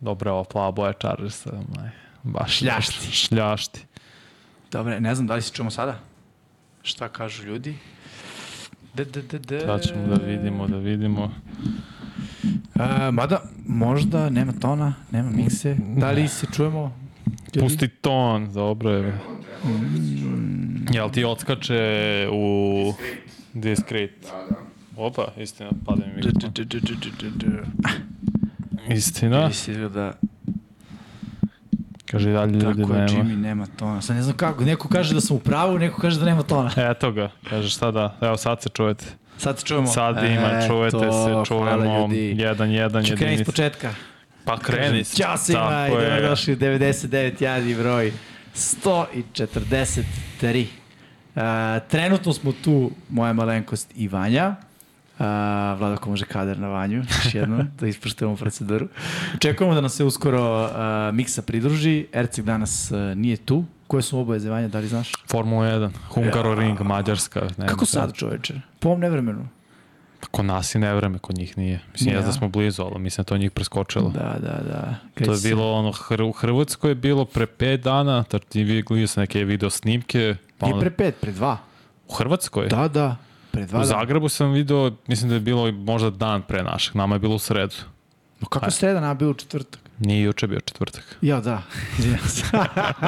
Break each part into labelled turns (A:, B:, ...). A: Dobra, ova plava boja Chargersa, maj, baš
B: Šljašti.
A: dobro. Šljašti.
B: Dobre, ne znam da li se čujemo sada. Šta kažu ljudi? De, de, de, de.
A: Sad ćemo da vidimo, da vidimo.
B: E, mada, možda nema tona, nema mikse. Da li se čujemo? ljudi?
A: Pusti ton, dobro je. Jel ti odskače u diskret? Opa, istina, pada mi
B: Du, du,
A: mikrofon.
B: du, du, du, du, du, du.
A: Istina,
B: Ili se izgleda
A: kaže dalje ljudi
B: tako je,
A: nema.
B: Jimmy nema tona. Sad ne znam kako, neko kaže da sam u pravu, neko kaže da nema tona.
A: Eto ga, kaže sada, evo sad se čujete.
B: Sad se čujemo.
A: Sad ima,
B: E,
A: čujete
B: to,
A: se,
B: hvala
A: čujemo,
B: ljudi.
A: jedan, jedan,
B: Ču kreni s
A: jedinica.
B: početka.
A: Pa kreni se.
B: Ćao svima i da
A: tako je.
B: dobrodošli u 99 jadi broj 143. Uh, trenutno smo tu, moja malenkost i Vanja. Uh, Vladako može kader na Vanju, još jednom, da ispoštujemo proceduru. Očekujemo da nam se uskoro uh, Miksa pridruži. Ercik danas uh, nije tu. Koje su obaveze Vanja, da li znaš?
A: Formula 1, Hungaroring, Mađarska. Ne znam
B: Kako
A: šta.
B: sad čoveče? Po ovom nevremenu.
A: Pa Kod nas je nevreme, kod njih nije. Mislim, ja.
B: Ja.
A: da smo blizu, ali mislim da to njih preskočilo.
B: Da, da, da.
A: To je
B: Kreće se.
A: bilo ono, Hr u Hrvatskoj je bilo pre 5 dana, tar ti vi gledao sam neke video snimke, pa
B: Nije
A: onda,
B: pre pet, pre dva.
A: u Hrvatskoj?
B: Da, da. Pre dva
A: E. u
B: dana.
A: Zagrebu sam video, mislim da je bilo možda dan pre našeg, nama je bilo u sredu.
B: Ma Kako sreda nam bio u četvrtak?
A: Nije juče bio četvrtak.
B: Ja, da. Izvinjavam se.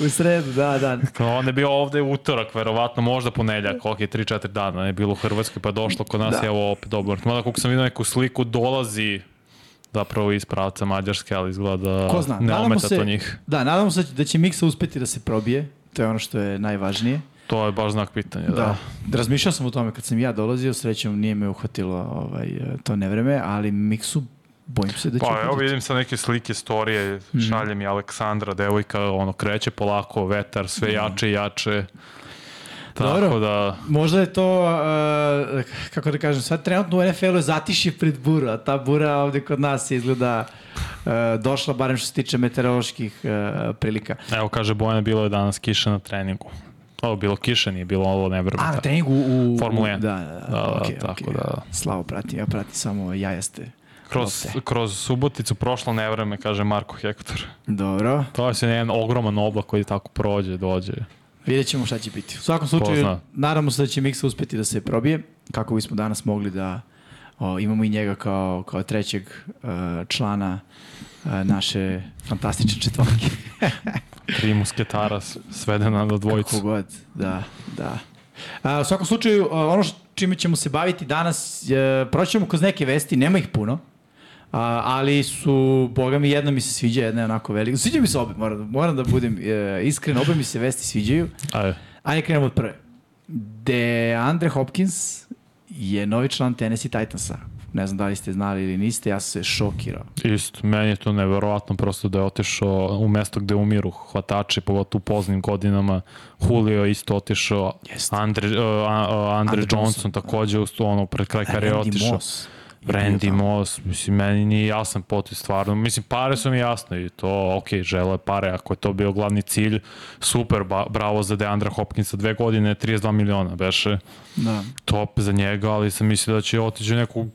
B: u sredu, da, da.
A: On je bio ovde u utorak, verovatno možda ponedljak, ok, 3-4 dana je bilo u Hrvatskoj, pa je došlo kod nas
B: Da.
A: i evo opet dobro. Mada koliko sam vidio neku sliku, dolazi zapravo iz pravca Mađarske, ali izgleda da
B: Ko zna,
A: ne
B: nadamo
A: ometa
B: se-
A: to njih.
B: Da, nadamo se da će- da će Miksa uspeti da se probije. To je ono što je najvažnije.
A: To je baš znak pitanja, da.
B: Da. Razmišljao sam o tome kad sam ja dolazio, srećom nije me uhvatilo ovaj, eh, to nevreme, ali Miksu bojim se da Mhm. će
A: Pa evo
B: uhvatiti.
A: vidim sad neke slike, storije, šalje mi Aleksandra, devojka, ono kreće polako, vetar, sve jače i jače. Tako
B: Mhm. Dobro.
A: da,
B: Možda je to, eh, kako da kažem, sad trenutno u NFL-u je zatišje pred buru, a ta bura ovde kod nas je izgleda eh, došla, barem što se tiče meteoroloških eh, prilika.
A: evo kaže Bojana, bilo je danas kiša na treningu. Ovo bilo kiša, nije bilo da. ovo nevrbe.
B: A, na treningu u...
A: Formula jedan.
B: Da, da, da.
A: Da, da,
B: okej,
A: tako
B: okej.
A: da.
B: Slavo pratim, ja pratim samo jajaste.
A: Kroz,
B: lopte.
A: kroz Suboticu prošlo nevreme, kaže Marko Hektor.
B: Dobro,
A: To je se jedan ogroman oblak koji tako prođe, dođe.
B: vidjet ćemo šta će biti. U svakom
A: Ko
B: slučaju,
A: zna.
B: nadamo se da će Miksa uspeti da se probije, kako bismo danas mogli da o, imamo i njega kao, kao trećeg e, člana e, naše fantastične četvorke.
A: Tri musketara s- svedena na
B: Kako
A: dvojicu.
B: god, da, da. A, u svakom slučaju, a, ono što, čime ćemo se baviti danas, e, proći ćemo kroz neke vesti, nema ih puno, a, ali su, boga mi, jedna mi se sviđa, jedna je onako velika. Sviđa mi se obe, moram, moram da budem e, iskren, obe mi se vesti sviđaju.
A: Ajde.
B: Ajde, krenemo od prve. De Andre Hopkins je novi član Tennessee Titansa. Ne znam da li ste znali ili niste, ja sam se šokirao.
A: Isto, meni je to neverovatno prosto da je otišao u mesto gde umiru hvatači, pogotovo u poznim godinama. Julio je isto otišao,
B: Jeste.
A: Andre, uh, a- a- Andre
B: Andre
A: Johnson,
B: Johnson,
A: takođe usto, ono, pred kraj kare je
B: Randy
A: otišao.
B: Moss. je bio
A: Randy
B: tamo.
A: Moss, mislim, meni nije jasan potis stvarno. Mislim, pare su mi jasne i to, ok, žele pare, ako je to bio glavni cilj, super, ba, bravo za Deandra Hopkinsa, dve godine, 32 miliona, beše
B: Da.
A: top za njega, ali sam mislio da će otići u neku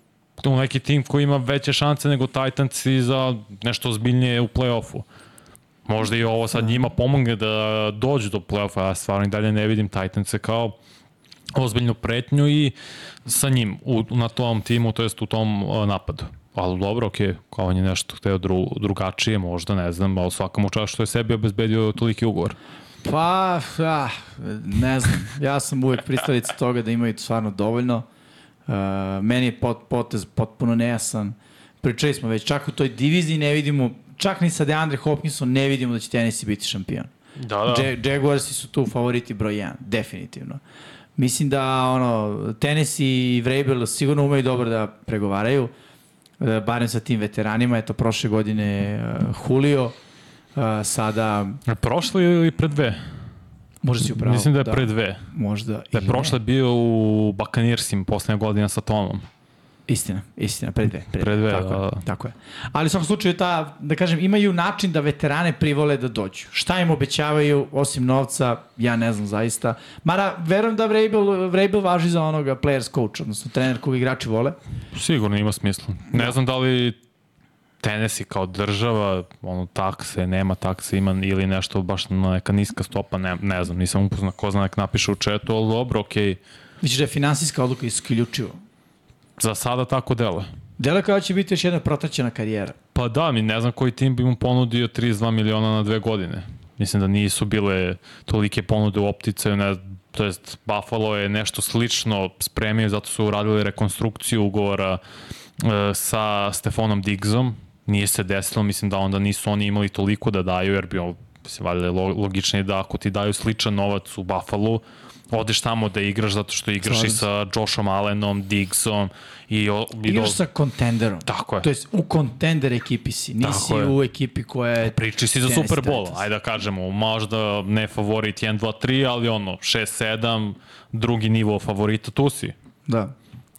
A: u neki tim koji ima veće šanse nego Titansi za nešto ozbiljnije u play-offu. Možda i ovo sad njima pomogne da dođu do play-offa, ja stvarno i dalje ne vidim Titanse kao ozbiljnu pretnju i sa njim u, na tom timu, to jest u tom e, napadu. Ali dobro, okej, kao on je nešto hteo dru, drugačije, možda, ne znam, ali svakam čast što je sebi obezbedio toliki ugovor.
B: Pa, ah, ne znam. Ja sam uvek pristalica toga da imaju stvarno dovoljno. Uh, meni je pot, potez potpuno nejasan. Pričali smo već, čak u toj diviziji ne vidimo, čak ni sa Deandre Hopkinsom ne vidimo da će Tennessee biti šampion.
A: Da,
B: Ja- Jaguarsi su tu favoriti broj 1, definitivno. Mislim da ono, Tennessee i Vrabel sigurno umeju dobro da pregovaraju, e, barem sa tim veteranima, eto prošle godine uh, Julio, uh, sada,
A: Prošle ili pre dve?
B: možda si upravo.
A: Mislim da je pre dve.
B: Možda
A: Da je
B: ili ne.
A: prošle bio u Bakanirsim poslednja godina sa Tomom.
B: Istina, istina, pre dve.
A: Pre dve,
B: tako,
A: da,
B: je,
A: da.
B: tako je. Ali u svakom slučaju, ta, da kažem, imaju način da veterane privole da dođu. Šta im obećavaju, osim novca, ja ne znam zaista. Mara, verujem da Vrabel, Vrabel važi za onoga players coach, odnosno trener koga igrači vole.
A: Sigurno ima smisla. Ne znam da li Tennessee kao država, ono, takse, nema takse, ima ili nešto baš na neka niska stopa, ne, ne znam, nisam upoznan, ko zna nek napiše u četu, ali dobro, okej, okay.
B: Vidiš da je finansijska odluka isključivo.
A: za sada tako dele.
B: Dele kao da će biti još jedna protraćena karijera.
A: Pa da, mi ne znam koji tim bi mu ponudio 32 miliona na dve godine. Mislim da nisu bile tolike ponude u opticaju, ne, to jest Buffalo je nešto slično spremio, zato su uradili rekonstrukciju ugovora e, sa Stefanom Diggsom. Nije se desilo, mislim da onda nisu oni imali toliko da daju, jer bi on, mislim, valjda je lo- logičnije da ako ti daju sličan novac u Buffalo, odeš tamo da igraš zato što igraš i
B: Slažem se.
A: sa Joshom Allenom, Diggsom i, o, i do-
B: Igraš sa kontenderom.
A: Tako je.
B: To jest u kontender ekipi si. Nisi
A: Tako je.
B: u ekipi koja je...
A: Priči si za
B: Jeste,
A: Super Bowl,
B: eto.
A: ajde da kažemo, možda ne favorit 1, 2, 3, ali ono, 6, 7, drugi nivo favorita, tu si.
B: Da.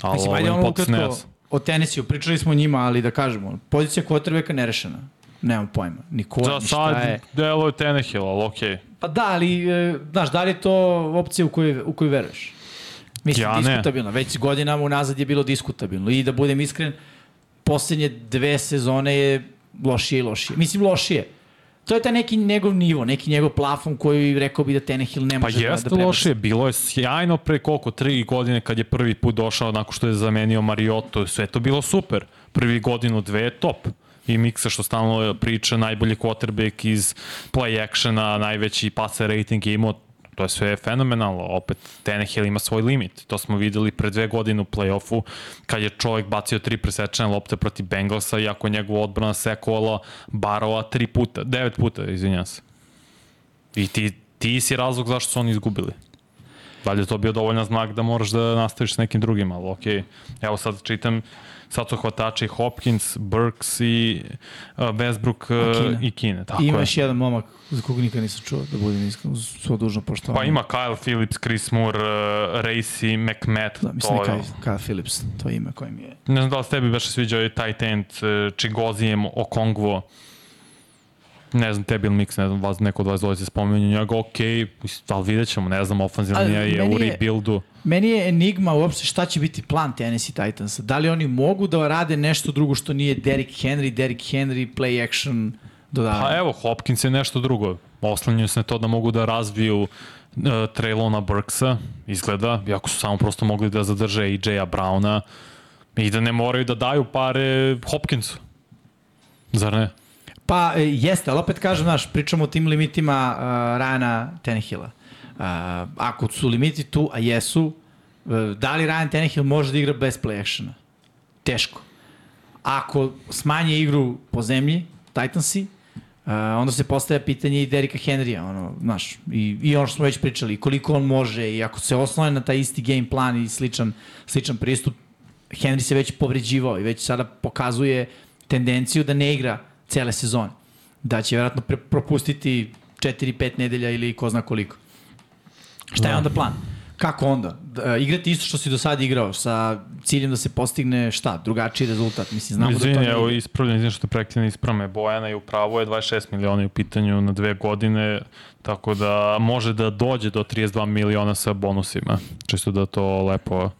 A: Ali
B: Mislim, ajde ono ukratko o tenisiju, pričali smo o njima, ali da kažemo, pozicija quarterbacka nerešena. Nemam pojma. Ni ko,
A: Za
B: ni šta
A: sad
B: je.
A: delo je Tenehill, ali okej.
B: Pa da, ali, e, znaš, da li je to opcija u koju, u koju veruješ? Mislim,
A: Ja ne.
B: diskutabilno. Već godinama unazad je bilo diskutabilno. I da budem iskren, posljednje dve sezone je lošije i lošije. Mislim, lošije. To je taj neki njegov nivo, neki njegov plafon koji rekao bi da Tenehill ne
A: Pa
B: može da, da
A: jeste
B: prebaci.
A: loše, bilo je sjajno pre koliko, tri godine kad je prvi put došao nakon što je zamenio Mariotu, sve je to bilo super. Prvi godinu, dve je top. I Miksa što stalno priča, najbolji quarterback iz play actiona, najveći passer rating je imao, to je sve fenomenalno. Opet, Tenehill ima svoj limit. To smo videli pre dve godine u play-offu, kad je čovjek bacio tri presečene lopte protiv Bengalsa, iako je njegova odbrana sekovala Barova tri puta, devet puta, izvinjam se. I ti, ti si razlog zašto su oni izgubili. Da li je to bio dovoljan znak da moraš da nastaviš s nekim drugim, ali okej. Evo sad čitam, sad su hvatači Hopkins, Burks i uh, Westbrook uh,
B: Kine.
A: i Kine. Tako
B: I ima
A: je.
B: još jedan momak za kog nikad nisam čuo, da budem iskren, uz svo dužno poštovanje.
A: Pa ima Kyle Phillips, Chris Moore, uh, Racy, McMath.
B: Da, mislim
A: to
B: da
A: je-
B: je Kyle Phillips, to je ime koje mi je.
A: Ne znam da li se tebi beše sviđao i tight end uh, Chigozijem Okongvo. Ne znam, tebi ili Mix, ne znam, vas, neko od vas dvojice spominju njega, okej, mislim, ali vidjet ćemo, ne znam, ofenzivna
B: Ali
A: linija je
B: meni
A: u
B: je-
A: rebuildu.
B: Meni je enigma uopšte šta će biti plan Tennessee Titansa. Da li oni mogu da rade nešto drugo što nije Derrick Henry, Derrick Henry, play action, dodavanje.
A: Pa evo, Hopkins je nešto drugo. Oslanjuju se na to da mogu da razviju uh, Traylona Burksa, izgleda, iako su samo prosto mogli da zadrže AJ-a Browna i da ne moraju da daju pare Hopkinsu. Zar ne?
B: Pa e, jeste, ali opet kažem, znaš, pričamo o tim limitima uh, Rana Tenehila. Uh, ako su limiti tu, a jesu, uh, da li Ryan Tenehill može da igra bez play actiona? Teško. Ako smanje igru po zemlji, Titansi, uh, onda se postaje pitanje i Derika Henrya, ono, znaš, i, i ono što smo već pričali, koliko on može i ako se oslone na taj isti game plan i sličan, sličan pristup, Henry se već povređivao i već sada pokazuje tendenciju da ne igra cele sezone. Da će vjerojatno pre, propustiti 4-5 nedelja ili ko zna koliko. Šta je onda plan? Kako onda? Da, e, igrati isto što si do sada igrao sa ciljem da se postigne šta, drugačiji rezultat. Mislim, znamo
A: Izvini,
B: da to nije-
A: evo, ispravljam, izvini što prekljene isprame. Bojana je u pravu, je 26 miliona je u pitanju na dve godine, tako da može da dođe do 32 miliona sa bonusima. Čisto da to lepo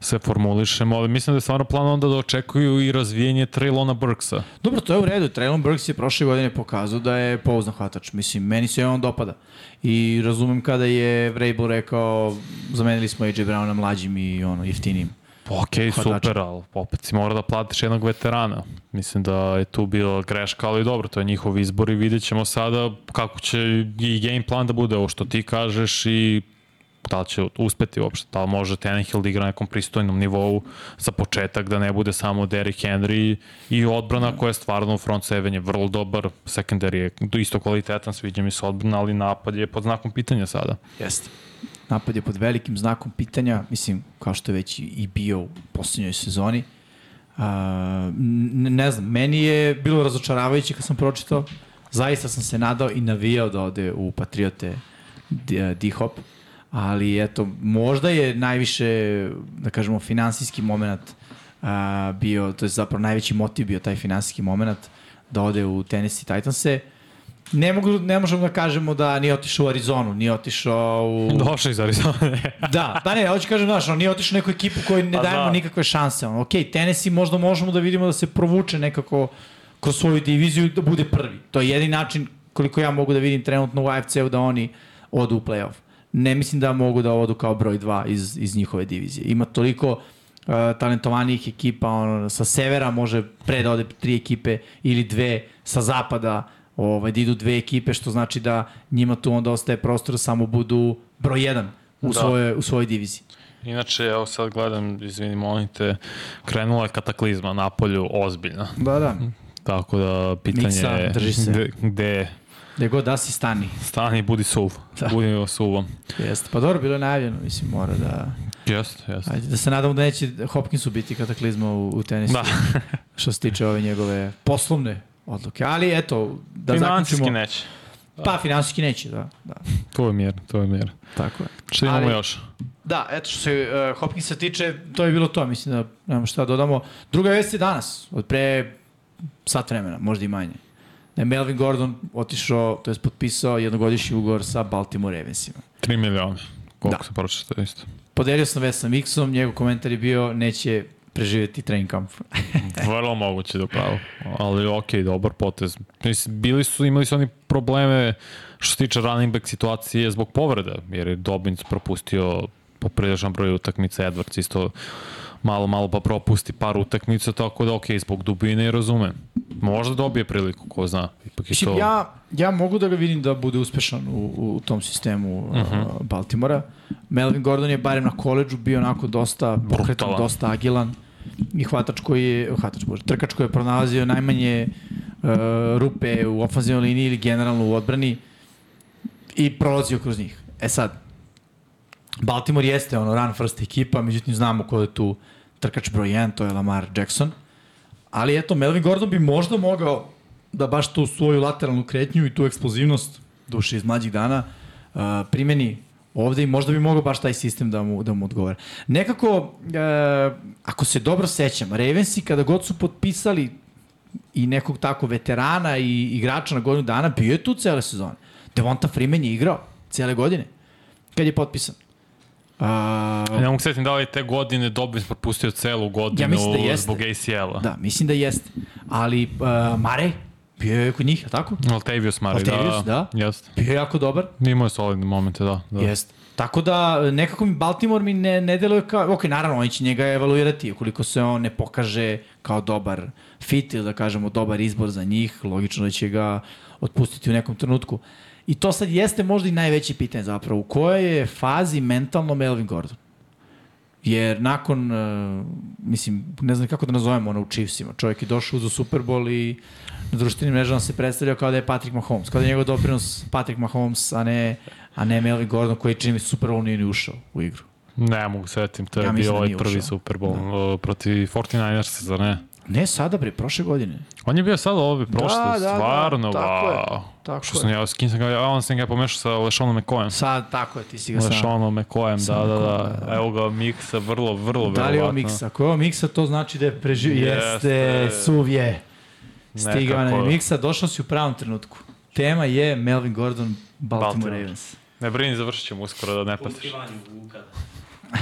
A: se formulišemo, ali mislim da je stvarno plan onda da očekuju i razvijenje Traylona Burksa.
B: Dobro, to je u redu. Traylon Burks je prošle godine pokazao da je pouznan hvatač. Mislim, meni se on dopada. I razumem kada je Vrabel rekao zamenili smo AJ Browna mlađim i ono, jeftinim.
A: Ok,
B: Hvatača.
A: Pa super, ali opet si mora da platiš jednog veterana. Mislim da je tu bila greška, ali dobro, to je njihov izbor i vidjet ćemo sada kako će i game plan da bude ovo što ti kažeš i da li će uspeti uopšte, da li može Tannehill da igra na nekom pristojnom nivou za početak, da ne bude samo Derrick Henry i odbrana koja je stvarno u front seven je vrlo dobar, secondary je do isto kvalitetan, sviđa mi se odbrana, ali napad je pod znakom pitanja sada.
B: Jeste. Napad je pod velikim znakom pitanja, mislim, kao što je već i- i bio u posljednjoj sezoni. A, ne, ne znam, meni je bilo razočaravajuće kad sam pročitao. Zaista sam se nadao i navijao da ode u Patriote D- D-Hop, ali eto, možda je najviše, da kažemo, finansijski moment a, bio, to je zapravo najveći motiv bio taj finansijski moment da ode u Tennessee Titanse. Ne, mogu, ne možemo da kažemo da nije otišao u Arizonu, nije otišao u...
A: Došli iz Arizona.
B: Da, da ne, hoću kažem, znaš, on nije otišao u neku ekipu koju ne
A: Pa
B: dajemo
A: da.
B: nikakve šanse. Ono, ok, Tennessee možda možemo da vidimo da se provuče nekako kroz svoju diviziju da bude prvi. To je jedin način koliko ja mogu da vidim trenutno u AFC-u da oni odu u playoff. Ne mislim da mogu da odu kao broj 2 iz, iz njihove divizije. Ima toliko uh, talentovanijih ekipa, ono, sa severa može pre da ode tri ekipe ili dve, sa zapada ovaj, da idu dve ekipe, što znači da njima tu onda ostaje prostor, da samo budu broj 1 u, da.
C: Da.
B: svoje, u svojoj diviziji.
A: Inače, evo sad gledam, izvini, molim te, krenula je kataklizma na polju ozbiljna.
B: Da, da.
A: Tako da, pitanje
B: Miksa,
A: je
B: drži se.
A: gde, gde
B: Gde god da si stani.
A: stani, budi suv.
B: Da.
A: Da. Budi suvom.
B: Jeste. Pa dobro, bilo je najavljeno, mislim, mora da...
A: Jeste, jeste.
B: Ajde, da se nadamo da neće Hopkinsu biti kataklizma u, u tenisu.
A: Da.
B: što se tiče ove njegove poslovne odluke. Ali eto, da
A: Da Financijski
B: zaključimo.
A: neće.
B: Pa, finansijski neće, da. da.
A: To je mjer, to je mjer.
B: Tako je.
A: Šta imamo
B: Ali-
A: još?
B: Da, eto što se uh, Hopkinsa tiče, to je bilo to, mislim da nemamo šta da dodamo. Druga vest je danas, od pre sat vremena, možda i manje. Da je Melvin Gordon otišao, to je potpisao jednogodišnji ugovor sa Baltimore Ravensima.
A: 3 miliona. Koliko
B: Da.
A: da. se pročita isto.
B: Podelio sam vest sa Mixom, njegov komentar je bio neće preživjeti training camp.
A: Vrlo moguće da pravo. Ali okej, dobar potez. Mislim, Bili su, imali su oni probleme što se tiče running back situacije zbog povreda, jer je Dobbins propustio popriličan broj utakmica, Edwards isto malo, malo pa propusti par utakmica, tako da okej, zbog dubine i razumem. Možda dobije priliku, ko zna. Ipak je
B: Mislim,
A: to...
B: ja, ja mogu da ga vidim da bude uspešan u, u tom sistemu uh
A: Mhm.
B: -huh. Baltimora. Melvin Gordon je barem na koleđu bio onako dosta pokretan,
A: Brutalan.
B: dosta agilan i hvatač koji je, hvatač bože, trkač koji je pronalazio najmanje uh, rupe u ofanzivnoj liniji ili generalno u odbrani i prolazio kroz njih. E sad, Baltimore jeste ono run first ekipa, međutim znamo ko je tu trkač broj 1, to je Lamar Jackson. Ali eto, Melvin Gordon bi možda mogao da baš tu svoju lateralnu kretnju i tu eksplozivnost duše iz mlađih dana uh, primeni ovde i možda bi mogao baš taj sistem da mu, da mu odgovara. Nekako, e, ako se dobro sećam, Ravensi kada god su potpisali i nekog tako veterana i igrača na godinu dana, bio je tu cele sezone. Devonta Freeman je igrao cele godine kad je potpisan. A,
A: Ne mogu setim da li je te godine Dobbins propustio celu godinu
B: Ja mislim da jeste.
A: zbog ACL-a.
B: da, mislim da jeste. Ali uh, Marej bio je kod njih, je li tako?
A: Altavius Murray,
B: Latavius, da.
A: da. Jeste.
B: Bio je jako dobar.
A: Imao je solidne momente, da. da.
B: Jeste. Tako da e, nekako mi Baltimore mi ne, ne deluje kao, ok, naravno oni će njega evaluirati, ukoliko se on ne pokaže kao dobar fit ili da kažemo dobar izbor za njih, logično da će ga otpustiti u nekom trenutku. I to sad jeste možda i najveće pitanje zapravo, u kojoj je fazi mentalno Melvin Gordon? Jer nakon, uh, mislim, ne znam kako da nazovemo ono u Chiefsima, čovjek je došao uz Super Bowl i na društvenim mrežama se predstavljao kao da je Patrick Mahomes, kao da je njegov doprinos Patrick Mahomes, a ne, a ne Melvin Gordon koji čini mi se Super Bowl nije ni ušao u igru.
A: Ne mogu setim, to je
B: Ja
A: ja
B: mislim
A: bio
B: da
A: ovaj
B: nije
A: prvi
B: ušao.
A: Super Bowl da. protiv 49ersa, zar ne?
B: Ne sada bre, prošle godine.
A: On je bio sad ove prošle,
B: Da,
A: da,
B: da, da,
A: stvarno, da,
B: tako je,
A: wow.
B: tako
A: Što sam ja, s kim sam ga, a on sam ga pomešao sa Lešonom McCoyem.
B: Sad, tako je, ti si ga sam.
A: Lešonom McCoyem, da, da,
B: McCoyem,
A: da. Evo ga miksa, vrlo, vrlo
B: Da li je ovo
A: verovatno.
B: miksa? Ako je ovo miksa, to znači da je preživio. Jeste,
A: Jeste.
B: jeste suv je. Stigao
A: Nekako.
B: na miksa, došao si u pravom trenutku. Tema je Melvin Gordon, Baltimore,
A: Baltimore.
B: Ravens.
A: Ne brini, završit ćemo uskoro da ne
C: Pa
A: pasiš.
C: Utkivanje Vuka. da.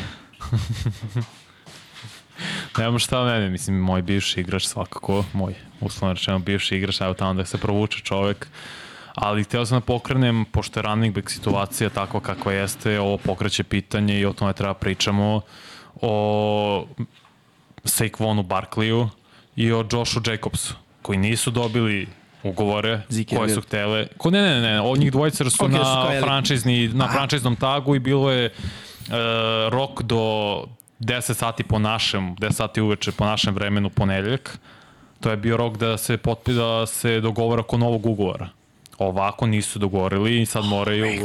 A: Nemam šta mene, mislim, moj bivši igrač svakako, moj, uslovno rečeno, bivši igrač, evo tamo da se provuče čovek. Ali hteo sam da pokrenem, pošto je running back situacija takva kakva jeste, ovo pokreće pitanje i o tome treba pričamo, o Saquonu Barkleyu i o Joshu Jacobsu, koji nisu dobili ugovore
B: Zeke
A: koje su
B: Elliott.
A: htele. Ko, ne, ne, ne, od njih dvojica su
B: Ok,
A: okay,
B: su kao
A: na,
B: elit.
A: frančizni, na frančiznom tagu i bilo je e, rok do 10 sati po našem, 10 sati uveče po našem vremenu ponedeljak. To je bio rok da se potpi da se dogovore oko novog ugovora. Ovako nisu dogovorili i sad moraju e,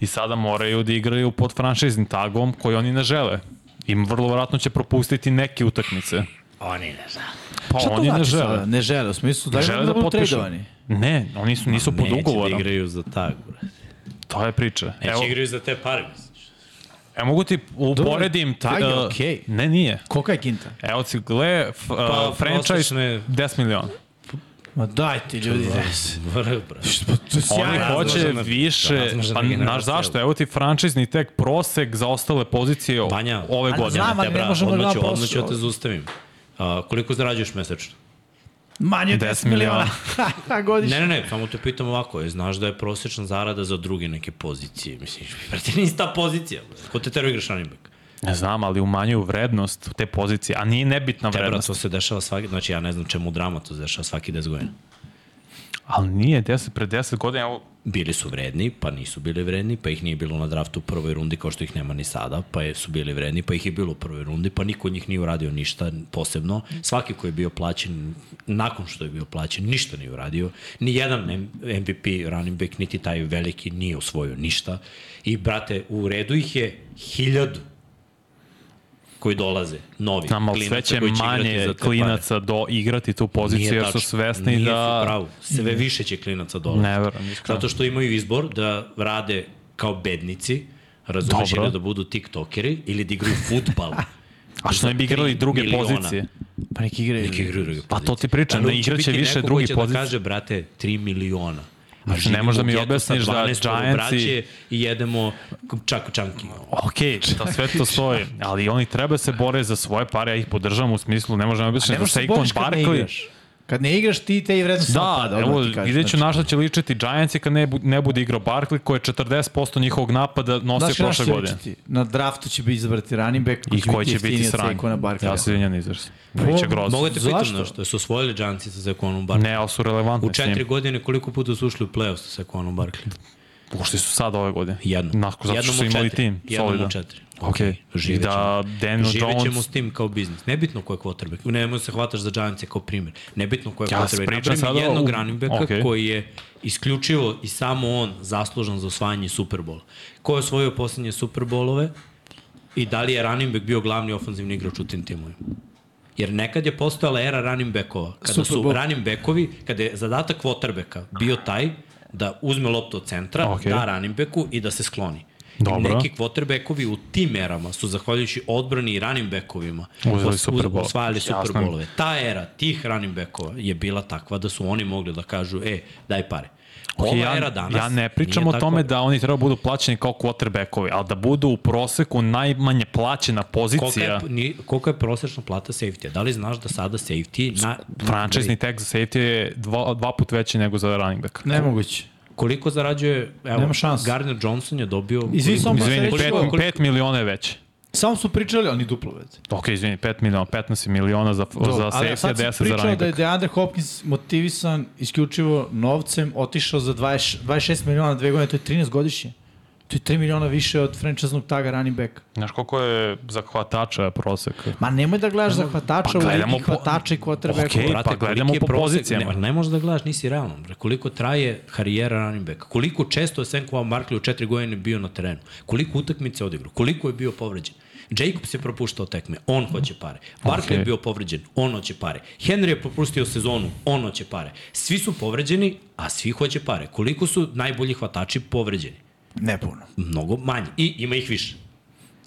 A: i sada moraju da igraju pod franšiznim tagom koji oni ne žele. Im vrlo vjerojatno će propustiti neke utakmice.
C: Oni ne znam.
A: Pa
B: Šta to
A: oni ne
B: znači
A: žele.
B: sada? Ne žele, u smislu da
A: Ne
B: li
A: žele
B: oni
A: da
B: da budu
A: potpišu.
B: tradovani?
A: Ne, oni su, nisu pod
C: Neće da
A: ugovorom.
C: igraju za tag, brate.
A: To je priča.
C: Neće
A: Evo,
C: igraju za te pare, misliš.
A: Ja mogu ti uporedim...
B: Dobro, tag je
A: e,
B: okej.
A: Ne, nije.
B: Kolika je kinta?
A: Evo ti, gle, f,
C: Pa,
A: uh, franchise
C: prosečne-
A: 10 miliona.
B: Ma dajte ljudi.
C: Vrh, Da. brate.
A: Pa Oni
C: razmažena-
A: hoće više,
C: razmažena
A: pa
C: generacija.
A: znaš zašto, evo ti franšizni tek prosek za ostale pozicije
C: Banja.
A: ove
B: Ali
A: godine.
B: znam, ali ne možemo da
C: odmah ću,
B: gledamo
C: odmah ću
B: posao.
C: da te zaustavim. A, koliko zarađuješ mesečno?
B: Manje od
A: 10
B: 10 miliona. Godišnje.
C: Ne, ne, ne, samo te pitam ovako, je, znaš da je prosječna zarada za druge neke pozicije, mislim, brate, nisi ta pozicija, brate. ko te tero igraš running back?
A: Ne znam, ali umanjuju vrednost te pozicije, a nije nebitna
C: Te, brate,
A: vrednost.
C: to se dešava svaki, znači ja ne znam čemu drama to se dešava svaki 10 godina.
A: Ali nije 10, pre 10 godina, evo,
C: Bili su vredni, pa nisu bili vredni, pa ih nije bilo na draftu u prvoj rundi kao što ih nema ni sada, pa je, su bili vredni, pa ih je bilo u prvoj rundi, pa niko od njih nije uradio ništa posebno. Svaki koji je bio plaćen, nakon što je bio plaćen, ništa nije uradio. Ni jedan M- MVP running back, niti taj veliki nije osvojio ništa. I, brate, u redu ih je hiljadu koji dolaze, novi.
A: znam, ali sve
C: klinaca
A: će
C: koji će igrati
A: manje
C: za te pare.
A: klinaca do igrati tu poziciju,
C: Nije
A: jer su
C: tačno.
A: svesni
C: Nije
A: da...
C: su pravo. Sve više će klinaca dolaziti.
A: Ne verujem, iskreno.
C: Zato što imaju izbor da rade kao bednici, razumeš,
A: Dobro.
C: ili da budu tiktokeri, ili da igraju futbal.
A: A što ne bi igrali druge pozicije?
B: Pa neki igraju.
C: Neki igraju druge
A: Pa to ti
C: pozicije.
A: pričam,
C: Ali
A: da
C: će
A: igraće
C: biti
A: više
C: neko ko
A: druge
C: će
A: pozicije.
C: Da kaže, brate, 3 miliona.
A: ne
C: živimo
A: možeš da
C: u
A: mi
C: getu sa
A: objasniš da Giants
C: 12
A: i-
C: braće I jedemo čak čanki.
A: Ok, to sve to stoji, ali oni treba se bore za svoje pare, ja ih podržavam u smislu, ne možemo
B: A
A: objasniti
B: ne
A: da
B: možeš se
A: Saquon
B: boriš kad ne
A: Barkley...
B: igraš. Kad ne igraš ti te i vredno se
A: Da,
B: napada.
A: evo,
B: odmah ti kažem,
A: vidjet ću
B: znači.
A: na šta će ličiti Giants i kad ne, bu, ne bude igrao Barkley, koji je 40% njihovog napada nosio
B: Znaš na
A: prošle
B: što
A: godine.
B: će biti? Na draftu će biti izabrati running back
A: I koji će biti
B: sranj.
A: sranj. Ja se izvinjam izvrst.
B: Po-
A: Biće grozno.
C: Mogu te pitam
B: Zašto?
C: nešto, jesu osvojili Giantsi sa Zekonom
A: Pa
C: Barkley?
A: Ne, ali su
C: U
A: relevantni s
C: četiri
A: njim.
C: godine koliko puta su ušli u playoff sa Zekonom Barkley?
A: Ušli su sad ove godine.
C: Jedno.
A: Nako, zato što
C: Jednom
A: su
C: u
A: imali
C: četiri.
A: tim.
C: Jednom
A: solidan.
C: u četiri.
A: Ok. I
C: živjet
A: da Daniel
C: Živit ćemo
A: Jones...
C: s tim kao biznis. Nebitno ko je quarterback. Nemoj se hvataš za Giants kao primjer. Nebitno ko je
A: Ja
C: quarterback.
A: pričam
C: Napravim
A: sada o-
C: jednog running backa
A: Okej.
C: koji je isključivo i samo on zaslužan za osvajanje Superbola. Ko je osvojio posljednje Superbolove i da li je running back bio glavni ofenzivni igrač u tim timovima? Jer nekad je postojala era running backova. Kada
B: Super
C: su
B: Bowl.
C: running backovi, kada je zadatak quarterbacka bio taj da uzme loptu od centra,
A: Okej.
C: da running backu i da se skloni.
A: Dobro.
C: Neki quarterbackovi u tim erama su, zahvaljujući odbrani i running backovima,
A: Uzeli
C: os-
A: Super Bowl.
C: osvajali
A: Jasno.
C: Super Bowlove. Ta era tih running backova je bila takva da su oni mogli da kažu, e, daj pare. Ova
A: Ok,
C: era danas
A: ja ne pričam
C: nije
A: o
C: takva.
A: tome da oni treba budu plaćeni kao quarterbackovi, ali da budu u proseku najmanje plaćena
C: Kolika je,
A: pozicija.
C: ni, kolika je prosečna plata safety Da li znaš da sada safety... Na,
A: Frančizni tag za safety je dva, dva put veći nego za running back.
B: Nemoguće.
C: Koliko zarađuje... Evo,
B: Nema šanse.
C: Gardner Johnson je dobio...
B: Izvini,
C: koliko-
B: samo da se
A: Izvini,
B: reći-
A: 5
B: koliko-
A: miliona je veći.
B: Samo su pričali, ali ni duplo već.
A: Ok, izvini, 5 miliona, 15 miliona za, za safety, a 10 za
B: pričao
A: running
B: da je
A: back.
B: DeAndre Hopkins motivisan isključivo novcem, otišao za 20, 26 miliona na dve godine, to je 13 godišnje. To je 3 miliona više od franchise-nog taga running backa.
A: Znaš koliko je za hvatača prosek?
B: Ma nemoj da gledaš za hvatača,
A: pa
B: u
A: gledamo
B: ligi
A: po-
B: hvatača i quarterbacka.
A: Okej, pa
C: koliki
A: gledamo
C: je
A: po
C: prosek?
A: pozicijama.
C: Ne, ali ne možeš da gledaš, nisi realan. Bre. Koliko traje karijera running backa? Koliko često je Sam Kwan Barkley u četiri godine bio na terenu? Koliko utakmice odigrao? Koliko je bio povređen? Jacobs je propuštao tekme, on hoće pare. Barkley
A: Okej.
C: je bio povređen, on hoće pare. Henry je propustio sezonu, on hoće pare. Svi su povređeni, a svi hoće pare. Koliko su najbolji hvatači povređeni?
B: Ne puno.
C: mnogo manje. I ima ih više.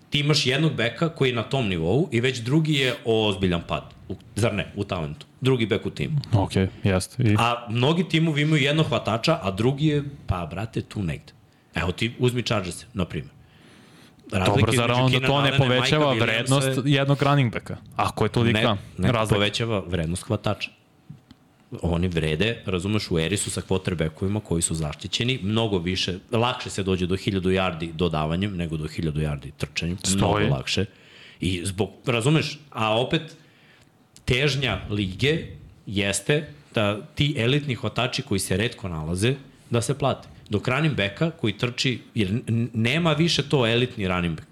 C: Ti imaš jednog beka koji je na tom nivou i već drugi je ozbiljan pad. U, zar ne? U talentu. Drugi bek u timu.
A: Ok, jeste. I,
C: A mnogi timovi imaju jednog hvatača, a drugi je, pa brate, tu negde. Evo ti uzmi Chargers, na primjer.
A: dobro, zar
C: između
A: onda
C: Keenan
A: to ne
C: Allena i
A: povećava
C: Mikea Williamsa
A: vrednost
C: je-
A: jednog running backa? Ako je tolika
C: Ne, ne
A: razlika.
C: povećava vrednost hvatača. Oni vrede, razumeš, u eri su sa quarterbackovima koji su zaštićeni, mnogo više, lakše se dođe do 1000 yardi dodavanjem nego do 1000 yardi trčanjem,
A: Stoji.
C: mnogo lakše. I zbog, razumeš, a opet težnja lige jeste da ti elitni hvatači koji se redko nalaze, da se plate. Dok running backa koji trči, jer n- n- nema više to elitni running back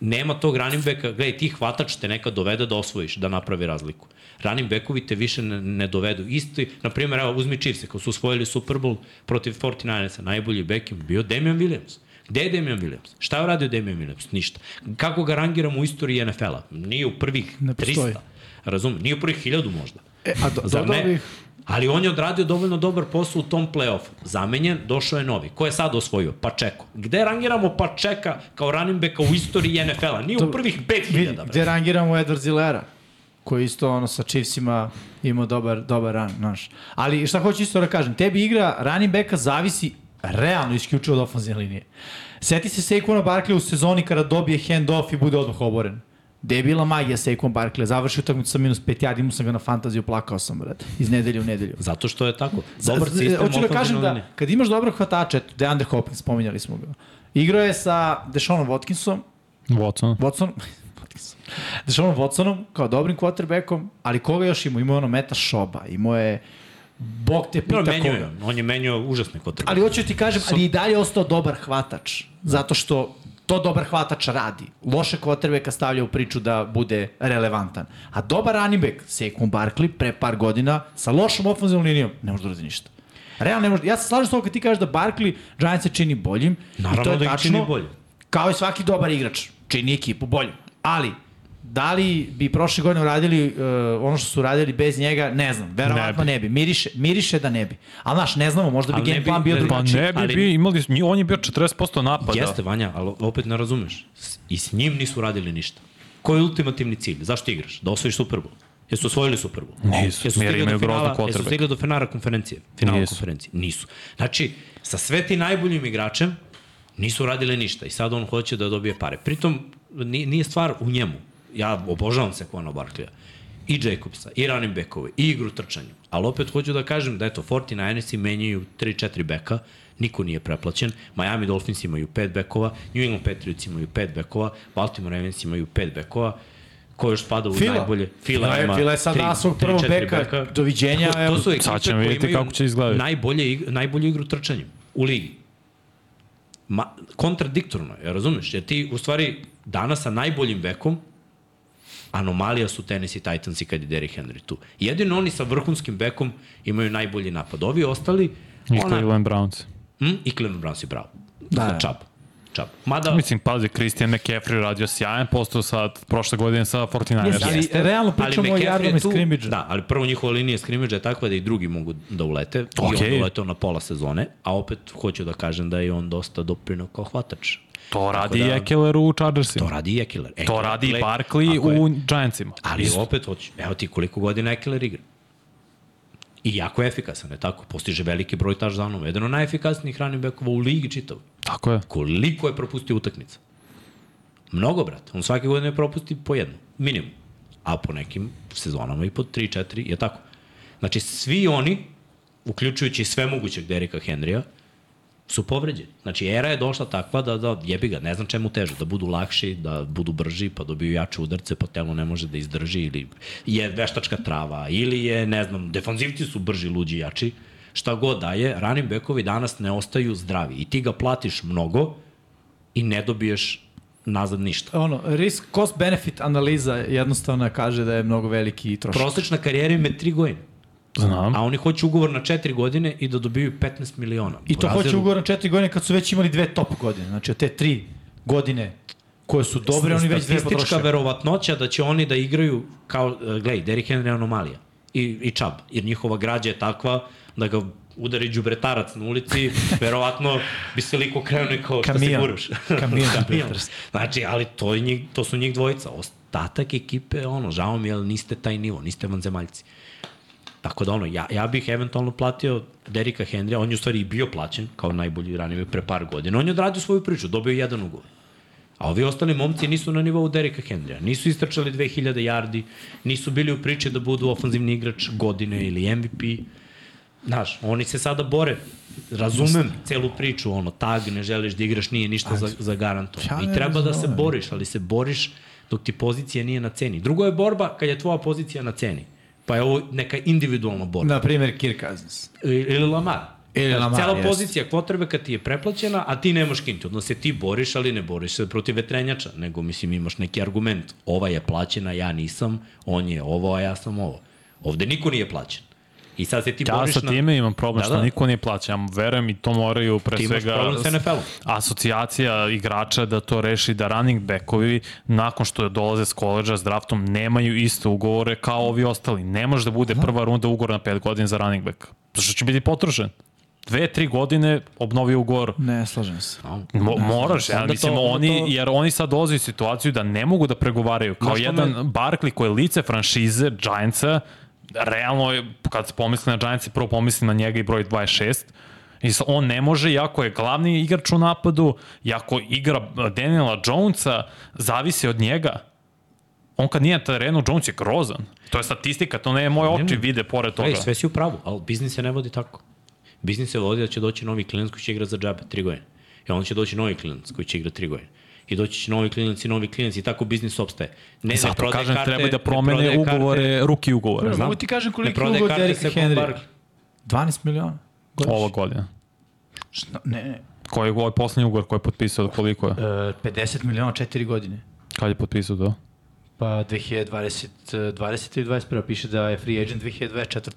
C: nema tog running backa, gledaj, ti hvatač te nekad dovede da osvojiš, da napravi razliku. Running backovi te više ne, ne dovedu. Isti, na primjer, evo, uzmi Chiefs, kad su osvojili Super Bowl protiv 49ersa, najbolji back im bio Damian Williams. Gde je Damian Williams? Šta je uradio Damian Williams? Ništa. Kako ga rangiramo u istoriji NFL-a? Nije u prvih
B: Ne postoji.
C: 300. Razumem, nije u prvih 1000 možda.
B: E, a do,
C: Zar
B: dodao
C: ne?
B: bih,
C: Ali on je odradio dovoljno dobar posao u tom play-offu. Zamenjen, došao je novi. Ko je sad osvojio? Pačeko. Gde rangiramo Pačeka kao running backa u istoriji NFL-a? Nije u prvih 5000,
B: vidi,
C: bre.
B: gde rangiramo Edward Zilera, koji isto ono sa Chiefsima imao dobar, dobar run, znaš. Ali šta hoću isto da kažem, tebi igra running backa zavisi realno isključivo od ofenzivne linije. Seti se Saquona Barkley u sezoni kada dobije handoff i bude odmah oboren. Debila magija Saquon Barkley, završio utakmicu sa minus 5 jardi, imao sam ga na fantaziju, plakao sam, brad. Iz nedelje u nedelju.
C: Zato što je tako. Dobar
B: Z- z-
C: sistem.
B: Hoću da
C: ofanzivne
B: kažem da
C: linije.
B: kad imaš dobrog hvatača, eto, DeAndre Hopkins, spominjali smo ga. Igrao je sa Deshaonom Watkinsom,
A: Watson.
B: Watson, Watkinsom. Deshaun Watsonom kao dobrim quarterbackom, ali koga još imao? Imao je ono Meta Šoba, imao je Bog te pita
C: Dobro, menio je.
B: koga.
C: On je menio užasne kotrbe.
B: Ali hoću da ti kažem, ali i dalje je ostao dobar hvatač, zato što to dobar hvatač radi. Loše quarterbacka stavlja u priču da bude relevantan. A dobar running back, Saquon Barkley, pre par godina, sa lošom ofenzivnom linijom, ne može da uradi ništa. Realno ne može. Ja se slažem s tobom kad ti kažeš da Barkley Giants se čini boljim. i
C: Naravno
B: to je
C: da ih
B: tačno,
C: čini boljim.
B: Kao i svaki dobar igrač. Čini ekipu boljim. Ali, da li bi prošle godine uradili uh, ono što su radili bez njega, ne znam. Verovatno ne bi. Miriše, miriše da ne bi. Ali znaš, ne znamo, možda bi
C: Ali ne
B: game
C: bi-
B: plan bio
C: ne bi-
B: drugačiji.
A: Pa ne bi,
C: Znači, ali-
A: bi imali, mi- on je bio 40%
B: Pa da.
A: napada.
C: Jeste, Vanja, ali opet ne razumeš. S- I s njim nisu radili ništa. Koji je ultimativni cilj? Zašto igraš? Da osvojiš Super Bowl. Jesu osvojili Super Bowl?
A: Nisu,
C: Jesu
A: jer
C: stigli do
A: imaju groznu
C: finala, jesu
A: quarterback.
C: stigli do finala konferencije? Finala
A: Nisu.
C: konferencije? Nisu. Znači, sa sve ti najboljim igračem nisu radili ništa i sad on hoće da dobije pare. Pritom, ni- nije stvar u njemu. Ja obožavam se Kona Barklija i Jacobsa, i running backove, i igru trčanjem. Ali opet hoću da kažem da eto, 49ersi menjaju 3-4 beka, niko nije preplaćen, Miami Dolphins imaju 5 bekova, New England Patriots imaju 5 bekova, Baltimore Ravens imaju 5 bekova, ko još spada u
B: Fila.
C: najbolje? Fila,
B: je-
C: ima
B: Fila je sad
C: tri-
B: dao svog
C: tri,
B: prvog
C: četiri
B: beka. Doviđenja,
C: To- To
B: evo.
C: su ekipe
A: Sad ćemo
C: koje
A: vidjeti
C: imaju
A: kako će izgledati.
C: Najbolje, ig- najbolju igru trčanjem u ligi. Ma, kontradiktorno je, razumeš? Jer ti, u stvari, danas sa najboljim bekom anomalija su Tennessee Titans i kad je Derrick Henry tu. Jedino oni sa vrhunskim bekom imaju najbolji napad. Ovi ostali,
A: I
C: ona,
A: Cleveland Browns.
C: mm, i Cleveland Browns je bravo.
B: Da.
C: Čab. Čab. Mada,
A: Mislim, pazi, Christian McCaffrey radio sjajan postao sad, prošle godine sa 49ersa.
B: Jeste. Ali realno pričamo o
C: McCaffrey je
B: jardama iz
C: tu-
B: skrimidža.
C: Da, ali prvo njihova linija skrimidža je takva da i drugi mogu da ulete. Okay. I
A: Okej.
C: on je uletao na pola sezone, a opet hoću da kažem da je on dosta doprinao kao hvatač.
A: To radi
C: da-
A: da, Ekeler u
C: To
A: Chargersima. To,
C: radi i Ekeler. Ekeler,
A: to radi i
C: Ekeler,
A: Barkley
C: tako je.
A: u Giantsima.
C: Ali opet, hoću, evo ti koliko godina Ekeler igra. I jako je efikasan, je tako? Postiže veliki broj taš zanova. Jedan od najefikasnijih running backova u ligi čitav.
A: Tako je.
C: Koliko je propustio utakmica? Mnogo, brate. On svake godine propusti po jednu, minimum. A po nekim sezonama i po 3-4, je tako. Znači, svi oni, uključujući sve mogućeg Derika Henrya, su povređeni. Znači, era je došla takva da, da jebi ga, ne znam čemu teže, da budu lakši, da budu brži, pa dobiju jače udarce, pa telo ne može da izdrži, ili je veštačka trava, ili je, ne znam, defanzivci su brži, luđi, jači, šta god da je, running backovi danas ne ostaju zdravi i ti ga platiš mnogo i ne dobiješ nazad ništa.
B: Ono, risk, cost benefit analiza jednostavno kaže da je mnogo veliki trošak.
C: Prosečna karijera im je tri godine,
A: Znam.
C: a oni hoće ugovor na četiri godine i da dobiju 15 miliona.
B: I to
C: Po razredu-
B: hoće ugovor na četiri godine kad su već imali dve top godine. Znači od te tri godine koje su dobre, oni već dve
C: Statistička
B: potrošili.
C: verovatnoća da će oni da igraju kao, e, gledaj, Derrick Henry je anomalija i, i Čab, jer njihova građa je takva da ga udari đubretarac na ulici, verovatno bi se liko krenuo kao šta se
B: Kamion.
C: guraš.
B: Kamion
C: Kamion.
B: đubretarac.
C: Znači, ali to, je njih, to su njih dvojica. Ostatak ekipe, ono, žao mi je, ali niste taj nivo, niste vanzemaljci. Tako da ono, ja, ja bih eventualno platio Derika Henrya, on je u stvari i bio plaćen kao najbolji ranije pre par godina. On je odradio svoju priču, dobio je jedan ugovor. A ovi ostali momci nisu na nivou Derika Henrya. Nisu istračali 2000 yardi, nisu bili u priči da budu ofanzivni igrač godine ili MVP. Znaš, oni se sada bore. Razumem celu priču, ono, tag, ne želiš da igraš, nije ništa za, za
B: Ja
C: garantovano.
B: ne
C: I treba da se
B: razumem.
C: boriš, ali se boriš dok ti pozicija nije na ceni. Drugo je borba kad je tvoja pozicija na ceni. Pa je ovo neka individualna borba.
B: Na primjer, Kirk Cousins.
C: Ili Lamar.
B: Ili
C: Znači,
B: Lamar,
C: Cela
B: jeste.
C: pozicija kvotrbeka ti je preplaćena, a ti nemaš kinti. Odnosno se ti boriš, ali ne boriš se protiv vetrenjača, nego mislim imaš neki argument. Ova je plaćena, ja nisam, on je ovo, a ja sam ovo. Ovde niko nije plaćen. I sad se ti
A: Ja
C: boriš
A: Da, sa time imam problem
C: Da,
A: što
C: da.
A: niko nije plaća. Ja verujem i to moraju pre
C: Ti imaš
A: svega
C: problem sa NFL-om.
A: asocijacija igrača da to reši da running backovi nakon što dolaze s koleđa s draftom nemaju iste ugovore kao ovi ostali. Ne može da bude prva runda ugovora na 5 godina za running back. Zato što će biti potrošen. Dve, tri godine obnovi ugovor.
B: Ne, slažem se.
C: No.
A: Mo, moraš, ja
C: onda
A: mislim,
C: to-
A: to,
C: onda
A: oni,
C: to-
A: jer oni sad dolaze u situaciju da ne mogu da pregovaraju. Kao
C: Znaš šta
A: jedan
C: me-
A: Barkley koji je lice franšize Giantsa, realno, je, kad se pomisli na Giantsa, prvo pomisli na njega i broj 26, I sa- on ne može, jako je glavni igrač u napadu, jako igra e, Daniela Jonesa, zavisi od njega. on kad nije na terenu, Jones je grozan. To je statistika, to ne je moje oči
C: Nema.
A: vide pored toga.
C: Ej, sve si u pravu, ali biznis se ne vodi tako. Biznis se vodi da će doći novi klinac koji će igrati za džabe, tri godine. I onda će doći novi klinac koji će igrati tri godine. I doći će novi klinac i novi klinac i tako biznis opstaje. Ne, ne
A: Zato
C: prodaje
A: kažem,
C: karte,
A: treba da
C: ne prodaje
A: promene
C: karte.
A: ugovore, ruki ugovore.
B: Mogu ti kažem
C: Ne
B: koliko je
C: prodaje
B: ugo
C: karte
B: Derika
C: Second Bargain.
B: Henry. 12 miliona. godišnje.
A: Ova godina.
B: Šta? Ne, ne.
A: Koji je ovaj poslednji ugovor koji je potpisao, koliko je?
B: E, 50 miliona, 4 godine.
A: Kad je potpisao to?
B: Pa 2020, e, 20 i 21 piše da je free agent 2024.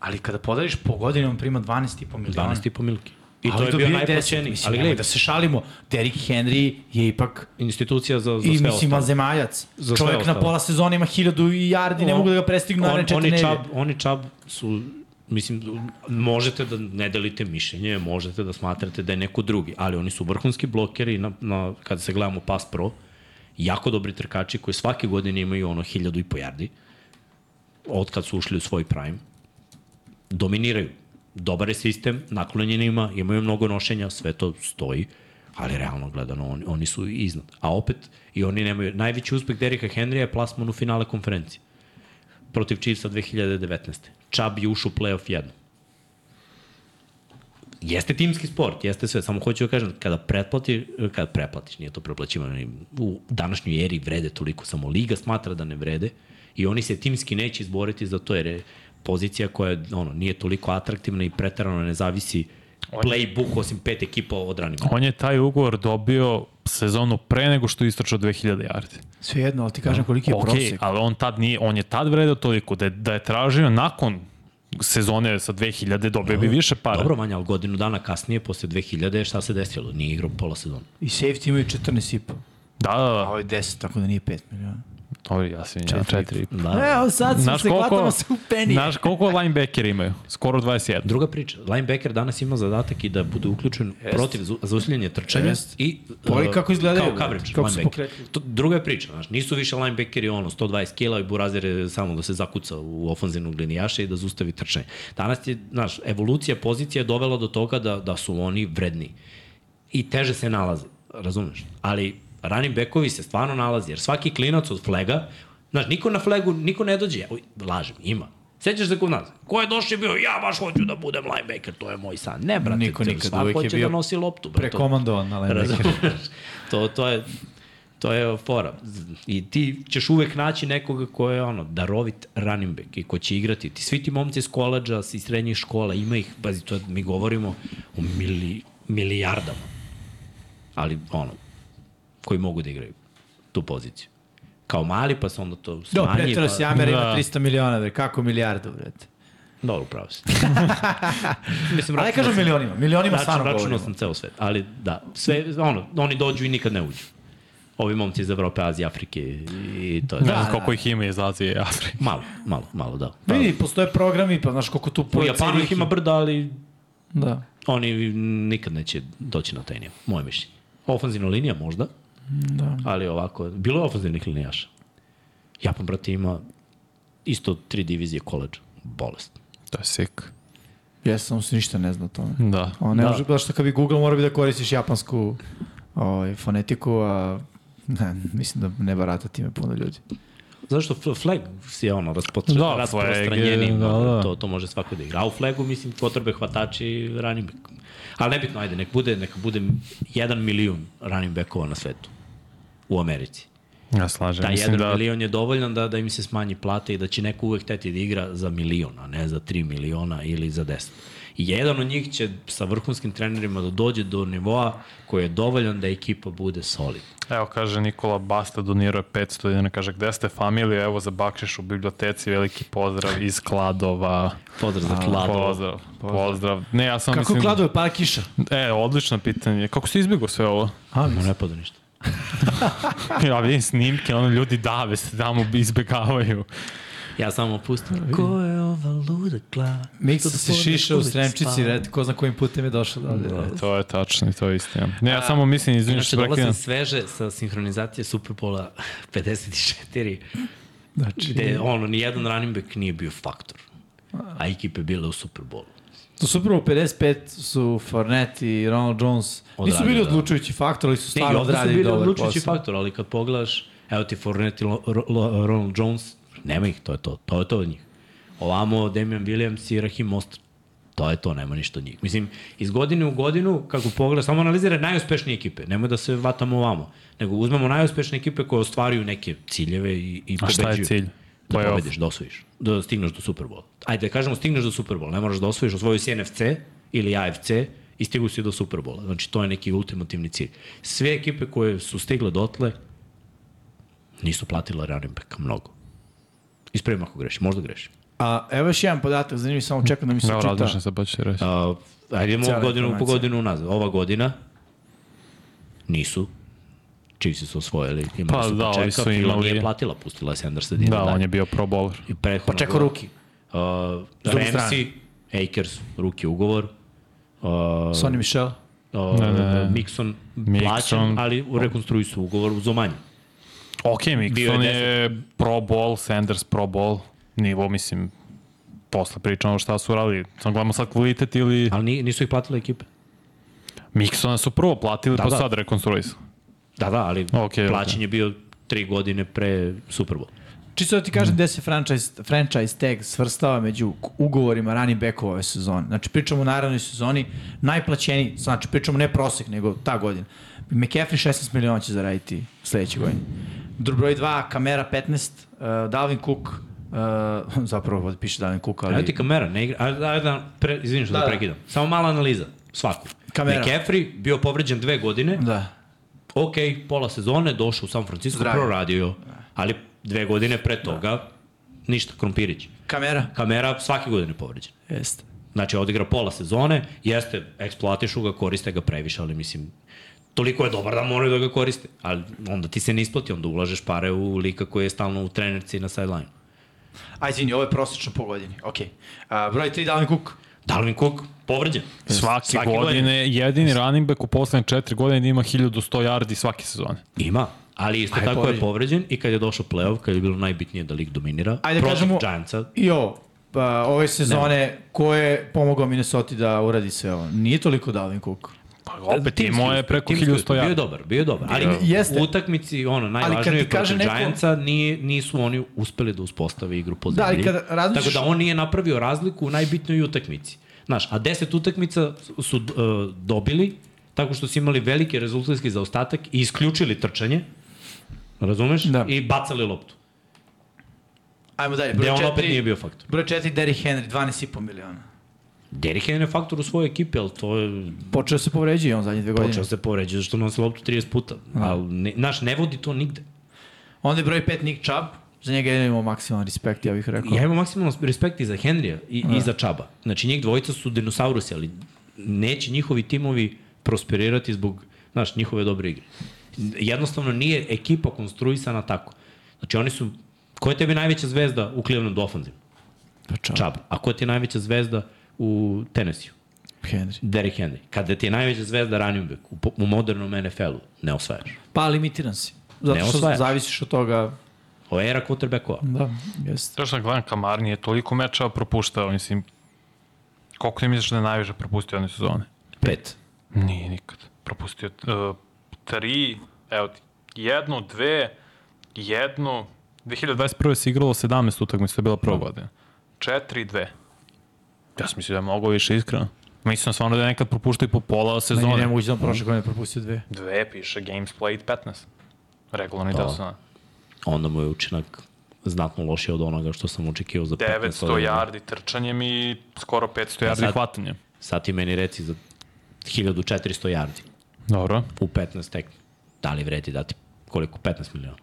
B: Ali kada podeliš po godini, on prima 12,5 miliona.
C: 12,5 milki. Ja. I to
B: Ali
C: je
B: dobija 10,
C: bio najplaćeniji.
B: Mislim,
C: Ali
B: ali gledaj,
C: gledaj,
B: da se šalimo, Derrick Henry je ipak
C: institucija za, za
B: i
C: sve
B: mislim
C: ostalo.
B: mazemaljac.
C: Za sve
B: Čovjek na
C: ostalo.
B: pola sezona ima hiljadu i jardi, ne
C: On-
B: mogu da ga prestignu
C: on,
B: naredne četiri
C: oni
B: nedelje.
C: čab, oni čab su mislim, možete da ne delite mišljenje, možete da smatrate da je neko drugi, ali oni su vrhunski blokeri na, na, kada se gledamo Pass Pro, jako dobri trkači koji svake godine imaju ono hiljadu i po jardi, od kad su ušli u svoj prime, dominiraju. Dobar je sistem, naklonjen ima, imaju mnogo nošenja, sve to stoji, ali realno gledano oni, oni su iznad. A opet, i oni nemaju, najveći uspeh Derika Henrya je plasman u finale konferencije protiv Chiefsa 2019. Chubb je ušao u playoff jedno. Jeste timski sport, jeste sve, samo hoću da kažem, kada pretplati, kada preplatiš, nije to preplaćivanje, u današnjoj eri vrede toliko, samo Liga smatra da ne vrede i oni se timski neće izboriti za to, jer je pozicija koja je, ono, nije toliko atraktivna i pretarano ne zavisi playbook osim pet ekipa od ranima.
A: On je taj ugovor dobio sezonu pre nego što je istračao 2000 yardi.
B: Svejedno, ali ti
C: Da.
B: kažem koliki je
A: Ok,
B: prosek.
A: ali on tad nije, on je tad vredao toliko da je, da je tražio nakon sezone sa 2000 dobio bi više para.
C: Dobro, manje, ali godinu dana kasnije, posle 2000, šta se desilo? Nije igrao pola sezona.
B: I safety imaju 14,5.
A: Da, da,
B: A
A: da.
B: ovo je 10, tako da nije 5 miliona.
A: Dobro, ja sam ja, četiri.
C: Da.
B: Evo sad smo
A: Znaš
B: se hvatamo
A: koliko,
B: se u penije. Da,
A: znaš koliko linebacker imaju? Skoro 21.
C: Druga priča, linebacker danas ima zadatak i da bude uključen Jest. protiv za- zaustavljanja trčanja
B: Jest.
C: i
B: Pa i
C: e,
B: kako izgledaju,
C: kao coverage
B: kako
C: kako
B: su
C: linebacker.
B: pokretljivi.
C: To, druga je priča, znaš, nisu više linebackeri ono 120 kila i burazir je samo da se zakuca u ofanzivnog linijaša i da zaustavi trčanje. Danas je, znaš, evolucija pozicija je dovela do toga da, da su oni vredni i teže se nalaze, razumeš? Ali running backovi se stvarno nalaze, jer svaki klinac od flaga, znaš, niko na flagu, niko ne dođe, Uj, lažem, ima. Sećaš se kod nas? Ko je došao i bio, ja baš hoću da budem linebacker, to je moj san. Ne, brate,
B: Niko nikad,
C: svako
B: uvek je
C: hoće
B: bio
C: da nosi loptu. bre, to-
B: Prekomandovan na linebacker.
C: Razumeš? to, to je to je fora. I ti ćeš uvek naći nekoga ko je ono, darovit running back i ko će igrati. Ti, svi ti momci iz koleđa, iz srednjih škola, ima ih, pazi, to je- mi govorimo o mili, milijardama. Ali, ono, koji mogu da igraju tu poziciju. Kao mali, pa se onda to
B: Do,
C: smanji.
B: pretero
C: pa-
B: si Amer ima
A: Da.
B: 300 miliona, bre, kako milijardu, bre.
C: Dobro, upravo si. Mislim,
B: Ali kažu milionima, milionima
C: Račun,
B: stvarno
C: računao
B: govorimo.
C: sam ceo svet, ali da, sve, ono, oni dođu i nikad ne uđu. Ovi momci iz Evrope, Azije, Afrike i to je.
A: Ne
C: Da.
A: znam koliko ih ima iz Azije i Afrike.
C: Malo, malo, malo, da.
B: Vidi, postoje programi, pa znaš koliko tu
C: U
B: po
C: Japanu ih ima brda, ali
B: Da.
C: oni nikad neće doći na taj nivo, moje mišljenje. Ofanzivna linija možda,
B: Da.
C: ali ovako, bilo je ofanzivnih linijaša. Japan, brate, ima isto tri divizije koleđa. Bolest.
A: To je sick.
B: Ja sam se ništa ne zna o tome.
A: Da.
B: On ne
C: Da.
B: može, baš što kad bi Google mora bi da koristiš japansku ovaj, fonetiku, a ne, mislim da ne barata time puno ljudi.
C: Zašto F- flag je ono raspotra,
A: Da,
C: da,
A: flag je,
C: rasprostranjeni,
A: da, da.
C: to, to može svako da igra. A u flagu, mislim, potrebe hvatači running back. Ali nebitno, ajde, nek bude, neka bude jedan milijun running backova na svetu u Americi.
A: Ja slažem.
C: Da,
A: Mislim
C: jedan da...
A: da
C: milion je dovoljan da, da im se smanji plate i da će neko uvek teti da igra za milion, a ne za tri miliona ili za deset. I jedan od njih će sa vrhunskim trenerima da dođe do nivoa koji je dovoljan da ekipa bude solid.
A: Evo kaže Nikola Basta donirao je 500 dinara, kaže gde ste familiju, evo za bakšiš u biblioteci, veliki pozdrav iz Kladova.
C: Pozdrav za Klado.
A: Pozdrav, pozdrav. Ne, ja sam
B: Kako
A: mislim...
B: kladu je para
C: Pa
B: kiša?
A: E, odlično pitanje. Kako si izbjegao sve ovo?
B: A,
C: Ma ne pada ništa.
A: Ja vidim snimke, ono ljudi dave se tamo izbjegavaju.
C: Ja samo pustim. Ko je ova luda glava?
B: Miksa
C: Što
B: se
C: da
B: šiša u
C: uvek
B: Sremčici,
C: spava?
B: red, ko zna kojim putem je došao da ovde. Da.
A: To je tačno i to je istina. Ne, ja samo mislim, izviniš,
C: Inače,
A: što
C: dolazim
A: prekidam.
C: sveže sa sinhronizacije Superbola 54,
B: Znači,
C: gde ono, nijedan running back nije bio faktor. A ekipe bile u Superbolu.
B: to su prvo 55 su Fournette i Ronald Jones. Nisu
C: Odradili,
B: bili
C: da.
B: odlučujući faktor, ali su
C: Ne, i
B: stvarno
C: ovde su
B: odradili
C: bili
B: dobar
C: odlučujući
B: posao.
C: faktor, ali kad pogledaš, evo ti Fournette i Lo- Ro- Lo- Ronald Jones, nema ih, to je to, to je to od njih. Ovamo Damian Williams i Rahim Mostert, to je to, nema ništa od njih. Mislim, iz godine u godinu, kako pogleda, samo analizira najuspešnije ekipe, nemoj da se vatamo ovamo, nego uzmemo najuspešnije ekipe koje ostvaruju neke ciljeve i, i
A: A
C: pobeđuju.
A: šta je cilj?
C: Da
A: Playoff.
C: pobediš, da osvojiš, da stigneš do Superbola. Ajde, da kažemo, stigneš do Superbola, ne moraš da osvojiš, osvojio si NFC ili AFC i stigu si do Superbola. Znači, to je neki ultimativni cilj. Sve ekipe koje su stigle dotle nisu platile running backa mnogo. Ispravim ako grešim, možda grešim.
B: A evo još jedan podatak, zanimljiv, samo čekam da mi se
A: Evo,
B: čita.
A: razmišljam sad, pa ću ti reći.
C: Uh, ajde idemo
B: Cijela
C: godinu po
B: informacija.
C: godinu nazad. Ova godina nisu. Chiefs su osvojili. Imali
A: Pa
C: su
A: da,
C: početka,
A: ovi su
C: Fila
A: imali-
C: nije platila, pustila je Sandersa.
A: Da, on je bio pro bowler.
C: I prethodno.
B: Čekao ruki.
C: Uh,
B: druge
C: Ramsey, Akers, ruki ugovor. Uh,
B: Sonny Michel.
C: uh,
A: Da, da, da.
C: Mixon,
A: Mixon.
C: plaćen, ali rekonstruju su ugovor uz omanje.
A: Ok,
C: Bio je
A: Mixon je, pro ball, Sanders pro ball, nivo, mislim, posle pričamo šta su radili. Sam gledamo sad kvalitet ili...
C: Ali ni- nisu ih platile ekipe.
A: Mixona su prvo platili,
C: Da,
A: pa
C: da.
A: sad rekonstruisali.
C: Da, da, ali
A: Okej,
C: plaćen je bio tri godine pre Super Bowl.
B: Čisto da ti kažem gde se franchise, franchise tag svrstava među k- ugovorima running backova ove sezone. Znači pričamo o naravnoj sezoni, najplaćeniji, znači pričamo ne prosek, nego ta godina. McCaffrey 16 miliona će zaraditi sledeće godine. Dr- Broj 2, Kamera 15, uh, Dalvin Cook, uh, zapravo ovde piše Dalvin Cook, ali...
C: Evo ti kamera, ne igra. Ajde, ajde, da pre, izvini što
B: Da,
C: da,
B: da.
C: prekidam. Samo mala analiza, svaku.
B: Kamara.
C: McCaffrey bio povređen dve godine,
B: Da.
C: ok, pola sezone, došao u San Francisco,
B: Zdravio. Da.
C: proradio, ali dve godine pre toga, ništa, Krompirić.
B: Kamera.
C: Kamera svake godine povređen.
B: Jeste.
C: Znači, odigra pola sezone, jeste, eksploatišu ga, koriste ga previše, ali mislim, toliko je dobar da moraju da ga koriste. Ali onda ti se ne isplati, onda ulažeš pare u lika koji je stalno u trenerci i na sideline.
B: Aj, izvini, ovo je prosečno po godini. Okej. Uh, broj 3, Dalvin Cook.
C: Dalvin Cook, povređen.
A: Svake, godine, jedini running back u poslednje četiri godine ima 1100 yardi svake sezone.
C: Ima, ali isto
B: Pa je
C: tako
B: povređen.
C: je povređen i kad je došao playoff, kad je bilo najbitnije da lik dominira,
B: Ajde,
C: protiv
B: kažemo-
C: Giantsa,
B: I ovo, pa, ove sezone, ko je pomogao Minnesota da uradi sve ovo? Nije toliko Dalvin Cook.
A: Pa opet
C: Timski
A: imao je
C: uspeh,
A: preko
C: timski
A: 1100
C: uspeh. Bio je
A: yardi.
C: dobar, bio je dobar. Ali
B: Jeste.
C: u utakmici, ono,
B: kad ti
C: najvažnije je
B: kaže
C: protiv
B: neko-
C: neko... Giantsa, nije, nisu oni uspeli da uspostave igru po
B: Da,
C: zemlji.
B: ali kada razmišljaš-
C: Tako da on nije napravio razliku u najbitnoj utakmici. Znaš, a 10 utakmica su uh, dobili tako što su imali veliki rezultatski zaostatak i isključili trčanje, razumeš?
B: Da.
C: I bacali loptu.
B: Ajmo dalje, broj
C: Gde on opet nije
B: četiri,
C: bio faktor.
B: broj četiri, Derrick Henry, 12,5 miliona.
C: Derrick Henry je faktor u svojoj ekipi, ali to je
B: Počeo se povređuje on zadnje dve godine.
C: počeo se povređuje, zašto nosi loptu 30 puta. Ali, ne, znaš, ne vodi to nigde.
B: Onda je broj pet, Nick Chubb. Za njega jedino imamo maksimalan respekt, ja bih rekao.
C: Ja imam maksimalno respekt i za Henrya i, i za Čaba. Znači, njih dvojica su dinosaurusi, ali neće njihovi timovi prosperirati zbog, znaš, njihove dobre igre. Jednostavno nije ekipa konstruisana tako. Znači, oni su... Ko je tebi najveća zvezda u Cleveland ofenzivno?
B: Pa Chubb.
C: Čab. A ko ti je najveća zvezda u Tennessee?
B: Henry.
C: Derrick Henry. Kada ti je najveća zvezda running back u, po- u modernom NFL-u, ne osvajaš.
B: Pa limitiran si. Zato
C: Ne
B: što
C: osvajaš.
B: zavisiš od toga.
C: Ovo je era quarterbackova.
B: Da, jeste.
A: Sve što gledam, Kamar nije toliko meča propuštao, mislim, koliko ne misliš da je najviše propustio jedne sezone?
C: Pet.
A: Nije nikad. Propustio uh, tri, evo ti, jednu, dve, jednu. 2021. se igralo 17 utakmica, to je bila prva godina. Četiri, dve. Ja sam mislio da je mnogo više iskreno. Mislim stvarno da je nekad propuštao i po pola
B: Meni ne
A: sezone.
B: moguće da on prošle godine propustio dve.
A: Dve piše, games played 15. Regularni
C: Da.
A: deo sezona.
C: onda mu je učinak znatno lošiji od onoga što sam očekio za 15
A: 900
C: godina.
A: yardi trčanjem i skoro 500 yardi
C: sad-
A: hvatanjem.
C: Sad ti meni reci za 1400 yardi
A: Dobro.
C: u 15 tek. Da li vredi dati koliko? 15 miliona?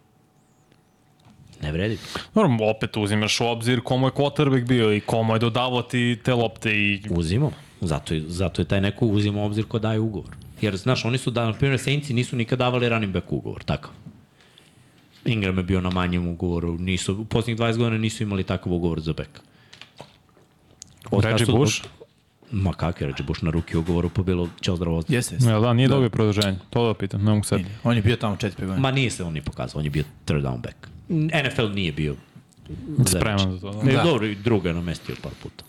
C: Ne vredi.
A: Dobro, opet uzimaš u obzir komu je quarterback bio i komu je dodavao ti te lopte i
C: Uzimam. Zato, je- zato je taj neko uzima u obzir ko daje ugovor. Jer, znaš, oni su, da, na primjer, Saintsi nisu nikad davali running back ugovor, takav. Ingram je bio na manjem ugovoru, nisu, u posljednjih 20 godina nisu imali takav ugovor za back. Od kad
A: Reggie
C: su-
A: Bush.
C: Ma kakve, Reggie Bush na ruki ugovoru, pa bilo ćeo zdravo.
B: Jeste, jeste.
A: Jel da, nije dobio produženje. To da pitam, ne mogu sad.
B: On je bio tamo 4-5 godina.
C: Ma nije se on ni pokazao, on je bio third down back. NFL nije bio
A: Spreman za to. Da.
C: Ne,
B: Da.
C: da. dobro, i druga je namestio par puta.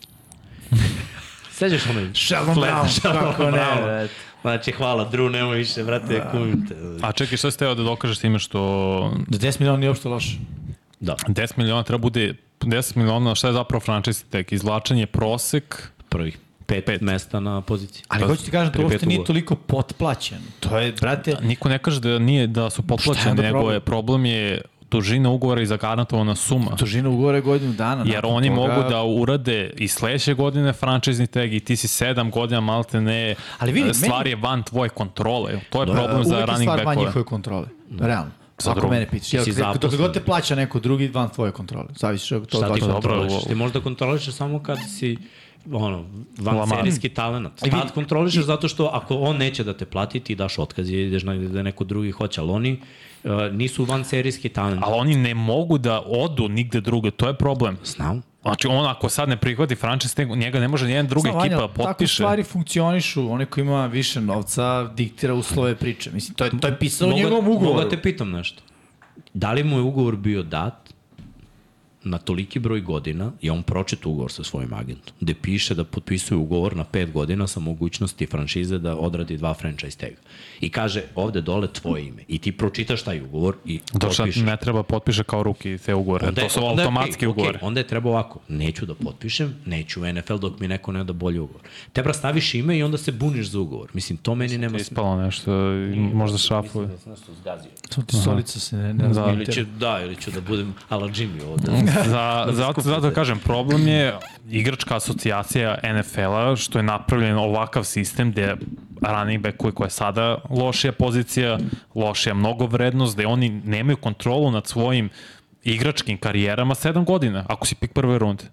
C: Seđaš onaj?
B: Shalom
C: flat,
B: Brown,
C: Shalom
B: kako ne,
C: Brown.
B: brate.
C: Znači, hvala, Drew, nemoj više, brate, kumim te.
A: A čekaj, šta si teo da dokažeš time što
B: Da 10 miliona nije uopšte loše.
C: Da,
A: 10 miliona treba bude 10 miliona, šta je zapravo franchise tag? Izlačenje prosek,
C: prvih pet, pet. mesta na poziciji.
B: Ali
A: To
B: hoću ti kažem, to
C: prije
B: uopšte
C: pet
B: nije
C: ugla.
B: toliko potplaćeno. To je, brate,
A: niko ne kaže da nije da su
B: Šta je
A: potplaćeni,
B: onda
A: nego
B: problem?
A: je problem je dužina ugovora i zagarantovana suma.
B: dužina ugovora je godinu dana.
A: Jer
B: nakon
A: oni
B: toga- e,
A: mogu da urade i sledeće godine franchizni tag i ti si sedam godina malte ne,
B: Ali vidi,
A: stvar
B: meni-
A: je van tvoje kontrole. To je
C: Da,
A: problem za
B: Uvek je
A: running
B: stvar van
A: backove.
B: njihove kontrole. Realno.
A: Sa
B: Ako
A: drugom.
B: mene pitaš.
C: Si
B: Jel, dok- dok
C: zaposlen.
B: god te plaća neko drugi, van tvoje kontrole. Zavisiš od
C: Šta
B: toga. da,
C: ti
A: Dobro,
C: kontrolišeš?
A: ovo-
C: Ti možda kontrolišeš samo kad si ono, van
A: Lamar.
C: serijski talent.
B: I vidi-
C: Tad kontrolišeš zato što ako on neće da te plati, ti daš otkaz i ideš negde da neko drugi hoće, ali oni uh, nisu van serijski talent.
A: Ali oni ne mogu da odu nigde druge, to je problem.
C: Znam.
A: Znači on ako sad ne prihvati franchise tag, njega ne može nijedan druga
B: Samo, Vanja,
A: ekipa
B: Tako
A: potpiše.
B: stvari funkcionišu. Onaj ko ima više novca diktira uslove priče. Mislim, to je, to je pisao u njegovom
C: Mogu da
B: ugovoru.
C: te pitam nešto. Da li mu je ugovor bio dat na toliki broj godina je on pročito ugovor sa svojim agentom, gde piše da potpisuje ugovor na pet godina sa mogućnosti franšize da odradi dva franchise taga. I kaže, ovde dole tvoje ime. I ti pročitaš taj ugovor i
A: To šta
C: potpišeš.
A: Da ne treba potpiše kao ruki te ugovore.
C: Onda je-
A: to su
C: onda je
A: automatski
C: okej, okej,
A: ugovore.
C: onda je treba ovako, neću da potpišem, neću u NFL dok mi neko ne da bolji ugovor. Tebra staviš ime i onda se buniš za ugovor. Mislim, to meni nema smisla.
A: Ispalo nešto, i možda šafuje.
C: Da sam nešto zgazio.
B: Samo ti solica se ne, ne
A: Da.
C: Ili će, da, ili ću da budem ala Jimmy ovde.
A: Mm.
C: Da,
A: Za, zato, zato kažem, problem je igračka asocijacija NFL-a što je napravljen ovakav sistem gde running back koji koja je sada lošija pozicija, lošija mnogo vrednost, gde oni nemaju kontrolu nad svojim igračkim karijerama 7 godina, ako si pik prve runde.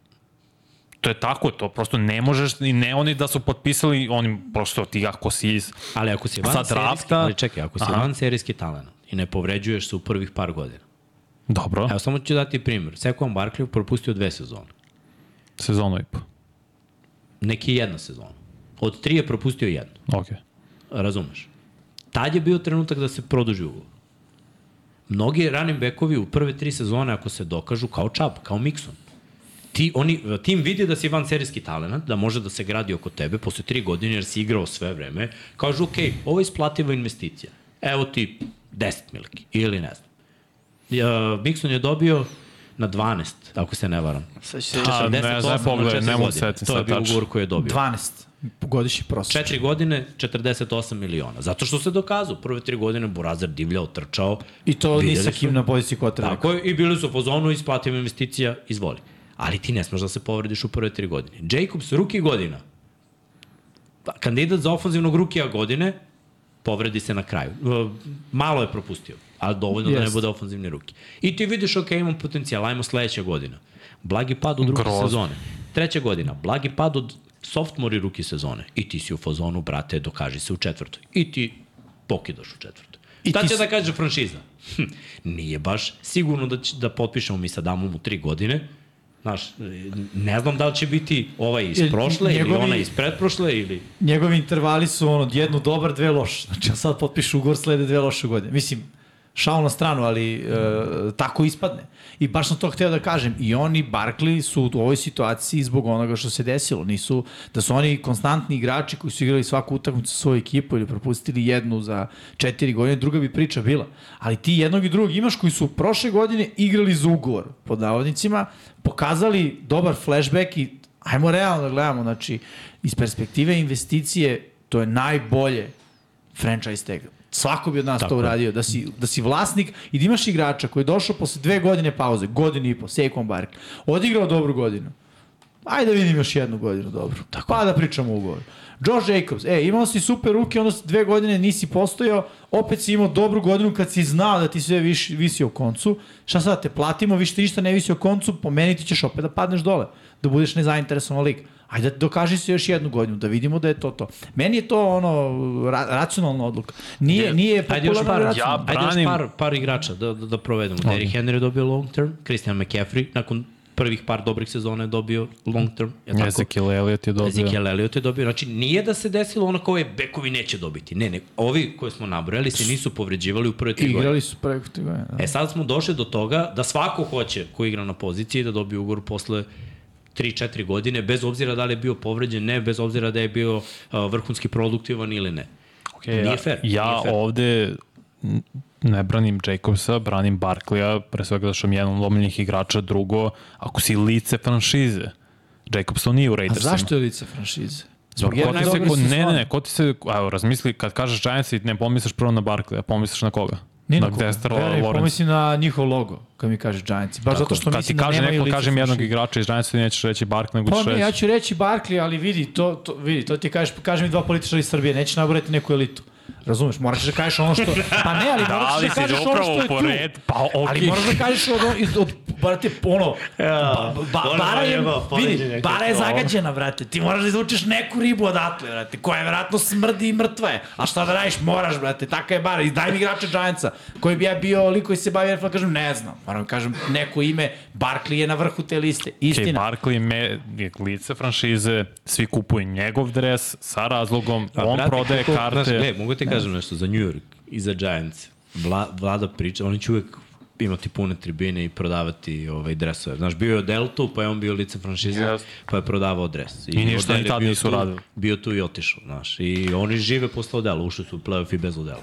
A: To je tako, to prosto ne možeš, i ne oni da su potpisali, oni prosto ti ako si iz
C: Ali ako si van
A: Sa
C: serijski,
A: drafta-
C: ali čekaj, ako si
A: Aha.
C: van serijski talent i ne povređuješ se u prvih par godina.
A: Dobro,
C: Evo, samo ću dati primjer. Sekon Barkley propustio dve sezone.
A: sezonu i po.
C: Neki jedna sezona. Od tri je propustio jednu.
A: Ok.
C: Razumeš? Tad je bio trenutak da se produži ugovor. Mnogi running backovi u prve tri sezone, ako se dokažu, kao Chubb, kao Mixon. Ti, oni, tim vidi da si van serijski talent, da može da se gradi oko tebe posle tri godine jer si igrao sve vreme. Kažu, ok, ovo je isplativa investicija. Evo ti 10 miliki ili ne znam. Uh, Mixon je dobio na 12, ako se ne varam.
B: Sad će se
A: A, ne,
C: 48
A: ne,
C: na
A: pogledaj,
C: četiri
A: ne mogu
C: godine.
A: setim
C: To je
A: sad
C: bio
A: tačno.
C: ugovor koji je dobio.
B: 12 godišnji prosjek.
C: Četiri godine, 48 miliona. Zato što se dokazao. Prve tri godine Burazer divljao, trčao.
B: I to ni
C: Videli
B: sa
C: su.
B: kim na poziciji kvotrbe.
C: Tako je, i bili su u fazonu, isplatim investicija, izvoli. Ali ti ne smeš da se povrediš u prve tri godine. Jacobs, ruki godina. Pa, Kandidat za ofenzivnog rukija godine, povredi se na kraju. E, Malo je propustio, ali dovoljno yes. da ne
B: Jest.
C: bude ofenzivni ruki. I ti vidiš, ok, imam potencijal, ajmo sledeća godina. Blagi pad u druge
A: Grozno.
C: sezone. Treća godina, blagi pad od softmori ruki sezone. I ti si u fazonu, brate, dokaži se u četvrtoj. I ti pokidaš u četvrtoj.
B: I
C: Šta
B: ti
C: će
B: s-
C: da kaže franšiza? Hm, nije baš sigurno da, će, da potpišemo mi sa Damom u tri godine. Znaš, e, ne znam da li će biti ovaj iz
B: Jer
C: prošle ili
B: njegovi-
C: ona iz pretprošle ili...
B: Njegovi intervali su ono, jednu dobar, dve loš. Znači, on sad potpiše ugovor, slede dve loše godine. Mislim, šao na stranu, ali e, tako ispadne. I baš sam to hteo da kažem. I oni, Barkley, su u ovoj situaciji zbog onoga što se desilo. Nisu, da su oni konstantni igrači koji su igrali svaku utakmicu sa svojoj ekipom ili propustili jednu za četiri godine, druga bi priča bila. Ali ti jednog i drugog imaš koji su prošle godine igrali za ugovor, pod navodnicima, pokazali dobar flashback i ajmo realno da gledamo, znači, iz perspektive investicije, to je najbolje franchise tag. Svako bi od nas Tako.
C: Tako
B: to
C: je.
B: uradio, da si, da si vlasnik i da imaš igrača koji je došao posle dve godine pauze, godinu i po, Saquon Barkley, odigrao dobru godinu. Ajde da vidim još jednu godinu dobro. Tako. Pa da pričamo o ugovoru. Josh Jacobs, e, imao si super ruke, onda si dve godine nisi postojao, opet si imao dobru godinu kad si znao da ti sve viš, visi o koncu. Šta sad, te platimo, više ti ništa ne visi o koncu, po meni ti ćeš opet da padneš dole, da budeš nezainteresovan lik. Ajde, dokaži se još jednu godinu, da vidimo da je to to. Meni je to ono, ra racionalna odluka. Nije, nije
C: Ajde još
B: popularno
C: par,
B: racionalno.
A: Ja
C: ajde još
A: branim-
C: par, par igrača da, da, da provedemo. Okay. Derrick Henry je dobio long term, Christian McCaffrey nakon prvih par dobrih sezona je dobio long term. Je tako?
A: Ezekiel Elliott je dobio.
C: Ezekiel Elliott je dobio. Znači, nije da se desilo ono koje bekovi neće dobiti. Ne, ne. Ovi koje smo nabrojali se nisu povređivali u prve tri godine.
B: Igrali su preko tri godine. Da.
C: E sad smo došli do toga da svako hoće ko igra na poziciji da dobije ugovor posle 3-4 godine, bez obzira da li je bio povređen, ne, bez obzira da je bio a, vrhunski produktivan ili ne.
A: Okay,
C: Nije
A: ja,
C: fair,
A: Ja
C: nije fair.
A: ovde n- ne branim Jacobsa, branim Barklija, pre svega zašto mi je jedan od omiljenih igrača, drugo, ako si lice franšize, Jacobs to nije u
B: A
A: Raidersima.
B: pa zašto je lice franšize?
A: Zbog
B: jedne
A: ko ti se,
B: najbolje
A: ko, ne,
B: sezone.
A: ne, ne, ko ti se, evo, razmisli, kad kažeš Giants i ne pomisliš prvo na Barklija, pomisliš na koga?
B: Ni
A: na
B: na koga.
A: Dexter
B: Veruj,
A: Lawrence.
B: pomislim na njihov logo, kad mi kaže Giants. Baš zato što
A: Kad
B: mislim
A: ti
B: da
A: kaže
B: nemaju
A: neko,
B: lice
A: kažem jednog
B: franšize.
A: igrača iz Giantsa, nećeš reći Barklija, nego ćeš
B: Pa ne,
A: reći.
B: ja ću reći Barkley, ali vidi, to, to, vidi, to ti kažeš, kaži mi dva političara iz Srbije, neće nabrati neku elitu. Razumeš, moraš da kažeš ono što... Pa ne, ali
A: Da,
B: moraš
A: ali
B: da
A: si
B: kažeš ono
A: upravo
B: što je tu.
A: pored, pa ok.
B: Ali moraš da kažeš od, iz, od brate, ono, ba, ba,
C: ono
B: bara je,
C: jeba, poređenje
B: vidi,
C: je
B: bara je
C: kakvo.
B: zagađena, brate. Ti moraš da izvučeš neku ribu odatle, brate, koja je verovatno smrdi i mrtva je. A šta da radiš, moraš, brate, taka je bara. I daj mi igrača Giantsa, koji bi ja bio lik koji se bavi NFL, kažem, ne znam. Moram da kažem, neko ime, Barkley je na vrhu te liste.
A: Kej
B: Istina.
A: E, Barkley me, je lice franšize, svi kupuju njegov dres sa razlogom,
C: A,
A: on
C: brate,
A: prodaje
C: kako-
A: karte.
C: Znaš, gle, mogu ti kažem nešto za New York i za Giants. Vla, vlada priča, oni će uvek imati pune tribine i prodavati ovaj, dresove. Znaš, bio je u Deltu, pa je on bio lice franšize,
A: Yes.
C: yes. pa je prodavao dres.
A: I ništa
C: Odell
A: ni
C: je
A: tad
C: bio
A: nisu
C: tu-
A: radili.
C: Bio tu i otišao, znaš. I oni žive posle Odela, ušli su u playoff i bez Odela.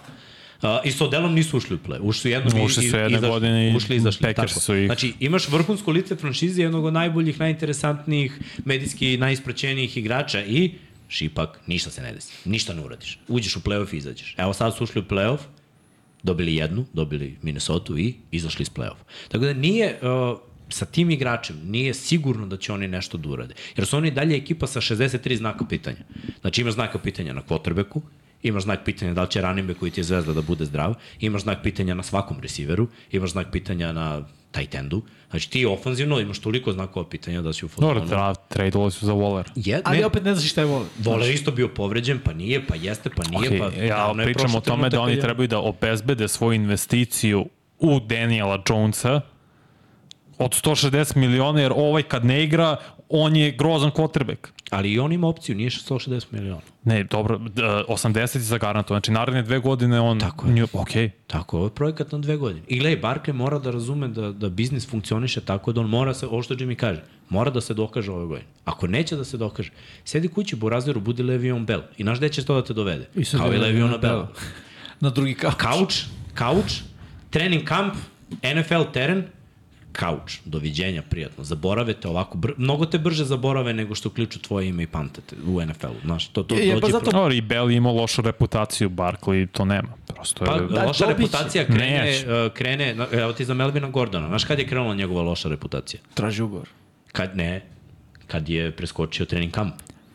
C: Uh, I sa Odelom nisu ušli u play. Ušli su jednom i-
A: Ušli su
C: i-
A: jedne
C: izašli-
A: godine i
C: ušli i izašli.
A: Packers
C: Tako.
A: su ih-
C: Znači, imaš vrhunsko lice franšize jednog od najboljih, najinteresantnijih, medijski najispraćenijih igrača i šipak, ništa se ne desi. Ništa ne uradiš. Uđeš u play-off i izađeš. Evo sad su ušli u play-off, dobili jednu, dobili Minnesota i izašli iz play-off. Tako da nije, uh, sa tim igračem nije sigurno da će oni nešto da urade. Jer su oni dalje ekipa sa 63 znaka pitanja. Znači imaš znaka pitanja na quarterbacku, imaš znak pitanja da li će running back koji ti je zvezda da bude zdrav, imaš znak pitanja na svakom receiveru, imaš znak pitanja na tight endu. Znači ti ofanzivno imaš toliko znakova pitanja da si u fazonu.
A: Dobro, tra, tradeovali su za Waller.
C: Je,
B: Ali
C: ne,
B: opet ne znaš šta je volim.
C: Voler isto bio povređen, pa nije, pa jeste, pa nije,
A: Okej,
C: pa...
A: ja
C: davno je
A: pričam
C: prošao
A: o tome da
C: trenutak kad
A: oni
C: je-
A: trebaju da obezbede svoju investiciju u Daniela Jonesa od 160 miliona, jer ovaj kad ne igra, on je grozan quarterback.
C: Ali i on ima opciju, nije 160 miliona.
A: Ne, dobro, d- 80 je zagarantovan. Znači, naredne dve godine on...
C: Tako je.
A: Nju, okej.
C: Tako, ovo je projekat na dve godine. I gledaj, Barkley mora da razume da, da biznis funkcioniše tako da on mora se, ovo što Jimmy kaže, mora da se dokaže ove godine. Ako neće da se dokaže, sedi kući, burazeru, budi Le'Veon Bell. I znaš gde će to da te dovede?
B: I sad
C: Kao i
B: je
C: Le'Veona
B: Le'Veona
C: Bell.
B: Bella. Na drugi kao.
C: Kauč, kauč, trening kamp, NFL teren, kauč, doviđenja, prijatno. Zaborave te ovako, br mnogo te brže zaborave nego što uključu tvoje ime i pamtete u NFL-u. Znaš, to, to
B: Je, je, pa
C: dođe
B: zato-
A: Dobro, i Bell je imao lošu reputaciju, Barkley to nema. Prosto je...
C: Pa, da, loša
B: dobit će.
C: reputacija krene,
A: Neće.
C: uh, krene, na- evo ti za Melvina Gordona, znaš kad je krenula njegova loša reputacija?
B: Traži ugovor.
C: Kad ne, kad je preskočio trening kamp.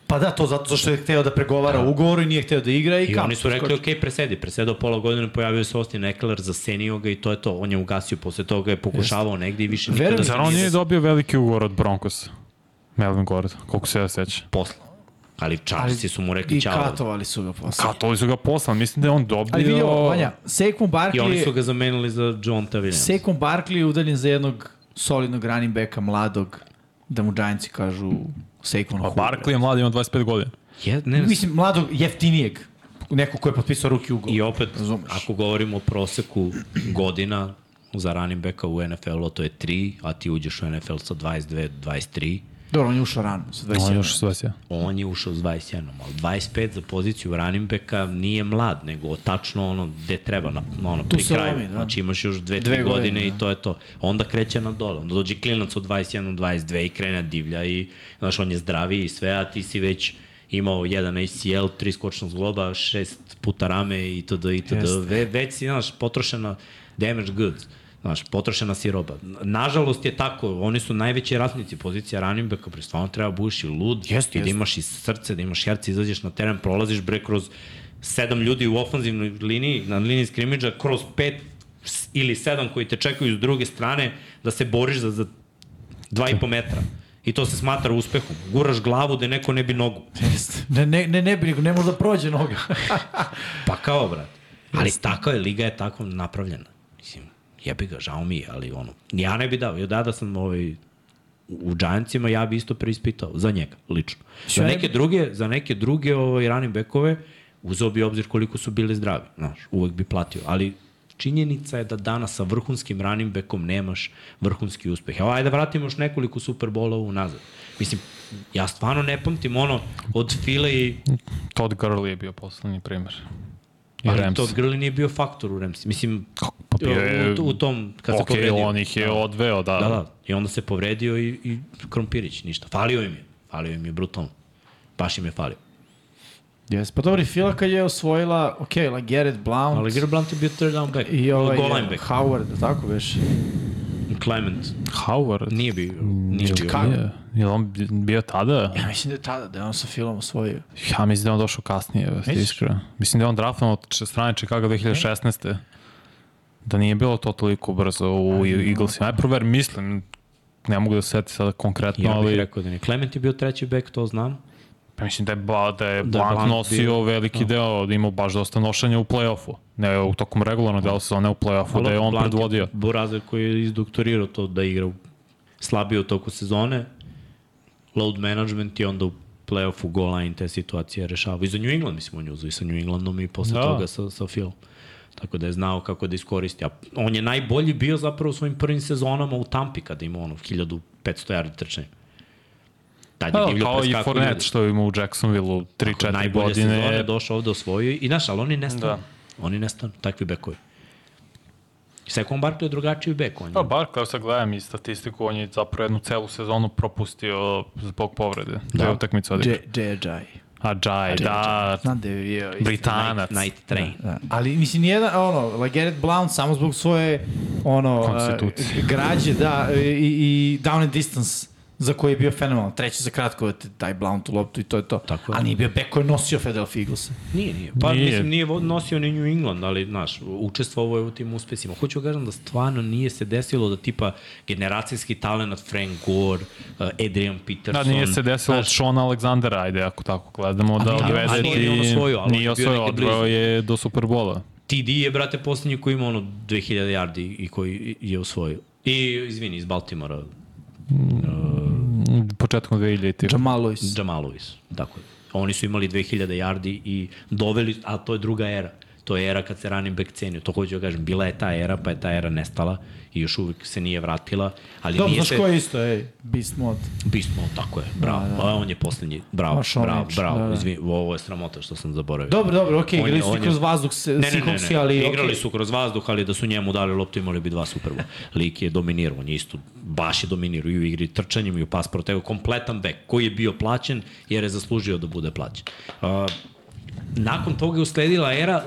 B: Pa da, to zato zašto je hteo da pregovara o ugovoru i nije hteo da igra i,
C: I
B: kao.
C: oni su rekli, ok, presedi, presedao pola godine, pojavio se Austin Eckler, zasenio ga i to je to, on je ugasio, posle toga je pokušavao negde i više nikada
B: Verujem
C: se
A: Da, Zar on
C: nije
A: nije dobio veliki ugovor od Broncosa? Melvin Gordon, koliko se ja sećam.
C: posla. Ali Charlesi su mu rekli
B: I
C: čao.
B: katovali su ga posle.
A: Katoli su ga poslali, mislim da je on dobio...
B: Ali vidio, Vanja, Sekvom
C: I oni su
B: Barkley,
C: ga zamenili za John Tavijan.
B: Sekvom Barkley je udaljen za jednog solidnog running backa, mladog, da mu Giantsi kažu Sekvom
A: A Pa Barkley je mlad, ima 25 godina.
C: Je, ne,
B: Mislim, mladog, jeftinijeg. Neko ko je potpisao ruki ugovor.
C: I opet,
B: Razumeš.
C: ako govorimo o proseku godina za running backa u NFL-u, to je 3, a ti uđeš u NFL sa 22, 23,
B: Dobro, on je ušao rano, sa
C: Pa
A: On je
B: 21.
A: još sve sja.
C: on je ušao s 21, ali 25 za poziciju running backa nije mlad, nego tačno ono gde treba, na, na ono, pri
B: se
C: kraju.
B: lomi, da.
C: Znači imaš još 2-3
B: Dve
C: godine, godine
B: godine, da.
C: i to je to. Onda kreće na dole, onda dođe klinac od 21 do 22 i krene divlja i znaš, on je zdraviji i sve, a ti si već imao jedan ACL, tri skočna zgloba, šest puta rame i td. i td.
B: Jeste.
C: Ve, već si, znaš, potrošena damage goods. Znaš, potrošena si roba. Nažalost je tako, oni su najveći ratnici pozicija running backa, pre stvarno treba budiš i lud,
B: Jeste,
C: i da
B: jeste.
C: imaš i srce, da imaš herce, izađeš na teren, prolaziš bre kroz sedam ljudi u ofanzivnoj liniji, na liniji skrimidža, kroz pet s- ili sedam koji te čekaju s druge strane, da se boriš za, za dva i po metra. I to se smatra uspehom. Guraš glavu da neko ne bi nogu.
B: Ne, ne, ne, ne bi, nego ne može da prođe noga.
C: Pa kao, brat. Ali tako je, liga je tako napravljena. Mislim, jebi ga, žao mi je, ali ono, ja ne bi dao. Ja da, da sam ovaj, u- u Giantsima, ja bi isto preispitao, za njega, lično. Za
B: Sve-
C: neke druge, za neke druge ovaj, running backove, uzeo bi obzir koliko su bili zdravi, znaš, uvek bi platio, ali činjenica je da danas sa vrhunskim running backom nemaš vrhunski uspeh. Evo, ajde da vratimo još nekoliko Superbolova unazad. Mislim, ja stvarno ne pamtim ono od Fila i
A: Todd Gurley je bio poslednji primer. I
C: Ali
A: Rams.
C: Todd Gurley nije bio faktor u Rams. Mislim,
A: Pa bio je...
C: u, u tom, kad se
A: Ok,
C: povredio.
A: on ih je odveo, da.
C: Da, da. I onda se povredio i, i Krompirić, ništa. Falio im je. Falio im je brutalno. Baš im je falio.
B: Yes. Pa dobro, i Fila kad je osvojila, ok, like Garrett Blount
C: Ali Gary Blunt je bio third down back.
B: i ovaj
C: Goal line back.
B: Howard, tako veš?
C: Clement.
A: Howard.
C: Nije bio. Nije bio.
B: Chicago.
A: Je, je on bio tada?
B: Ja mislim da je tada, da je on sa Filom osvojio.
A: Ja mislim da je on došao kasnije, već
B: Misliš?
A: iskreno. Mislim da je on draftan od če- strane Chicago 2016. Da nije bilo to toliko brzo u Eaglesima. Aj prover, mislim, ne mogu da se seti sada konkretno,
C: Ja bih
A: ali
C: rekao da ne. Clement je bio treći back, to znam.
A: pa mislim da je, ba, da je
C: Da je
A: Blank
C: Blank
A: nosio
C: bio-
A: veliki deo, da je imao baš dosta nošanja u play-offu. Ne u tokom regularnog dela sezone u play-offu, da je on
C: Blount
A: predvodio.
C: Burazer koji je izdoktorirao to da igra u- slabije u toku sezone. Load management i onda u play-offu goal line te situacije rešava. I za New England, mislim, on je uzao i sa New Englandom i posle
A: Da.
C: da. toga sa, sa Phil. Tako da je znao kako da iskoristi. A on je najbolji bio zapravo u svojim prvim sezonama u Tampi kada ima ono 1500 yardi trčanje. Tad
A: Pa,
C: je
A: da,
C: divljo
A: kao i
C: preskakao
A: Fournette
C: ljude.
A: što je imao u Jacksonville
C: Tako,
A: 3-4
C: najbolje sezone
A: godine.
C: došao ovde, osvojio i znaš, ali oni nestanu.
A: Da.
C: Da. Oni nestanu, takvi bekovi. Sekon Barkley je drugačiji bek, on je
A: Pa Barkley, sad gledam i statistiku, on je zapravo jednu celu sezonu propustio zbog povrede. Da. Dve utakmice odigrao.
B: J.J.
A: A Jai, da,
B: Znam da je bio. isto.
A: Britanac.
C: night, night train. Da.
B: Da. Ali mislim nijedan, ono, like Garrett Blount samo zbog svoje ono,
A: Konstitucije.
B: uh, građe, da, i, i down and distance za koji je bio fenomenal. Treći za kratko da taj Blount u loptu i to je to.
C: Tako
B: Tako
C: je.
B: je. A nije bio back koji je nosio Philadelphia Eagles.
C: Nije, nije. Pa
A: Nije.
C: nije. mislim, nije vo- nosio ni New England, ali, znaš, učestvovao je u tim uspesima. Hoću kažem da stvarno nije se desilo da tipa generacijski talent Frank Gore, uh, Adrian
A: da
C: Peterson.
A: nije se desilo od Shona Aleksandera, ajde, ako tako gledamo, da
C: nije-
A: odvede
C: a
A: ti...
C: nije ni on osvojio, ali on
A: nije
C: je bio
A: osvojio,
C: negde
A: odveo
C: blizu.
A: je do Superbola.
C: TD je, brate, posljednji koji ima ono 2000 yardi i koji je osvojio. I, izvini, iz Baltimora,
A: Početkom 2000-ih.
B: Jamal Lewis.
C: Jamal Lewis, tako je. Oni su imali 2000 yardi i doveli, a to je druga era. To je era kad se running back cenio. To hoću da kažem, bila je ta era, pa je ta era nestala i još uvek se nije vratila. Ali
B: Dobro,
C: nije
B: znaš
C: se...
B: ko je isto, ej, beast mode.
C: Bismo, tako je, bravo. Da, da. On je poslednji, bravo,
B: Ma, Sean
C: bravo,
B: Lynch,
C: bravo. Da,
B: da,
C: da.
B: da.
C: Izvini, ovo je sramota što sam zaboravio.
B: Dobro, dobro, okej,
C: On
B: okay,
C: je-
B: igrali su
C: on
B: ti
C: je-
B: kroz vazduh se,
C: Ne, ne, ne,
B: Seahawksi,
C: ne.
B: ali
C: igrali
B: okej.
C: su kroz vazduh, ali da su njemu dali loptu imali bi dva superbola. Lik je dominirao, on je isto, baš je dominirao i u igri trčanjem i u pas protego, kompletan bek koji je bio plaćen jer je zaslužio da bude plaćen. Uh, nakon toga je usledila era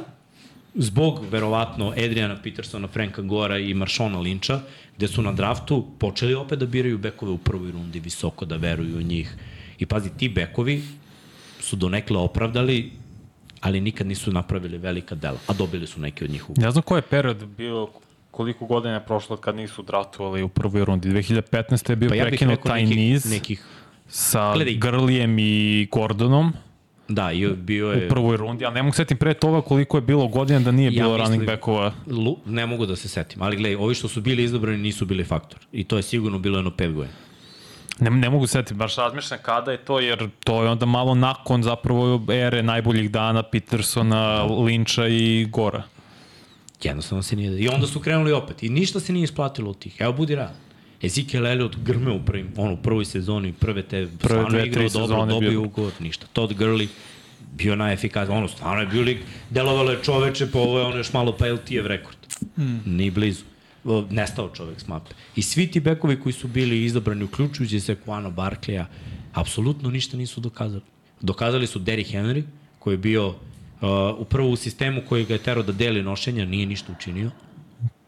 C: zbog, verovatno, Adriana Petersona, Franka Gora i Maršona Linča, gde su na draftu počeli opet da biraju bekove u prvoj rundi visoko, da veruju u njih. I pazi, ti bekovi su donekle opravdali, ali nikad nisu napravili velika dela, a dobili su neke od njih u
A: Ne znam koji je period bio koliko godina je prošlo kad nisu draftovali u prvoj rundi. 2015. je bio
C: Pa ja bih
A: prekinut
C: rekao
A: taj
C: nekih,
A: niz
C: nekih,
A: sa
C: Gledaj.
A: Grlijem i Gordonom
C: da, i bio
A: u
C: je,
A: prvoj rundi, ali ne mogu setim pre toga koliko je bilo godina da nije
C: Ja
A: bilo
C: mislim-
A: running backova.
C: lu, ne mogu da se setim, ali gledaj, ovi što su bili izabrani nisu bili faktor. I to je sigurno bilo jedno pet godina.
A: Ne, ne mogu setiti, baš razmišljam kada je to, jer to je onda malo nakon zapravo ere najboljih dana Petersona, Linča i Gora.
C: Jednostavno se nije... I onda su krenuli opet. I ništa se nije isplatilo od tih. Evo, budi realan. Ezekiel Elliott grme u, prvim, ono, u prvoj sezoni, prve te
A: Prve
C: stvarno
A: dve,
C: je igrao
A: tri
C: dobro,
A: sezone
C: dobio
A: bio.
C: ugovor, ništa. Todd Gurley bio najefikasniji. Ono, stvarno je bio lik, delovalo je čoveče, pa ovo je ono još malo pa LTF rekord. Mm. Ni blizu. O, Nestao čovek s mape. I svi ti bekovi koji su bili izabrani, uključujući se Kuano Barkleya, apsolutno ništa nisu dokazali. Dokazali su Derrick Henry, koji je bio uh, upravo u sistemu koji ga je terao da deli nošenja, nije ništa učinio.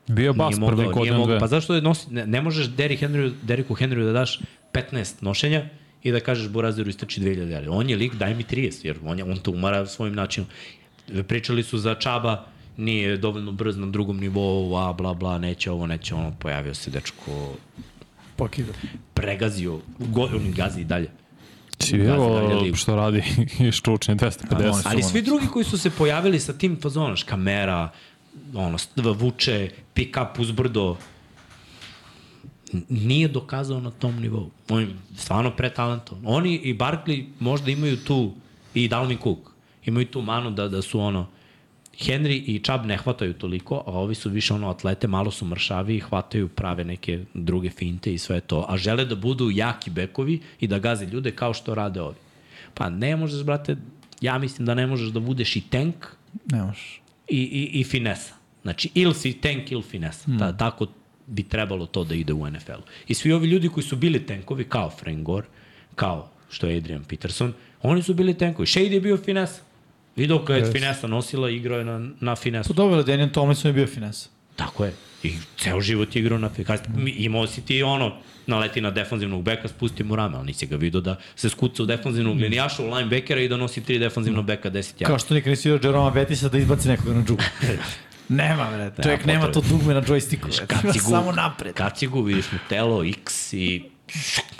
A: Bio je bas
C: Nije
A: prvi
C: mogao, nije
A: godin
C: mogao.
A: dve.
C: Pa zašto je nosi, ne, ne možeš Derrick Henryu, Derricku Henryu da daš 15 nošenja i da kažeš Burazeru istrči 2000 jari. On je lik, daj mi 30, jer on, je, on te umara svojim načinom. Pričali su za Čaba, nije dovoljno brz na drugom nivou, a bla bla, neće ovo, neće ono, pojavio se dečko,
B: Pokida.
C: pregazio, go, on gazi i dalje.
A: Si
C: Gazi dalje
A: vidio
C: ligu.
A: Znači, što radi i štučni 250.
C: Ali svi drugi koji su se pojavili sa tim fazonom, škamera, ono, st- vuče, pick up uzbrdo, n- nije dokazao na tom nivou. On je stvarno pretalentovan. Oni i Barkley možda imaju tu, i Dalvin Cook, imaju tu manu da, da su ono, Henry i Chubb ne hvataju toliko, a ovi su više ono atlete, malo su mršavi i hvataju prave neke druge finte i sve to. A žele da budu jaki bekovi i da gaze ljude kao što rade ovi. Pa ne možeš, brate, ja mislim da ne možeš da budeš i tank
B: Ne možeš.
C: i, i, i finesa. Znači, ili si tank ili finesa. Mm.
B: Hmm.
C: Ta, tako bi trebalo to da ide u NFL-u. I svi ovi ljudi koji su bili tankovi, kao Frank Gore, kao što je Adrian Peterson, oni su bili tankovi. Shady je bio finesa. I dok je yes. finesa nosila, igrao je na, na finesu.
B: Pa dobro, Daniel Tomlinson je bio finesa.
C: Tako je. I ceo život je igrao na finesu. Imao si ti ono, naleti na defanzivnog beka, spusti mu rame, ali nisi ga vidio da se skuca u defanzivnog
B: Hmm.
C: linijaša, u linebackera i da nosi tri defanzivna beka, deset jaka.
B: Kao što nikad nisi vidio Jeroma Betisa da izbaci nekoga na džugu. nema, bre, čovjek nema to
C: potrebe.
B: dugme na džojstiku. bre.
C: Kad si
B: Samo napred.
C: Kacigu vidiš mu telo, X i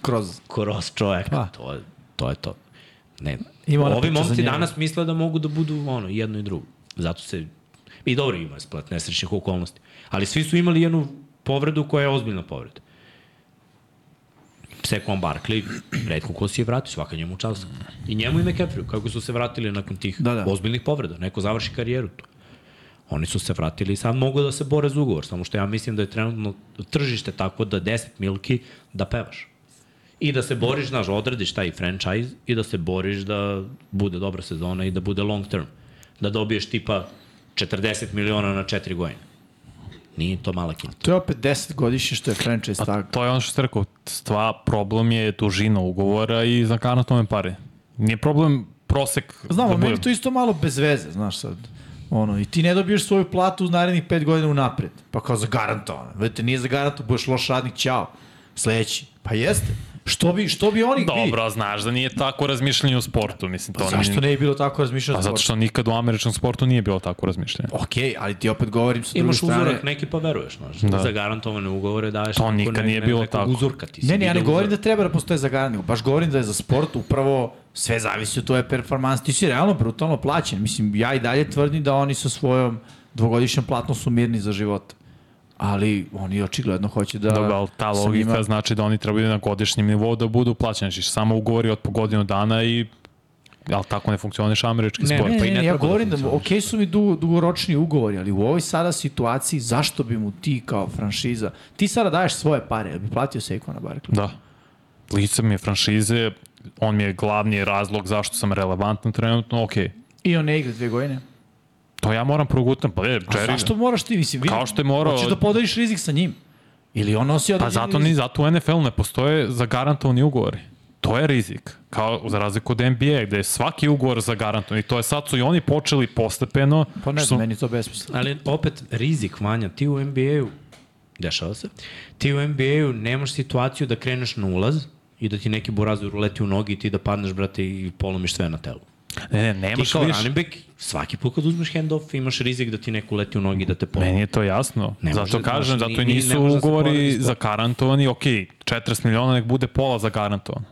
B: Kroz.
C: kroz čoveka.
B: Pa.
C: Pa. To, je- to je to. Ne.
B: Ima ona
C: Ovi
B: priča za
C: momci
B: njega.
C: danas misle da mogu da budu ono, jedno i drugo. Zato se... I dobro ima splat nesrećnih okolnosti. Ali svi su imali jednu povredu koja je ozbiljna povreda. Sekon Barkley, redko ko si je vratio, svaka njemu čast. I njemu i McAfriju, kako su se vratili nakon tih
B: Da, da.
C: ozbiljnih povreda. Neko završi karijeru tu. Oni su se vratili i sad mogu da se bore za ugovor, samo što ja mislim da je trenutno tržište tako da 10 milki da pevaš. I da se boriš, znaš, odradiš taj franchise i da se boriš da bude dobra sezona i da bude long term. Da dobiješ tipa 40 miliona na 4 godine. Nije to mala kinta.
B: To je opet 10 godišnje što je franchise tag.
A: To je ono što ste rekao, stva, problem je dužina ugovora i zakana tome pare. Nije problem prosek.
B: Znamo,
A: da
B: da meni
A: budem.
B: to isto malo bez veze, znaš sad. Ono, i ti ne dobiješ svoju platu u narednih 5 godina unapred. Pa kao zagarantovano. Vidite, nije zagarantovano, budeš loš radnik, ćao. Sledeći. Pa jeste. Što bi, što bi oni... vidi,
A: Dobro, znaš da nije tako razmišljanje u sportu, mislim.
B: Pa
A: to
B: zašto
A: nije-
B: ne bi bilo tako razmišljeno?
A: Pa zato što nikad u američkom sportu nije bilo tako razmišljanje.
B: Ok, ali ti opet govorim sa druge
C: Imaš
B: strane...
C: uzorak neki pa veruješ, znaš. Da. Za garantovane ugovore daješ.
A: To
C: ako
A: nikad nije bilo
C: nekog
A: tako.
C: Uzorka ti si
B: Ne, ne, ja ne
C: video
B: govorim
C: uzorak.
B: da treba da postoje zagarantovano. Baš govorim da je za sport upravo sve zavisi od tvoje performanse. Ti si realno brutalno plaćen. Mislim, ja i dalje tvrdim da oni sa svojom dvogodišnjom platnom su mirni za život. Ali oni očigledno hoće da...
A: Dobro, ali ta
B: sa
A: logika
B: njima-
A: znači da oni trebaju na godišnjem nivou da budu plaćeni. Znači, samo ugovori od po godinu dana i ali tako ne funkcioniš američki
C: Ne,
A: sport.
B: Ne,
C: pa
B: ne,
C: i ne
B: ne, ja
C: treba da
B: govorim da, ok su mi du, dugoročni ugovori, ali u ovoj sada situaciji zašto bi mu ti kao franšiza, ti sada daješ svoje pare, jel bi platio Sekona Barkley?
A: Da. Lice mi je franšize, on mi je glavni razlog zašto sam relevantan trenutno, ok.
B: I on ne igra dve godine.
A: To ja moram progutam, pa je,
B: A
A: Jerry,
B: zašto moraš ti, mislim, vidi,
A: Kao što je morao-
B: hoćeš da podeliš rizik sa njim. Ili on nosi
A: pa
B: određeni
A: zato,
B: rizik.
A: ni, zato u NFL ne postoje zagarantovani ugovori. To je rizik. Kao za razliku od NBA, gde je svaki ugovor zagarantovan i to je sad su i oni počeli postepeno.
B: Pa ne
A: što-
B: znam, meni je to
A: da-
B: besmisleno.
C: Ali opet, rizik vanja, ti u NBA-u, dešava se, ti u NBA-u nemaš situaciju da kreneš na ulaz i da ti neki burazur uleti u nogi i ti da padneš, brate, i polomiš sve na telu.
A: Ne, ne,
C: ti
A: nemaš
C: kao
A: više.
C: running back, svaki put kad uzmeš handoff, imaš rizik da ti neko uleti u nogi i da te polomi.
A: Meni je to jasno.
C: Ne
A: Ne
C: može,
A: zato kažem,
C: znaš,
A: zato
C: ni-
A: i
C: ni- ne
A: nisu
C: može da se poredi
A: ugovori
C: sport.
A: zagarantovani. Ok, 40 miliona nek bude pola zagarantovano.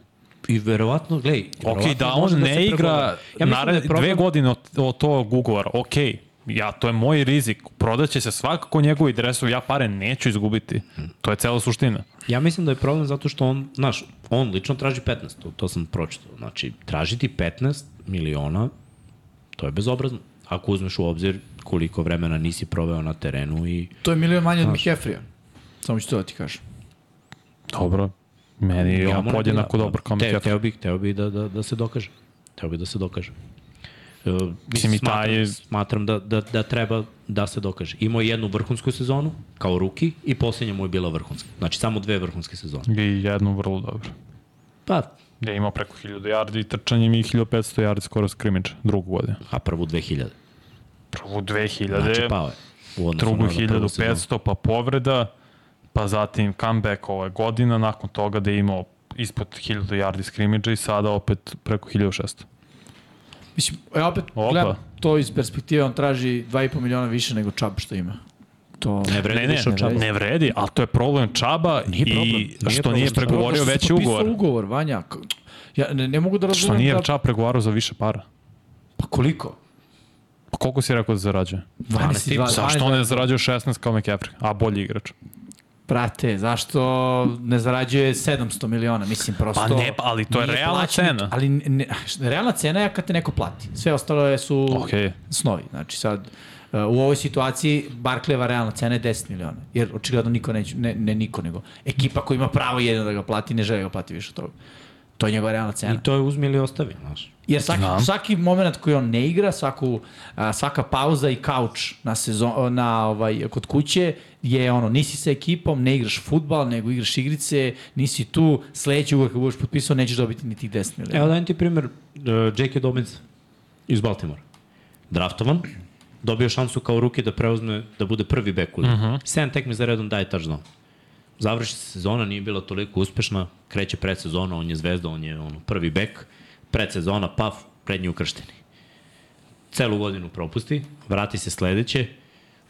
C: I verovatno, glej,
A: Ok,
C: verovatno
A: da
C: može
A: on
C: se
A: ne igra
C: pregovara. mislim da je
A: nared,
C: problem-
A: dve godine od, od tog ugovora. Ok, ja, to je moj rizik. Prodaće se svakako njegovi dresovi, ja pare neću izgubiti. To je cela suština.
C: Ja mislim da je problem zato što on, znaš, on lično traži 15, to, to sam pročitao. Znači, tražiti 15 miliona, to je bezobrazno. Ako uzmeš u obzir koliko vremena nisi proveo na terenu i
B: To je milion manje od
A: Da.
B: McHefrija. Samo ću to da ti kažem.
A: Dobro, meni je on
C: moram
A: podjednako
C: da-
A: dobar kao
C: te,
A: Mekef.
C: Teo bih, teo bih da, da, da se dokaže. Teo bih da se dokaže. E,
A: Mislim, i taj
C: smatram,
A: je-
C: smatram da, da, da treba da se dokaže. Imao je jednu vrhunsku sezonu kao ruki i poslednja mu je bila vrhunska. Znači samo dve vrhunske sezone.
A: I jednu vrlo dobro.
C: Pa,
A: Gde je imao preko 1000 yardi i trčanjem i 1500 yardi skoro skrimiča drugu godinu. pa
C: a prvu 2000.
A: Prvu 2000,
C: Znači pao je. U odnosu
A: drugu
C: na onu prvu sezonu.
A: 1500, pa povreda, pa zatim comeback ova godina, nakon toga da je imao ispod 1000 yardi skrimidža i sada opet preko 1600.
B: Mislim, ja opet
A: Opa.
B: gledam to iz perspektive, on traži 2,5 miliona više nego Čab što ima. To...
C: Ne vredi
A: Ne, ne,
C: više od Čaba.
A: ne vredi, ali to je problem Čaba
C: Nije
A: i
C: problem, nije
A: što
C: problem
A: nije
C: Čaba.
A: pregovorio
B: Zato što
A: veći
B: da si potpisao
A: ugovor.
B: ugovor, Vanja. K- Ja ne, ne mogu da razumem
A: Što nije
B: da...
A: Čab pregovarao za više para.
B: Pa koliko?
A: Pa koliko si rekao da zarađuje?
C: Pa
B: 12 i 20.
A: Zašto on ne zarađuje 16 kao McCaffrey, a bolji igrač?
B: Prate, zašto ne zarađuje 700 miliona, mislim, prosto...
A: Pa ne, pa, ali to je
B: nije
A: realna
B: plaćeni-
A: cena.
B: Ali ne- ne, realna cena je kad te neko plati. Sve ostalo je su
A: Okej.
B: snovi. Znači sad, uh, u ovoj situaciji Barkleva realna cena je 10 miliona. Jer očigledno niko neće, ne, ne niko, nego ekipa koja ima pravo jedino da ga plati, ne želi da ga plati više od toga. To je njegova realna cena.
C: I E, to je uzmi ili ostavi, znaš.
B: Jer svaki,
A: Da.
B: svaki moment koji on ne igra, svaku, a, svaka pauza i kauč na sezon, na, ovaj, kod kuće je ono, nisi sa ekipom, ne igraš futbal, nego igraš igrice, nisi tu, sledeći ugovor kad budeš potpisao, nećeš dobiti ni tih 10 miliona.
C: Evo dajem ti primjer uh, J.K. Dobbins iz Baltimora. Draftovan, dobio šansu kao ruki da preuzme, da bude prvi bek u ligi. Uh -huh. 7 tekmi za redom daje touchdown. Završi se sezona, nije bila toliko uspešna, kreće predsezona, on je zvezda, on je ono, prvi bek, predsezona, paf, prednji ukršteni. Celu godinu propusti, vrati se sledeće,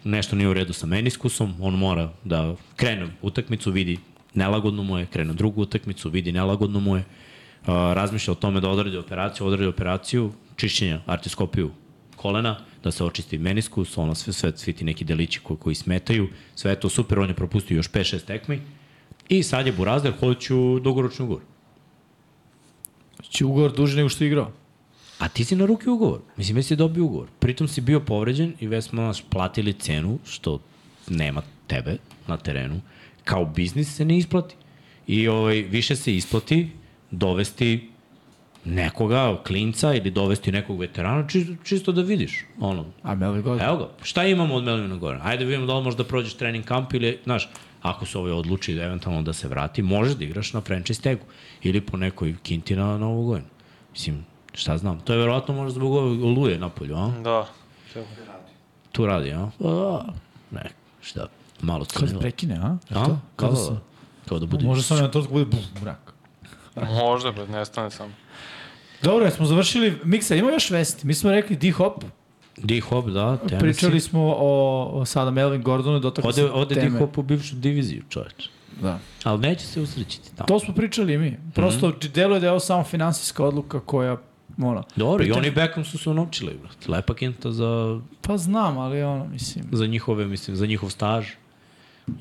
C: nešto nije u redu sa meniskusom, on mora da krene utakmicu, vidi nelagodno mu je, krene drugu utakmicu, vidi nelagodno mu je, a, razmišlja o tome da odradi operaciju, odradi operaciju, čišćenja, artiskopiju kolena, da se očisti meniskus, ono sve, sve, svi ti neki delići koji, koji smetaju, sve je to super, on je propustio još 5-6 tekmi i sad je Burazder, hoću dugoročni ugovor.
B: Či ugovor duži nego što je igrao.
C: A ti si na ruki ugovor. Mislim, već si dobio ugovor. Pritom si bio povređen i već smo nas platili cenu, što nema tebe na terenu. Kao biznis se ne isplati. I ovaj, više se isplati dovesti nekoga, klinca ili dovesti nekog veterana, čisto, čisto da vidiš. Ono,
B: A Melvin Gordon?
C: Evo ga, šta imamo od Melvina Gorana? Ajde vidimo da li možda prođeš trening kamp ili, znaš, ako se ovaj odluči da eventualno da se vrati, možeš da igraš na franchise tagu ili po nekoj kinti na Novu godinu. Mislim, šta znam, to je verovatno možda zbog ove oluje napolju, a?
A: Da.
C: Tu radi, a? a ne, šta, malo
B: Pa da. Kad da se
C: crnilo.
B: prekine, a?
C: A?
B: Što? Kada
C: Da,
B: se?
C: da, da. Kao da bude...
B: Može samo na to bude bum, mrak.
A: Možda, pred nestane sam.
B: Dobro, smo završili. Miksa, ima još vesti. Mi smo rekli D-Hop,
C: D-Hop, da, tenisi.
B: pričali smo o, o sada Melvin Gordonu, dotakli
C: Ode,
B: se
C: ode
B: teme.
C: D-Hop u bivšu diviziju, čoveč.
B: Da.
C: Ali neće se usrećiti tamo.
B: To smo pričali i mi. Prosto
C: Mhm.
B: mm -hmm. deluje da je ovo samo finansijska odluka koja, ono,
C: Dobro, i
B: Pritom-
C: oni Beckham su se unovčili, brate. Lepa kinta za
B: pa znam, ali ono, mislim,
C: za njihove, mislim, za njihov staž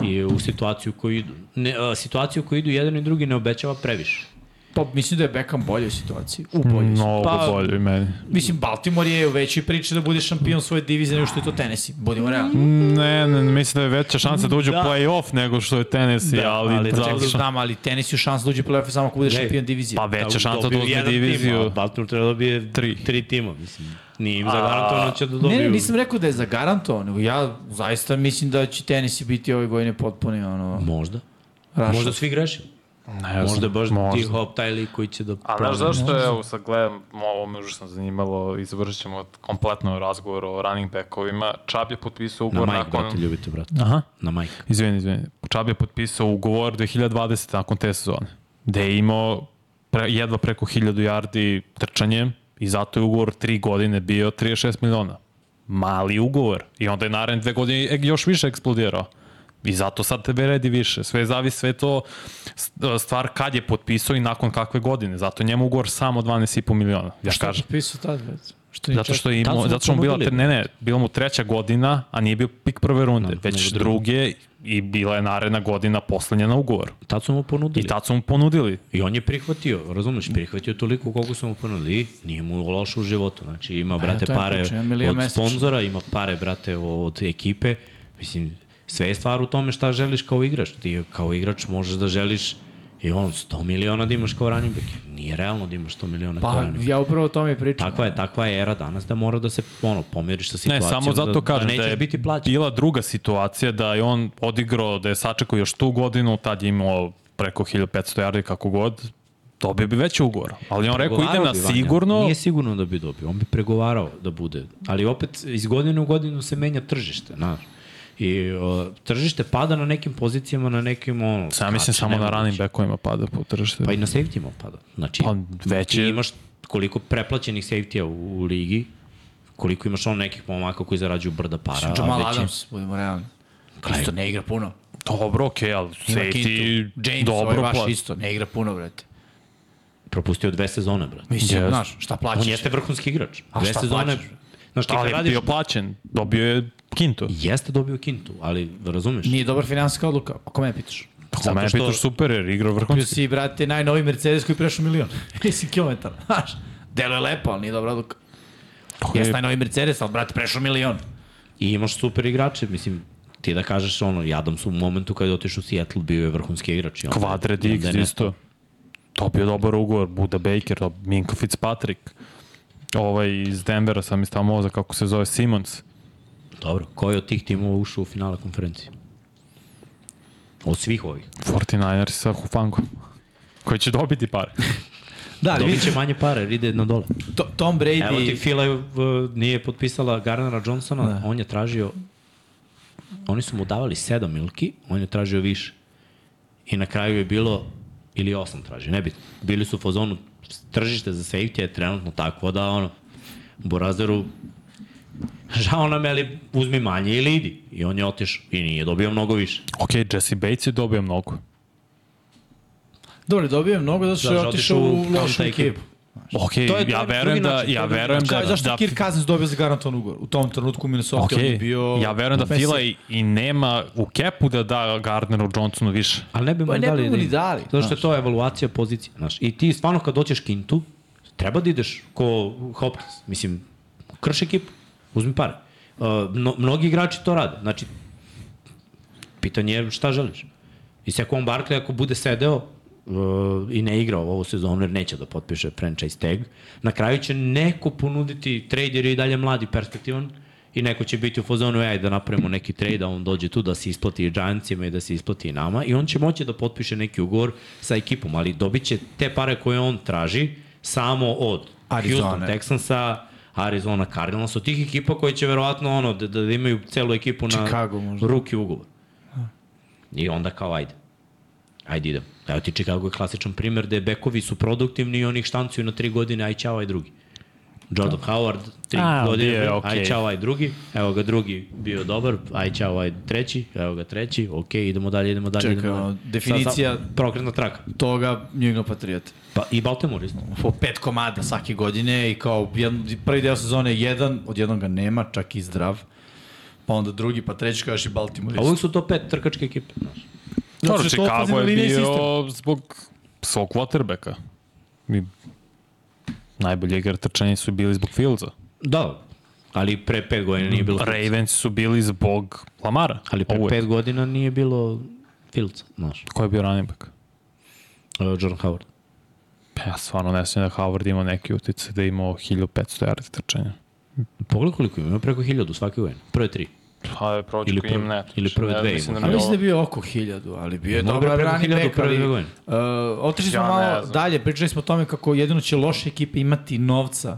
C: i u situaciju koju idu. Ne, a, situaciju koju idu jedan i drugi ne obećava previše.
B: pa mislim da je Beckham bolje u situaciji, u boljoj situaciji.
A: Mnogo
C: Pa-
A: pa, bolje i meni.
B: Mislim, Baltimore je u većoj priči da bude šampion svoje divizije nego što je to Tennessee, budimo realni.
A: Ne, ne, mislim da je veća šansa da uđe u
C: Da.
A: play-off nego što je Tennessee, da, ali, ali
B: Čekaj,
A: za,
B: Znači, znam, ali Tennessee je šans da uđe u play-off samo ako bude
C: Gledaj,
B: šampion divizije.
A: pa veća
C: Da,
A: šansa da
C: dobiju
A: uzme
C: jedan Tim, a
A: diviziju.
C: Baltimore treba da dobije
A: Tri.
C: tri tima, mislim. Nije im zagarantovano će da dobiju.
B: Ne, ne, nisam rekao da je zagarantovan, nego ja zaista mislim da će Tennessee biti ove godine potpuni, ono,
C: Možda.
B: rašao.
C: Možda svi grešimo.
A: Ne,
C: Možda je baš ti
A: možda.
C: hop taj lik koji će da
A: A znaš
C: promeni.
A: zašto je, evo sad gledam, ovo me užasno zanimalo i završit ćemo kompletno razgovor o running backovima. Čab je potpisao
C: Na
A: ugovor
C: majk, brate,
A: nakon...
C: ljubite, brate.
A: Aha,
C: Na majk.
A: izvini, izvini. Čab je potpisao ugovor 2020 nakon te sezone, gde je imao pre, jedva preko 1000 yardi trčanjem i zato je ugovor 3 godine bio 36 miliona. Mali ugovor. I onda je naredne dve godine e- još više eksplodirao. I zato sad tebe redi više. Sve zavisi, sve je to s- stvar kad je potpisao i nakon kakve godine. Zato je njemu ugovor samo 12,5 miliona. Ja
B: Što je
A: kažem.
B: potpisao tad, već? Što
A: Zato što je
C: Znači, Tad
A: imao,
C: smo
A: zato što mu bila,
C: ponudili.
A: tre- ne, ne, bila mu treća godina, a nije bio pik prve runde,
C: Da,
A: već
C: nego
A: druge i bila je naredna godina poslednja na ugovor.
C: Tad su mu ponudili.
A: I tad su mu ponudili.
C: I on je prihvatio, razumeš, prihvatio toliko koliko su mu ponudili, i nije mu loše u životu. Znači ima brate
B: Pa to je
C: pare
B: priča, jedan milion
C: od
B: mesečno.
C: sponzora, ima pare brate od ekipe. Mislim, sve je stvar u tome šta želiš kao igrač. Ti kao igrač možeš da želiš i on 100 miliona da imaš kao running back. Nije realno da imaš 100 miliona kao
B: Pa,
C: running back.
B: ja upravo o tome i pričam.
C: Takva je, takva je era danas da mora da se ono, pomiriš sa
A: Ne,
C: situacijom.
A: samo zato
C: da,
A: kažem
C: da,
A: da, je
C: nećeš biti plaćen.
A: bila druga situacija da je on odigrao, da je sačekao još tu godinu, tad je imao preko 1500 yardi kako god, dobio bi veći ugovor. Ali on Pa rekao idem
C: Pregovarao
A: na
C: bi, Vanja.
A: sigurno,
C: Nije sigurno da bi dobio, on bi pregovarao da bude. Ali opet iz godine u godinu se menja tržište, znaš. I o, tržište pada na nekim pozicijama, na nekim ono...
A: sam ja mislim
C: skače,
A: samo na
C: nemoguće.
A: running backovima pada po tržište.
C: Pa i na safety-ima pada. Znači,
A: Pa već
C: ti
A: je-
C: imaš koliko preplaćenih safety-a u, u ligi, koliko imaš ono nekih pomaka koji zarađuju brda para. a
B: Jamal
C: već je-
B: Adams, budemo realni. Isto ne igra puno.
A: Dobro, okej, okay, ali
B: Ima
A: safety,
B: Kintu. James, ovaj
A: dobro,
B: vaš
A: pla-
B: isto, ne igra puno, brate.
C: Propustio dve sezone, brate.
B: Mislim,
A: Jeste.
B: znaš, šta plaćaš?
C: On jeste vrhunski igrač.
B: A
C: Dve
B: šta
C: sezone...
B: plaćaš?
A: Da
C: Znaš, ti kad
A: ali je
C: radiš
A: bio plaćen, dobio je kintu.
C: Jeste dobio kintu, ali razumeš?
B: Nije dobar finansijska odluka, ako mene pitaš.
A: Tako
C: zato
A: mene
C: što-
A: pitaš super, jer igrao
B: Kupio
A: vrhunski.
B: si, brate, najnovi Mercedes koji prešao milion. Mislim, kilometar, znaš. Delo je lepo, ali nije dobra odluka.
A: To je-
B: Jeste najnovi Mercedes, ali, brate, prešao milion.
C: I imaš super igrače, mislim, ti da kažeš ono, i Adams u momentu kada je otišao u Seattle bio je vrhunski igrač. i onda-
A: Kvadrat
C: i onda
A: X
C: je ne-
A: isto. Dobio dobar ugovor, Buda Baker, dob- Minko Fitzpatrick. Ovaj iz Denvera sam mi stao moza kako se zove Simons.
C: Dobro, koji od tih timova ušao u finale konferencije? Od svih ovih.
A: 49ers sa Hufangom. Koji će dobiti pare.
B: Da, ali
C: Dobit
B: vidiš,
C: će manje pare, jer ide na dole.
B: to, Tom Brady...
C: Evo ti, Fila je, v, nije potpisala Garnera Johnsona, da. on je tražio, oni su mu davali sedam milki, on je tražio više. I na kraju je bilo, ili osam tražio, nebitno. Bili su u fazonu, tržište za safety je trenutno takvo da ono, Borazeru, žao nam je, ali uzmi manje ili idi. I on je otišao i nije dobio mnogo više.
A: Ok, Jesse Bates je dobio mnogo.
B: Dobro, dobio je mnogo zato što
C: Znaš,
B: je otišao u
C: otišao u
B: lošu
C: counter
B: ekipu.
A: Ok,
C: To je- to
A: ja
C: je
A: verujem
C: drugi
A: da,
C: način, to
A: ja
C: je drugi
A: verujem
B: Kao,
A: da,
B: da, zašto
A: da
B: da, Kirk Cousins dobio za garantovan ugovor? U tom trenutku u Minnesota
A: Ok,
B: okay. on je bio...
A: ja verujem da
B: Messi.
A: Fila i, i nema u kepu da da Gardneru Johnsonu više.
C: Ali ne bi mu
B: Pa ne
C: dali.
B: bi mu
C: da
B: ni
C: igra.
B: dali,
C: Zato što je to evaluacija pozicije. Znaš. I ti stvarno kad doćeš kintu, treba da ideš ko Hopkins. Mislim, krš ekipu, uzmi pare. Uh, mno, mnogi igrači to rade. Znači, pitanje je šta želiš. I Sekon Barkley ako bude sedeo uh, i ne igrao ovu sezonu jer neće da potpiše franchise tag, na kraju će neko ponuditi trade jer je i dalje mladi perspektivan i neko će biti u fazonu aj da napravimo neki trade, a on dođe tu da se isplati i Giantsima i da se isplati i nama i on će moći da potpiše neki ugovor sa ekipom, ali dobit će te pare koje on traži samo od
B: Arizone.
C: Houston Texansa, Arizona Cardinals, od tih ekipa koje će verovatno ono, da, da imaju celu ekipu na
B: Chicago možda.
C: ruki ugovor. I onda kao ajde. Ajde idem. Evo ti Chicago je klasičan primer da je bekovi su produktivni i oni ih štancuju na tri godine, aj čao, aj drugi. Jordan Howard, tri
A: Da. A,
C: godine,
A: bio je
C: okay. aj
A: okej.
C: čao, aj drugi, evo ga drugi bio dobar, aj čao, aj treći, evo ga treći, okej, idemo dalje, idemo dalje.
B: Čekaj,
C: idemo dalje.
B: ono, definicija-
C: Sa- sa- Prokretna traka.
B: toga New England Patriot.
C: Pa i Baltimore isto.
B: Po pet komada svake godine i kao jedan, prvi deo sezone je jedan, odjednom ga nema, čak i zdrav. Pa onda drugi, pa treći kao još i Baltimore.
C: A uvijek su to pet trkačke ekipe. Znaš.
A: Dobro,
B: Zato što je
A: Chicago
B: to ofenzivna
A: je
B: linija i
A: bio zbog svog quarterbacka. I najbolje igra trčanje su bili zbog Fieldsa.
C: Da, ali pre pet godina nije bilo.
A: Ravens su bili zbog Lamara.
C: Ali pre
A: Ovo je.
C: pet godina nije bilo Fields, znaš,
A: Ko je bio running back?
C: uh, Jordan Howard.
A: Pa ja stvarno ne smijem da Howard ima neki utice da je imao 1500 yardi trčanja.
C: Pogledaj koliko ima, ima preko hiljadu svake godine, prve tri.
A: Pa je prođe
C: Ili koji prve- im ne trči. ili prve Ja dve mislim ima. da
B: A mislim da je bio oko hiljadu, ali bio je
C: Možda
B: dobar
C: preko
B: running
C: hiljadu
B: back,
C: prve
B: ali
C: dve
B: uh,
C: godine.
B: otišli smo
A: Ja ne
B: malo
A: znam.
B: dalje, pričali smo o tome kako jedino će loše ekipe imati novca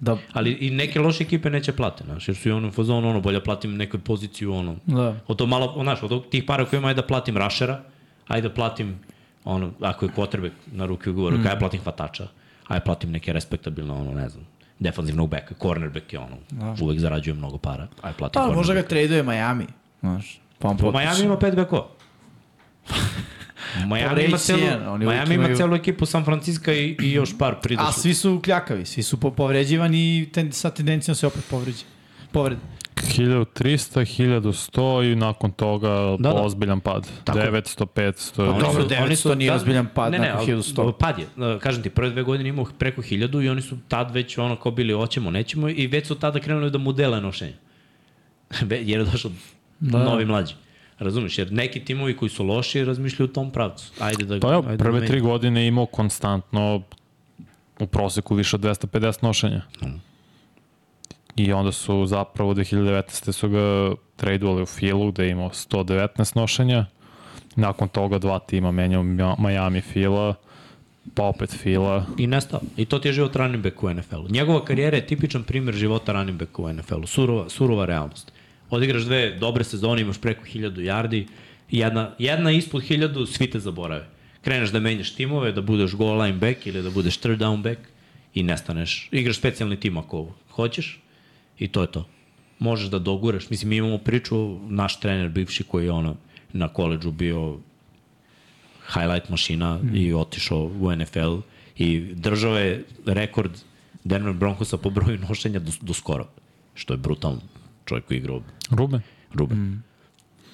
B: da
C: Ali i neke loše ekipe neće plate, znaš, jer su i ono u fazonu, ono, bolje platim neku poziciju, ono.
B: Da.
C: Od to malo, znaš, od tih para koje ima, ajde da platim rašera, ajde da platim, ono, ako je kotrbek na ruke ugovoru, mm. kaj platim hvatača, ajde da platim neke respektabilne, ono, ne znam, defanzivnog beka, cornerback je ono, da. uvek zarađuje mnogo para, ajde da platim
B: Pa,
C: cornerbacka.
B: možda ga traduje Miami. Znaš, pa on
C: Pa
B: potpiše.
C: Miami ima pet bekova. Miami,
B: Reći
C: ima celu,
B: jedan, oni uvijek
C: Miami ima
B: imaju-
C: celu ekipu San Francisco i, i još par pridošli.
B: A svi su kljakavi, svi su po- povređivani i ten, sa tendencijom se opet povređa. Povred.
A: 1300, 1100 i nakon toga da,
C: da.
A: da. ozbiljan pad.
C: Tako.
A: 900, 500.
C: Oni
A: Pa dobro.
B: su- 900 nije
C: tad-
B: ozbiljan pad nakon
C: ali
B: 1100.
C: Pad je. E, Kažem ti, prve dve godine imao preko 1000 i oni su tad već ono ko bili oćemo, nećemo i već su tada krenuli da mu dele nošenje. Ve- jer je došao da. novi mlađi. Razumeš, jer neki timovi koji su loši razmišljaju u tom pravcu. Ajde da,
A: Pa
C: ajde
A: evo,
C: da
A: prve
C: menjamo.
A: tri godine je imao konstantno u proseku više od 250 nošenja.
C: Mm.
A: I onda su zapravo 2019. su ga tradeovali u Filu gde je imao 119 nošenja. Nakon toga dva tima menjao Mja- Miami Fila, pa opet Fila.
C: I nestao. I to ti je život running back u NFL-u. Njegova karijera je tipičan primjer života running back u NFL-u. Surova, surova realnost. Odigraš dve dobre sezone, imaš preko 1000 yardi, jedna, jedna ispod 1000, svi te zaborave. Kreneš da menjaš timove, da budeš goal line back ili da budeš third down back i nestaneš. Igraš specijalni tim ako hoćeš i to je to. Možeš da doguraš. Mislim, mi imamo priču, naš trener bivši koji je ono, na koleđu bio highlight mašina mm. i otišao u NFL i držao je rekord Denver Broncosa po broju nošenja do, do skoro, što je brutalno. čovjek koji igra ovde.
A: Ruben.
C: Ruben. Mm.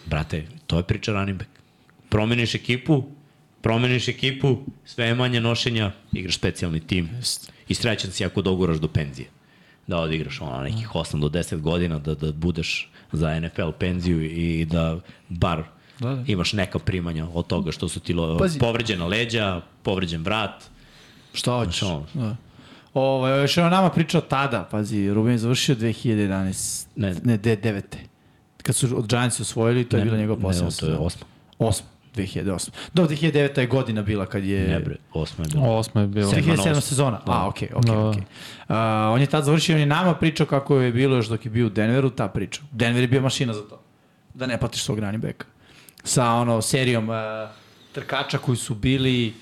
C: Brate, to je priča running back. Promeniš ekipu, promeniš ekipu, sve je manje nošenja, igraš specijalni tim. I srećan si ako doguraš do penzije. Da odigraš ono nekih 8 do 10 godina, da, da budeš za NFL penziju i da bar
B: Da, da.
C: imaš neka primanja od toga što su ti lo,
B: Pazi.
C: povređena leđa, povređen vrat.
B: Šta hoćeš?
C: Znaš, ono.
B: Da. Ovo, još je o nama pričao tada, pazi, Ruben je završio 2011, ne,
C: Ne.
B: ne de- 9. Kad su od Giants osvojili, to je
C: Ne,
B: bila njegova da.
C: ne,
B: posljedna.
C: to je osma.
B: 8. 2008. Do 2009. je godina bila kad je...
C: Ne bre, osma je bilo.
A: Osma je bilo.
C: Sedma.
B: 2007.
C: osma.
B: sezona. A, okej, okej,
A: Da.
B: okej. A, On je tad završio, on je nama pričao kako je bilo još dok je bio u Denveru, ta priča. Denver je bio mašina za to. Da ne platiš svog running backa. Sa ono, serijom a, trkača koji su bili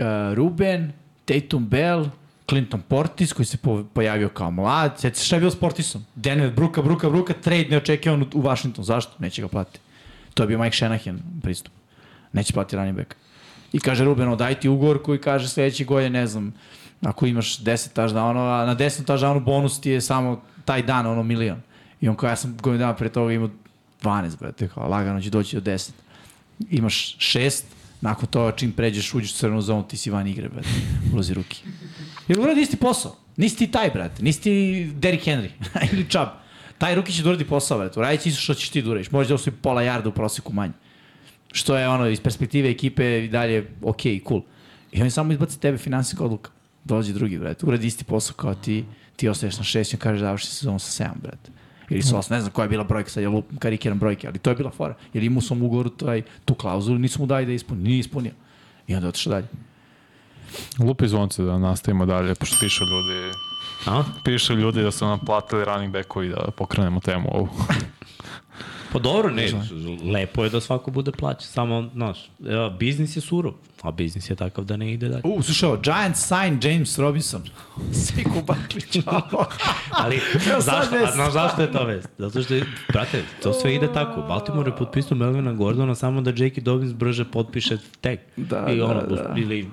B: a, Ruben, Tatum Bell, Clinton Portis koji se po, pojavio kao mlad. Sjeti se šta je bilo s Portisom? Denver, bruka, bruka, bruka, trade neočekivan u, u Washington. Zašto? Neće ga platiti. To je bio Mike Shanahan pristup. Neće platiti running back. I kaže Ruben, odaj ti ugovor koji kaže sledeće godine, ne znam, ako imaš 10 touchdown, a na 10 touchdownu bonus ti je samo taj dan, ono milion. I on kao, ja sam godinu dana pre toga imao 12, brate, kao, lagano će doći do 10. Imaš 6, nakon toga čim pređeš, uđeš u crnu zonu, ti si van igre, brate, ulozi ruki. Jer uradi isti posao. Nisi ti taj, brate. Nisi ti Derrick Henry ili Chubb. Taj ruki će da uradi posao, brate. Uradit će isto što ćeš ti da uradiš. Možeš da osvoji pola jarda u proseku manje što je ono iz perspektive ekipe i dalje ok i cool. I oni samo izbaci tebe finansijska odluka. Dođe drugi, brate. Uradi isti posao kao ti, ti ostaješ na šest i on kaže završi sezonu sa sedam, brate. Ili sa osam, ne znam koja je bila brojka, sad ja lupam, karikiram brojke, ali to je bila fora. Jer imao sam u ugovoru taj, tu klauzulu, nisu mu dali da je ispuni, nije ispunio. I onda je otišao dalje.
A: Lupi zvonce da nastavimo dalje, pošto pišu ljudi,
C: A?
A: pišu ljudi da su nam platili running backovi da pokrenemo temu ovu.
C: Pa dobro, ne, lepo je da svako bude plaćen, samo, znaš, e, biznis je surov, a biznis je takav da ne ide dalje.
B: U, slušaj, ovo, Giants sign James Robinson. Siku Baklić, čao.
C: Ali,
B: Evo sad
C: zašto, a,
B: vest.
C: znaš zašto je to vest? Zato što, je, brate, to sve ide tako. Baltimore je potpisao Melvina Gordona samo da J.K. Dobbins brže potpiše tag.
B: Da,
C: I
B: da,
C: ono,
B: da.
C: Ili,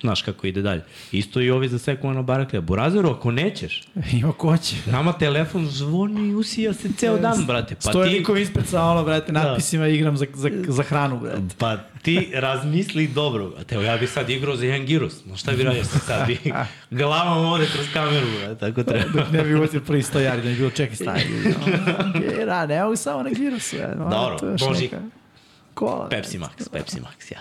C: znaš kako ide dalje. Isto i ovi za sekundarno baraklija. Burazeru, ako nećeš,
B: Ima ko će.
C: nama telefon zvoni i usija se ceo dan, brate.
B: Pa
C: Pa
B: Stoje ti... Da.
C: ti,
B: nikom ispred sa ono, brate, natpisima igram za, za, za hranu, brate.
C: Pa ti razmisli dobro. A teo, ja bi sad igrao za jedan girus. No šta bi radio sam sad? Bi glavom ovde kroz kameru, brate, tako treba.
B: ne bi uvodio prvi 100 yardi, ne bi bilo čekaj stari. Okay, ra, ne mogu samo na girosu. Ja, no,
C: Dobro,
B: to je još
C: može.
B: neka Kola.
C: Pepsi Max, Pepsi Max, ja.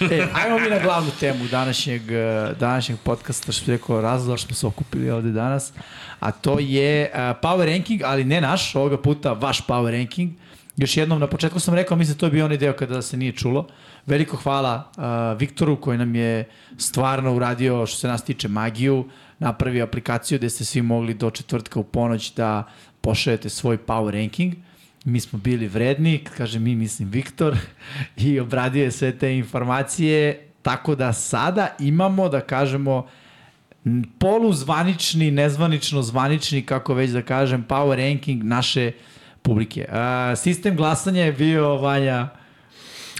B: E, ajmo mi na glavnu temu današnjeg, eh, današnjeg podcasta, što je rekao razlog što smo se okupili ovde danas, a to je uh, power ranking, ali ne naš, ovoga puta vaš power ranking. Još jednom, na početku sam rekao, mislim to je bio onaj deo kada se nije čulo. Veliko hvala uh, Viktoru koji nam je stvarno uradio, što se nas tiče, magiju, napravio aplikaciju gde ste svi mogli do četvrtka u ponoć da pošaljete svoj power ranking mi smo bili vredni, kad kažem mi mislim Viktor, i obradio je sve te informacije, tako da sada imamo, da kažemo, m, poluzvanični, nezvanično zvanični, kako već da kažem, power ranking naše publike. A, sistem glasanja je bio, Vanja,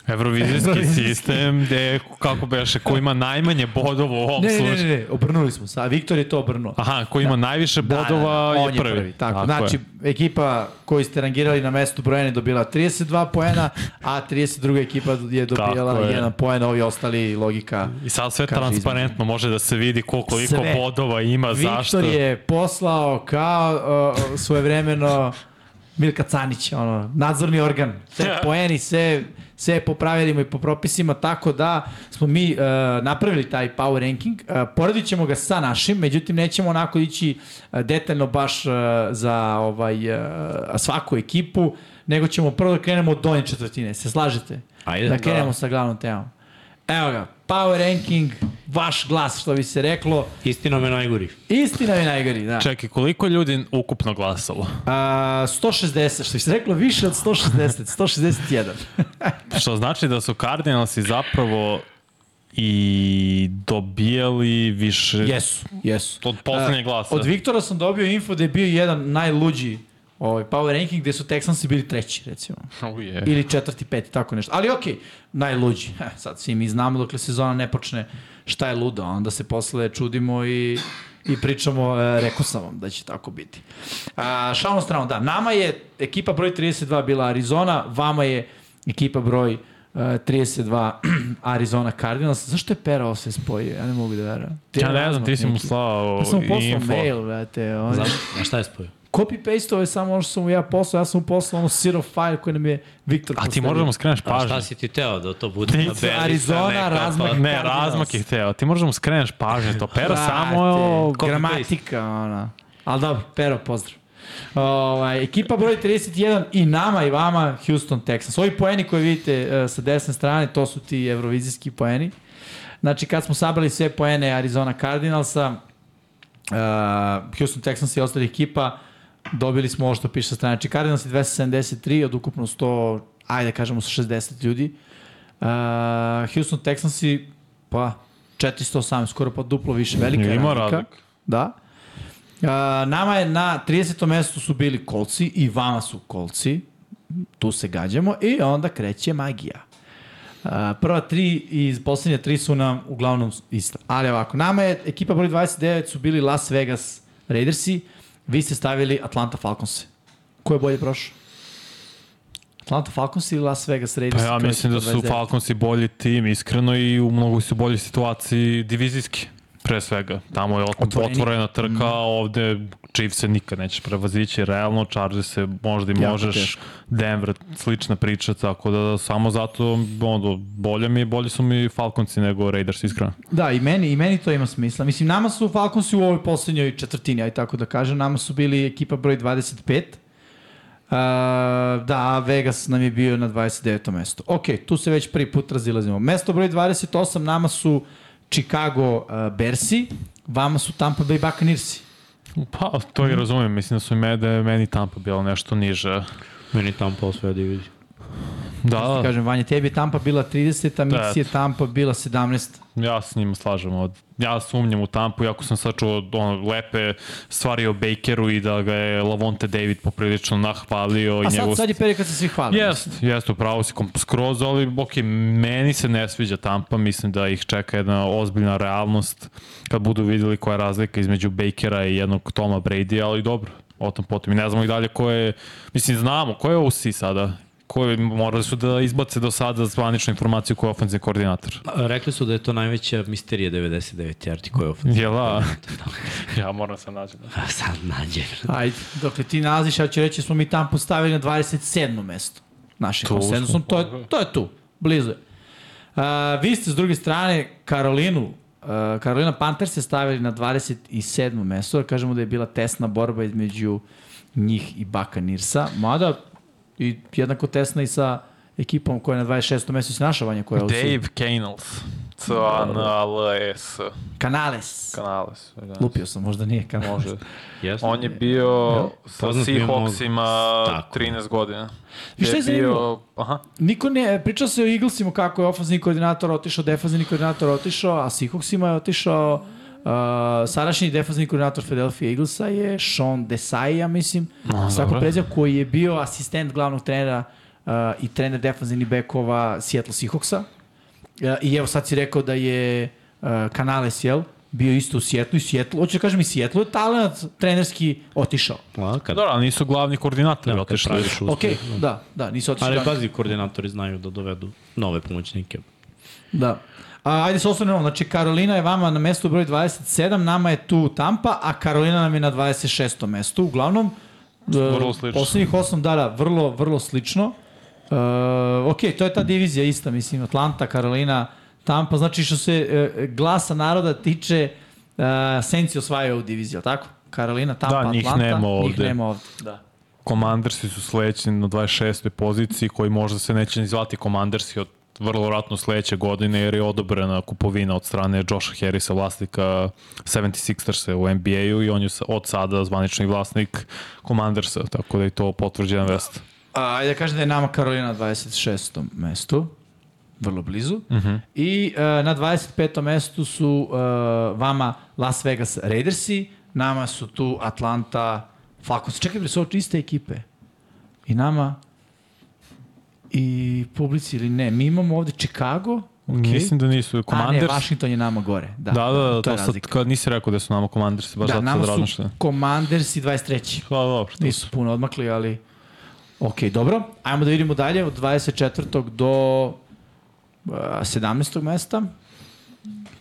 A: Evrovizijski sistem gde, kako beše, ko ima najmanje bodova u ovom
B: ne, ne,
A: slučaju.
B: ne, ne, obrnuli smo se, a Viktor je to obrnuo.
A: Aha, ko ima da. najviše bodova
B: da. on
A: je prvi.
B: Tako, znači, je. ekipa koju ste rangirali na mestu brojene dobila 32 poena, a 32. ekipa je dobila
A: Tako je.
B: jedan poen, ovi ostali logika.
A: I sad sve
B: Kaže,
A: transparentno može da se vidi ko, koliko
B: Sve.
A: sve. bodova ima,
B: Viktor
A: zašto.
B: je poslao kao uh, svojevremeno Milka Canić, ono, nadzorni organ. Sve poeni, sve, sve po pravilima i po propisima, tako da smo mi uh, napravili taj power ranking. Uh, poredit ćemo ga sa našim, međutim nećemo onako ići uh, detaljno baš uh, za ovaj, uh, svaku ekipu, nego ćemo prvo da krenemo od donje četvrtine. Se slažete?
C: Ajde,
B: da
C: da.
B: krenemo sa glavnom temom. Evo ga, power ranking, vaš glas, što bi se reklo.
C: Istina me najgori.
B: Istina je najgori, da.
A: Čekaj, koliko je ljudi ukupno glasalo?
B: A, 160, što bi se reklo više od 160, 161.
A: Što znači da su Cardinalsi zapravo i dobijali više
B: Jesu, jesu.
A: od poslednjeg glasa.
B: Od Viktora sam dobio info da je bio jedan najluđi ovaj, power ranking gde su Texansi bili treći, recimo.
A: Uje.
B: Ili četvrti, peti, tako nešto. Ali okej, okay, najluđi. Ha, Sad svi mi znamo dokle sezona ne počne šta je ludo, a onda se posle čudimo i i pričamo, e, rekao sam vam da će tako biti. A, šalno strano, da, nama je ekipa broj 32 bila Arizona, vama je ekipa broj e, 32 Arizona Cardinals. Zašto je Pera ovo sve spojio? Ja ne mogu da verujem.
A: Ja ne znam, ti si mu
B: neki.
A: slao
B: Ja sam mu poslao
A: info.
B: mail, brate. On...
C: Znaš, znaš šta je spojio?
B: Copy-paste ovo je samo ono što sam mu ja poslao. Ja sam mu poslao ono sirov file koji nam je Viktor
A: A ti
B: postavio.
A: moraš da mu skreneš
C: A
A: pažnju.
C: Pa šta si ti teo da to bude?
A: Ti
C: na
A: si
C: Belica
B: Arizona,
C: neka,
B: razmak-
C: pa-
A: Ne,
B: Cardinals.
A: razmak je hteo. Ti moraš da mu skreneš pažnju. To pera
B: Brate,
A: samo je o...
B: gramatika, ona. Ali dobro, pero, pozdrav. Ovaj, ekipa broj 31 i nama i vama Houston Texans. Ovi poeni koje vidite e, sa desne strane, to su ti evrovizijski poeni. Znači, kad smo sabrali sve poene Arizona Cardinalsa, uh, Houston Texans i ostali ekipa, dobili smo ovo što piše sa strane. Znači, Cardinals je 273 od ukupno 100, ajde da kažemo sa 60 ljudi. Uh, Houston Texans i pa 418, skoro pa duplo više, velika
A: Ima
B: razlika.
A: razlika.
B: Da. Uh, nama je na 30. mestu su bili kolci i vama su kolci. Tu se gađamo i onda kreće magija. A, Eh, prva tri i poslednje tri su nam uglavnom ista. Ali ovako, nama je ekipa broj 29 su bili Las Vegas Raidersi, vi ste stavili Atlanta Falconse. Ko je bolje prošao? Atlanta Falcons ili Las Vegas
A: Pa
B: Raidersi?
A: ja
B: To je
A: mislim da
B: ekipa
A: su
B: 29.
A: Falconsi bolji tim, iskreno, i u mnogo su boljoj situaciji divizijski, pre svega. Tamo je otvorena,
B: Otvoreni. Mhm.
A: otvorena trka, ovde Chiefs se nikad nećeš prevazići, realno, Chargers se možda i
B: Jako
A: možeš,
B: teško.
A: Denver, slična priča, tako da samo zato, ono, bolje mi, bolji su mi Falconsi nego Raiders, iskreno.
B: Da, i meni, i meni to ima smisla. Mislim, nama su Falconsi u ovoj poslednjoj četvrtini, aj tako da kažem, nama su bili ekipa broj 25, Uh, da, a Vegas nam je bio na 29. mesto. Ok, tu se već prvi put razilazimo. Mesto broj 28 nama su Chicago uh, Bearsi, vama su Tampa Bay Buccaneersi.
A: Pa, to
B: Mhm.
A: i razumem, mislim da su i mede, meni Tampa bila nešto niže.
C: Meni tamo posvoja divizija.
A: Da, da,
B: Kažem, Vanja, tebi je Tampa bila 30, a Miksi je
A: Eto.
B: Tampa bila 17.
A: Ja se s njima slažem. od- Ja sumnjam u Tampu, iako sam sačuo ono, lepe stvari o Bakeru i da ga je Lavonte David poprilično nahvalio. i
B: A sad,
A: njegov...
B: sad je period kad se svi hvali.
A: Jest, jest, upravo si kom- skroz, ali ok, meni se ne sviđa Tampa, mislim da ih čeka jedna ozbiljna realnost kad budu videli koja je razlika između Bakera i jednog Toma Brady, ali dobro, o tom potom. I ne znamo i dalje ko je, mislim znamo, ko je OC sada? Ko je, morali su da izbace do sada zvaničnu informaciju ko je ofenzivni koordinator.
C: Rekli su da je to najveća misterija 99 jer ti ko je ofenzija.
A: Jel da? ja moram se naći. Da.
C: A sad nađe.
B: Ajde, dokle ti nalaziš, ja ću reći da smo mi Tampu stavili na 27. mesto. Našim
A: Tu
B: konsenzusom,
A: smo,
B: to je, to je tu, blizu je. Uh, vi ste s druge strane Karolinu, uh, Karolina Panthers ste stavili na 27. mesto, da kažemo da je bila tesna borba između njih i Bakanirsa, mada i jednako tesna i sa ekipom koja je na 26. mesto se naša vanja koja je u
A: Dave Canals. C-A-N-A-L-E-S.
B: Kanales.
A: Kanales. Da.
B: Lupio sam, možda nije Kanales.
A: Može.
C: Jasno?
A: On je bio sa
C: Poznat bio mnogo.
A: Seahawksima
C: Tako.
A: 13 godina.
B: I šta
A: Gde
B: je zanimljivo?
A: Aha.
B: Niko ne, pričao se o Eaglesima kako je ofenzivni koordinator otišao, defanzivni koordinator otišao, a Seahawksima je otišao Uh, sadašnji defanzivni koordinator Philadelphia Eaglesa je Sean Desai, ja mislim, no, svako
A: dobro.
B: prezio, koji je bio asistent glavnog trenera uh, i trener defanzivnih bekova Seattle Seahawksa. Uh, I evo sad si rekao da je uh, Canales, jel, bio isto u Seattle i Seattle, hoću da kažem i Seattle je talent trenerski otišao.
C: A, kad,
A: Dobro, ali nisu glavni koordinatori
C: kad
A: da, otišli.
C: praviš uspeh.
B: Ok, da, da, nisu otišao.
C: Ali pazi, koordinatori znaju da dovedu nove pomoćnike.
B: Da. A, ajde se osnovno, znači Karolina je vama na mestu broj 27, nama je tu Tampa, a Karolina nam je na 26. mestu. Uglavnom,
A: Vrlo
B: e,
A: slično.
B: Poslednjih 8 dana, vrlo, vrlo slično. E, ok, to je ta divizija ista, mislim, Atlanta, Karolina, Tampa, znači što se e, glasa naroda tiče, e, Senci osvajaju ovu diviziju, jel tako? Karolina, Tampa,
A: Da, njih
B: Atlanta,
A: nema
B: njih
A: ovde.
B: nema ovde. Da.
A: Komandersi su sledeći na 26. poziciji koji možda se neće ni zvati komandersi od vrlo vratno sledeće godine jer je odobrena kupovina od strane Josha Harrisa, vlasnika 76ersa u NBA-u i on je sa- od sada zvanični vlasnik komandersa, tako da je to potvrđena vest.
B: A, ajde da kažem da je nama Karolina na 26. mestu, vrlo blizu. Mm
A: Mhm.
B: -hmm. I e, na 25. mestu su e, vama Las Vegas Raidersi, nama su tu Atlanta Falcons. Čekaj, bre, su ovo iste ekipe. I nama i publici ili ne. Mi imamo ovde Chicago, Okej.
A: Mislim da nisu.
B: A ne,
A: Commanders...
B: Washington je nama gore. Da,
A: Da, da, da,
B: to je
A: to sad,
B: razlika.
A: kad nisi rekao da su nama Commanders, baš
B: Da,
A: zato
B: nama
A: sad
B: su
A: razmišljam.
B: Commanders i 23.
A: Pa dobro, to su.
B: Nisu puno odmakli, ali... Ok, dobro. Ajmo da vidimo dalje od 24. do uh, 17. mesta.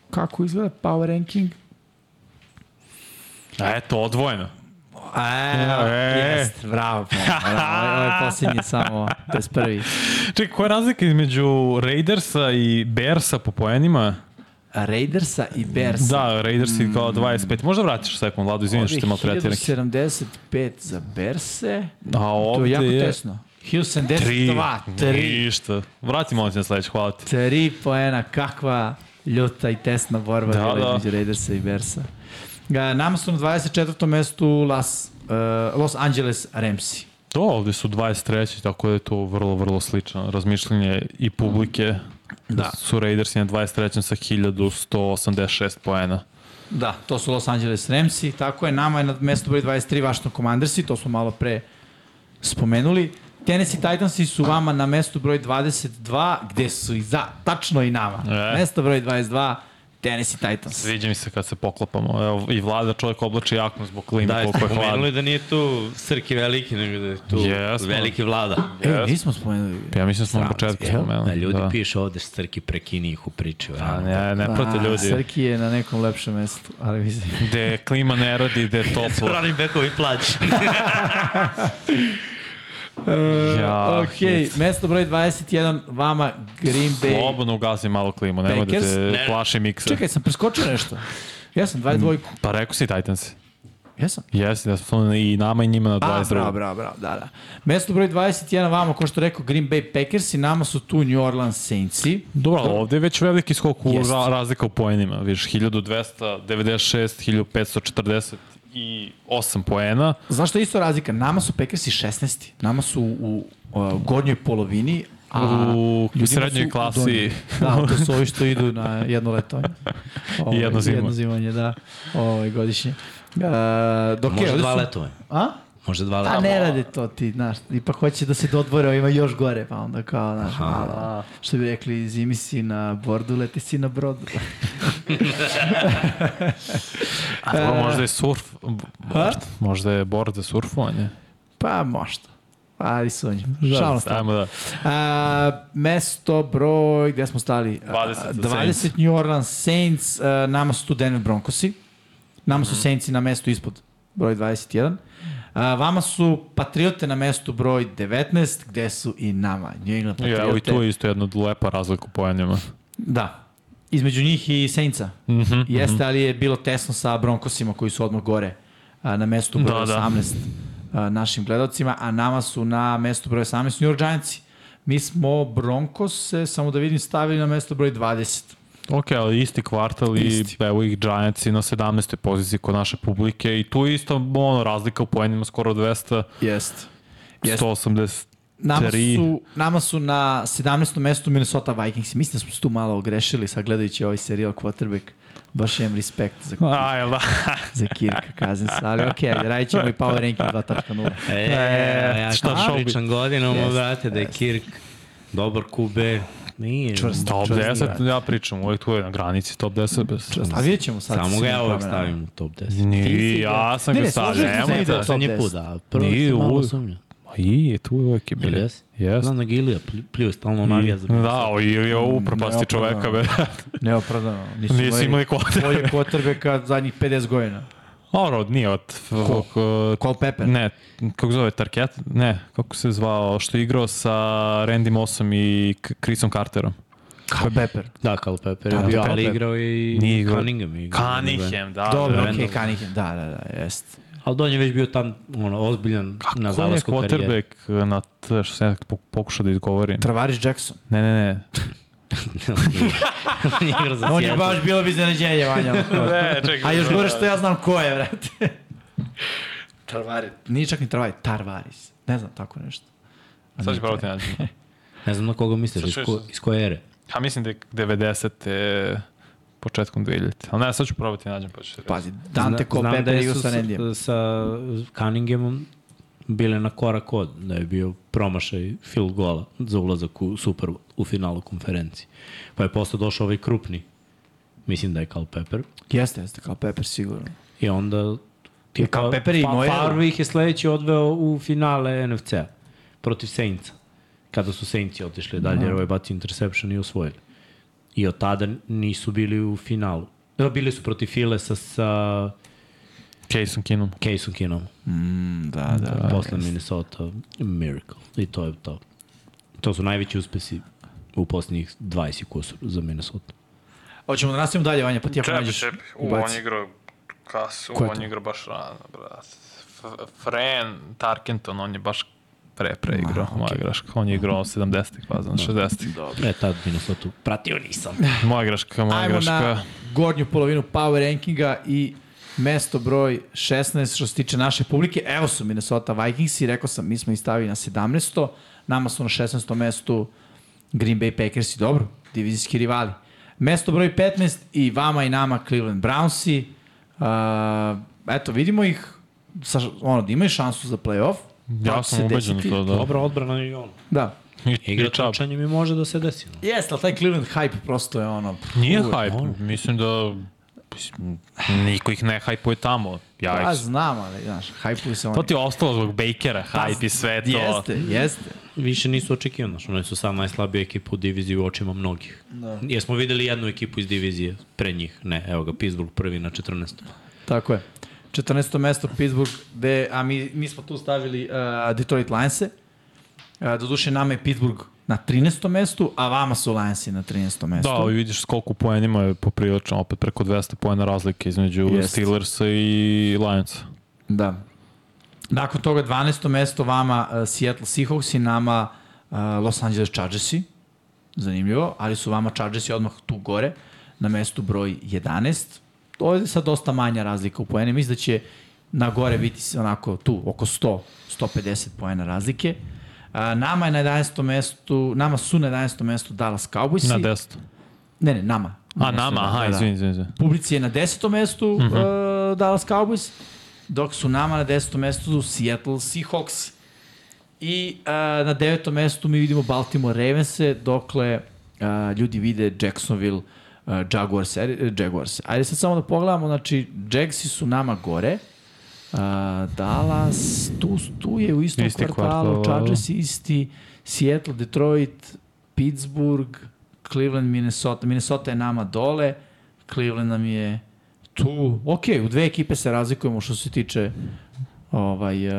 B: Kako izgleda power ranking?
A: A eto, odvojeno.
B: A,
A: E.
B: jest, bravo. bravo. Ovo je posljednji samo, to je prvi.
A: Čekaj, koja je razlika između Raidersa i Bearsa po poenima?
B: Raidersa i Bearsa.
A: Da, Raidersi kao 25. Možda vratiš sekund, Lado, izvini što te malo tretiram.
B: 1075 za Berse.
A: A
B: To
A: ovde
B: je jako
A: je...
B: tesno. 1072,
A: 3,
B: 3.
A: ništa. Vrati molim te na sledeći, hvala ti.
B: 3 poena, kakva ljuta i tesna borba
A: Da,
B: da,
A: da.
B: da. između Raidersa i Bersa. Ga, nama su na 24. mestu Las, uh, Los Angeles Ramsi.
A: To, ovde Da, su 23. tako da je to vrlo, vrlo slično. Razmišljanje i publike da. su Raidersi na 23. sa 1186 poena.
B: Da, to su Los Angeles Ramsi, tako je, nama je na mesto broj 23 Washington Commandersi, to smo malo pre spomenuli. Tennessee Titansi su vama na mesto broj 22, gde su i za, tačno i nama.
A: E.
B: E. Mesto broj 22, Tennessee Titans.
A: Sviđa mi se kad se poklapamo. Evo, I vlada čovjek oblači jaknu zbog klima
D: Da,
A: da,
D: jeste
A: koliko je
D: pomenuli
A: hladno.
D: da nije tu Srki veliki, nego da je tu
A: Jesmo.
D: veliki vlada.
B: E, nismo spomenuli.
A: Ja mislim da smo na početku spomenuli.
C: Da, ljudi
A: da.
C: da. pišu ovde Strki prekini ih u priči.
A: A
C: Da,
A: E, ne, ne prate
B: A,
A: ljudi.
B: Pa, Srki je na nekom lepšem mestu, ali mislim.
A: Gde klima ne radi, gde je toplo.
D: Running backovi plaći.
A: Ja,
B: ok, mesto broj 21, vama Green Bay.
A: Slobodno ugasi malo klimu, nemoj da
B: Packers?
A: te
D: Ne.
A: plaši miksa.
B: Čekaj, sam preskočio nešto. Ja sam 22.
A: Pa rekao si Titans.
B: Ja sam.
A: Jesi, da smo i nama i njima na
B: A,
A: 22.
B: bravo, bravo, bravo, da, da. Mesto broj 21 vama, ko što rekao, Green Bay Packers i nama su tu New Orleans Saintsi.
A: Dobro, ali ovde je već veliki skok u
B: Jest.
A: ra razlika u poenima. Viš, 1296, 1548 poena.
B: Znaš što je isto razlika? Nama su Packersi 16. Nama su u uh, gornjoj polovini, a
A: U
B: ljudima
A: srednjoj
B: su u
A: klasi.
B: donjoj. Da, to su ovi što idu na jedno letovanje. Ovaj,
A: jedno zimovanje.
B: Jedno zimovanje, da. Ovaj, godišnje. Uh, dok je,
C: Može
B: ovde
C: dva
B: su-
C: letove.
B: A?
C: Može dva
B: A
C: letove.
B: ne rade to ti, znaš, ipak hoće da se dodvore, ovima još gore, pa onda kao, znaš, malo, što bi rekli, zimi si na bordu, leti si na brodu.
A: A, dobro, možda je surf,
B: E. Ha?
A: možda, možda je board za surfovanje.
B: Pa možda. Ali sonje. Šalno stavno.
A: Ajmo da.
B: A, mesto, broj, gde smo stali?
A: 20
B: A,
A: za
B: 20
A: Saints.
B: New Orleans Saints, a, nama su tu Denver Broncosi. Nama
A: Mhm.
B: su Saintsi na mestu ispod broj 21. A, vama su Patriote na mestu broj 19, gde su i nama. New England Patriote.
A: Ja, i tu je isto jedna lepa razlika u poenima.
B: Da. Između njih i Saintsa. Mm
A: Mhm.
B: -hmm, Jeste, mm -hmm. ali je bilo tesno sa Broncosima koji su odmah gore a, na mestu
A: Da,
B: broj da,
A: da.
B: 18 a, našim gledalcima, a nama su na mestu broj 18 New York Giantsi. Mi smo Broncose, samo da vidim, stavili na mesto broj 20.
A: Ok, ali isti kvartal
B: Isti.
A: i evo ih Giantsi na 17. poziciji kod naše publike i tu je isto ono, razlika u poenima skoro 200,
B: Jeste. Jeste.
A: 180.
B: Nama
A: Tri.
B: su, nama su na 17. mestu Minnesota Vikings. Mislim da smo se tu malo ogrešili sad gledajući ovaj serijal quarterback. Baš imam respekt za,
A: A, jel da?
B: za Kirka Kazinsa, ali okej, okay, radit ćemo i Power Ranking 2.0.
D: E, e, ja
A: šta
D: šta
A: šobi?
D: pričam godinama,
B: Jest,
D: vrate, da je Kirk dobar kube. Nije.
B: Čvrst.
A: Top
B: Čvrst
A: 10, ja pričam, uvek tu je na granici top 10 bez...
B: A vidjet ćemo sad. da
D: Samo
B: sa
D: ga ja
B: svim
D: uvek
B: promenama.
D: stavim u top 10.
A: Ni, ja sam
B: Ne,
A: ga
B: ne,
A: stavio,
B: složili smo se
A: nemoj
B: ide
A: da.
B: u top
D: Poslednji
B: 10.
D: put, da. Prvo
A: Nije,
D: sam malo
A: uvek.
D: sumnjao.
A: I, tu uvek je
D: Ili
A: bilo.
D: jesi?
A: Jes.
D: Znam da ga Ilija pl- pljuje, stalno navija za
A: Da, o, ili je ovo upropasti
B: ne,
A: čoveka, be.
B: Neopravdano. Nisu,
A: Nisu imali kvote.
B: bolje quarterbacka zadnjih 50 godina.
A: Oro, nije od... Ko?
B: Cole Pepper.
A: Ne, kako zove, Tarket? Ne, kako se zvao, što je igrao sa Randy Mossom i K- Chrisom Carterom.
B: Cole Pepper.
D: Da, Cal Pepper je
B: Da,
D: bio,
B: Cal
D: ali
B: Pepper.
D: igrao je i
A: Nije igrao.
D: Cunningham. je igrao.
A: Cunningham, da.
B: Dobro,
A: da.
B: okej, okay, Cunningham. Da, da, da, jest.
D: Ali on je već bio tam ono, ozbiljan Kako na
A: Ko je
D: zalasku karijere.
A: quarterback na t, što sam ja pok- pokušao da izgovorim?
B: Travaris Jackson.
A: Ne, ne, ne.
D: on je igrao za
B: On je
D: Seattle.
B: baš bilo bi iznenađenje, Vanja.
A: Ne, čekaj. da,
B: A još gore što ja znam ko je, vrate. Travaris. Nije čak ni Travaris, Tarvaris. Ne znam tako nešto.
A: Sad ću pravo te nađem.
D: Ne znam na koga misliš,
A: Sad
D: iz,
A: čuješ
D: ko,
A: sam.
D: iz koje ere.
A: Ja mislim da je 90. početkom 2000. Ali ne, sad ću probati nađem pa ću se reći.
B: Pazi, Dante Cole
C: da
B: Pepper igrao sa Randyjem.
D: da sa, sa Cunninghamom bile na korak od, da je bio promašaj field gola za ulazak u Super Bowl.
C: u finalu konferencije. Pa je posle došao ovaj krupni, mislim da je Cal Pepper,
B: Jeste, jeste, kao Pepper sigurno.
C: i onda...
B: Je Cal Pepper i Noel.
C: Farve ih je sledeći odveo u finale NFC-a protiv Saintsa, kada su Saintsi otišli dalje,
B: Da.
C: jer ovaj bacio interception i osvojili. I od tada nisu bili u finalu. E, Bili su protiv Filesa sa
A: Jason Kinom.
C: Caseom Kinom.
B: Mm, da, da.
C: Da, posle Minnesota Miracle. I to je to. To su najveći uspesi u poslednjih 20 kusur za Minnesota.
B: Hoćemo da nastavimo dalje, Vanja, pa ti ako
E: Čepi,
B: nađeš.
E: čepi. U, on
B: ubaci.
E: je igrao kasu,
B: Ko je
E: on
B: to?
E: je igrao baš rano, brat. F- Fran Tarkenton, on je baš pre, pre igrao, moja greška. On je igrao 70-ih, pa
B: Da.
E: znam, 60-ih.
C: E, tad Minnesota pratio nisam.
A: Moja greška, moja
B: Ajmo
A: greška.
B: na gornju polovinu power rankinga i mesto broj 16 što se tiče naše publike. Evo su Minnesota Vikings i rekao sam, mi smo ih stavili na 17. Nama su na 16. mestu Green Bay Packers i dobro, divizijski rivali. Mesto broj 15 i vama i nama Cleveland Brownsi. Uh, eto, vidimo ih, sa, ono, da imaju šansu za playoff.
A: Ja
B: će
A: sam
B: se
A: ubeđen u
B: desiti.
A: to, da.
C: Dobra odbrana i on.
B: Da.
A: I,
C: Igra
A: i Chubb.
C: tučanje mi može da se desi. no.
B: Jeste, ali taj Cleveland hype prosto je ono... pff,
A: Nije
B: uvek,
A: hype,
B: ono.
A: mislim da mislim, niko ih ne hajpuje tamo. Ja,
B: Pa
A: ih-
B: znam, ali, znaš, hajpuju se oni.
A: to ti je ostalo zbog Bakera, hype i sve to.
B: Pa Jeste, jeste.
C: Više nisu očekivano. znaš, Oni su sad najslabija ekipa u diviziji u očima mnogih. Da. Jesmo videli jednu ekipu iz divizije pre njih. Ne, evo ga, Pittsburgh prvi na 14.
B: Tako je. 14. mesto Pittsburgh, gde, a mi, mi smo tu stavili uh, Detroit Lions-e. Uh, doduše, nama je Pittsburgh na 13. mestu, a vama su Lions-i na 13. mestu.
A: Da, ali vidiš s koliko poenima je poprilično, opet preko 200 poena razlike između
B: Jeste.
A: yes. Steelersa i Lionsa.
B: Da. Nakon toga 12. mesto vama uh, Seattle Seahawks i nama uh, Los Angeles Chargersi. Zanimljivo, ali su vama Chargersi odmah tu gore na mestu broj 11. Ovde je sad dosta manja razlika u poenima. Mislim da će na gore biti s- onako tu, oko 100, 150 poena razlike. Uh, nama je na 11. mestu, nama su na 11. mestu Dallas Cowboysi.
A: Na 10.
B: Ne, ne, nama.
A: A nama,
B: da-
A: aha, izvini, izvini, izvini.
B: Publici je na desetom mestu mm -hmm. uh, Dallas Cowboys, dok su nama na desetom mestu Seattle Seahawks. I uh, na devetom mestu mi vidimo Baltimore Ravens-e, dokle uh, ljudi vide Jacksonville uh, Jaguars, er, Jaguars. Ajde sad samo da pogledamo, znači Jagsi su nama gore, Uh, Dallas, tu, tu je u istom
A: Isti
B: kvartalu,
A: kvartal,
B: Chargers isti, Seattle, Detroit, Pittsburgh, Cleveland, Minnesota. Minnesota je nama dole, Cleveland nam je tu. Ok, u dve ekipe se razlikujemo što se tiče ovaj, uh,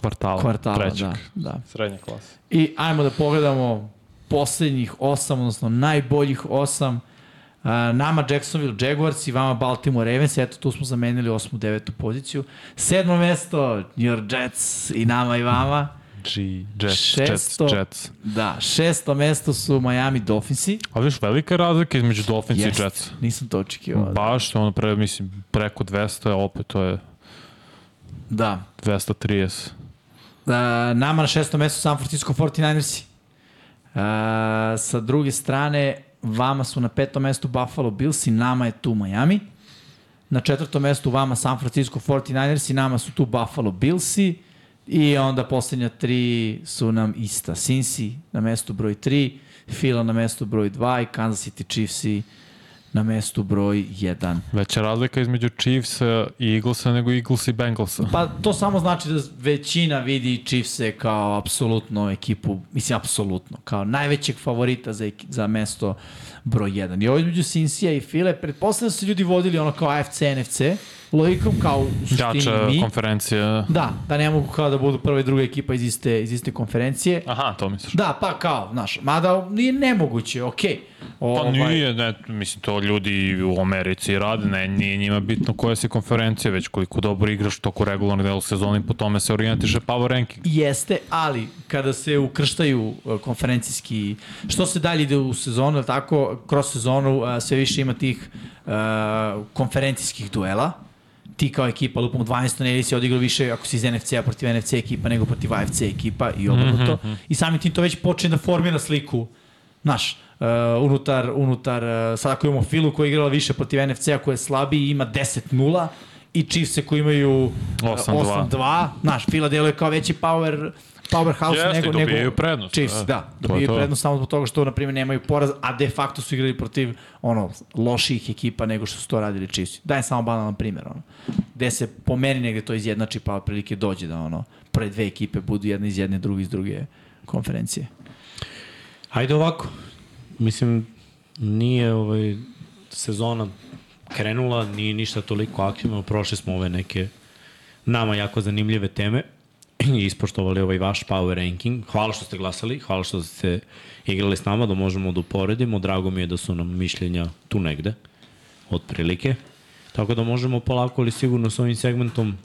A: Kvartala,
B: kvartala.
A: trećeg.
B: Da, da.
E: Srednja klasa.
B: I ajmo da pogledamo poslednjih osam, odnosno najboljih osam. Uh, nama Jacksonville Jaguars i vama Baltimore Ravens, eto tu smo zamenili osmu, devetu poziciju. Sedmo mesto, New York Jets i nama i vama.
A: G, Jets,
B: Šesto.
A: Jets, Jets.
B: Da, šesto mesto su Miami Dolphinsi.
A: A vidiš, velika je razlika između Dolphins yes. i Jets. Pa.
B: Nisam to očekivao. Ba
A: Baš, ono, pre, mislim, preko 200 je opet, to je
B: da.
A: 230.
B: Uh, nama na šestom mestu San Francisco 49ersi. Uh, sa druge strane, vama su na petom mestu Buffalo Bills i nama je tu Miami. Na četvrtom mestu vama San Francisco 49ersi, nama su tu Buffalo Billsi. I onda posljednja tri su nam ista. Cincy na mestu broj 3, Fila na mestu broj 2 i Kansas City Chiefsi na mestu broj 1.
A: Veća razlika između Chiefsa i Eaglesa nego Eagles i Bengalsa.
B: Pa to samo znači da većina vidi Chiefse kao apsolutno ekipu, mislim apsolutno, kao najvećeg favorita za, eki- za mesto broj 1. I ovo između Sinsija i File, pretpostavljam da su se ljudi vodili ono kao AFC, NFC, logikom kao u suštini
A: Jača
B: mi.
A: konferencija.
B: Da, da ne mogu kao da budu prva i druga ekipa iz iste, iz iste konferencije.
A: Aha, to misliš.
B: Da, pa kao, znaš, mada nije nemoguće, okej. Okay.
E: Ovaj-
A: Pa nije, ne, mislim, to ljudi u Americi rade, ne, nije njima bitno koja si konferencija, već koliko dobro igraš toko regularnog dela sezoni, po tome se orijentiše power ranking.
B: Jeste, ali kada se ukrštaju e, konferencijski, što se dalje ide u sezonu, jel tako, kroz sezonu e, sve više ima tih e, konferencijskih duela, ti kao ekipa, lupom u 12. nedelji si odigrao više ako si iz NFC-a protiv NFC ekipa nego protiv AFC ekipa i obrnuto. Mm -hmm. I samim tim to već počne da formira sliku Znaš, uh, unutar, unutar uh, sad ako imamo Filu koja je igrala više protiv NFC-a koja je slabiji, ima 10-0 i Chiefs-e koji imaju e,
A: 8:2.
B: 8-2. Znaš, Fila deluje kao veći power, powerhouse
E: Jeste,
B: nego...
E: dobijaju
B: nego
E: prednost,
B: Chiefs,
E: da.
B: da.
A: je
B: Dobijaju
A: to.
B: prednost samo zbog toga što, na primjer, nemaju poraz, a de facto su igrali protiv ono, loših ekipa nego što su to radili Chiefs. Dajem samo banalan primjer. Ono. Gde se po meni negde to izjednači, pa otprilike dođe da ono, pre dve ekipe budu jedna iz jedne, druga iz druge konferencije.
C: Ajde ovako. Mislim, nije ovaj, sezona krenula, nije ništa toliko aktivno. Prošli smo ove neke nama jako zanimljive teme i ispoštovali ovaj vaš power ranking. Hvala što ste glasali, hvala što ste igrali s nama, da možemo da uporedimo. Drago mi je da su nam mišljenja tu negde, otprilike. Tako da možemo polako ali sigurno s ovim segmentom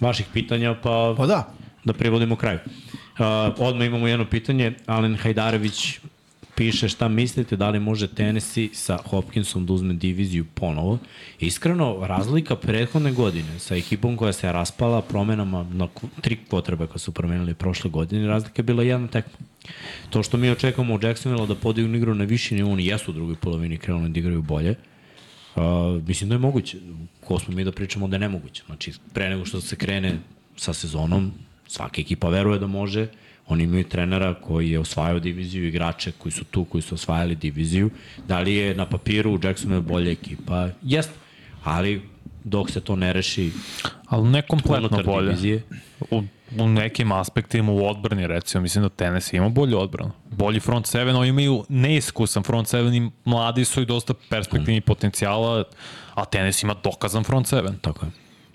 C: vaših pitanja, pa
B: Pa da,
C: da privodimo kraju. Uh, odmah imamo jedno pitanje. Alen Hajdarević piše šta mislite, da li može Tennessee sa Hopkinsom da uzme diviziju ponovo. Iskreno, razlika prethodne godine sa ekipom koja se raspala promenama na kv- tri potrebe koje su promenili prošle godine, razlika je bila jedna tekma. To što mi očekamo od Jacksonville da podignu igru na viši nivo, oni jesu u drugoj polovini krenuli da igraju bolje, Uh, mislim da je moguće. Ko smo mi da pričamo da je nemoguće. Znači, pre nego što se krene sa sezonom, svaka ekipa veruje da može. Oni imaju trenera koji je osvajao diviziju, igrače koji su tu, koji su osvajali diviziju. Da li je na papiru u Jacksonu bolja ekipa? Jeste. Ali dok se to ne reši
A: Ali ne kompletno
C: unutar
A: bolje.
C: divizije,
A: U, u nekim aspektima u odbrani, recimo, mislim da Tennessee ima bolju odbranu. Bolji front seven, oni imaju neiskusan front seven i mladi su i dosta perspektivni
C: Hmm.
A: potencijala, a Tennessee ima dokazan front seven.
C: tako je.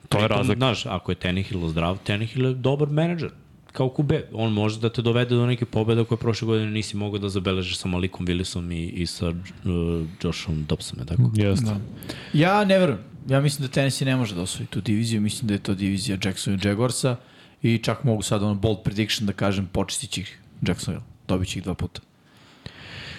A: To je
C: Pritom,
A: razlika.
C: Znaš, ako je Tenehill zdrav, Tenehill je dobar menadžer kao kube. On može da te dovede do neke pobjede koje prošle godine nisi mogao da zabeležiš sa Malikom Willisom i, i sa uh, Joshom Dobsonom, je tako?
A: Jeste.
B: Ja ne verujem. Ja mislim da Tennessee ne može da osvoji tu diviziju. Mislim da je to divizija Jacksonville Jaguarsa i čak mogu sad ono bold prediction da kažem počistit će ih Jacksonville. Dobit će ih dva puta.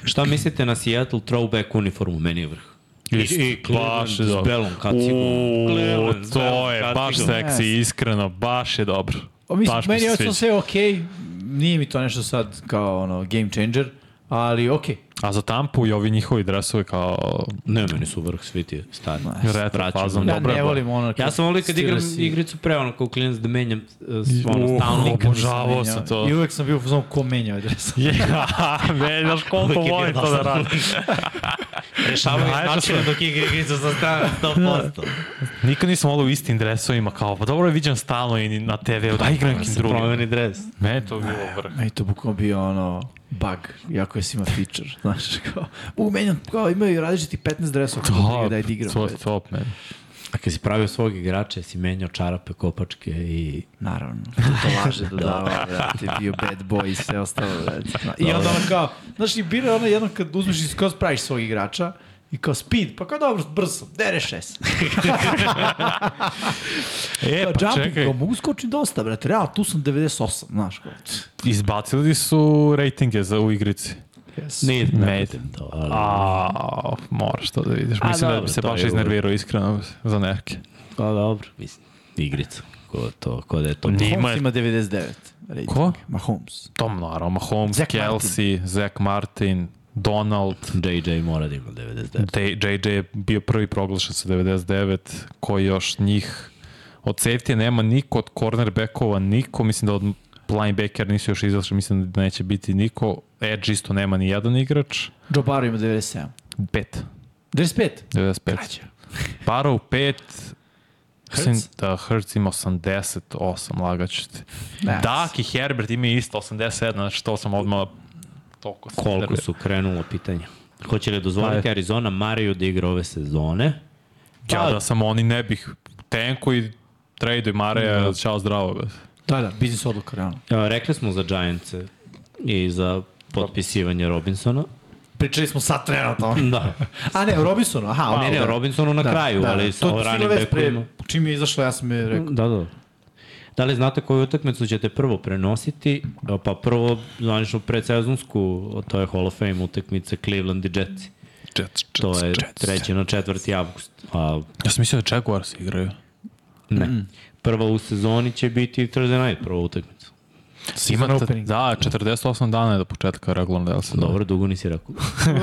C: Šta mislite na Seattle throwback uniformu? Meni je vrh.
A: Isto, baš je
C: s
A: dobro.
C: da. belom kacigom.
A: Uuu,
C: Cleveland s
A: to
C: belom
A: je
C: kacigom.
A: baš seksi, iskreno, baš je dobro.
B: O, mislim,
A: baš mi
B: meni
A: Pa se
B: je
A: sviđa.
B: osnovno sve okej. Nije mi to nešto sad kao ono game changer, ali okej.
A: A za Tampu i ovi njihovi dresovi kao...
C: Ne, meni su vrh svi ti stari.
A: Retro
C: Vraćam.
A: fazon.
B: Ja
A: Dobra je bolja.
B: ne volim ono...
C: Ja sam volio kad igram
B: Steelers i-
C: igricu pre, ono kao klinac da menjam uh, s- ono,
A: Uh,
C: stalno.
A: Obožavao sam to.
B: I uvek sam bio u fazonu ko menja adres.
A: Ja, ne, znaš koliko
C: Uvijek je
A: volim
C: bio
A: to da
C: dosadan.
A: radim.
C: Rešavaju
A: Znaš što
C: značine
A: sam-
C: dok igra igricu sa strane 100%.
A: Nikad nisam volao u istim dresovima, kao, pa dobro je viđan stalno i na TV-u, da igram nekim drugim.
C: Promeni dres.
A: Me je to bilo vrh.
B: Meni to bukvalno bio ono bug, jako je svima feature, znaš, kao, u, menjam, kao, imaju različiti 15 dresova, da, daj da igram.
A: To je top, man.
C: A kad si pravio svog igrača, si menjao čarape, kopačke i...
B: Naravno, to laže dodavao, brate, da, bio bad boy i sve ostalo, brate. Zna- I onda ono kao, znaš, i bira ono jedno kad uzmeš i kao spraviš svog igrača, i kao speed, pa kao dobro, brz sam, dere šest.
A: E,
B: Kao
A: pa
B: jumping,
A: čekaj,
B: kao mogu skočiti dosta, brate, realno, tu sam 98, znaš, kao.
A: izbacili su rejtinge za u igrici.
B: Yes.
C: Nije
A: Mate.
C: to, ali...
A: A, moraš to da vidiš.
C: A,
A: Mislim da
C: dobro,
A: bi se
C: to
A: baš
C: je
A: iznervirao, iskreno, za neke.
C: A, dobro. Mislim, igrica. Ko, to, ko da je to...
A: Nije. Ima
B: Mahomes
A: je-
B: ima 99. Rating.
A: Ko?
B: Mahomes.
A: Tom, naravno, Mahomes,
B: Zach
A: Kelsey, Zach Martin, Donald,
C: JJ mora da ima 99.
A: J- JJ je bio prvi proglašen sa 99, koji još njih od safety nema niko, od cornerbackova niko, mislim da od linebacker nisu još izašli, mislim da neće biti niko, edge isto nema ni jedan igrač,
B: Joe Barrow ima 97.
A: pet,
B: 95.
A: 95.
B: Krađa.
A: Barrow pet,
B: Hurts?
A: Mislim da Hertz ima 88, lagaću ti.
B: Nice.
C: Da.
A: Dak i Herbert ima isto 87, znači to sam odmah toliko sam
C: Koliko
A: nervirao.
C: su krenulo pitanja? Dakle, Pa Hoće li dozvoliti Arizona Mariju da igra ove sezone? Pa,
A: Ja da sam oni ne bih tenko i trade i Mare, mm. čao zdravo. Bez.
B: Da, da, biznis odluka, realno.
C: A, rekli smo za Giantse i za potpisivanje Robinsona.
B: Pričali smo sad trenutno.
C: Da.
B: A ne, o Robinsonu, aha.
C: Pa, ne, ne, o Robinsonu na da, kraju, da, ali sa
B: to,
C: ranim
B: ranim bekom.
C: bekovima.
B: Čim je izašla, ja sam je rekao.
C: Da, da. Da li znate koju utakmicu ćete prvo prenositi? E, Pa prvo, zvanično predsezonsku, to je Hall of Fame utakmica Cleveland i Jetsi. To je 3. na 4. avgust. A,
A: Ja sam mislio da Jaguars igraju.
C: ne. Prva u sezoni će biti Thursday night, prva utakmica.
A: Ima
B: Season
A: ta-
B: opening.
A: da, 48 dana Da. je do početka regularne dela sezone.
C: Dobro, dugo nisi rekao.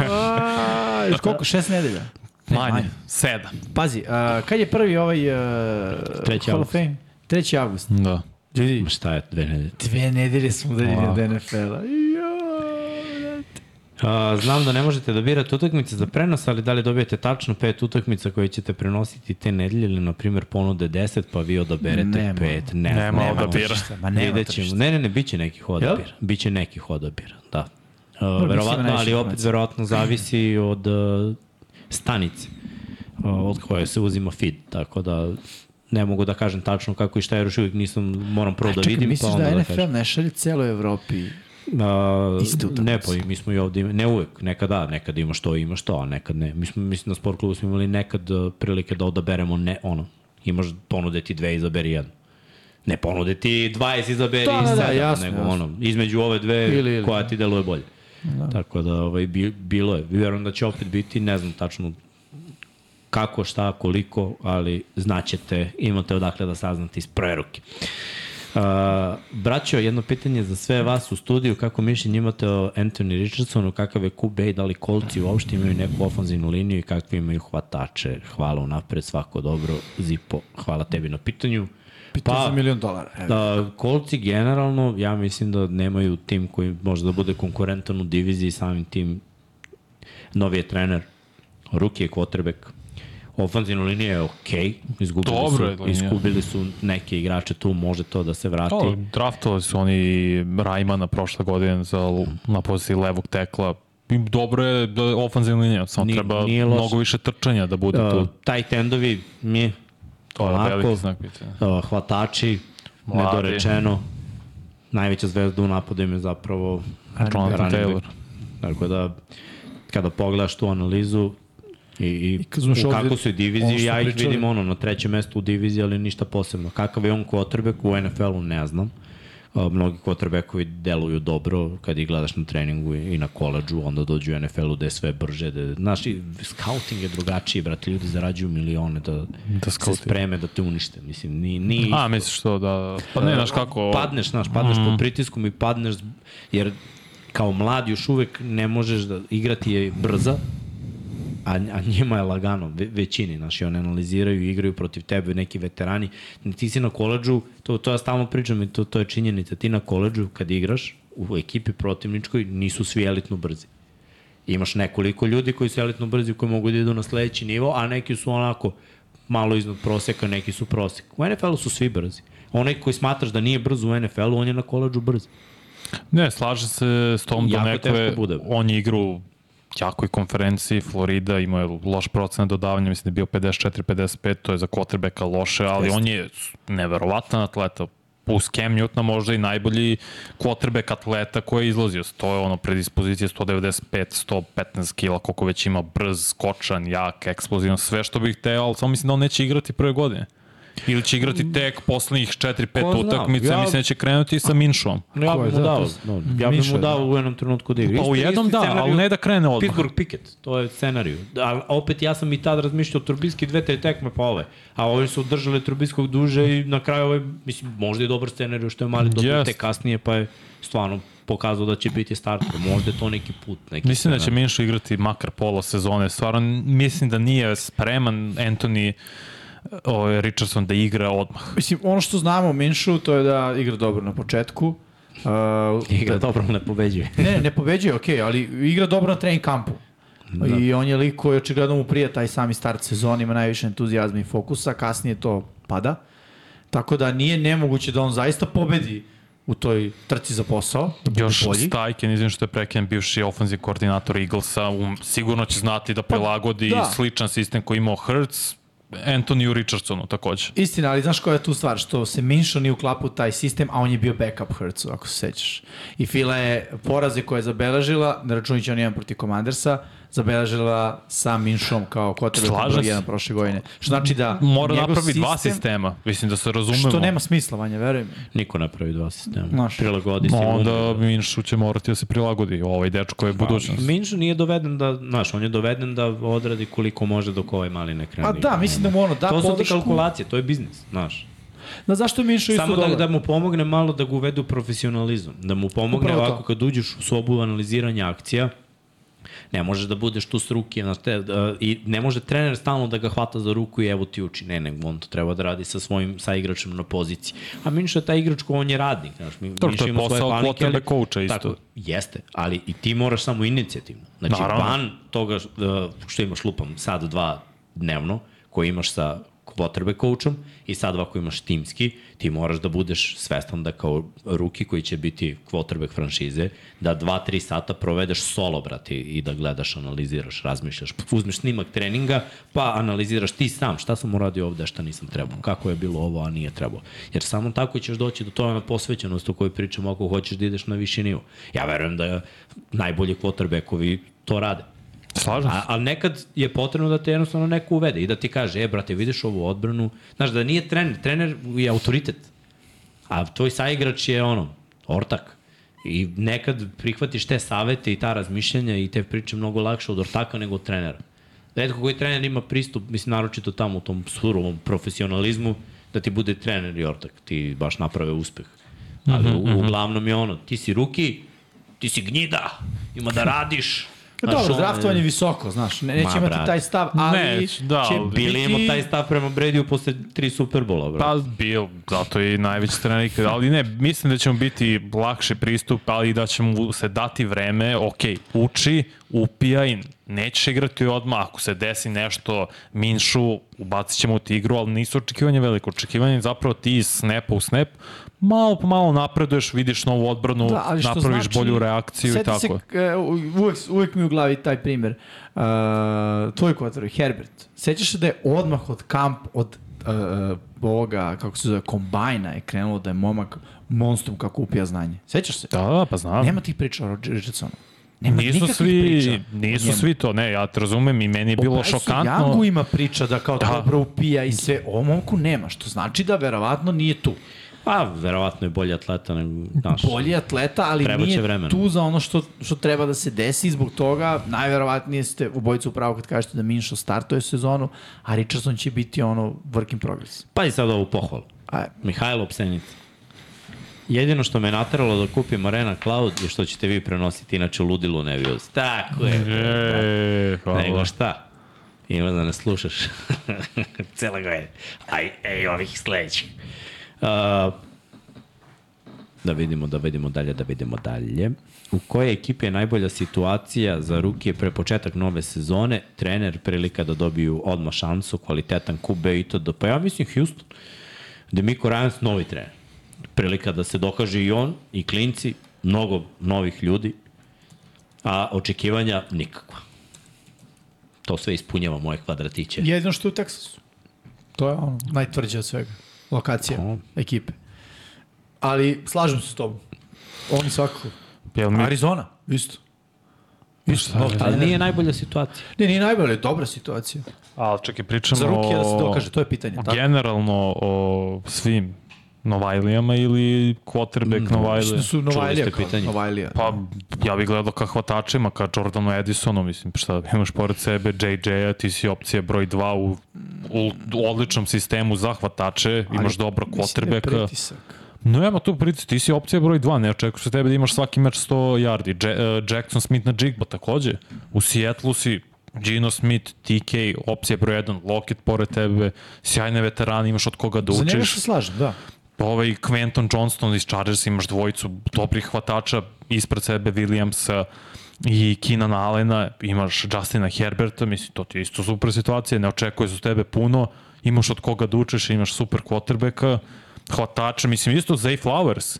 B: A, još koliko? Šest nedelja.
A: Manje,
B: manje.
A: sedam.
B: Pazi, uh, kad je prvi ovaj uh,
C: 3.
B: Hall of
C: avgust.
B: Fame? 3. avgust.
A: Da.
B: Ljudi,
C: Ma Šta je dve nedelje?
B: dve nedelje smo da udaljeni od NFL-a.
C: A, znam da ne možete da birate utakmice za prenos, ali da li dobijete tačno pet utakmica koje ćete prenositi te nedelje ili, na primjer, ponude 10, pa vi odaberete
B: Nema.
C: nema. pet? Ne,
A: Nema odabira.
B: tržišta, ma
C: Ma
B: nema
C: nema Vidjet ćemo.
B: tržišta.
C: Ne, ne, ne, bit će nekih odabira.
B: Jel?
C: Jel? Biće nekih odabira, da.
B: bit
C: Uh,
B: će najviše
C: verovatno, ali opet
B: informacija.
C: verovatno zavisi od uh, stanice uh, od koje se uzima feed, tako da ne mogu da kažem tačno kako i šta, jer još uvijek nisam, moram prvo da
B: Čekaj,
C: vidim, pa
B: misliš
C: onda
B: da
C: da,
B: NFL
C: kažem.
B: ne šalje celoj Evropi?
C: A,
B: Iste utakmice.
C: Ne, pa i mi smo i ovde, ima- ne uvek, nekad da, nekad imaš to, imaš to, a nekad ne. Mi smo, mislim, na sport klubu smo imali nekad uh, prilike da odaberemo ne, ono, imaš ponude ti dve, izaberi jednu. Ne ponude ti 20, izaberi
B: Da, da, da,
C: da, sedam,
B: jasno,
C: nego
B: jasno.
C: ono, između ove dve
B: Ili,
C: ili,
B: ili.
C: ili. koja ti deluje bolje. Da. Tako da, ovaj, bi, bilo je. Vjerujem da će opet biti, ne znam tačno kako, šta, koliko, ali znaćete, imate odakle da saznate iz prve ruke. Uh, braćo, jedno pitanje za sve vas u studiju, kako mišljenje imate o Anthony Richardsonu, kakav je QB i da li kolci uopšte imaju neku ofanzivnu liniju i kakvi imaju hvatače? Hvala unapred, svako dobro, Zipo, hvala tebi na pitanju.
B: Pitao pa, za milion dolara. Evo.
C: Da, kolci generalno, ja mislim da nemaju tim koji može da bude konkurentan u diviziji samim tim. Novi je trener, ruki je kvotrbek, ofanzivna linija je okej, izgubili,
A: Dobro je
C: su,
A: linija.
C: izgubili su neke igrače tu, može to da se vrati.
A: Pa To, draftovali su oni Rajmana prošle godine za, na poziciji levog tekla. I dobro je da je ofanzivna linija, samo
C: Ni-
A: treba
C: nije loše.
A: mnogo više trčanja da bude
C: Uh,
A: tu.
C: taj tendovi mi
A: To je
C: onako,
A: veliki znak pitanja.
C: uh, hvatači,
A: Mladi.
C: nedorečeno. Najveća zvezda u napadu im je zapravo
A: Jonathan
C: running
A: Taylor.
C: back. Tako da, kada pogledaš tu analizu i, i,
B: kad znaš
C: u
B: ovde
C: kako su i
B: ono što
C: diviziji, ja ih
B: pričali.
C: vidim ono na trećem mestu u diviziji, ali ništa posebno. Kakav je on quarterback u NFL-u, ne znam. A, Mnogi quarterbackovi deluju dobro kad ih gledaš na treningu i i na koleđu, onda dođu u NFL-u gde je sve brže. Gde, znaš, i scouting je drugačiji, brate, ljudi zarađuju milione da,
A: Da
C: se
A: scoutiraju.
C: spreme da te unište. Mislim, ni, ni,
A: A, misliš to da... Pa
C: E,
A: ne, znaš kako...
C: padneš, znaš, padneš mm. pod pritiskom i padneš, zb- jer kao mlad još uvek ne možeš da igrati je brza, a, a njima je lagano, ve, većini, znaš, i oni analiziraju i igraju protiv tebe neki veterani. Ti si na koleđu, to, to ja stalno pričam i to, to je činjenica, ti na koleđu kad igraš u ekipi protivničkoj nisu svi elitno brzi. Imaš nekoliko ljudi koji su elitno brzi, koji mogu da idu na sledeći nivo, a neki su onako malo iznad proseka, neki su prosek. U NFL-u su svi brzi. Onaj koji smatraš da nije brz u NFL-u, on je na koleđu brz.
A: Ne, slažem se s tom da
C: Jako
A: nekle,
C: teško bude.
A: on je igrao u jakoj konferenciji, Florida imao je loš procenat dodavanja, mislim da je bio 54-55, to je za quarterbacka loše, ali on je neverovatan atleta. Plus Cam Newton možda i najbolji quarterback atleta koji je izlazio. To je ono predispozicije 195, 115 kila, koliko već ima brz, skočan, jak, eksplozivan, sve što bih hteo, ali samo mislim da on neće igrati prve godine. Ili će igrati tek poslednjih 4-5
C: Mm. Ko zna,
A: utakmica, ja...
C: ja-
A: mislim da će krenuti sa Minšom.
C: Ja
B: Ko je
C: bih
B: da, to
C: mu dao,
B: s-
C: no, ja bih
B: Miša,
C: mu
B: da.
C: dao u jednom trenutku da igra.
A: Pa u
C: Isti-
A: jednom
C: isti
A: da,
C: scenarij
A: ali
C: u
A: ne da krene odmah.
C: Pittsburgh Pickett, to je scenariju. A opet ja sam i tad razmišljao Trubinski dve te tekme pa ove. A ovi su držali Trubinskog duže i na kraju ovaj, mislim, možda je dobar scenariju što je mali dobio
A: Jest.
C: yes. te kasnije pa je stvarno pokazao da će biti starter. Možda je to neki put. Neki
A: Mislim da će
C: scenarij.
A: Minšo igrati makar pola sezone. Stvarno mislim da nije spreman Anthony o, Richardson da igra odmah.
B: Mislim, ono što znamo o Minšu, to je da igra dobro na početku. Uh,
C: Igra Da, dobro, ne pobeđuje.
B: Ne, ne pobeđuje, okej, okay, ali igra dobro na trening kampu. Da. I on je lik koji očigledno mu prija taj sami start sezona, ima najviše entuzijazma i fokusa, kasnije to pada. Tako da nije nemoguće da on zaista pobedi u toj trci za posao. da bude
A: Još
B: bolji.
A: Stajken, izvim što je prekijen bivši ofenziv koordinator Eaglesa, um, sigurno će znati da prilagodi
B: da.
A: da. sličan sistem koji je imao Hertz, Antoniju Richardsonu takođe.
B: Istina, ali znaš koja je tu stvar? Što se Minšo nije uklapao u taj sistem, a on je bio backup Hurtsu, ako se sećaš. I Fila je poraze koje je zabeležila, ne računajući on jedan protiv Commandersa, zabeležila sa Minšom kao kotrbe
A: Slažem
B: broj
A: se.
B: jedan prošle godine. Što znači da
A: Mora
B: njegov
A: napravi dva sistema, mislim da se razumemo.
B: Što nema smisla, Vanja, veruj mi.
C: Niko napravi dva sistema.
B: Znaš.
C: Prilagodi se.
A: Onda Minšu će morati da se prilagodi, ovaj dečko je
B: Pa,
A: budućnost.
C: Minšu nije doveden da, znaš, on je doveden da odradi koliko može dok ovaj mali ne krene.
B: Pa da, mislim da mu ono da
C: to su ti
B: podršku.
C: kalkulacije, to je biznis, znaš.
B: Da zašto je Minšo isto
C: Samo
B: dobar?
C: da, da mu pomogne malo da ga uvedu u profesionalizam. Da mu pomogne
B: Upravo to.
C: ovako kad uđeš u sobu analiziranja akcija, Ne možeš da budeš tu s ruke, na te, da, i ne može trener stalno da ga hvata za ruku i evo ti uči. Ne, nego on to treba da radi sa svojim sa igračem na poziciji. A Minša je taj igrač ko on je radnik. Znaš, mi,
A: Dobro, to je posao quarterback coacha isto.
C: Tako, jeste, ali i ti moraš samo inicijativno. Znači,
A: Naravno.
C: Naravno. van toga uh, što imaš lupam sad dva dnevno, koje imaš sa potrebe coachom i sad ovako imaš timski, ti moraš da budeš svestan da kao ruki koji će biti quarterback franšize, da 2-3 sata provedeš solo, brate, i da gledaš, analiziraš, razmišljaš, uzmeš snimak treninga, pa analiziraš ti sam šta sam uradio ovde, a šta nisam trebao, kako je bilo ovo, a nije trebao. Jer samo tako ćeš doći do toga na posvećenost o kojoj pričamo ako hoćeš da ideš na viši nivo. Ja verujem da najbolji quarterbackovi to rade.
A: Slažem se.
C: A, ali nekad je potrebno da te jednostavno neko uvede i da ti kaže, e brate, vidiš ovu odbranu. Znaš, da nije trener, trener je autoritet. A tvoj saigrač je ono, ortak. I nekad prihvatiš te savete i ta razmišljanja i te priče mnogo lakše od ortaka nego od trenera. Redko koji trener ima pristup, mislim, naročito tamo u tom surovom profesionalizmu, da ti bude trener i ortak. Ti baš naprave uspeh. Ali
B: Mhm,
C: u, uglavnom je ono, ti si ruki, ti si gnjida, ima da radiš.
B: Pa
C: Znaš,
B: dobro,
C: ono je-
B: draftovan je visoko, znaš, ne, neće
C: Ma,
B: imati
C: brate.
B: taj stav, ali
A: Neć, da,
B: će
A: ali
C: Bili
B: biti...
C: imamo taj stav prema Bradyu posle tri Superbola, bro. Pa,
A: Pa bio, zato je i najveći trener ikada, ali ne, mislim da će mu biti lakši pristup, ali i da će mu se dati vreme, ok, uči, upijaj, nećeš igrati odmah, ako se desi nešto, minšu, ubacit ćemo ti igru, ali nisu očekivanje veliko, očekivanje je zapravo ti iz snapa u snap, malo po malo napreduješ, vidiš novu odbranu, da, napraviš znači, bolju reakciju i
B: seti
A: tako.
B: Se, e, u- uvek, uvek mi u glavi taj primer. Uh, tvoj kvotor, Herbert. Sećaš se da je odmah od kamp, od uh, ovoga, kako se zove, kombajna je krenulo da je momak monstrum kako upija znanje. Sećaš se?
A: Da, da, pa znam.
B: Nema tih priča o Rod- Richardsonu. Nema
A: Nisu
B: nikakvih
A: svi,
B: priča.
A: nisu
B: Nema.
A: svi to, ne, ja te razumem i meni je bilo
B: Bryce'u
A: šokantno.
B: Youngu ima priča da kao
A: Da.
B: da. dobro upija i sve. O momku nema, što znači da verovatno nije tu.
C: pa verovatno je bolji atleta nego naš.
B: Bolji atleta, ali
C: Trebaće
B: nije
C: vremena.
B: tu za ono što, što treba da se desi. Zbog toga, najverovatnije ste u bojicu upravo kad kažete da Minšo startuje sezonu, a Richardson će biti ono work in progress.
C: Pazi Pa sad ovu pohvalu.
B: A,
C: Mihajlo Psenica. Jedino što me nateralo da kupim Arena Cloud je što ćete vi prenositi, inače ludilo ne bi uz. Tako je.
A: E, hvala.
C: Nego šta? Ima da ne slušaš. Cela godine. Aj, ej, ovih sledećih. Uh, da vidimo, da vidimo dalje, da vidimo dalje. U kojoj ekipi je najbolja situacija za rukije pre početak nove sezone? Trener prilika da dobiju odmah šansu, kvalitetan kube i to da... Pa ja mislim Houston. Demiko Ryans novi trener. Prilika da se dokaže i on i klinci, mnogo novih ljudi, a očekivanja nikakva. To sve ispunjava moje kvadratiće.
B: jedino što je u Teksasu. To je ono, najtvrđe od svega. Lokacija,
C: Mm.
B: ekipe. Ali slažem se s tobom. Oni svakako.
A: Jel mi
B: Arizona, isto. Isto,
A: je?
B: nov
C: Ali
B: trener.
C: nije najbolja situacija.
B: Ne, nije najbolje, dobra situacija.
A: Ali čekaj, pričamo
B: Za rukija da se dokaže, to je pitanje. Tako?
A: generalno o svim Novajlijama ili quarterback mm,
B: Mislim
A: Novajlija.
B: da su
C: Čuli
B: Novajlija
C: ste
B: kao
C: pitanje.
B: Novajlija.
A: Pa ja bih gledao ka hvatačima, ka Jordanu Edisonu, mislim, šta imaš pored sebe, JJ-a, ti si opcija broj 2 u, u, u odličnom sistemu za hvatače,
B: Ali
A: imaš dobro
B: mislim da je
A: quarterbacka.
B: pritisak.
A: Nema tu pritis, ti si opcija broj 2, ne očekuješ se tebe da imaš svaki meč 100 yardi. Ja, uh, Jackson Smith na Jigba takođe. U Seattleu si Gino Smith, TK, opcija broj 1, Lockett pored tebe, sjajne veterane, imaš od koga da
B: Za njega
A: učiš.
B: se slažem, da.
A: Ovaj Quentin Johnston iz Chargers, imaš dvojicu dobrih hvatača, ispred sebe Williamsa i Keenan Allena, imaš Justina Herberta, mislim, to ti je isto super situacija, ne očekuje se od tebe puno, imaš od koga da učiš, imaš super quarterbacka, hvatača, mislim, isto Zay Flowers,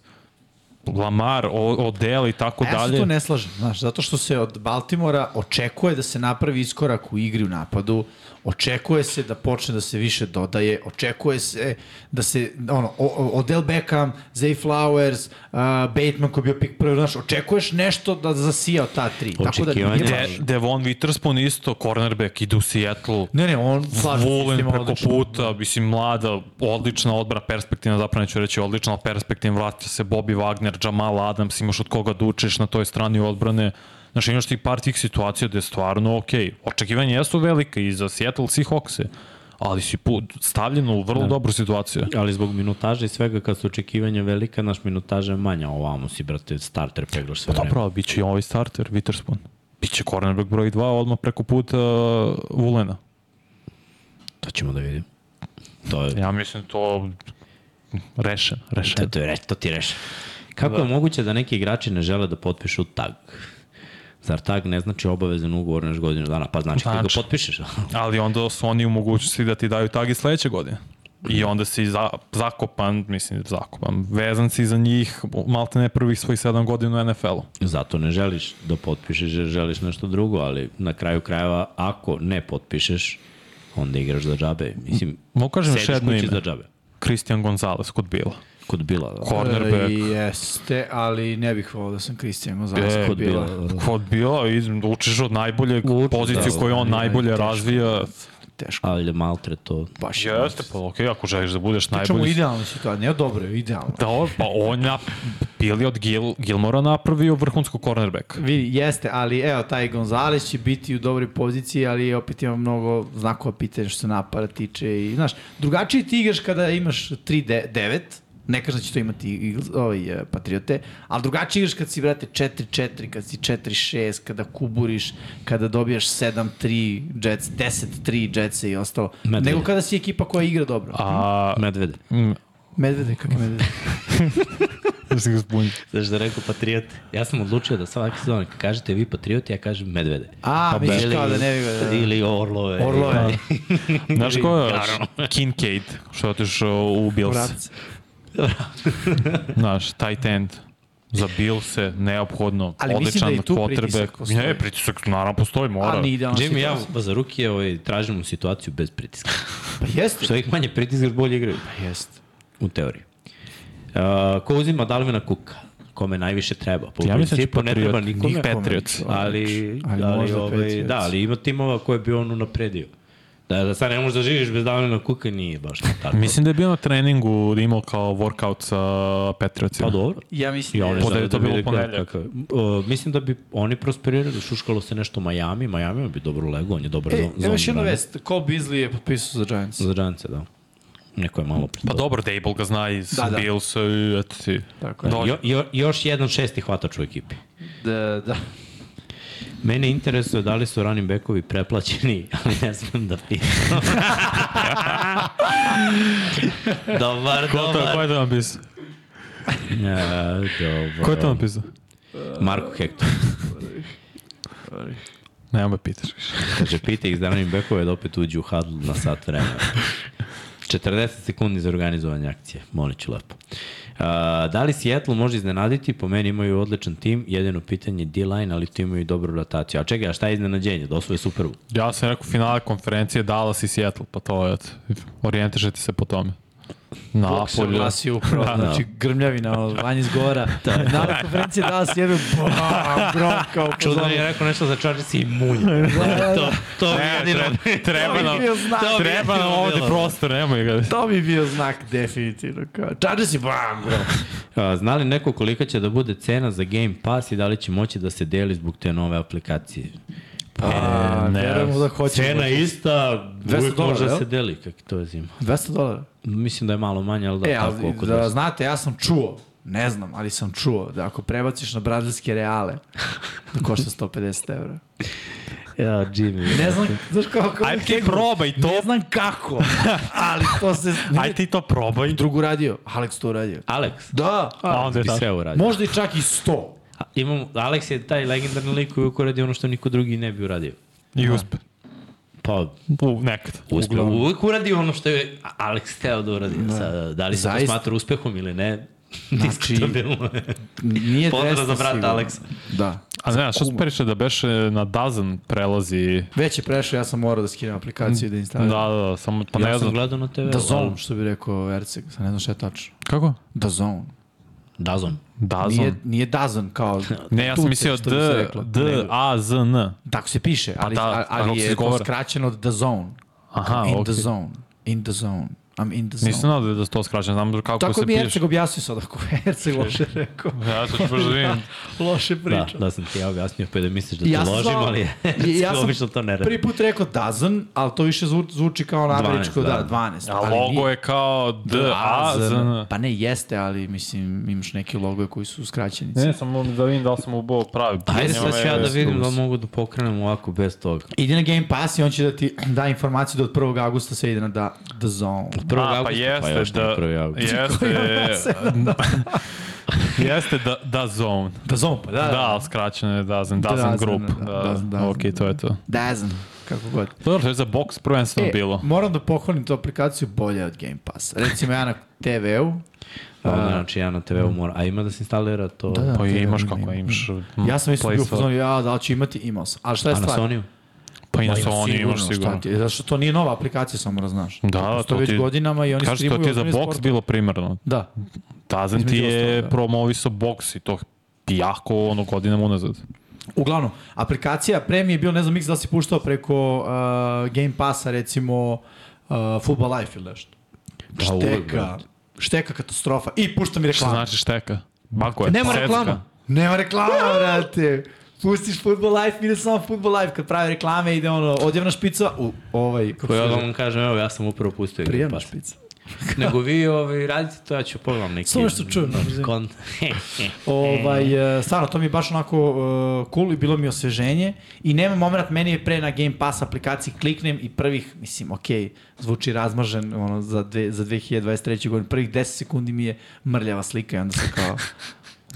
A: Lamar, O- Odell i tako
B: Ja se
A: dalje.
B: tu ne slažem, znaš, zato što se od Baltimora očekuje da se napravi iskorak u igri u napadu, očekuje se da počne da se više dodaje, očekuje se da se, ono, o- o- Odell Beckham, Zay Flowers, uh, Bateman koji je bio pik prvi, znaš, očekuješ nešto da zasija od ta tri. Tako da nije
C: Očekivanje.
B: baš...
A: De, Devon Witherspoon isto, cornerback, ide u Seattle,
B: Ne, ne, on slažem se s
A: Vulin
B: tim
A: preko
B: odlično.
A: puta, mislim, mlada, odlična odbra, perspektivna, zapravo neću reći odlična, ali perspektivna, vraća se Bobby Wagner, Jamal Adams, imaš od koga da učiš na toj strani odbrane, Znaš, imaš ti par tih situacija gde je stvarno okej. Okay. Očekivanja jesu velika i za Seattle Seahawks-e, ali si put, stavljen u
B: Da.
A: vrlo dobru situaciju.
C: Ali zbog minutaža i svega, kad su očekivanja velika, naš minutaža je manja. Ovamo si, brate, starter peglaš sve vreme.
A: Dobro, ali bit će i ovaj starter, Witherspoon. Biće cornerback broj 2 odmah preko puta uh, Vulena.
C: To ćemo da vidimo. To je,
A: Ja mislim to rešen,
C: to,
A: rešen.
C: to, je, re- to ti reši. Kako da. je moguće da neki igrači ne žele da potpišu tag? Zar tag ne znači obavezan ugovor naš godinu dana? Pa znači, znači. kad ga
A: Znači.
C: potpišeš.
A: Ali onda su oni u mogućnosti da ti daju tag i sledeće godine.
C: Da.
A: I onda si za, zakopan, mislim zakopan, vezan si za njih malte ne prvih svojih 7 godina u NFL-u.
C: Zato ne želiš da potpišeš jer želiš nešto drugo, ali na kraju krajeva ako ne potpišeš, onda igraš za džabe. Mislim,
A: Mogu kažem još
C: sediš
A: jedno
C: kući
A: ime.
C: za džabe.
A: Christian Gonzalez kod Bila.
C: Kod Bila. Da.
A: Cornerback.
B: E, jeste, ali ne bih volao da sam Kristijan Gonzalez
A: E,
B: kod bila.
A: Kod Bila, iz- učiš od najbolje
C: Učiš,
A: poziciju
C: da,
A: koju on
B: da,
A: najbolje
B: teško.
A: razvija.
B: Teško.
C: Ali je maltre to.
B: Baš je.
A: Jeste, pa okej, ako želiš da budeš
B: Pričamo o
A: najbolji
B: idealnoj situaciji. Ne, dobro je, idealno.
A: Da, on- pa on je bili od Gil, Gilmora napravio vrhunskog cornerbacka.
B: Vidi, jeste, ali evo, taj Gonzales će biti u dobroj poziciji, ali opet ima mnogo znakova pitanja što se napada tiče i, znaš, drugačije ti igraš kada imaš 3-9, ne kažem da će to imati Eagles, ovaj, eh, Patriote, ali drugačije igraš kad si, brate, 4-4, kad si 4-6, kada kuburiš, kada dobijaš 7-3 Jets, 10-3 Jetsa i ostalo,
C: Medvede.
B: nego kada si ekipa koja igra dobro.
A: A,
C: Medvede.
A: mm,
B: Medvede, kakve medvede?
A: da se ga zbunio.
C: Znaš da rekao patriot? Ja sam odlučio da svaki sezon kad kažete vi patrioti, ja kažem medvede.
A: Pa
B: A, misliš
C: Ili-
B: kao da ne bi ga...
C: Ili orlove.
B: Orlove.
A: Da. Znaš ko je još? Kincaid, što je otišao u Bills.
B: Vrat.
A: Znaš, tight end. Za Bilse, neophodno,
B: Ali mislim
A: odličan
B: da i tu
A: quarterback.
B: pritisak postoji.
A: Ne, pritisak naravno postoji, mora.
B: A, ni idealna
C: Jimmy, ja
B: situacija.
C: pa za ruke ovaj, tražim situaciju bez pritiska.
B: Pa jeste.
C: Što ih manje pritiska, bolje igraju.
A: Pa
B: Jeste.
C: U teoriji. Uh, ko uzima Dalvina Kuka? Kome najviše treba? Po
A: Ja mislim da će
C: principu ne treba
A: Patriot,
C: nikome.
A: njih Patriots.
C: Ali, ali,
B: Ali
C: ali,
B: možda
C: ovaj,
B: Patriots.
C: da, ali ima timova koje bi on unapredio. Da, da sad ne možeš da živiš bez Dalvina Kuka nije baš tako.
A: Mislim da je bio na treningu da je imao kao workout sa Patriotsima.
C: Pa dobro.
B: Ja mislim
C: Ja
B: da
C: ne
B: je
A: Po
C: znam
A: da je to bilo
C: vidi
A: ponedeljak.
C: kako je. O, mislim da bi oni prosperirali, šuškalo se nešto Miami, Miami bi dobro lego, on je dobar
B: E,
C: e, zon.
B: evo još jedna vest, Cole Beasley je potpisao za Giants.
C: Za Giants, da. Neko je malo
A: Pa
C: preto.
A: dobro, Dable ga zna iz
B: Da, da.
A: Bilsa i eto ti.
B: Tako je.
A: Dođe.
C: Jo, jo, još jedan šesti hvatač u ekipi.
B: Da, da.
C: Mene interesuje da li su running backovi preplaćeni, ali ne znam da pitam. dobar,
A: Ko je to, ko
C: dobar.
A: je to napisao?
C: Ja, dobar.
A: Ko je to napisao?
C: Marko Hector.
A: Nemoj me pitaš više.
C: Kaže, pita ih za running backove da opet uđu u hadl na sat vremena. 40 sekundi za organizovanje akcije, molit ću lepo. Uh, da li Seattle može iznenaditi? Po meni imaju odličan tim, jedino pitanje je D-line, ali tu imaju i dobru rotaciju. A čekaj, a šta je iznenađenje? Da osvoje Super Bowl.
A: Ja sam rekao finale konferencije Dallas i Seattle, pa to je, eto, orijentišajte se po tome.
B: Bog se
A: Napolje.
B: oglasio upravo,
C: Da.
B: znači grmljavina, ono, vanje zgora. da. Na konferenciji da se jebe, bam, grom kao po
C: Čudan
B: zonu.
C: je rekao nešto za Chargers i munj. to, to
A: Ne,
C: mi je jedino.
A: tre- treba
B: To bi
A: nam,
B: bio znak.
C: To bi
A: treba nam
C: bilo
A: ovde
C: bilo.
A: prostor, nemoj ga.
B: To bi bio znak definitivno. Kao, Chargers i bam,
C: E,
B: grom.
C: A, Zna li neko kolika će da bude cena za Game Pass i da li će moći da se deli zbog te nove aplikacije?
B: A,
A: ne.
B: verujemo Pa, da hoćemo.
C: Cena je ista,
B: 200
C: uvijek može
B: dolara,
C: da
B: jel?
C: se deli, kako to je zima.
B: 200 dolara.
C: Mislim da je malo manje, ali da
B: e,
C: e, tako
B: ali,
C: oko
B: da
C: 200.
B: znate, ja sam čuo, ne znam, ali sam čuo da ako prebaciš na brazilske reale, da košta 150 evra.
C: Ja, Jimmy.
B: Ne znam, znaš kako... kako
A: Ajde ti probaj to,
B: Ne znam kako, ali to se...
A: ajde ti to probaj.
B: Drugu radio, Alex to uradio.
C: Alex,
B: Da,
A: A onda je
C: bi
A: tako.
C: sve uradio.
B: možda i čak i 100.
C: A, Imamo, Alex je taj legendarni lik koji je uradio ono što niko drugi ne bi uradio.
A: I uspe.
C: Pa,
A: U, nekad.
C: uspeo. Uvijek uradi ono što je Alex teo da uradi. Sad, da li se to
B: Zaista.
C: smatra uspehom ili ne,
B: Znači-
C: diskutabilno je.
B: Nije
C: Pozdrav
B: 200
C: za brata
B: sigurno.
C: Aleksa.
B: Da.
A: A ne, što se periše da beše na Dazan prelazi...
B: Već je prešao, ja sam morao da skinem aplikaciju i da
A: Da,
B: instaliram. Da.
A: da, da, samo, pa ne
C: ja sam
A: znam.
C: gledao na TV.
B: Da zone, što bi rekao Erceg, sad ne znam šta je tačno.
A: Kako?
B: Da zone.
C: Dazon.
A: Dazon.
B: Nije, nije Dazon kao...
A: Da Ne, ja sam
B: tuce,
A: mislio
B: što
A: D,
B: bi se reklo.
A: D, A, Z, N.
B: Tako se piše, ali,
A: da,
B: da,
A: tako
B: ali
A: se
B: je to
A: izgovara.
B: skraćeno da zone.
A: Aha,
B: In the
A: okej.
B: zone. In the zone. I'm in the zone.
A: Nisam nadao da je to skraćeno, znam kako
B: Tako
A: se
B: bi
A: piše.
B: Erceg objasnio sad ako je Erceg loše rekao.
A: Ja to ću baš da vidim.
B: loše
C: Da,
B: pričao.
C: da sam ti ja objasnio pa da misliš da te
B: Ja sam
C: ložim,
B: zvao-
C: ali je,
B: I ja sam
C: obično to ne radi.
B: Prvi put rekao dozen, ali to više zvu- zvuči kao na
C: 12,
B: američko, da,
C: da.
B: 12.
A: A
B: ali nije.
A: logo je kao D, A, Z, N.
B: Pa ne, jeste, ali mislim, imaš neke logoje koji su skraćenice.
A: Ne, samo da vidim da li sam ubao pravi.
C: Ajde
A: Nema
C: sad ću ja da
A: veze.
C: vidim da li mogu da pokrenem ovako bez toga.
B: Idi na Game Pass i on će da ti da informaciju da od 1. augusta sve ide na da, The Zone.
C: Prvog
A: A, pa
C: avgusta,
A: jeste
C: pa još ne
A: da...
C: prvi avgust.
A: Jeste...
B: da.
A: jeste da, da zone.
B: The Zone, pa
A: Da, da skraćeno je Dazen, Dazen
B: Dazen,
A: Group.
B: da,
A: Da,
B: Dazen, Dazen,
A: ok, to je to.
B: Dozen, kako god.
A: Dobro, to je za box prvenstveno bilo.
B: moram da pohvalim tu aplikaciju bolje od Game Pass. Recimo ja na TV-u,
C: Pa onda, znači ja na TV-u moram, a ima da se instalira to
B: da,
A: Pa
B: to
A: i
B: je
A: imaš
B: dobro,
A: kako
B: ima.
A: imaš.
B: ja sam
A: Mm.
B: isto
A: Play
B: bio u
A: Store.
B: fazonu, ja da li ću imati, imao sam. Ali šta je stvar?
C: Panasonic.
A: Pa i na
B: Pa
A: Sony imaš
B: šta
A: sigurno.
B: ti je, Zašto to nije nova aplikacija, samo da znaš.
A: Da,
B: To
A: da,
B: postoji
A: to
B: već
A: ti-
B: godinama i oni
A: Kažeš to ti je za
B: vrhunski
A: box
B: sport.
A: bilo primarno.
B: Da.
A: Dazen ti
B: Između
A: je
B: ostalog, da.
A: promovisao box i to jako ono godinama unazad.
B: Uglavnom, aplikacija pre mi je bio, ne znam, mix da li si puštao preko uh, Game Passa, recimo uh, Football Life ili nešto. Da,
C: uvek,
B: šteka,
C: brate.
B: šteka katastrofa. I pušta mi
A: Šta
B: reklamu.
A: znači šteka? Bako je.
B: Nema
A: secka.
B: reklama. Nema reklama, brate. Pustiš Football Life, ide samo Football Life. Kad pravi reklame, ide ono, odjevna špica u ovaj... Kako
C: Pa ja
B: se
C: da
B: zove?
C: vam kažem, evo, ja sam upravo pustio Game
B: Prijemna
C: Pass.
B: špica.
C: Nego vi ovi, radite to, ja ću pogledam neki...
B: Samo što čujem, naravno.
C: Kon...
B: Ovaj, e, stvarno, to mi je baš onako uh, cool i bilo mi osveženje. I nema moment, meni je pre na Game Pass aplikaciji kliknem i prvih, mislim, ok, zvuči razmažen ono, za, dve, za 2023. godinu, prvih 10 sekundi mi je mrljava slika i onda sam kao...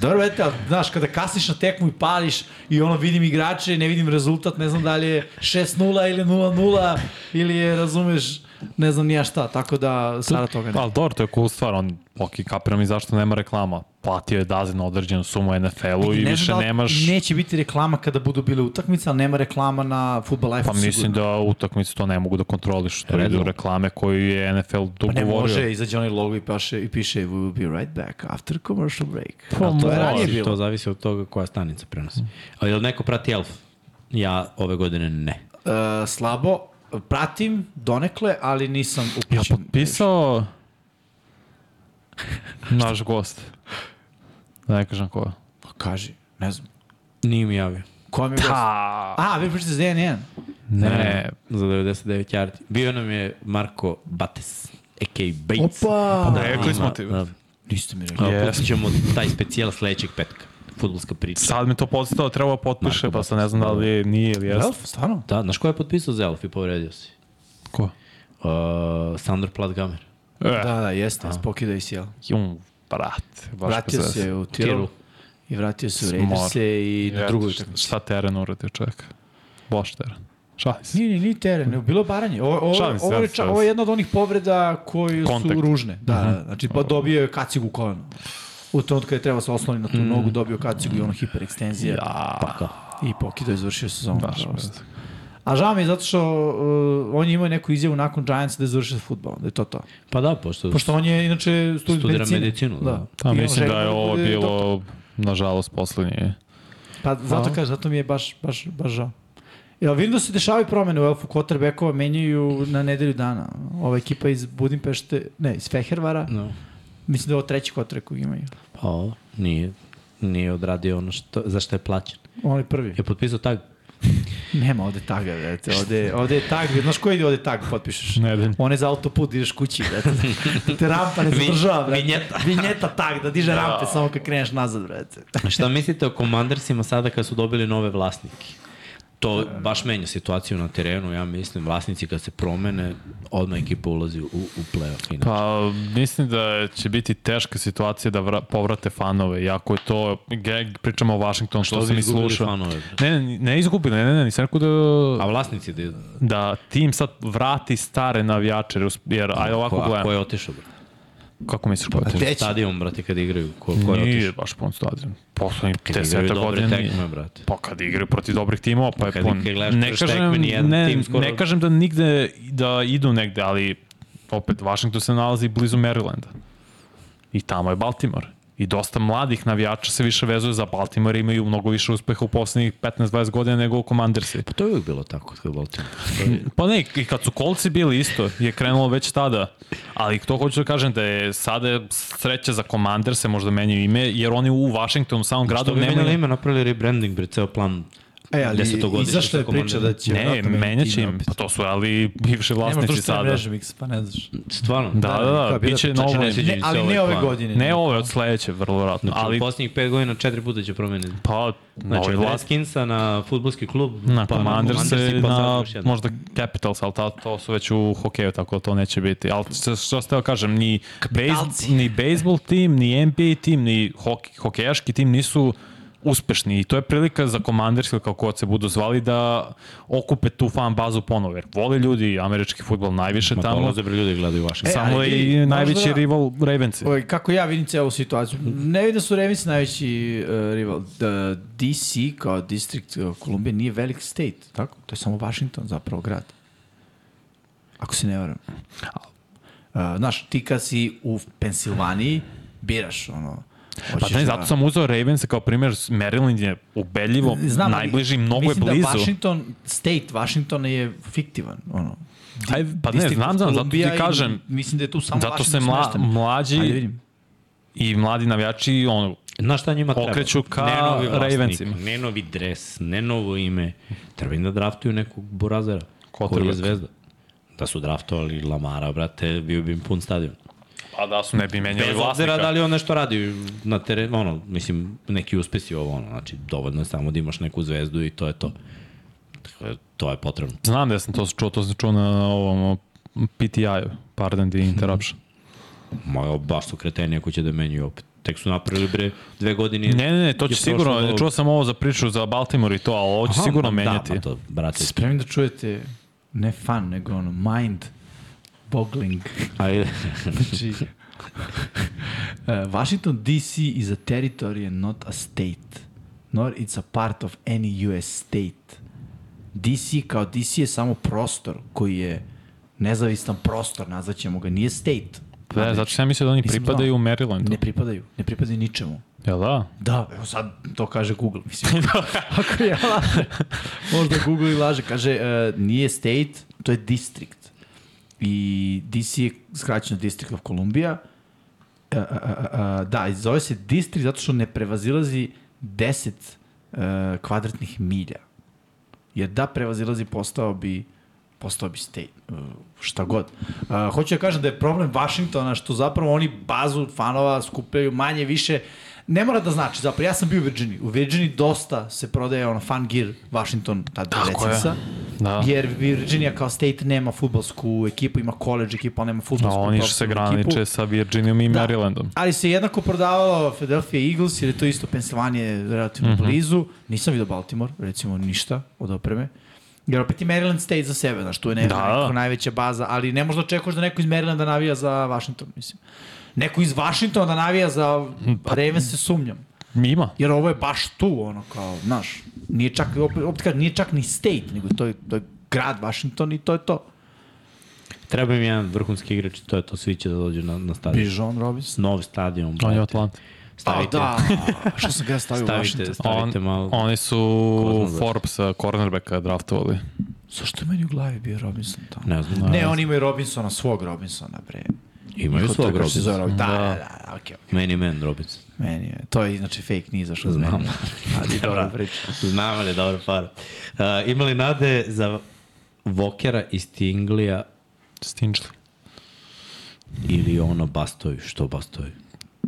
B: Dobro, vete, ali, znaš, kada kasniš na tekmu i pališ i ono vidim igrače, ne vidim rezultat, ne znam da li je 6-0 ili 0-0 ili je, razumeš, ne znam nija šta, tako da sada toga ne.
A: Pa, ali dobro, to je cool stvar, on, ok, kapiram i zašto nema reklama. Platio je Dazen određenu sumu NFL-u i
B: Ne znam
A: više
B: da li
A: nemaš...
B: Neće biti reklama kada budu bile utakmice, ali nema reklama na Football Life.
A: Pa mislim da utakmice to ne mogu da kontroliš, to idu reklame koju je NFL
B: Pa ne
A: dogovorio.
B: može, izađe onaj logo i, paše, i piše we will be right back after commercial break.
A: Pa
B: A to je
A: može.
B: ranije
C: Zavisi,
B: bilo.
C: to zavisi od toga koja stanica prenosi. Ali jel neko prati Elf? Ja ove godine ne.
B: Uh, slabo, pratim donekle, ali nisam
A: Ja
B: upućen.
A: potpisao naš gost. Da ne kažem ko je.
B: Pa kaži, ne znam.
C: Nije mi javio.
B: Ko mi je gost? A, vi pričate za DN1.
A: Ne,
C: E, Za 99 yardi. Bio nam je Marko Bates, a.k. Bates.
B: Opa!
C: Da,
F: Rekli
C: ima,
F: smo ti.
C: Da,
B: Niste mi rekli.
C: Yes.
A: Yes.
C: Pustit ćemo taj specijal sledećeg petka. Futbolska priča.
A: sad mi to podstavao, treba da potpiše,
C: Marko
A: pa sad ne znam da li je, nije ili jeste.
B: Elf, stvarno?
C: Da, znaš ko je potpisao za Elf i povredio si?
A: Ko?
C: Uh, Sandor Platgamer.
A: E,
B: Da, da, jeste, spokida i sjel.
A: jum, brat. Baš
B: Vratio
A: bez veze.
B: se u
C: Tiru.
B: Tiru. I vratio se u
A: Smor.
B: Raiderse i na
A: Eto,
B: drugoj
A: šta-
B: utakmici.
A: Šta teren uradi čovjek? Loš teren. Šalim se.
B: Nije, nije, nije teren, nego bilo baranje. Ovo, ovo,
A: Hm. Šalim se,
B: ovo, je,
A: ja se-
B: ča, ovo je jedna od onih povreda koje su
A: Kontakt. Mhm.
B: ružne. Da, da, znači pa dobio je kacigu u koleno. U tom kada je trebao se osloniti na tu
A: Mhm.
B: nogu, dobio kacigu i ono hiperekstenzija. Ja. Pa kao. I pokido je završio sezonu.
A: Pa, Baš
B: nažalost.
A: bez.
B: A žao mi je zato što uh, on je imao neku izjavu nakon Giants da je završio s futbolom, da je to to.
C: Pa da, pošto...
B: Pošto on je inače student
C: Studira
B: medicine.
C: medicinu, da.
A: Da,
B: I on
A: mislim
B: želi
A: da je ovo
B: bude doktor.
A: bilo, nažalost, poslednje.
B: Pa zato kažem, zato mi je baš, baš, baš žao. Ja, vidim da se dešavaju promene u Elfu Kotrbekova, menjaju na nedelju dana. Ova ekipa iz Budimpešte, ne, iz Fehervara,
C: No.
B: mislim da je ovo treći Kotrek koji imaju.
C: Pa ovo, nije, nije odradio ono što, za što je plaćen.
B: On je prvi.
C: Je potpisao tag.
B: Nema ovde taga, vrete. Ovde, ovde je tag, znaš koji ide ovde tag, potpišeš?
A: Nedelj.
B: On je za autoput, ideš kući, vrete. Da te rampa ne zadržava, vrete. Vinjeta. Vinjeta tag, da diže rampe samo kad kreneš nazad, vrete.
C: Šta mislite o komandarsima sada kad su dobili nove vlasnike? To baš menja situaciju na terenu, ja mislim, vlasnici kad se promene, odmah ekipa ulazi u, u play-off. inače.
A: Pa, mislim da će biti teška situacija da vra, povrate fanove, iako je to, ge, pričamo o Washingtonu, što,
C: bi
A: sam i
C: izgubili
A: slušao.
C: fanove?
A: Ne, ne, ne izgubili, ne, ne, ne, nisam rekao
C: A
A: da,
C: vlasnici da
A: da tim sad vrati stare navijače, jer us- jer, ajde ovako
C: ko, a ko
A: gledam,
C: je otišao, brate?
A: kako misliš ko je to?
B: Treći.
C: Stadion, brate, kad igraju, ko, ko je
A: Nije
C: otišao?
A: baš pun stadion. Poslednjih
C: Kad igraju
A: 10
C: dobre
A: godina nije.
C: tekme, brate.
A: Pa kad igraju protiv dobrih timova, pa je
C: kad-
A: pun.
C: kad gledaš
A: Ne
C: kroz
A: kažem,
C: tekme, nijedan
A: ne,
C: tim skoro-
A: ne kažem da nigde da idu negde, ali opet Washington se nalazi blizu Marylanda. I tamo je Baltimore. I dosta mladih navijača se više vezuje za Baltimore, imaju mnogo više uspeha u poslednjih 15-20 godina nego u Commandersi.
C: Pa To je uvijek bilo tako kad Baltimore.
A: Pa ne, i kad su kolci bili isto, je krenulo već tada. Ali to hoću da kažem da je sada je sreća za komandar se možda menjaju ime, jer oni u Vašingtonu, u samom gradu,
C: Što bi menjali
A: nemaju...
C: ime, napravili rebranding, bre, ceo plan
B: E, ali
C: desetogodišnji
B: izašla je
C: sa
B: priča da
C: komandom.
B: će...
A: Ne, menjaće im, pa to su ali bivši
B: Nemaš
A: vlasnici
B: društvene
A: sada.
B: mreže, Miksa, pa ne znaš.
C: Stvarno.
A: Da, da, da,
B: Koja bila
A: biće
B: priča?
A: novo.
C: Znači, ne sviđa
B: Ne,
C: im se
B: ali
C: ovaj
B: ne ove
C: plan.
B: godine.
A: Ne ove od sledeće, vrlo vjerojatno.
C: Znači, ali...
A: Ali,
C: u poslednjih pet godina četiri puta će promeniti.
A: pa,
C: Znači,
A: novi
C: od
A: vlast,
C: Redskinsa na futbolski klub,
A: na komandar se,
C: Commandersi, pa sad
A: na
C: još jednom.
A: možda Capitals, ali ta, to su već u hokeju, tako da to neće biti. Ali što, što ste kažem, ni, bejz, ni baseball tim, ni NBA tim, ni hoke, hokejaški tim nisu uspešni i to je prilika za komanderski ili kako god se budu zvali da okupe tu fan bazu ponovo, jer vole ljudi američki futbol najviše
C: Ma
A: tamo,
C: dolaze bre ljudi gledaju vaše.
B: E,
A: samo
B: ali
A: je
B: vidi,
A: i najveći
B: možda- da-
A: rival Ravensi.
B: Oj, kako ja vidim celu situaciju. Ne vidim da su Ravens najveći uh, rival. Da DC kao distrikt uh, Kolumbije nije velik state, tako? To je samo Washington zapravo grad. Ako se ne varam. Uh, znaš, ti kad si u Pensilvaniji, biraš ono.
A: Pa
B: hoćeš
A: ne,
B: da-
A: zato sam uzeo Ravens kao primjer, Maryland je ubedljivo
B: ali
A: najbliži, mnogo je
B: Mislim
A: blizu.
B: da Washington, state Washingtona je fiktivan, ono.
A: Aj, pa ne,
B: District
A: znam, znam, zato ti
B: Columbia i
A: kažem,
B: Mislim da je tu samo
A: zato se
B: Washington
A: mla,
B: smešten. Ajde
A: mlađi
B: vidim.
A: i mladi navijači, ono,
C: Znaš šta njima treba?
A: Okreću ka
C: Ne novi vlasnik,
A: Ravensima.
C: Ne novi dres, ne novo ime. Treba im da draftuju nekog burazera. Koji je
A: Quarterback.
C: zvezda. Da su draftovali Lamara, brate, bio bi im pun stadion.
A: pa da su ne bi menjali
C: Bez
A: vlasnika.
C: obzira da li on nešto radi na terenu, ono, mislim, neki uspesi ovo, ono, znači, dovoljno je samo da imaš neku zvezdu i to je to. Tako, je, to je potrebno.
A: Znam da sam to čuo, to sam čuo na ovom PTI-u, pardon the interruption.
C: Ma, baš su kreteni ako će da menjaju opet. Tek su napravili bre dve godine.
A: Ne, ne, ne, to
C: je
A: će sigurno,
C: prošlo do-
A: čuo sam ovo za priču za Baltimore i to, ali ovo će
C: Aha,
A: sigurno
C: ma
A: menjati.
C: Da, pa to, brate,
B: Spremni da čujete ne fan, nego ono mind boggling.
C: ajde.
B: Znači, eh, Washington DC is a territory and not a state. Nor it's a part of any US state. DC kao DC je samo prostor koji je nezavistan prostor, nazvaćemo ga, nije state.
A: Da, zato sam ja mislio da oni
B: Nisam
A: pripadaju
B: znao.
A: u Marylandu.
B: Ne pripadaju, ne pripadaju ničemu.
A: Jel da?
B: Da, evo sad to kaže Google, mislim. Ako ja laže. Možda Google i laže. Kaže, uh, nije state, to je district. I DC je skraćeno District of Columbia. Uh, uh, uh, uh, da, i zove se district zato što ne prevazilazi 10 uh, kvadratnih milja. Jer da prevazilazi postao bi postao bi state, uh, šta god. Uh, hoću da kažem da je problem Washingtona što zapravo oni bazu fanova skupljaju manje više, ne mora da znači, zapravo ja sam bio u Virginiji, u Virginiji dosta se prodaje ono fan gear Washington, ta
A: Tako je.
B: delecinsa,
A: Da.
B: jer Virginia kao state nema futbolsku ekipu, ima college ekipu, ali nema
A: A
B: futbolsku
A: Da, oni što se
B: profesionalnu
A: graniče
B: da ekipu.
A: sa Virginijom i
B: Da.
A: Marylandom.
B: Ali se jednako prodavalo Philadelphia Eagles, jer je to isto Pensilvanije relativno
A: Mhm.
B: mm -hmm. blizu. Nisam vidio Baltimore, recimo ništa od opreme. Jer opet i Maryland State za sebe, znaš, tu je
A: Da.
B: ne, da. neko najveća baza, ali ne možda očekuješ da neko iz Marylanda navija za Washington, mislim. Neko iz Washingtona da navija za
A: Pa
B: Ravens se sumnjam.
A: Ima.
B: Jer ovo je baš tu, ono, kao, znaš, nije čak, opet, opet kad, nije čak ni state, nego to je, to je grad Washington i to je to.
C: Treba im jedan vrhunski igrač, to je to, svi će da dođu na, na stadion.
B: Bijon Robinson.
C: Nov stadion.
A: On je
C: brate.
A: Atlanta.
B: A,
C: Stavite,
B: da, što sam ga ja stavio u Washington?
C: stavite, stavite malo.
A: Oni su
C: zna zašto.
A: Forbesa, cornerbacka draftovali.
B: Zašto je meni u glavi bio Robinson tamo?
C: Ne znam.
B: Ne, oni imaju Robinsona, svog Robinsona, bre.
A: Da.
C: Imaju
B: Kod
C: svog
B: trkač se zove
C: Robinson.
B: Robinson. Da, da, da, da, okej, okej.
C: Meni man Robinson.
B: Meni je, to je inače fake, nije zašto
C: Znam.
B: Znam. Ali dobra priča.
C: Znam ali, dobro par. Uh, imali nade za Vokera i Stinglija
A: Stinčli.
C: ili ono Bastoju, što Bastoju?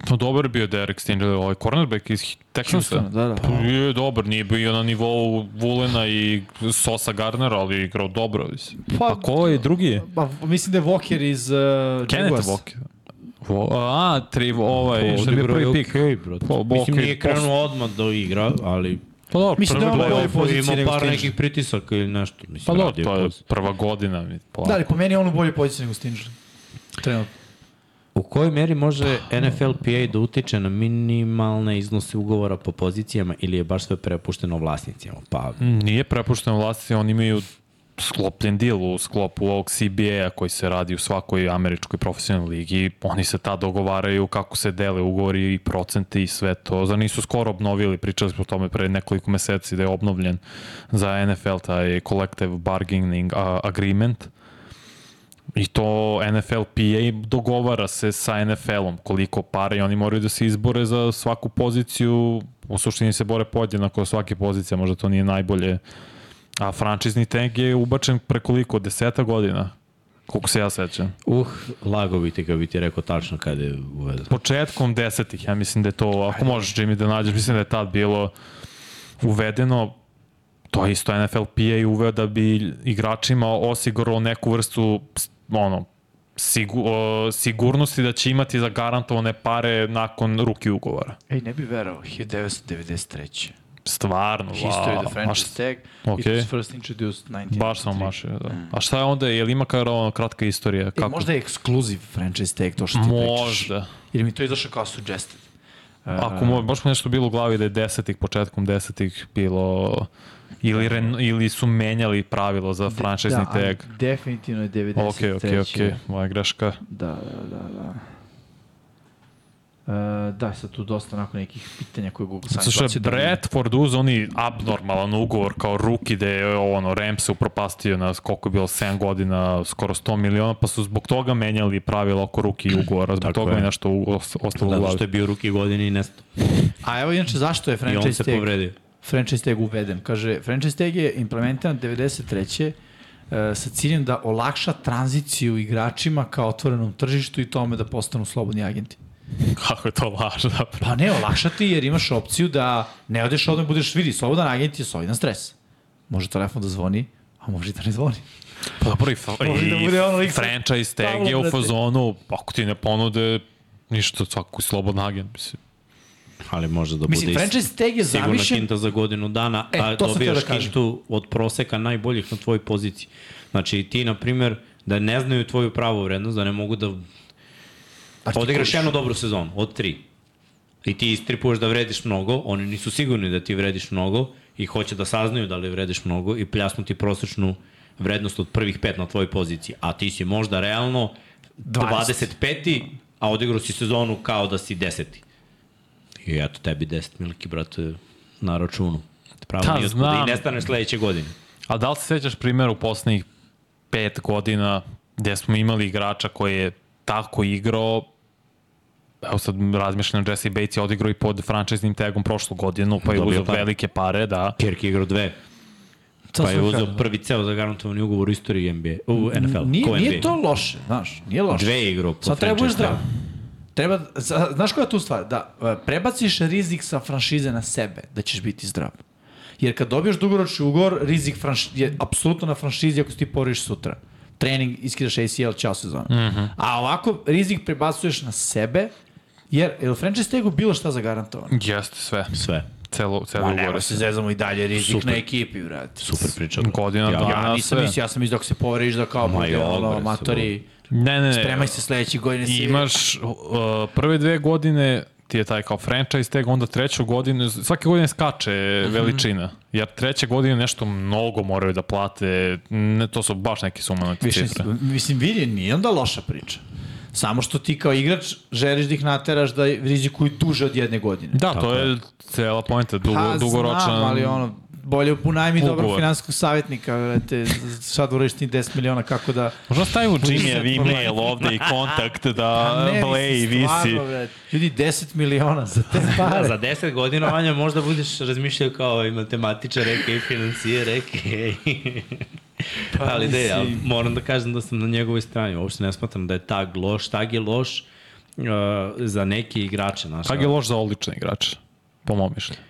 A: No, dobar je bio Derek Stingley, ovaj cornerback iz Texansa.
B: Houstona, da, da.
A: Pa, je dobar, nije bio na nivou Vulena i Sosa Garnera, ali je igrao dobro. Mislim. Pa, ko je drugi je?
B: Pa, mislim da je Walker iz... Uh,
A: Kenneth Walker. Vo, a, tri, ovaj, što je bio prvi pik.
C: bro.
A: Pa,
C: Mislim,
A: okej,
C: nije krenuo odmah do igra, ali
A: Pa dobro,
B: Mislim
A: prva
B: da je on
A: godina-
B: boljoj poziciji
C: imao
B: nego
C: par
B: Stingley.
C: nekih pritisaka ili nešto. Mislim,
A: Pa dobro,
C: radio
A: to je
C: posao.
A: prva godina. mi, Pa.
B: Da, ali po meni je on u boljoj poziciji nego Stingley. Trenutno.
C: U kojoj meri može NFLPA da utiče na minimalne iznose ugovora po pozicijama ili je baš sve prepušteno vlasnicima? Pa,
A: Nije prepušteno vlasti, oni imaju sklopljen deal u sklopu ovog CBA-a koji se radi u svakoj američkoj profesionalnoj ligi. Oni se tad dogovaraju kako se dele ugovori i procenti i sve to. Za nisu skoro obnovili, pričali smo o tome pre nekoliko meseci da je obnovljen za NFL taj Collective Bargaining a, Agreement. I to NFLPA dogovara se sa NFL-om koliko para i oni moraju da se izbore za svaku poziciju. U suštini se bore podjednako za svake pozicije, možda to nije najbolje. A frančizni tank je ubačen prekoliko, deseta godina? Koliko se ja sećam.
C: Uh, lago bi ti ga bi ti rekao tačno kada je uvedan.
A: Početkom desetih, ja mislim da je to, ako možeš Jimmy da nađeš, mislim da je tad bilo uvedeno, to je isto NFLPA uveo da bi igračima osigurao neku vrstu ono, sigu, o, sigurnosti da će imati zagarantovane pare nakon ruki ugovora.
B: Ej, ne bi verovao, 1993.
A: Stvarno, wow.
B: History of the franchise
A: a,
B: tag.
A: Ok.
B: It was first introduced 1993.
A: šta- baš sam mašio, da. A šta je onda, je li ima kao ono, kratka istorija?
B: Mm. E,
A: Kako?
B: možda je ekskluziv franchise tag to što ti pričaš.
A: Možda.
B: Jer mi to izašao kao suggested. E,
A: Ako mu, baš mi nešto bilo u glavi da je desetih, početkom desetih bilo ili, ren, ili su menjali pravilo za franšizni da,
B: ali
A: tag.
B: definitivno je 93.
A: Ok, ok, ok, moja greška.
B: Da, da, da, da. Uh, da, sad tu dosta onako nekih pitanja koje Google da sam
A: Slušaj, Bradford uz oni abnormalan ugovor kao ruki da je ono, Rams se upropastio na koliko je bilo 7 godina, skoro 100 miliona, pa su zbog toga menjali pravila oko ruki i ugovora, zbog toga
C: je.
A: mi nešto u- os- ostalo u
C: Zato
A: glavi.
C: što je bio ruki godine i nestao.
B: A evo inače zašto je
C: I on
B: franchise
C: se
B: tag
C: povredio.
B: franchise tag uveden. Kaže, franchise tag je implementiran 93. e, sa ciljem da olakša tranziciju igračima ka otvorenom tržištu i tome da postanu slobodni agenti.
A: Kako je to važno zapravo.
B: Pa ne, olakšati jer imaš opciju da ne odeš odmah budeš vidi, slobodan agent je solidan stres. Može telefon da zvoni, a može i da ne zvoni.
A: Pa dobro, i, fa-
B: Može da
A: i
B: bude ono da lik sa
A: franchise tag je
B: tablom,
A: u
B: brate.
A: fazonu, ako ti ne ponude, ništa, svako je slobodan agent, mislim.
C: Ali može da
B: Mislim,
C: bude i
B: franchise tag je
C: sigurna
B: zamišljen
C: kinta za godinu dana,
B: E,
C: a
B: to sam htio
C: dobijaš
B: da kažem.
C: kintu od proseka najboljih na tvojoj poziciji. Znači, ti, na primer, da ne znaju tvoju pravu vrednost, da ne mogu da
B: Pa ti
C: odigraš
B: kužiš.
C: jednu dobru sezonu, od tri. I ti istripuješ da vrediš mnogo, oni nisu sigurni da ti vrediš mnogo i hoće da saznaju da li vrediš mnogo i pljasnu ti prosečnu vrednost od prvih pet na tvojoj poziciji. A ti si možda realno
B: 20.
C: 25. a odigrao si sezonu kao da si 10. I eto tebi 10 miliki, brate, na računu. Pravo
A: Da,
C: da, nije otkuda
A: znam.
C: i nestaneš sledeće godine.
A: A da li se sećaš primjera u poslednjih pet godina gde smo imali igrača koji je tako igrao, evo sad razmišljam, Jesse Bates je odigrao i pod frančiznim tagom prošlu godinu, pa je
C: Dobio
A: uzao
C: pare.
A: velike pare, da.
C: Kirk je igrao dve, pa je uzeo prvi ceo zagarantovani ugovor u istoriji NBA, u NFL.
B: Nije,
C: ko
B: nije
C: NBA.
B: to loše, znaš, nije loše.
C: Dve je igrao po da.
B: Sad treba budeš zdrav.
C: franchise
B: Treba, za- znaš koja je tu stvar? Da e, prebaciš rizik sa franšize na sebe, da ćeš biti zdrav. Jer kad dobiješ dugoročni ugor, rizik franš, je apsolutno na franšizi ako se ti poriš sutra. Trening, iskidaš ACL, čao sezona. Mm -hmm. A ovako rizik prebacuješ na sebe, jer je li franchise tagu bilo šta zagarantovano?
A: Jeste sve,
C: Sve.
A: celo, celo
B: Pa
A: ugovor.
B: nema se zezamo i dalje rizik
C: Super.
B: na ekipi, vrati.
C: Super priča.
A: Godina,
C: ja,
A: dva.
B: Ja
A: Na
B: nisam
A: sve.
B: mislio, ja sam mislio da ako se povoriš da kao bude
C: joj,
B: ono,
C: bre,
B: amatori,
A: Ne, ne, ne.
B: spremaj se sledeće godine.
A: I
B: si-
A: imaš uh, prve dve godine ti je taj kao franchise tag, onda treću godinu, svake godine skače
B: Mhm.
A: veličina. Jer treće godine nešto mnogo moraju da plate, ne, to su baš neke sumanake
B: Više,
A: cifre.
B: mislim, vidi, nije onda loša priča. Samo što ti kao igrač želiš da ih nateraš da rizikuju duže od jedne godine.
A: Da, to je cela poenta, dugo,
B: Ha,
A: Da, dugoročan.
B: Pa, Znam, ali ono, bolje punajmi dobrog
A: ugovor.
B: finanskog savjetnika, te sad uradiš ti 10 miliona kako da...
A: Možda stavimo
B: Nisam
A: Jimmy
B: problem.
A: e-mail ovde i kontakt
B: A
A: da
B: ne,
A: bleji,
B: mislim,
A: visi.
B: stvarno, bre, Ljudi, 10 miliona za te
C: Da,
B: pare.
C: za 10 godina, Vanja, možda budeš razmišljao kao i matematičar, reke i financijer, reke.
A: Pa
C: ali da, ja
B: mislim.
C: moram da kažem da sam na njegovoj strani. Uopšte ne smatram da je tag loš. Tag je loš uh, za neke igrače. Znaš,
A: Kak je loš za odlične igrače, po mom mišljenju.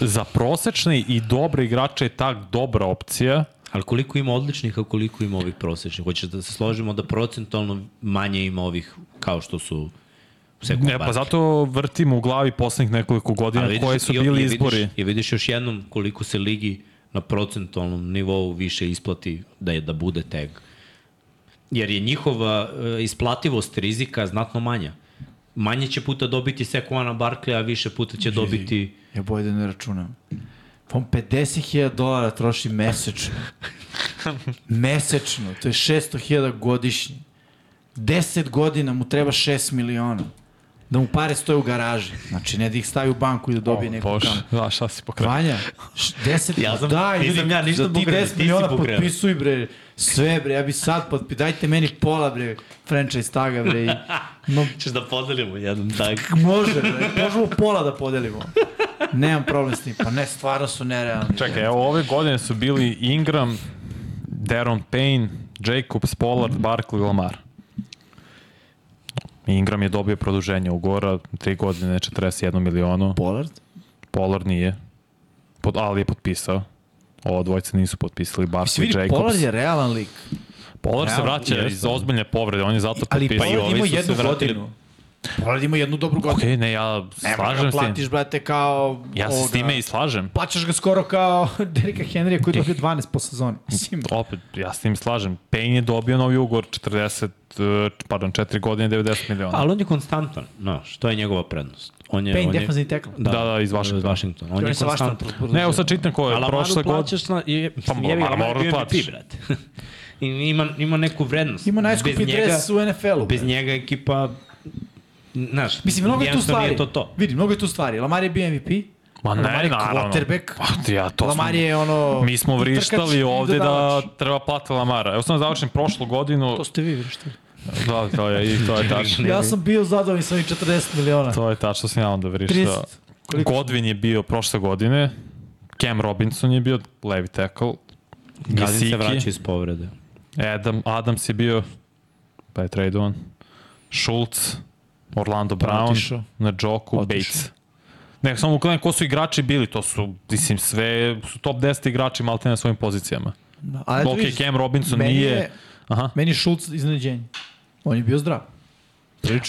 A: Za prosečne i dobre igrače je tak dobra opcija,
C: Ali koliko ima odličnih, a koliko ima ovih prosečnih? Hoćeš da se složimo da procentualno manje ima ovih kao što su sekund
A: Ne, pa zato vrtim u glavi poslednjih nekoliko godina koje su bili izbori.
C: Vidiš, I vidiš još jednom koliko se ligi na procentualnom nivou više isplati da je da bude tag. Jer je njihova e, isplativost rizika znatno manja. Manje će puta dobiti Sekuana Barkleya, a više puta će dobiti...
B: Ja bolje da ne računam. On 50.000 dolara troši mesečno. mesečno. To je 600.000 godišnje. 10 godina mu treba 6 miliona. Da mu pare stoje u garaži. Znači, ne da ih stavi u banku i da dobije neku
A: Bože,
B: kamu.
A: da, šta si pokrenuo?
B: Vanja, š- 10
C: Ja sam-
B: daj,
C: nisam
B: ljudi,
C: ja ništa
B: za ti 10
C: pokrenuo, ti si
B: miliona
C: pokrenuo.
B: potpisuj bre, sve bre, ja bi sad potpi, dajte meni pola bre, franchise taga bre, i, no,
C: Češ da podelimo jedan tak.
B: može bre, možemo pola da podelimo. Nemam problem s tim, pa ne, stvarno su nerealni.
A: Čekaj, evo, ove godine su bili Ingram, Daron Payne, Jacobs, Pollard, Barkley, Lamar. Ingram je dobio produženje ugora, 3 godine, 41 milionu.
B: Pollard?
A: Pollard nije, Pod, ali je potpisao. Ovo dvojce nisu potpisali, Barkley,
B: Svi vidi,
A: Jacobs.
B: Pollard je realan lik,
A: Pollard se
B: Realno,
A: vraća
C: jeste.
A: iz ozbiljne povrede, on Pa je zato
B: ali
A: potpisao.
B: Pollard
C: ovi
B: ima
C: su se
B: jednu
C: vratili.
B: godinu. Pollard ima jednu dobru godinu.
A: Okej, ne, ja
B: Ne da
A: slažem
B: ga
A: se.
B: platiš, brate, kao...
A: Ja se s time i slažem.
B: Plaćaš ga skoro kao Derika Henrya koji dobio 12 po sezoni.
A: Da,
B: Mislim,
A: Opet, ja s tim slažem. Payne je dobio novi ugor 40, eh, pardon, 4 godine 90 miliona.
C: Ali on je konstantan, znaš, to je njegova prednost. On je,
B: Payne,
C: on je,
B: defensivni tackle.
A: Da, da, iz Washingtona.
C: Washingtona. On,
B: on
C: je
B: je sa vaštom
C: konstantan.
A: Ne, evo sad čitam ko
C: A
A: je.
C: Lamaru
A: Prošle godine...
C: plaćaš na... Je,
A: Pa,
C: mislim, jebi ga,
A: Lamaru
C: Lamar je
A: platiš.
C: MVP, brate. I ima, ima neku vrednost.
B: Ima
C: Bez
B: najskuplji
C: njega-
B: dres u NFL-u.
C: Bez njega ekipa, znaš,
B: Mislim, mnogo je tu
C: jednostavno
B: stvari.
C: Nije to to.
B: Vidi, mnogo je tu stvari. Lamar je bio MVP.
A: Ma
B: Lamar
A: ne,
B: je
A: naravno.
B: quarterback.
A: Pa, ti, ja, to
B: Lamar
A: smo-
B: je ono...
A: Mi smo
B: i trkač i
A: vrištali ovde da
B: dodavač.
A: treba plati Lamara. Evo sam završen prošlu godinu.
B: To ste vi vrištali.
A: Da, to je, i to je tačno.
B: Ja sam bio zadovoljan sa ovih 40 miliona.
A: To je tačno, sam ja onda vrištao.
B: 30. Koliko?
A: Godwin je bio prošle godine, Cam Robinson je bio levi tackle,
C: Gazin se vraća
A: Gesicki,
C: iz povrede.
A: Adam, Adams je bio, pa je tradovan, Schultz, Orlando Brown,
B: Otišao.
A: na Joku, Bates. Ne, samo uklanjam ko su igrači bili, to su, mislim, sve su top 10 igrači malte na svojim pozicijama.
B: Da, ali eto
A: Ok,
B: vidiš,
A: Cam Robinson
B: meni
A: nije...
B: je-
A: Aha.
B: Meni je Schultz iznenađenje. On je bio zdrav.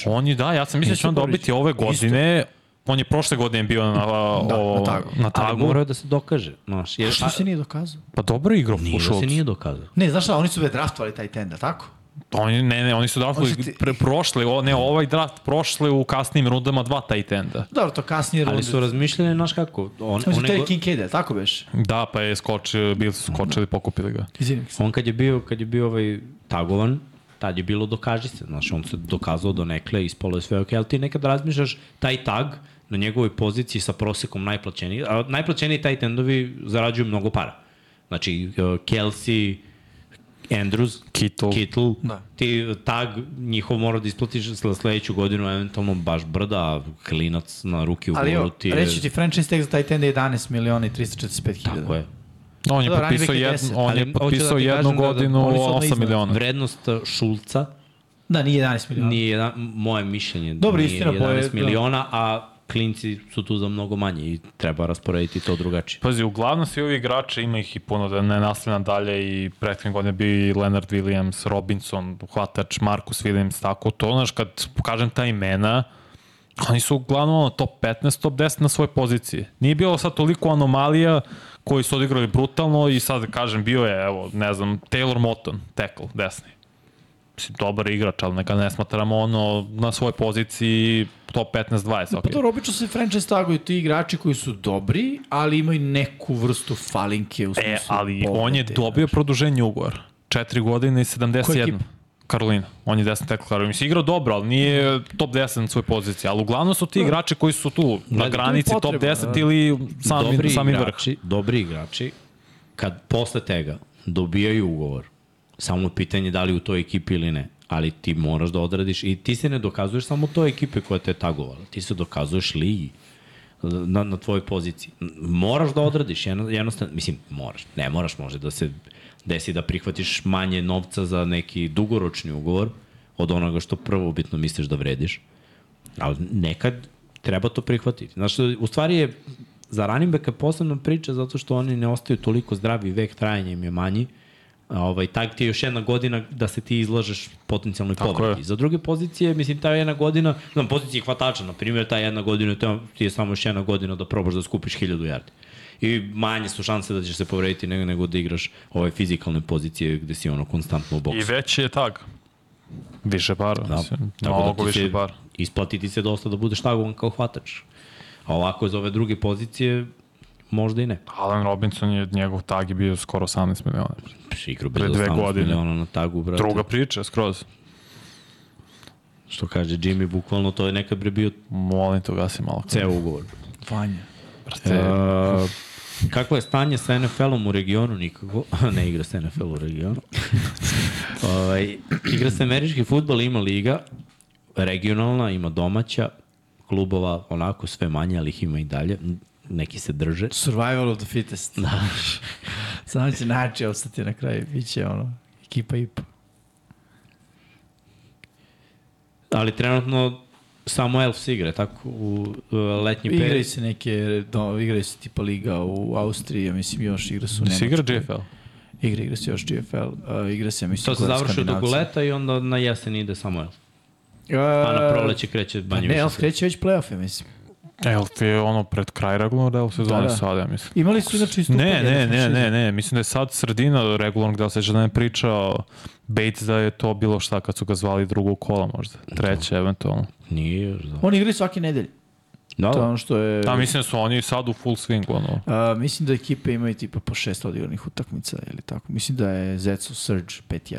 A: On je, da, ja sam mislio da će on
B: Isto
A: dobiti ove godine, on je prošle godine bio na,
B: Da,
A: o,
B: na tagu.
A: na
C: Ali
A: tagu.
C: morao je da se dokaže. Znaš, jer,
B: Što se nije dokazao?
A: Pa dobro je igrao
C: Nije
A: u
C: da
A: Schultz.
C: se nije dokazao.
B: Ne, znaš šta, oni su već draftovali taj tenda, tako?
A: Oni, ne, ne, oni su draftovali
B: Oni su ti-
A: pre, prošle, o, ne, ovaj draft prošle u kasnim rundama dva tight enda.
B: Dobro, to kasnije runde.
C: Ali su razmišljali, znaš kako, on,
B: Oni su
C: one,
B: hteli
C: go,
B: Kincaid, jel tako beš?
A: Da, pa je skočio, bili su skočili, pokupili ga.
B: Izvinim se.
C: on kad je bio, kad je bio ovaj tagovan, tad je bilo dokaži se, znaš, on se dokazao do nekle, ispalo je sve ok, ali ti nekad razmišljaš taj tag na njegovoj poziciji sa prosekom najplaćeniji, a najplaćeniji taj tendovi zarađuju mnogo para. Znači, eh, Kelsey, Andrews,
A: Kittle.
C: Kittle
B: Da.
C: ti uh, tag njihov mora da isplatiš za sledeću godinu, eventualno baš brda, a klinac na ruki u
B: Ali
C: goru
B: evo,
C: ti je...
B: reći ti franchise tag za taj tenda je 11 miliona i 345 hiljada.
C: Tako je.
A: On je
B: Da, running
A: potpisao,
B: back je
A: jednu,
B: 10,
A: on
C: ali
A: je
C: hoću
A: potpisao
C: da ti
A: jednu
C: kažem da- da
A: godinu
B: oni su odmah
A: 8
B: iznad.
A: miliona.
C: Vrednost eh, Šulca
B: Da, nije 11 miliona.
C: Nije jedan, moje mišljenje
B: Dobro,
C: nije
B: istina, pa je-
C: 11 miliona, a klinci su tu za mnogo manje i treba rasporediti to drugačije.
A: Pazi, uglavnom svi ovi igrači, ima ih i puno da ne nastavljam dalje i prethodne godine bio i Leonard Williams, Robinson, hvatač, Marcus Williams, tako to, znaš, kad pokažem ta imena, oni su uglavnom ono, top 15, top 10 na svojoj poziciji. Nije bilo sad toliko anomalija koji su odigrali brutalno i sad, kažem, bio je, evo, ne znam, Taylor Moton, tackle, desni. Mislim, dobar igrač, ali neka ne smatramo ono na svojoj poziciji top 15-20,
B: Pa
A: ok.
B: dobro, obično se franchise taguju ti igrači koji su dobri, ali imaju neku vrstu falinke u smislu.
A: E, ali
B: povrede.
A: on je dobio produženje ugovora. Četiri godine i 71.
B: ekipa?
A: Karolina. On je desni tekl Karolina. Mislim, igrao dobro, ali nije top 10 na svoj poziciji. Ali uglavnom su ti igrači koji su tu, na
C: tu je
A: granici top
B: potreba,
A: 10
B: da.
A: ili sami,
C: dobri,
A: sami vrh.
C: igrači, dobri igrači, kad posle tega dobijaju ugovor, samo je pitanje da li u toj ekipi ili ne, ali ti moraš da odradiš i ti se ne dokazuješ samo toj ekipi koja te je tagovala, ti se dokazuješ ligi na, na tvojoj poziciji. Moraš da odradiš, jedno- jednostavno, mislim, moraš, ne moraš, može da se desi da prihvatiš manje novca za neki dugoročni ugovor od onoga što prvobitno misliš da vrediš. Ali nekad treba to prihvatiti. Znaš, u stvari je za running backa posebna priča zato što oni ne ostaju toliko zdravi, vek trajanja im je manji. A, Ovaj, tak ti je još jedna godina da se ti izlažeš potencijalnoj povredi.
A: je.
C: Za druge pozicije, mislim, ta jedna godina, znam, pozicije hvatača, na primjer, ta jedna godina, to ti je samo još jedna godina da probaš da skupiš hiljadu jardi. I manje su šanse da ćeš se povrediti nego, nego da igraš ove fizikalne pozicije gde si ono konstantno u boksu.
A: I veći je tag. Više para. Da. Mislim, mnogo
C: ti
A: više
C: se,
A: para.
C: Isplati ti se dosta da budeš tagovan kao hvatač. A ovako za ove druge pozicije Možda i ne.
A: Alan Robinson je, njegov tag je bio skoro 18 miliona.
C: Pš, igru
A: Pre
C: bez
A: dve
C: 18
A: godine.
C: miliona na tagu, brate.
A: Druga priča, skroz.
C: Što kaže Jimmy, bukvalno to je nekad bre bio
A: Molim te, ugasi malo.
C: ceo ugovor.
B: Vanja.
A: Brate,
C: Uh, kako je stanje sa NFL-om u regionu? Nikako. ne igra se NFL u regionu. ovaj, igra se američki futbol, ima liga, regionalna, ima domaća, klubova onako sve manje, ali ih ima i dalje. Neki se drže.
B: Survival of the fittest.
C: Da.
B: Samo će naći ostati na kraju. Biće ono, ekipa i po.
C: Ali trenutno samo Elfs igra, tako u uh, letnji
B: Igraju
C: period.
B: se neke, do, igraju se tipa liga u Austriji, ja mislim još igra su u
A: si
B: Nemačkoj.
A: Da igra GFL?
B: Igra, igra se još GFL, uh, igra se, ja mislim,
C: To se
B: kod
C: završi toku
B: Skandinavca.
C: leta i onda na jesen ide samo Elfs.
B: Uh,
C: A na proleće kreće
B: pa
C: manje
B: Ne,
C: više.
B: Elf kreće već play-off, ja mislim.
A: Evo ti je ono pred kraj regularnog dela sezone
B: Da,
A: da,
B: da.
A: da. sada, ja mislim.
B: Imali su znači, inače istupanje.
A: Ne, ne, ne, ne, ne, mislim da je sad sredina regularnog dela, sveća da ne pričao Bates da je to bilo šta kad su ga zvali drugo kola možda, treće eventualno.
C: Nije još da.
B: Oni igraju svake nedelje.
C: Da,
B: To je
C: da.
B: ono što je...
A: Da, mislim da su oni sad u full swingu, ono.
B: Uh, mislim da ekipe imaju tipa po šest odigranih utakmica ili tako. Mislim da je Zetsu Surge 5-1.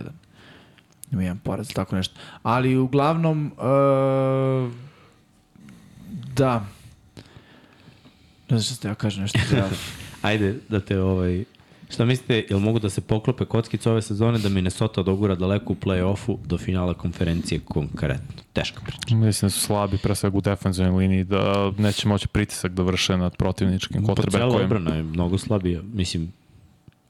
B: Ima jedan poraz, tako nešto. Ali uglavnom, uh, da, ne znam što ste ja kažem nešto. Da,
C: Ajde da te ovaj... Šta mislite, jel mogu da se poklope kockice ove sezone da Minnesota dogura daleko u play-offu do finala konferencije konkretno? Teško priča.
A: Mislim da su slabi, pre svega u defensivnoj liniji, da neće moći pritisak da vrše nad protivničkim
C: Pa cijela
A: kotrbekom.
C: obrana je mnogo slabija. Mislim,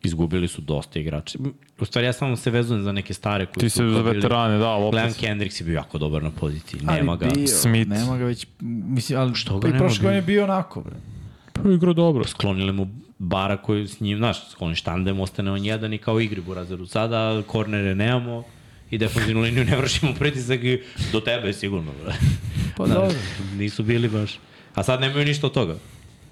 C: izgubili su dosta igrača. U stvari, ja samo se vezujem za neke stare koji
A: Ti
C: su...
A: se za
C: pobili.
A: veterane, da,
C: Glenn
A: opet.
C: Kendricks je bio jako dobar na poziciji.
B: Ali
C: Nema ga.
B: Bio,
A: Smith.
B: Nema ga već, mislim, ali
C: Što
B: što
C: ga
B: ga i
C: nema
B: prošle
C: bio?
B: godine je bio onako, bre.
A: Pa igra dobro.
C: Sklonili mu bara koji s njim, znaš, skloni štandem, ostane on jedan i kao igri Burazeru. Sada kornere nemamo i defensivnu liniju ne vršimo pritisak i do tebe sigurno. Bre.
B: Pa
C: Da,
B: dobro.
C: nisu bili baš. A sad nemaju ništa od toga.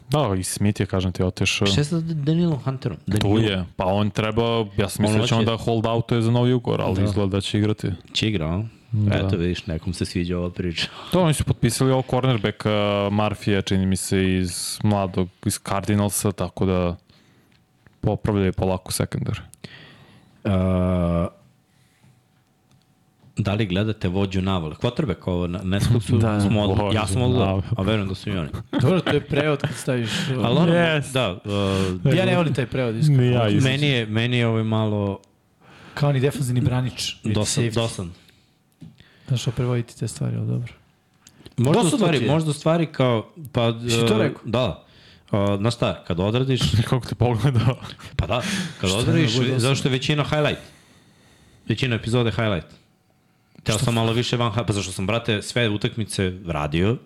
A: Da, i Smith je, kažem ti, otešao.
C: Šta je sa Danilom Hunterom?
A: Da. Tu
C: Danilo
A: je. Pa on treba, ja sam
C: On
A: mislio da će
C: hoće-
A: onda hold out je za novi ugor, ali da. izgleda da će igrati.
C: Će igra, a? Da. Eto vidiš, nekom se sviđa ova priča.
A: To oni su potpisali ovog cornerback Marfija, čini mi se, iz mladog, iz Cardinalsa, tako da popravljaju polako sekundar.
C: Uh, da li gledate vođu navale? Quarterback ovo, na, ne smo su,
B: Da,
C: da, smo
A: vođu
C: odgledali. Ja sam odgledao,
A: navale.
C: a verujem da su i oni.
B: Dobro, to je prevod kad staviš...
C: Ali ono,
A: Yes.
C: da, uh,
B: ja ne volim taj prevod, iskreno.
A: Ni ja isto.
C: meni je, meni je ovaj malo
B: Kao ni defanzivni branič.
C: dosan.
B: Safety.
C: dosan.
B: Znaš, što prevoditi te stvari, ali dobro.
C: Možda u
B: Dosadno ti
C: stvari,
B: je.
C: možda u stvari kao... Pa,
B: Si to
C: uh,
B: rekao?
C: Da. Uh, znaš šta, kad odradiš,
A: Kako te pogledao?
C: Pa da, kad
B: Šta
C: odradiš,
B: je dosadno?
C: zašto je većina highlight. Većina epizode highlight. Teo sam malo više van hype, pa zašto sam, brate, sve utakmice radio,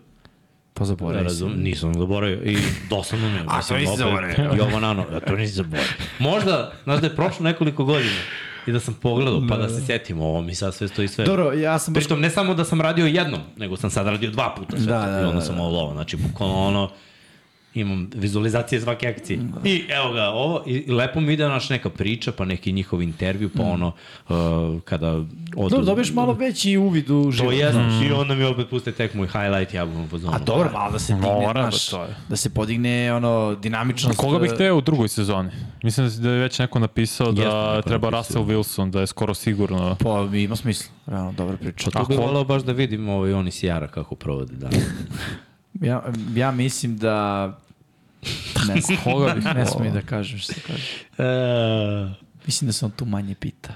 B: Pa
C: da
B: zaboravim.
C: razum, nisam zaboravio i dosadno mi je. A to nisi zaboravio. Jovan Ano, a to nisi zaboravio. Možda, znaš da je prošlo nekoliko godina i da sam pogledao, pa da se setim, ovo mi sad sve stoji sve.
B: Dobro, ja sam baš
C: Pritom, ne samo da sam radio jednom, nego sam sad radio dva puta. Sve
B: Da,
C: to.
B: da,
C: I onda
B: da,
C: sam ovo lovo, znači bukvalno ono, imam vizualizacije svake akcije. I evo ga, ovo, i i lepo mi ide naš neka priča, pa neki njihov intervju, pa ono, uh, kada... Odu,
B: Dobro, dobiješ malo veći uvid u život.
C: To je, mm. i onda mi opet puste tek moj highlight, ja bom pozvao.
B: A dobro, malo da se digne,
A: Mora,
B: znaš,
A: ba, to je.
B: da se podigne ono, dinamičnost.
A: Koga bih
B: e,
A: hteo u drugoj sezoni? Mislim da si- da je već neko napisao da
C: Jeste neko
A: treba
C: napisao.
A: Russell Wilson, da je skoro sigurno.
B: Pa, mi ima smisla. Realno, dobra priča.
C: To bi
A: Ako-
C: volao baš da vidim ovaj oni sjara kako provode da. dan.
B: Ja, ja mislim da... Ne znam.
A: Koga bih
B: ne smijem da kažem što kažem.
C: e,
B: Mislim da se on tu manje pita.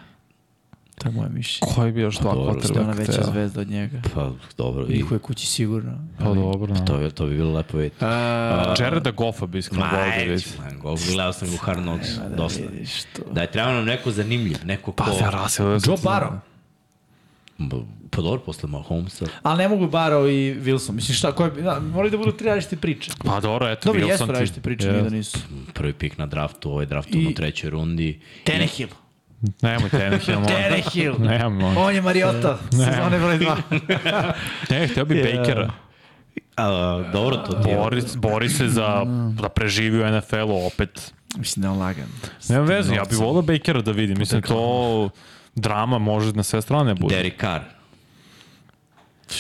B: To je moje mišljenje.
A: Koji bi
B: Pa
A: još dva
C: dobro,
B: Što je ona
A: quarterback
B: veća
A: hteo?
B: zvezda od njega.
C: pa dobro, i,
B: Njihove kući sigurno.
A: Pa dobro, da.
C: to, bi- to bi bilo lepo vidjeti.
A: E,
B: A,
A: Jareda Goffa bi iskreno volao da vidi.
C: man, go, gledao sam u Hard Knocks, dosta.
B: vidiš to.
C: Da je trebao nam neko zanimljiv, neko
A: Pa
C: ko...
A: za Russell Wilson.
B: Joe Barrow.
C: B- Pa dobro, posle Mahomesa.
B: Ali ne mogu Barrow i Wilson. Mislim šta, koje, bi- da, moraju da budu tri različite priče.
A: Pa dobro, eto,
B: Dobro,
A: Wilson
B: jesu
A: ti-
B: različite priče,
A: Yes.
B: nije da nisu.
C: Prvi pik na draftu, ovaj draft
B: I-
C: I... u trećoj rundi.
B: Tenehill.
A: Nemoj Tenehill, molim. te.
B: Tenehill.
A: Nemoj.
B: On je Mariota, sezone broj 2.
A: Ne, hteo bi Bakera.
C: A, dobro, to ti je...
A: Bori, bori se za, da preživi u NFL-u opet.
B: Mislim da je on lagan.
A: Nema veze, ja bih volao Bakera da vidim. da Mislim, to drama može na sve strane bude.
C: Derek Carr.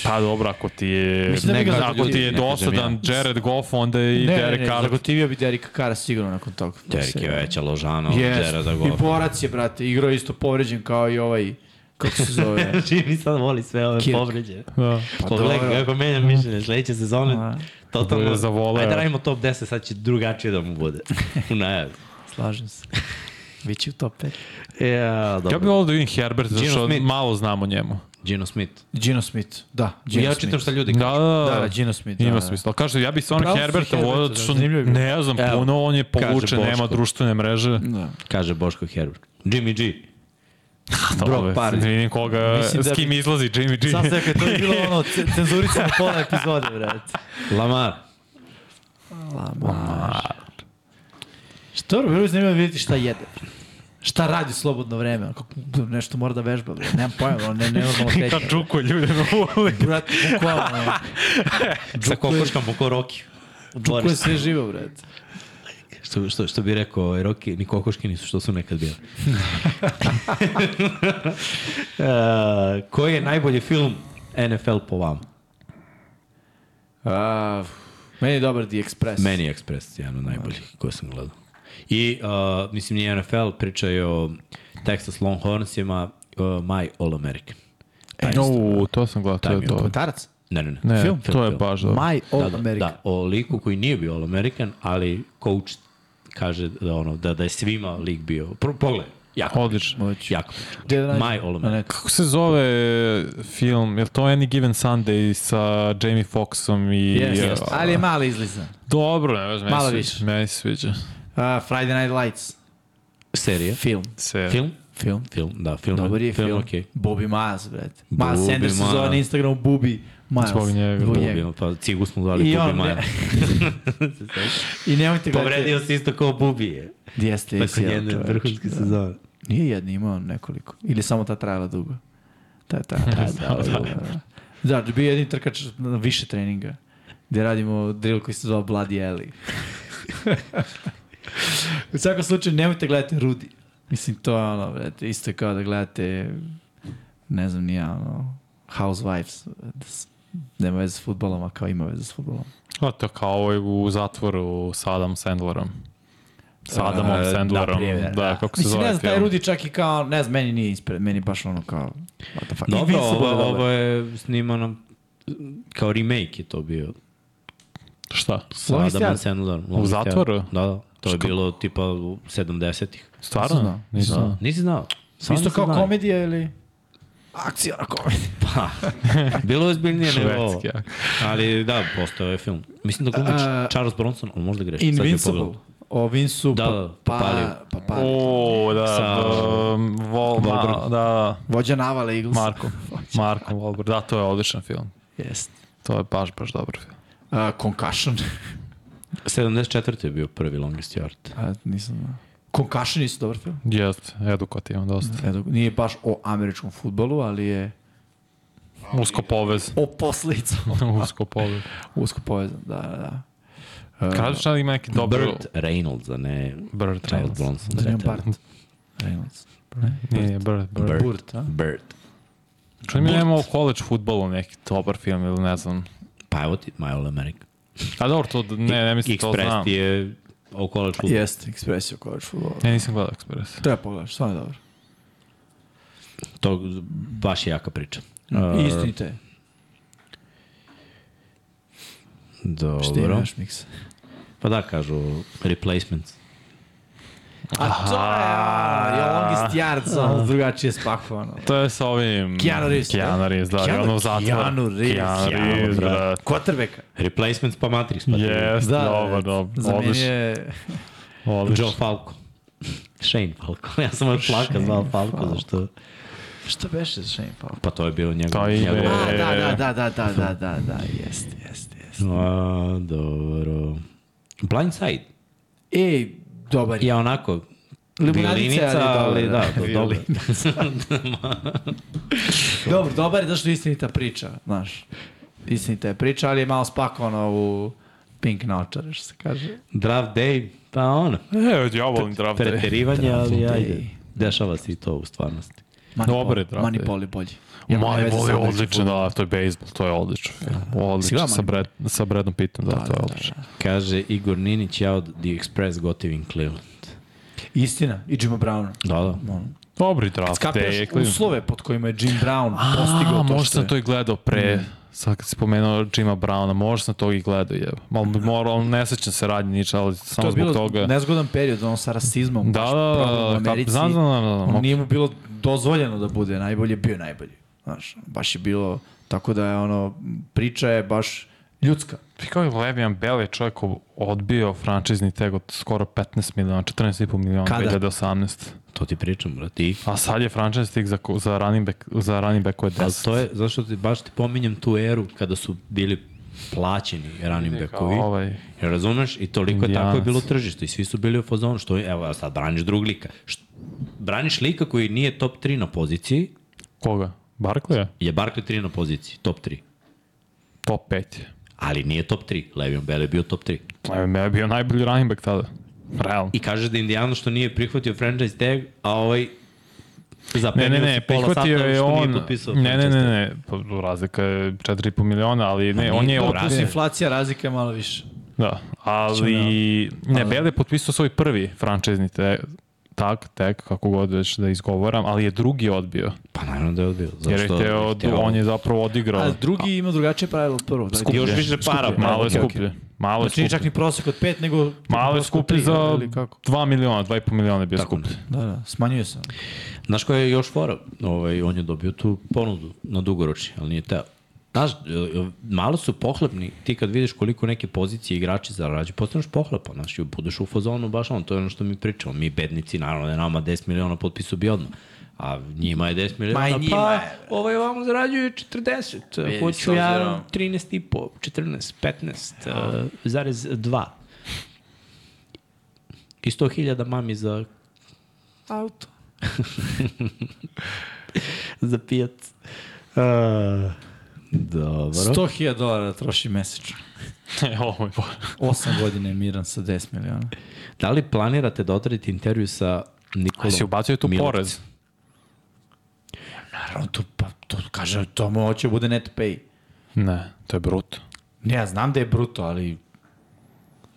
A: Pa dobro, ako ti je,
B: Mislim da bi ga
A: ako
B: zagotivio,
A: ti je
C: ne kažem
A: dosadan Jared Goff, onda je i
B: Ne, ne,
A: Derek
B: ne,
A: Carr.
B: zagotivio bi Derika Kara sigurno nakon toga.
C: Derek je veća ložana od
B: Yes.
C: Džera za
B: I
C: gol.
B: borac je, brate, igrao je isto povređen kao i ovaj, kako se zove.
C: Jimmy Znači, sad voli sve ove
B: Kirk.
C: povređe.
A: Da.
B: Pa
C: Pogledaj
B: dobro.
C: kako menjam mišljenje sledeće sezone.
B: A,
A: Dobro
C: Totalno,
A: je zavoleo.
C: ajde da radimo top 10, sad će drugačije da mu bude. U najavi.
B: Slažem se. Biće u top 5.
C: Ja, dobro.
A: Ja bih volao da vidim Herbert, zato
C: Geno
A: što
C: Smith.
A: malo znam o njemu.
C: Gino Smith.
B: Gino Smith. Da, Gino
C: ja
B: Smith.
C: čitam šta ljudi
A: Da,
C: kažu.
A: da,
B: Da, Gino Smith. Da,
A: Ima
B: da.
A: smisla. Ali Kažete, ja bih stvarno
B: Pravo si
A: Herberta
B: Herberta,
A: volao,
B: da,
A: što
B: zanimljivo je bilo.
A: ne znam
C: Evo,
A: puno, on je
C: kaže
A: povučen, nema
C: Boško.
A: društvene mreže.
B: Da.
C: Kaže Boško Herbert. Jimmy G.
A: Bro, par.
B: Pardee.
A: Vidim koga,
B: Mislim
A: s
B: da
A: kim
B: bi-
A: izlazi Jimmy G.
B: Sam se rekao, to je bilo ono, ce- cenzurisano pola epizode, brate.
C: Lamar.
B: Što je bilo zanimljivo vidjeti šta jede. Šta radi slobodno vreme? Kako, nešto mora da vežba, brate. Nemam pojma, ono, ne, ne normalno
A: Kad
B: kreće.
A: čukuje ljude na ulici.
B: Brate, bukvalno. ono,
C: Sa kokoškom oko Roki.
B: Ko je sve živo, brate?
C: Što, što, što bi rekao, ovaj, Roki ni kokoške nisu što su nekad bile. uh, koji je najbolji film NFL po vama?
B: A, meni je dobar The Express.
C: Meni je Express jedan od najboljih koje sam gledao. I, uh, mislim, nije NFL, priča je o Texas Longhornsima, uh, My All American.
A: E, No, to sam gledao, to je to.
B: Dokumentarac?
C: Ne, ne, ne.
A: Ne,
C: Film?
A: to je
C: Film.
A: baš dobro.
B: My All
C: da, da,
B: American.
C: Da, o liku koji nije bio All American, ali coach kaže da, ono, da, da je svima lik bio. Pro, pogled, jako,
A: Odlično.
C: jako.
B: Gde da nađem?
C: My All
B: Na
C: American.
B: netu.
A: Kako se zove film? Je li to Any Given Sunday sa Jamie Foxxom i... e,
B: Yes, yes. Ali je malo izlizan.
A: Dobro, ne znam,
B: Malo
A: meni se
B: više.
A: sviđa. Meni se sviđa.
B: A, Friday Night Lights.
C: Serija.
B: Film.
A: Se.
C: Film?
B: Film.
C: Film, da, film.
B: Dobar je film.
C: Film,
B: Okay.
C: okej.
B: Bobby Miles, brate. Miles
C: Bobby
B: Sanders se
C: Miles.
B: zove na Instagramu Bubi Miles.
A: Zbog njega.
B: Zbog
A: Bobby
B: njega.
C: Bubi, pa cigu smo zvali
B: I
C: Bubi
B: on,
C: Maja.
B: I nemojte gledati.
C: Povredio se isto kao Bubi je.
B: Gdje jeste i
C: Nakon
B: sjeo Da.
C: jedne
B: čoveč.
C: vrhunske sezone.
B: Nije jedni, imao on nekoliko. Ili samo ta trajala dugo. Ta je trajala dugo. da, da. Da, bio je jedin trkač na više treninga. Gde radimo drill koji se zove Bloody Alley. U svakom slučaju, nemojte gledati Rudi. Mislim, to je ono, brate, isto je kao da gledate, ne znam, nije ono, Housewives. brate, s- Nema veze s futbolom, a kao ima veze s futbolom.
A: A to je kao ovaj u zatvoru sa Adam Sandlerom. Sa Adamom
B: E,
A: Sandlerom.
B: naprimjer,
A: da, kako se
B: Mislim,
A: zove
B: ne znam, taj
A: film?
B: Rudi čak i kao, ne znam, meni nije ispred, meni je baš ono kao, what the fuck.
C: Dobro,
B: Invincible
C: ovo,
B: je dobar.
C: ovo je snimano kao remake je to bio.
A: Šta?
C: Sa
B: Lovni
C: Adamom
B: stjar.
C: Sandlerom.
A: U zatvoru?
C: Da, da. To je bilo tipa u 70-ih.
A: Stvarno?
B: znam.
A: Nisam. znao.
C: Nisi znao?
B: Isto
C: Stvarno nisi
B: kao
C: znao?
B: komedija ili... Akcija na komedija.
C: Pa, bilo je ozbiljnije nego ovo.
A: Švedski, ja.
C: Ali da, postao je film. Mislim da glumi
B: A-
C: Charles Bronson, ali možda greš.
B: Invincible. O Vinsu
C: Da, da,
B: pa,
C: Papaliju.
B: pa, pa, pa,
A: O, da,
C: Sa-
A: da, um, Vol, ma,
C: Wahlberg.
A: da,
B: Vođa Navale Eagles.
A: Marko, Marko Wahlberg, da, to je odličan film.
B: Jest.
A: To je baš, baš dobar film.
B: Uh, Concussion.
C: 74. je bio prvi Longest Yard.
B: A, nisam znao. Concussion je isto dobar film.
A: Jest, edukativan dosta.
B: Edo, nije baš o američkom futbolu, ali je
A: Usko povez,
B: o posledicama.
A: usko povez.
B: Usko povezan, da, da, da. E,
A: Kradušan ima neki dobar...
C: Burt Reynolds, a ne
A: Bird,
C: Charles Bronson.
B: Da nemam Bart. Reynolds.
A: Nije, nije, Bird, Bird.
C: Bird.
B: Burt, a?
C: Bird.
A: Čuj mi nema u college futbolu neki dobar film ili ne znam.
C: Pa evo ti, My All America.
A: A dobro, to d- ne, ne mislim, to
C: Express
A: znam.
C: ti je okolač u
B: Jest, Express je o college futbolu.
A: Ne, nisam gledao Express.
B: Treba pogledaš, stvarno je dobro.
C: To baš je jaka priča.
B: I istinite je. Šta
C: Dobro.
B: imaš, Miksa?
C: Pa da, kažu replacements.
B: A to je, ono, je longest yard, samo drugačije spakovano.
A: To je sa ovim...
B: Keanu Reeves, da?
A: Keanu Reeves, da,
B: Keanu-
A: Keanu, ono zatvor.
B: Keanu Reeves. da.
A: Keanu
C: Keanu,
A: Reeves, da.
C: brate.
A: brate.
B: Quarterbacka.
C: Replacements pa Matrix. Pa ti-
A: Jest, da, dobar, dobar.
B: Za meni
A: Odlično,
B: je...
A: odlično.
C: Joe Falco. Shane Falco. Ja sam od plaka zvao Falco, zašto...
B: Šta beše Shane Paul?
C: Pa to je bilo njegov...
A: To je-
C: njegov...
B: A,
A: E.
B: da, da, da, da, da, da, da, da, jest, jest, jest.
C: A, dobro. Blindside.
B: Ej, E, dobar je.
C: Ja onako,
B: Limonadica,
C: violinica, ali da,
B: dobar,
C: to je dobro.
B: Dobro, dobar je, zašto je istinita priča, znaš. Istinita je priča, ali je malo spakovano u pink naočare, što se kaže.
C: Draft day, pa ono,
A: E, ja volim draft day.
C: preterivanje, ali
B: day.
C: ajde. Dešava se i to u stvarnosti.
A: Dobar je, drate.
B: Mani Ball je bolji.
A: Ja,
B: nema veze
A: Moneyball
B: sa Da.
A: je
B: američkim
A: odličan, da, to je bejsbol, to je odličan film. Odličan,
B: gledao
A: sa, Brad, sa Bradom Pittom, da, to je odličan.
C: Kaže Igor Ninić, ja od The Express gotivim Cleveland.
B: futbolom. Istina, i Jim Brown.
C: Da, da.
A: Dobri draft,
B: Skapiraš
A: Dejek.
B: uslove pod kojima je Jim Brown
A: A,
B: postigao to
A: možda
B: što
A: sam
B: je. Mhm.
A: to i gledao pre, sad kad si pomenuo Jima Browna, možda sam to i gledao, jebo. Malo bi morao, ne sećam se radnje niča, ali
B: To
A: samo
B: je
A: zbog
B: bilo
A: toga.
B: nezgodan period, ono sa rasizmom.
A: Da,
B: baš
A: da, da,
B: problem u
A: da,
B: Americi.
A: znam, znam, znam, znam,
B: Ono
A: ok.
B: Nije mu bilo dozvoljeno da bude najbolji, bio je najbolji. Znaš, baš je bilo, tako da je ono, priča je baš ljudska.
A: Ti kao je Levian Bell je čovjek odbio frančizni tag od skoro 15 miliona, 14,5 miliona
B: Kada?
A: 2018.
C: To ti pričam, brat. I
A: A sad je franchise tag za, ko- za running back, za running back koje
C: A
A: 10.
C: to je, zašto ti, baš ti pominjem tu eru kada su bili plaćeni running backovi.
A: Ovaj,
C: Jel Razumeš? I toliko je tako je
A: Indijanac.
C: bilo tržište i svi su bili u fazonu što je, evo, sad braniš drug lika. Št, braniš lika koji nije top 3 na poziciji,
A: koga? Barclay?
C: je Barkley 3 na poziciji, top 3.
A: Top 5 je.
C: Ali nije top 3, Le'Veon Bell je bio top 3.
A: Levian Bell je bio najbolji running back tada. Realno.
C: I kažeš da Indijano što nije prihvatio franchise tag, a ovaj
A: Ne,
C: zapenio
A: ne, ne,
C: se pola sata
A: prihvatio je
C: što
A: on.
C: nije potpisao
A: Ne, ne,
C: franchise
A: ne,
C: tag.
A: ne, pa razlika je 4,5 miliona, ali ne,
C: nije
A: E, on je
C: to
A: od...
C: razlika.
B: Plus inflacija, razlika je malo više.
A: Da, ali ne, Bell je potpisao svoj prvi frančizni tag, tak, tek, kako god već da izgovaram, ali je drugi odbio.
C: Pa naravno da je odbio.
A: Jer je
C: Zašto?
A: hteo, on je zapravo
B: A
A: odigrao.
B: drugi ima drugačije pravilo od prvog.
A: Skuplje.
C: Još više para,
A: Skuplje. Malo je
B: okej, okej.
A: skuplje. Malo je
B: Znači, nije čak
A: skuplje.
B: ni prosek od pet, nego...
A: Malo je
B: prosek od
A: skuplje
B: tri,
A: za
B: Ili kako?
A: 2 miliona, 2,5 miliona je bio
C: Tako
A: skuplje.
B: Da, da, smanjuje se.
C: Znaš koja je još fora? Ovaj, on je dobio tu ponudu na dugoročni, ali nije teo. Znaš, e, malo su pohlepni, ti kad vidiš koliko neke pozicije igrači zarađuju, postaneš pohlepan, znaš, i budeš u fazonu baš on, to je ono što mi pričamo, mi bednici, naravno da je nama 10 miliona potpisu bi odmah, a njima je 10 miliona,
B: i njima
C: pa
B: je,
C: ovaj vam zarađuje 40,
B: Vidi, s
C: hoću
B: obzirom-
C: ja 13 i po, 14, 15, uh, zarez 2. I 100.000 mami za auto. za pijac. Uh, dobro.
B: 100.000 dolara troši mesečno.
A: Ovo je bolje.
B: 8 godine je miran sa 10 miliona.
C: Da li planirate da odradite intervju sa Nikolom?
A: A si ubacio tu
C: Milovcem?
A: porez?
B: Naravno, to, pa, to kaže, to mu hoće da bude net pay.
A: Ne, to je bruto.
B: Ne, ja znam da je bruto, ali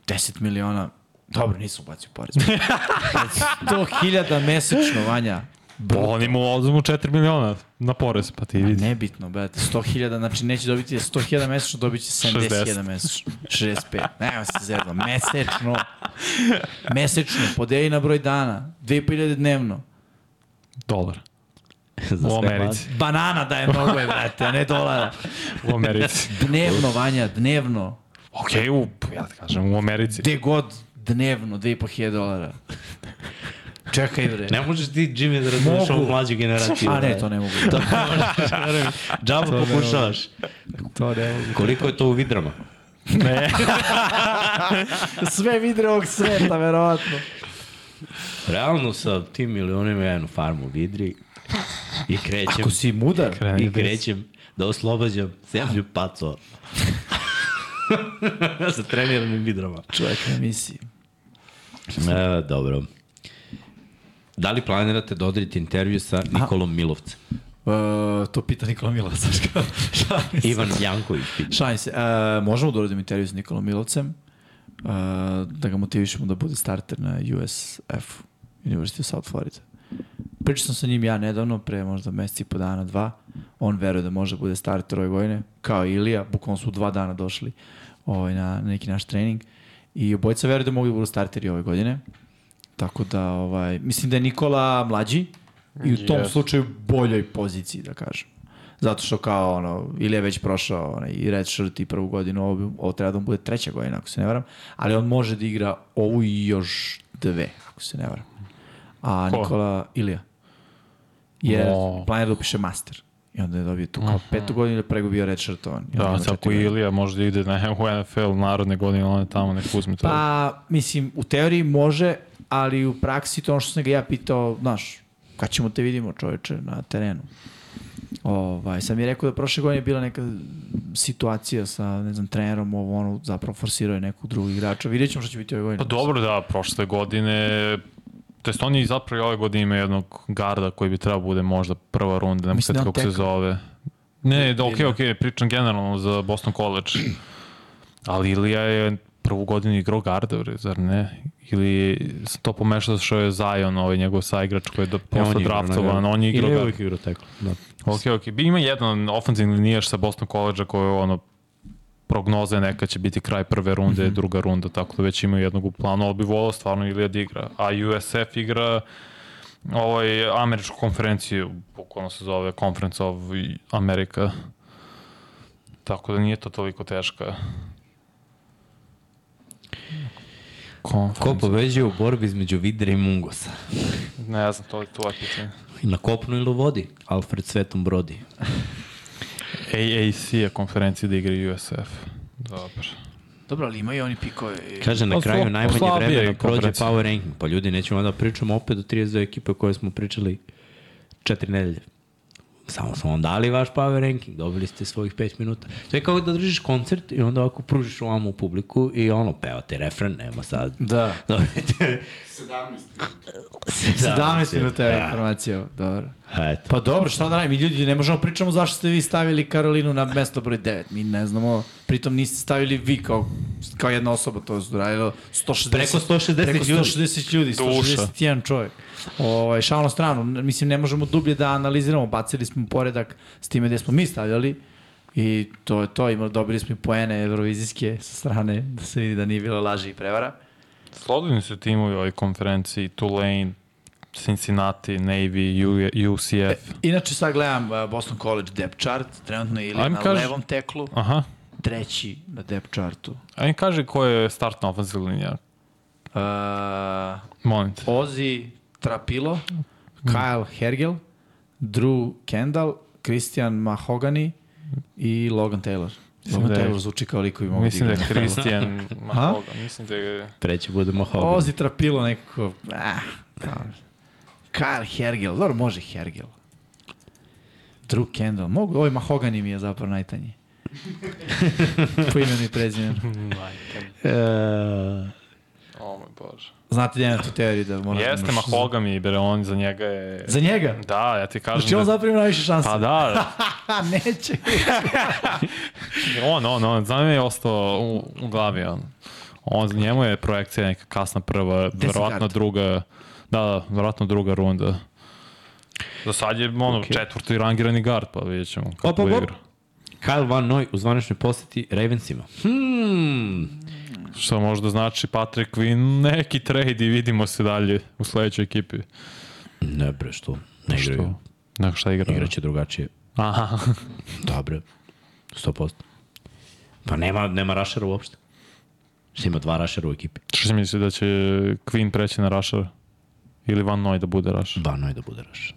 B: 10 miliona, dobro, nisam ubacio porez. 100.000 mesečno, Vanja.
A: Pa Oni mu oduzmu 4 miliona na porez, pa ti vidi.
B: Nebitno, brate, 100.000, znači neće dobiti 100.000 mesečno, dobit će 70.000
A: 60.
B: mesečno. 65, nema se zezno, mesečno. Mesečno, podeli na broj dana, 2.500 dnevno.
A: Dolar.
C: Za
A: U
C: sve
A: Americi.
B: Banana daje mnogo je, brate, a ne dolara.
A: U Americi.
B: Dnevno, Vanja, dnevno.
A: Ok, u, ja ti kažem, u Americi.
B: Gde god, dnevno, 2.500 dolara. Čekaj, bre.
C: mlade. Ne možeš ti, Jimmy, da razumeš
B: Mogu.
C: ovu mlađu generaciju. da.
B: A ne, to ne mogu.
C: Džaba pokušavaš.
B: to ne mogu.
C: Koliko je to u vidrama?
B: Sve vidre ovog sveta, verovatno.
C: Realno sa tim milionima ja jednu farmu u vidri i krećem.
B: Ako si mudar,
C: I krećem da oslobađam zemlju paco. sa treniranim vidrama.
B: čovjek na emisiji.
C: E, dobro. Da li planirate da odredite intervju sa Nikolom Milovcem?
B: Uh, to pita Nikola Milovac. Šalim se.
C: Ivan Janković pita.
B: Šalim se. Uh, možemo da uradimo intervju s Nikolom Milovcem, uh, da ga motivišemo da bude starter na USF, University of South Florida. Pričao sam sa njim ja nedavno, pre možda meseci i po dana, dva. On veruje da može da bude starter ove godine, kao i Ilija, bukvalno su u dva dana došli ovaj, na, na neki naš trening. I obojica veruje da mogu da budu starteri ove godine. Tako da, ovaj, mislim da je Nikola mlađi i u tom
A: Yes.
B: slučaju boljoj poziciji, da kažem. Zato što kao, ono, ili je već prošao onaj, i red shirt i prvu godinu, ovo, bi- ovo treba da mu bude treća godina, ako se ne varam, ali on može da igra ovu i još dve, ako se ne varam. A
A: Ko?
B: Nikola Ilija je
A: O.
B: planira da upiše master. I onda je dobio tu kao petu godinu, ili prego bio red shirt on. I onda
A: Mhm. Da,
B: ima
A: tako
B: četiri
A: i
B: godine.
A: Ilija možda ide na u NFL narodne godine, on je tamo, nek uzme to.
B: Pa, mislim, u teoriji može, ali u praksi to ono što sam ga ja pitao, znaš, kad ćemo te vidimo čoveče na terenu. Ovaj, sam je rekao da prošle godine je bila neka situacija sa, ne znam, trenerom, ovo ono, zapravo forsirao je nekog drugog igrača. Vidjet ćemo što će biti ove godine.
A: Pa dobro, da, prošle godine to jest on je zapravo i ove godine ima jednog garda koji bi trebao bude možda prva runda, nema sad
B: Mislim da on
A: kako se
B: teka.
A: zove. Ne, da, okej, okej, pričam generalno za Boston College. Ali Ilija je prvu godinu igrao garda, bre, zar ne? Ili sam to pomešao što je Zion, ovaj njegov saigrač koji je do,
B: E,
A: posle draftovan, on je igrao
C: Ili je
A: garda.
C: uvijek igrao teklo. Da.
A: Ok, ok. Bi- Ima jedan ofenzivni linijaš sa Boston College-a koji je ono prognoze neka će biti kraj prve runde, mm -hmm. druga runda, tako da već imaju jednog u planu, ali bi volao stvarno Ilija da igra. A USF igra ovaj, američku konferenciju, bukvalno se zove Conference of America. Tako da nije to toliko teška.
C: Ko
A: Konferencija.
C: pobeđuje u borbi između Vidre i Mungosa?
A: Ne znam, to je tvoje pitanje.
C: Na kopnu ili u vodi? Alfred Svetom Brodi.
A: AAC je konferencija da igra USF. Dobro.
B: Dobro, ali imaju oni pikove.
C: Kaže, na
A: Pa,
C: kraju
A: slo-
C: najmanje
A: slabije je
C: vremena prođe
A: konferencija.
C: power ranking. Pa ljudi, nećemo da pričamo opet o 32 ekipe koje smo pričali četiri nedelje. Samo smo vam dali vaš power ranking, dobili ste svojih 5 minuta. To je kao da držiš koncert i onda ovako pružiš ovamo u publiku i ono, pevate refren, nema sad.
B: Da.
C: Dobijete 17.
B: 17 minuta je informacija, dobro.
C: A, Eto.
B: Pa dobro, šta da radim? Mi ljudi ne možemo pričamo zašto ste vi stavili Karolinu na mesto broj 9. Mi ne znamo, pritom niste stavili vi kao, kao jedna osoba, to je uradilo 160,
C: Preko 160
B: preko 160 ljudi,
A: Duša.
B: 161 čovjek. Ovaj, šal na stranu, n- mislim ne možemo dublje da analiziramo, bacili smo poredak s time gde smo mi stavljali i to je to, imali, dobili smo i poene evrovizijske sa strane, da se vidi da nije bilo laži i prevara.
A: Slobodni su timovi u ovoj konferenciji, Tulane, Cincinnati, Navy, U- UCF.
B: Inače sad gledam uh, Boston College depth chart, trenutno je ili
A: Ajme
B: na
A: kaži-
B: levom teklu,
A: Aha.
B: treći na depth chartu.
A: A mi kaže ko je startna ofenzivna linija.
B: Uh,
A: Molim te.
B: Ozi Trapilo,
A: Mm.
B: Kyle Hergel, Drew Kendall, Christian Mahogany i Logan Taylor. Logan
A: da je-
B: Taylor zvuči kao liko i mogu
A: Mislim da je
B: igra.
A: Christian Mahoga. Mislim da je...
C: Treći bude Mahogan.
B: Ozi Trapilo nekako... Ah, kao- Kyle Hergel, dobro može Hergel. Drew Kendall, mogu, ovaj Mahogany mi je zapravo najtanji. po imenu i prezimenu.
C: E,
A: O moj Bože.
B: Znate da imam tu teoriju da moram...
A: Jeste Mahoga mi, bre, on za njega je...
B: Za njega?
A: Da, ja ti kažem
B: Znači on
A: da...
B: zapravo ima najviše šanse.
A: Pa da,
B: Ha, neće.
A: on, on, on, znam je ostao u, u glavi, on. On, njemu je projekcija neka kasna prva, verovatno
B: karta.
A: druga, da, da, verovatno druga runda. Za sad je, ono, okay. četvrti rangirani guard, pa vidjet ćemo kako
C: Op, op, op.
A: igra.
C: Kyle Van Noy u zvaničnoj poseti Ravensima. Hmm,
A: Što možda znači Patrick Quinn, neki trade i vidimo se dalje u sledećoj ekipi.
C: Ne bre, što? Ne igraju.
A: Što? Da. Neko šta igra?
C: Igraće drugačije.
A: Aha.
C: Dobre. 100%. Pa nema, nema rašera uopšte. Što ima dva rašera u ekipi.
A: Što si misli da će Quinn preći na Rašar? Ili Van Noy da bude Rašar?
C: Van Noy da bude rašer.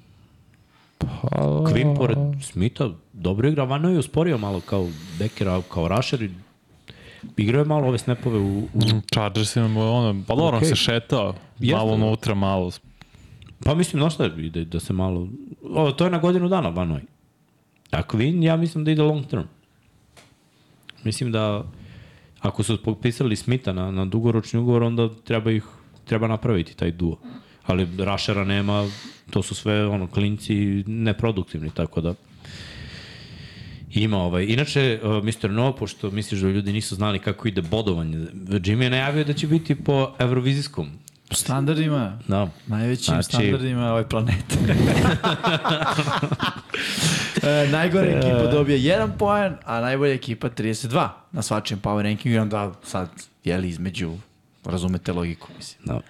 C: Pa... Kvin pored Smitha dobro igra. Van Noy je usporio malo kao Bekera, kao rašer i igrao je malo ove snapove u, u...
A: Chargers imamo ono, pa dobro, okay.
C: Okej.
A: se šetao.
C: Jeste.
A: Malo unutra, malo.
C: Pa mislim, znaš šta, ide da se malo... O, to je na godinu dana Van Noy. A Kvin, ja mislim da ide long term. Mislim da ako su potpisali Smita na, na dugoročni ugovor, onda treba ih treba napraviti taj duo. Ali Rašera nema, to su sve ono klinci neproduktivni, tako da Ima ovaj. Inače, uh, Mr. No, pošto misliš da ljudi nisu znali kako ide bodovanje, Jimmy je najavio da će biti po evrovizijskom.
B: Po standardima,
C: Da.
B: najvećim
C: Znači-
B: znači... standardima ove planete. e, najgore ekipa dobije 1 poen, a najbolja ekipa 32 na svačijem power rankingu i onda sad, jeli, između, razumete logiku, mislim.
C: Da.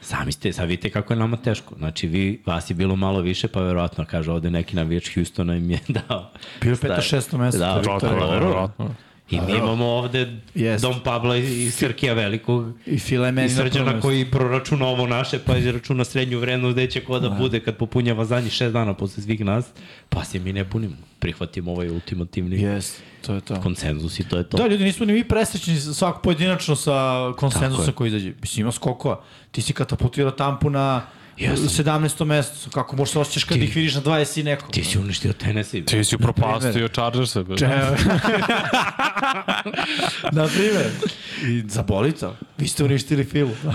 C: Sami ste, sad vidite kako je nama teško. Znači, vi, vas je bilo malo više, pa verovatno, kaže, ovde neki navijač Houstona im je dao.
B: Bio je
C: Staje.
B: peto, šesto mesto, to
C: Da,
B: je
A: Tako Pa
C: to je
A: je,
C: dobro.
A: verovatno.
C: I mi imamo ovde
B: Jest.
C: Dom Pabla i Srkija Velikog
B: I Fila je
C: i
B: meni na
C: Srđana
B: prvom
C: koji proračuna ovo naše, pa izračuna srednju vrednost gde će ko da bude kad popunjava zadnjih šest dana posle svih nas, pa se mi ne bunimo. Prihvatimo ovaj ultimativni
B: mestu.
C: yes.
B: Yes, to je to.
C: konsenzus i to je to.
B: Da, ljudi nisu ni mi presrećni svako pojedinačno sa
C: Tako je.
B: konsenzusom koji izađe. Mislim, ima skokova. Ti si katapultirao tampu na Jesam. 17. mesto, kako možeš se osjećaš kad
C: Ti-
B: ih vidiš na 20 i neko.
C: Ti si uništio Tennessee.
A: Ti si upropastio Chargersa. bre.
B: Na primer. I zaboli to. Vi ste uništili filu. znaš.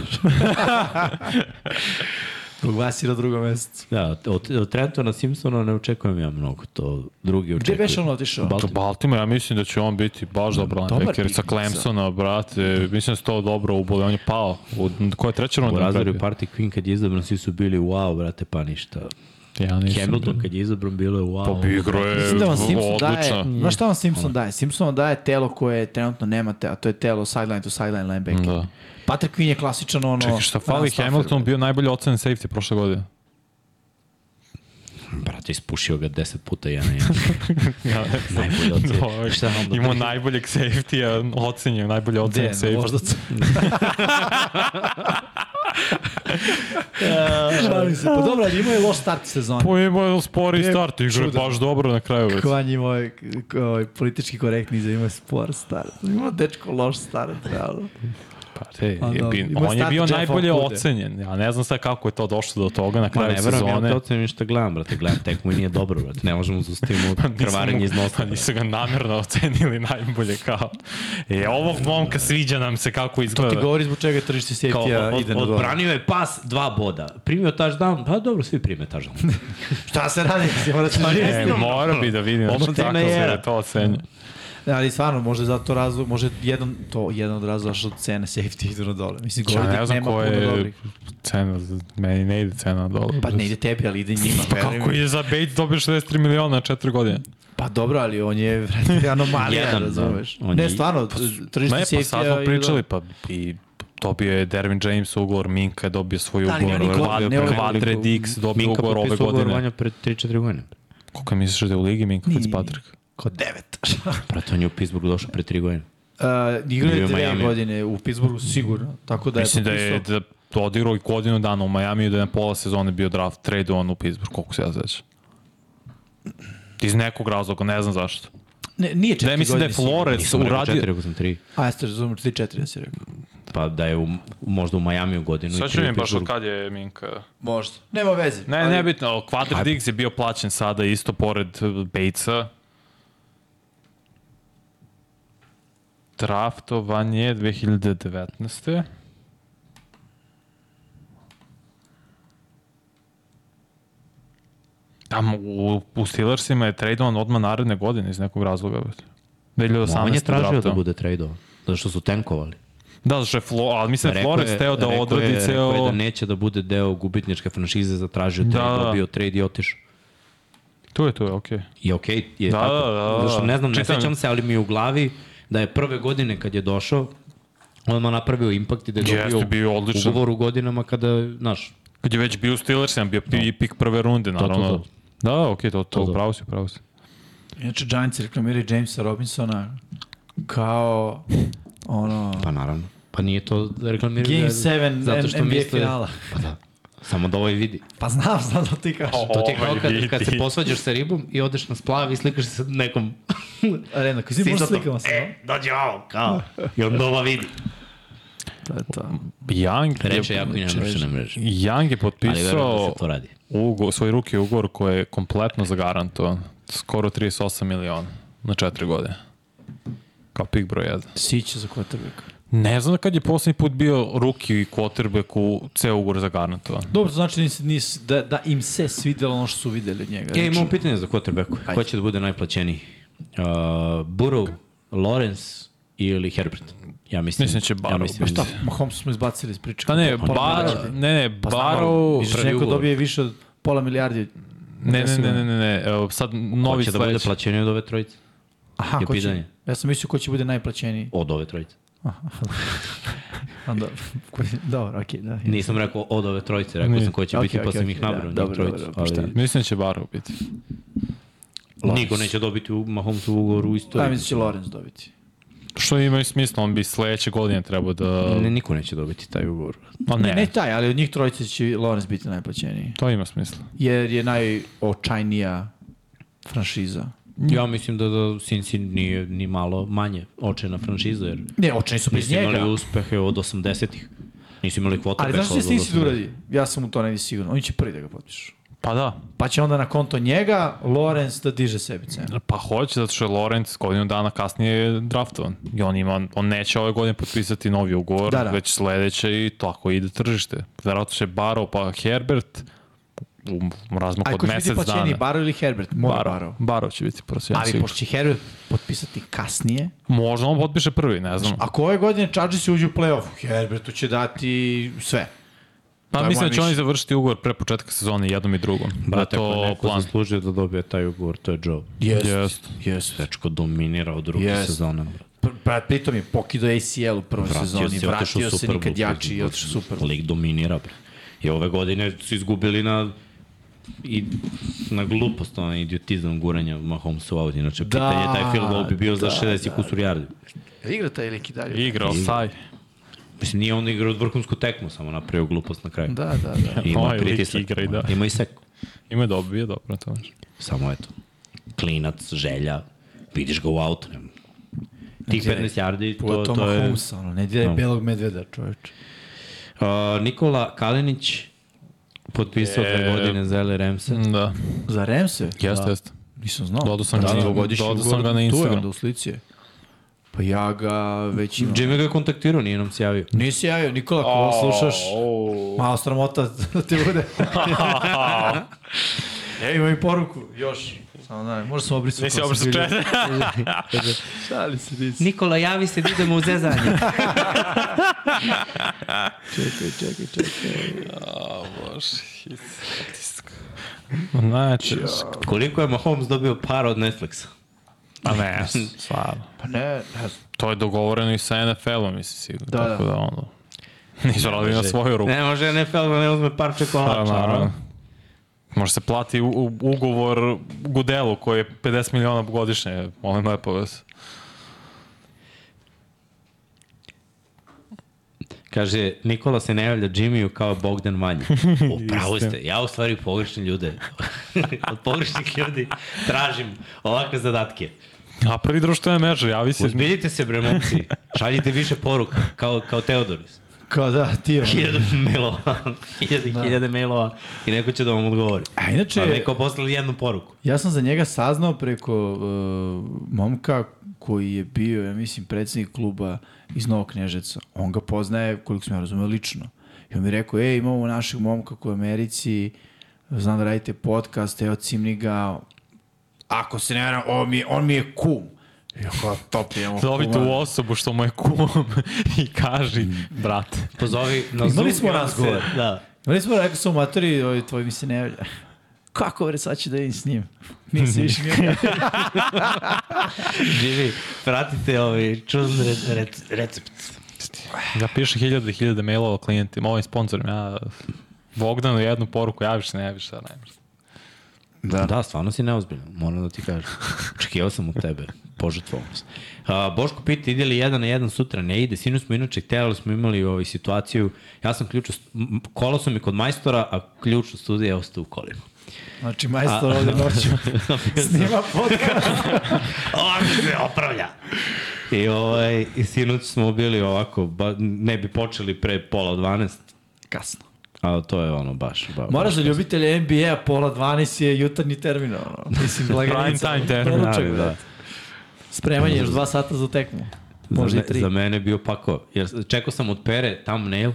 B: Zbog vas je na drugom mesecu.
C: Da, od, od Trentona Simpsona ne očekujem ja mnogo, to drugi
B: Gde
C: očekuju.
B: beš ono otišao?
A: To Baltimore, ja mislim da će on biti baš dobar
B: Dobar
A: linebacker sa
B: pizza.
A: Clemsona, brate. Mislim da se to dobro uboli. On je pao. U, koja je treća
C: U
A: runda?
C: razvoju
A: Brad?
C: Party Queen kad je izabran, svi su bili wow, brate, pa ništa.
A: Ja nisam. da.
C: Hamilton kad je izabran, bilo je wow.
A: Pa bi igro je
B: Mislim da vam Simpson daje,
A: odlična.
B: znaš šta vam Simpson daje? Simpson vam daje telo koje trenutno nemate, a to je telo sideline to sideline linebacker. Da.
A: Da.
B: Patrick Queen je klasičan ono...
A: Čekaj, šta fali
B: run stuffer.
A: Hamilton bio najbolji ocen safety prošle godine.
C: Brate, ispušio ga 10 puta jedan jedan. Najbolje od
A: Ovaj,
C: sve. Šta onda?
A: Imao najboljeg safety-a, ocenjen, najbolji
B: Gde?
A: ocen
B: Na
A: safety.
B: voždacu. Šalim se. Pa dobro, ali imao je loš start sezone.
A: Pa imao je spori
B: Je
A: start, igra je
B: čudan.
A: baš dobro na kraju. već.
B: Kvanj ima ovaj, ovaj politički korektni za ima spor start. Ima dečko loš start, realno.
A: Pa, te, je,
B: A, da,
A: bi-
B: imao
A: on je
B: je start
A: bio
B: Jeffa
A: najbolje
B: Okude.
A: ocenjen. Ja ne znam sad kako je to došlo do toga na
C: Ma
A: kraju
C: ne verujem, ja
A: sezone.
C: te ocenim ništa gledam, brate, gledam tekmu i nije dobro, brate, ne možemo zustaviti mu krvarenje iz nosa.
A: Pa nisu ga namerno ocenili najbolje kao. E, ovog momka sviđa nam se kako izgleda.
B: Ti govori zbog čega tržište
C: Kao,
B: safety-a
C: od,
B: ide na dole.
C: odbranio je pas, dva boda. Primio touchdown, pa dobro, svi prime touchdown.
B: Šta se radi? Mislim, morat ćeš
A: E,
B: živjeti.
A: mora bi da vidim
C: Ovo
A: znači,
C: tema
A: kako
C: je
A: se
C: era.
A: da to ocenja.
B: Ali stvarno, možda je zato razlog, možda je jedan, to, jedan od razloga što cene safety idu na dole. Mislim,
A: Ja
B: govori
A: ne
B: da
A: znam
B: nema puno
A: koja je
B: dobrih.
A: cena, za- meni ne ide cena dole.
B: Pa ne ide tebi, ali ide njima.
A: Pa
B: veruj mi.
A: kako je za Bates dobio 63 miliona na 4 godine?
B: Pa dobro, ali on je vrati, anomalija,
C: Jedan, da.
B: razumeš.
C: On
B: Ne,
C: je-
B: stvarno, tržište
A: Ne,
B: safety-a...
A: pa sad smo
B: ide
A: pričali,
B: dole.
A: pa i dobio je Dervin James ugovor, Minka je dobio svoj
B: Da, ali
A: ugovor,
B: oni
A: Kva-
B: godine, ove-
A: Kvadre Dix dobio
C: Minka
A: ugovor ove
C: potpisao ugovor
A: godine.
C: vanja pred 3-4 godine.
A: Koliko misliš da je u ligi Minka Fitzpatrick?
B: Ko devet.
C: Brate, on je u Pittsburgh došao pre 3 godine.
B: Uh, igrao
C: Bio
B: je
C: je
B: dve
C: Miami.
B: godine u Pittsburghu sigurno, tako da je
A: Mislim da je
B: potpisao-
A: da to odigrao i godinu dana u Majamiju, da je na pola sezone bio draft trade on u Pittsburgh, koliko se ja sveća. Iz nekog razloga, ne znam zašto.
B: Ne, nije četiri
A: Da, mislim da je
B: godine sigurno.
A: Flores
C: Nisam rekao
A: uradio...
C: 4, rekao sam 3.
B: A jeste razumem, ti četiri, ja si rekao.
C: Pa da je u, možda u Majamiju godinu
G: Sad
C: i
G: ću
C: tri pa u
G: vidim baš od
C: Pittsburghu.
G: kad je Minka.
B: Možda. Nema veze.
A: Ne,
B: ali-
A: nebitno, ali Quadra Diggs je bio plaćen sada isto pored eh, Batesa. Draftovan je 2019. Tamo u, u Steelersima je tradovan odmah naredne godine iz nekog razloga. brate. 2018.
C: On je tražio da
A: draftovan.
C: bude trade-ovan, zato što su tenkovali.
A: Da, što je Flo, ali mislim da je
C: Rekao
A: Flores
C: je-
A: teo da
C: rekao
A: odradi
C: je,
A: ceo...
C: Rekao je da neće da bude deo gubitničke franšize, zatražio
A: Da,
C: trade,
A: da, da.
C: dobio trade i otišao.
A: Tu je, tu je, okej.
C: I okej je
A: Da,
C: tako.
A: da, da, da.
C: Zato što ne znam, ne
A: Čitam.
C: sećam se, ali mi je u glavi da je prve godine kad je došao, odmah napravio impakt i da je
A: Jeste,
C: dobio
A: bio odličan.
C: ugovor u godinama kada, znaš,
A: Kad je već bio u Steelersima, bio i pik prve runde, naravno.
C: to.
A: Da, da, okej, to, to,
C: to.
A: pravo si, pravo si.
B: Inače, Giants reklamiraju Jamesa Robinsona kao ono...
C: pa naravno. Pa nije to reklamirano.
B: Game 7
C: zato što
B: NBA
C: misle-
B: finala.
C: Pa da. Samo da ovaj vidi.
B: Pa znam, znam da ti kažeš.
A: O,
C: Znači, To ti je kao
A: Ovaj
C: kad, kad se
A: vidi.
C: posvađaš sa ribom i odeš na splav i slikaš se sa nekom
B: Arena, koji si možda
C: E.
B: slikamo se, Da. no?
C: dođe ovo, kao. I onda ova vidi.
B: To je to.
A: Young
C: Reče
A: je,
C: jako i na društvenoj mreži.
A: Young je
C: Ali verujem da
A: potpisao
C: se to radi.
A: ugo, svoj ruki ugovor koji je kompletno zagarantovan. Skoro 38 miliona na četiri godine. Kao pik broj 1.
B: Sića za quarterback.
A: Ne znam kad je poslednji put bio ruki i quarterback u ceo ugovor zagarantovan.
B: Dobro, to znači nis, nis, da, da im se svidelo ono što su videli od njega.
C: Ja
B: Znači,
C: imam pitanje za quarterbacku. Ko će da bude najplaćeniji? Uh, Burrow, Lawrence ili Herbert? Ja mislim,
A: Mislim da će Burrow
C: Ja mislim,
A: biti.
B: pa Šta, Mahomes smo izbacili iz priče. Pa
A: Da ne,
C: Pa
B: Pola
A: bar,
B: milijardi.
A: ne, ne, Barrow...
B: Pa Misliš, da
C: pravi
B: neko
C: ugovor.
B: dobije više od pola milijardi? od-
A: Ne, ne, ne, ne, ne, ne, evo, sad
C: Ko
A: novi
C: će da bude
A: sledeći.
C: plaćeniji od ove trojice?
B: Aha,
C: Je
B: ko će,
C: pitanje.
B: ja sam mislio ko će bude najplaćeniji.
C: Od ove trojice.
B: Onda, ko- dobro, okej, da.
C: Nisam rekao od ove trojice, rekao
A: Nije.
C: sam ko će
B: Okej,
C: biti, pa
B: okej,
C: sam
B: okej,
C: ih
B: da,
C: nabrao, njih
B: dobro,
C: trojicu.
B: dobro,
C: Ali
B: pošteno.
A: Mislim da će Barrow biti.
C: niko neće dobiti u Mahomesu ugovor u istoriji.
B: Da, mislim da će Lorenz dobiti.
A: Što ima i smisla, on bi sledeće godine trebao da...
C: Ne, niko neće dobiti taj ugovor.
A: Pa ne,
B: Ne taj, ali od njih trojice će Lorenz biti najplaćeniji.
A: to ima smisla.
B: Jer je najočajnija franšiza.
C: Ja mislim da, da Cincy nije ni malo manje očajna franšiza, jer
B: Ne, očajni su bez
C: nisu imali
B: njega.
C: uspehe od 80-ih. Nisu imali kvota.
B: Ali znaš što će Sixers da uradi? Ja sam u to negdje sigurno. Oni će prvi da ga potpišu.
A: Pa da,
B: Pa će onda na konto njega Lorenz da diže sebi cenu.
A: pa hoće, zato što je Lorenz godinu dana kasnije je draftovan. I on, ima, on neće ove godine potpisati novi ugovor,
B: Da, da.
A: već sledeće i tako ide tržište. Verovatno će Baro pa Herbert u razmaku
B: Ako
A: od
B: će biti
A: mesec
B: plaćeni
A: dana.
B: Baro ili Herbert, mora Baro.
A: Baro. Baro će biti prosjećan
B: Ali pošto će Herbert potpisati kasnije,
A: Možda on potpiše prvi, ne znam.
B: ako ove godine Chargers uđu u play-off, Herbertu će dati sve. to
A: Pa
B: je
A: mislim
B: moje
A: da će oni
B: mišljenje.
A: završiti ugovor pre početka sezone jednom i drugom.
C: Brate,
A: da je
C: ako je
A: to
C: neko plan.
A: plan.
C: zaslužio da dobije taj ugovor, to je Joe.
A: Jest.
B: Yes.
C: Dečko dominira od druge
B: Jest.
C: yes. sezone. brate.
B: Pr pa pritom je pokido ACL u prvoj
C: Vratio
B: sezoni,
C: se, otišao
B: vratio
C: u
B: se
C: Super Bowl.
B: nikad jači i otišao u Super Bowl.
C: Lig dominira, bre. I ove godine su izgubili na i na glupost, na idiotizam guranja Mahomesa u aut. Inače, da, pitanje taj field goal bi bio da, za 60 da, kusur yardi.
B: Igra taj lik i dalje.
A: Igrao, saj.
C: Mislim, nije on igrao od vrhunsku tekmu, samo napravio glupost na kraju.
B: Da, da, da.
C: Ima
A: Ovaj lik
C: pritisak.
A: igra i da.
C: Ima i seku.
A: Ima je dobio, dobro, to je.
C: Samo eto, klinac, želja, vidiš ga u autu. nema. Tih
A: Znači,
C: 15 yardi,
B: To,
C: to, to je...
B: Holmes, ono, ne diraj belog medveda, čoveče.
C: Uh, Nikola Kalenić potpisao e... dve godine za LA Ramse.
A: Da,
B: Za Remse?
A: jeste, jeste.
B: Nisam znao. Da,
A: Dodao sam ga na-
B: dvogodišnji
A: dodao sam ga
B: ugovor,
A: na
B: Tu
A: Instagram.
B: je onda u slici. je. Pa ja ga već imam.
C: Jimmy ga je kontaktirao, nije nam se javio.
B: Nisi javio, Nikola, ako ovo slušaš, malo sramota da ti bude. e, imam i poruku, još. Samo da, ne, možda sam obrisao.
H: Nisi
B: ko sam
H: obrisao
B: bilje.
H: čet.
B: Šali se, nisi.
C: Nikola, javi se da idemo u zezanje.
B: Čekaj, čekaj, čekaj.
A: Znači,
C: Koliko je Mahomes dobio para od Netflixa?
A: a ne, stvarno.
B: Pa ne, ne znam.
A: To je dogovoreno i sa NFL-om, mislim, sigurno.
B: Da,
A: Da, Tako
B: da.
A: da, ono, nisu radili na svoju ruku.
C: Ne može NFL da ne uzme par
A: Pa,
C: čekolača.
A: naravno.
C: a?
A: Može se plati u, u, ugovor Gudelu koji je 50 miliona godišnje, molim lepo vas.
C: Kaže, Nikola se ne javlja Jimmyu kao Bogdan Manje. Upravo ste, ja u stvari pogrešne ljude. od pogrešnih ljudi tražim ovakve zadatke.
A: A prvi društvene mreže, javi se.
C: Uzbiljite se bre momci, šaljite više poruka, kao, kao Teodoris.
B: Kao da, ti je.
C: Hiljade mailova, hiljade, da. hiljade mailova i neko će da vam odgovori.
B: A
C: Pa
B: inače,
C: neko poslali jednu poruku.
B: ja sam za njega saznao preko uh, momka koji je bio, ja mislim, predsednik kluba iz Novog Knežeca. On ga poznaje, koliko sam ja razumeo, lično. I on mi je rekao, e, imamo našeg momka koji je u Americi, znam da radite podcast, evo cimni ga, ako se ne varam, on mi, je- on mi je kum. I ja kao, top, imamo
A: Zovite u osobu što mu je kumom i kaži, brate.
C: Pozovi na
B: Imali
C: Zoom
B: smo
C: i onda
B: razgovor.
C: se- Da.
B: Imali smo rekao sam u maturi, ovaj, tvoj mi se ne javlja. Kako, bre, sad ću da vidim s njim. Nisi više mi javlja.
C: Živi, pratite ovaj čudan re, re, recept.
A: Ja pišem hiljade i hiljade mailova klijentima, ovim sponsorima, ja Bogdanu jednu poruku, javiš se, ne javiš se, ne javiš se.
C: Da. da, stvarno si neozbiljan, moram da ti kažem. Očekivao sam od tebe, požetvovao sam. A, Boško pita, ide li jedan na jedan sutra? Ne ide, sinu smo inače htjeli, smo imali ovaj situaciju, ja sam ključ, u st- m- kola su mi kod majstora, a ključ u studiju je ostao u kolima.
B: Znači, majstor ovde noću snima podcast.
C: Ovako se opravlja. I, ovaj, i sinoć smo bili ovako, ba, ne bi počeli pre pola 12,
B: Kasno.
C: ali to je ono baš. Ba,
B: Pa Moraš da
C: baš
B: za ljubitelje NBA, pola 12 je jutarnji termin, ono. Mislim,
A: Prime
B: blaganica.
A: time termin.
B: Doručak,
C: Ali, da.
B: brate. Spremanje još dva sata za tekmu. Možda
C: Možda
B: i
C: za, me,
B: tri.
C: za mene je bio pakao. Jer čekao sam od Pere thumbnail,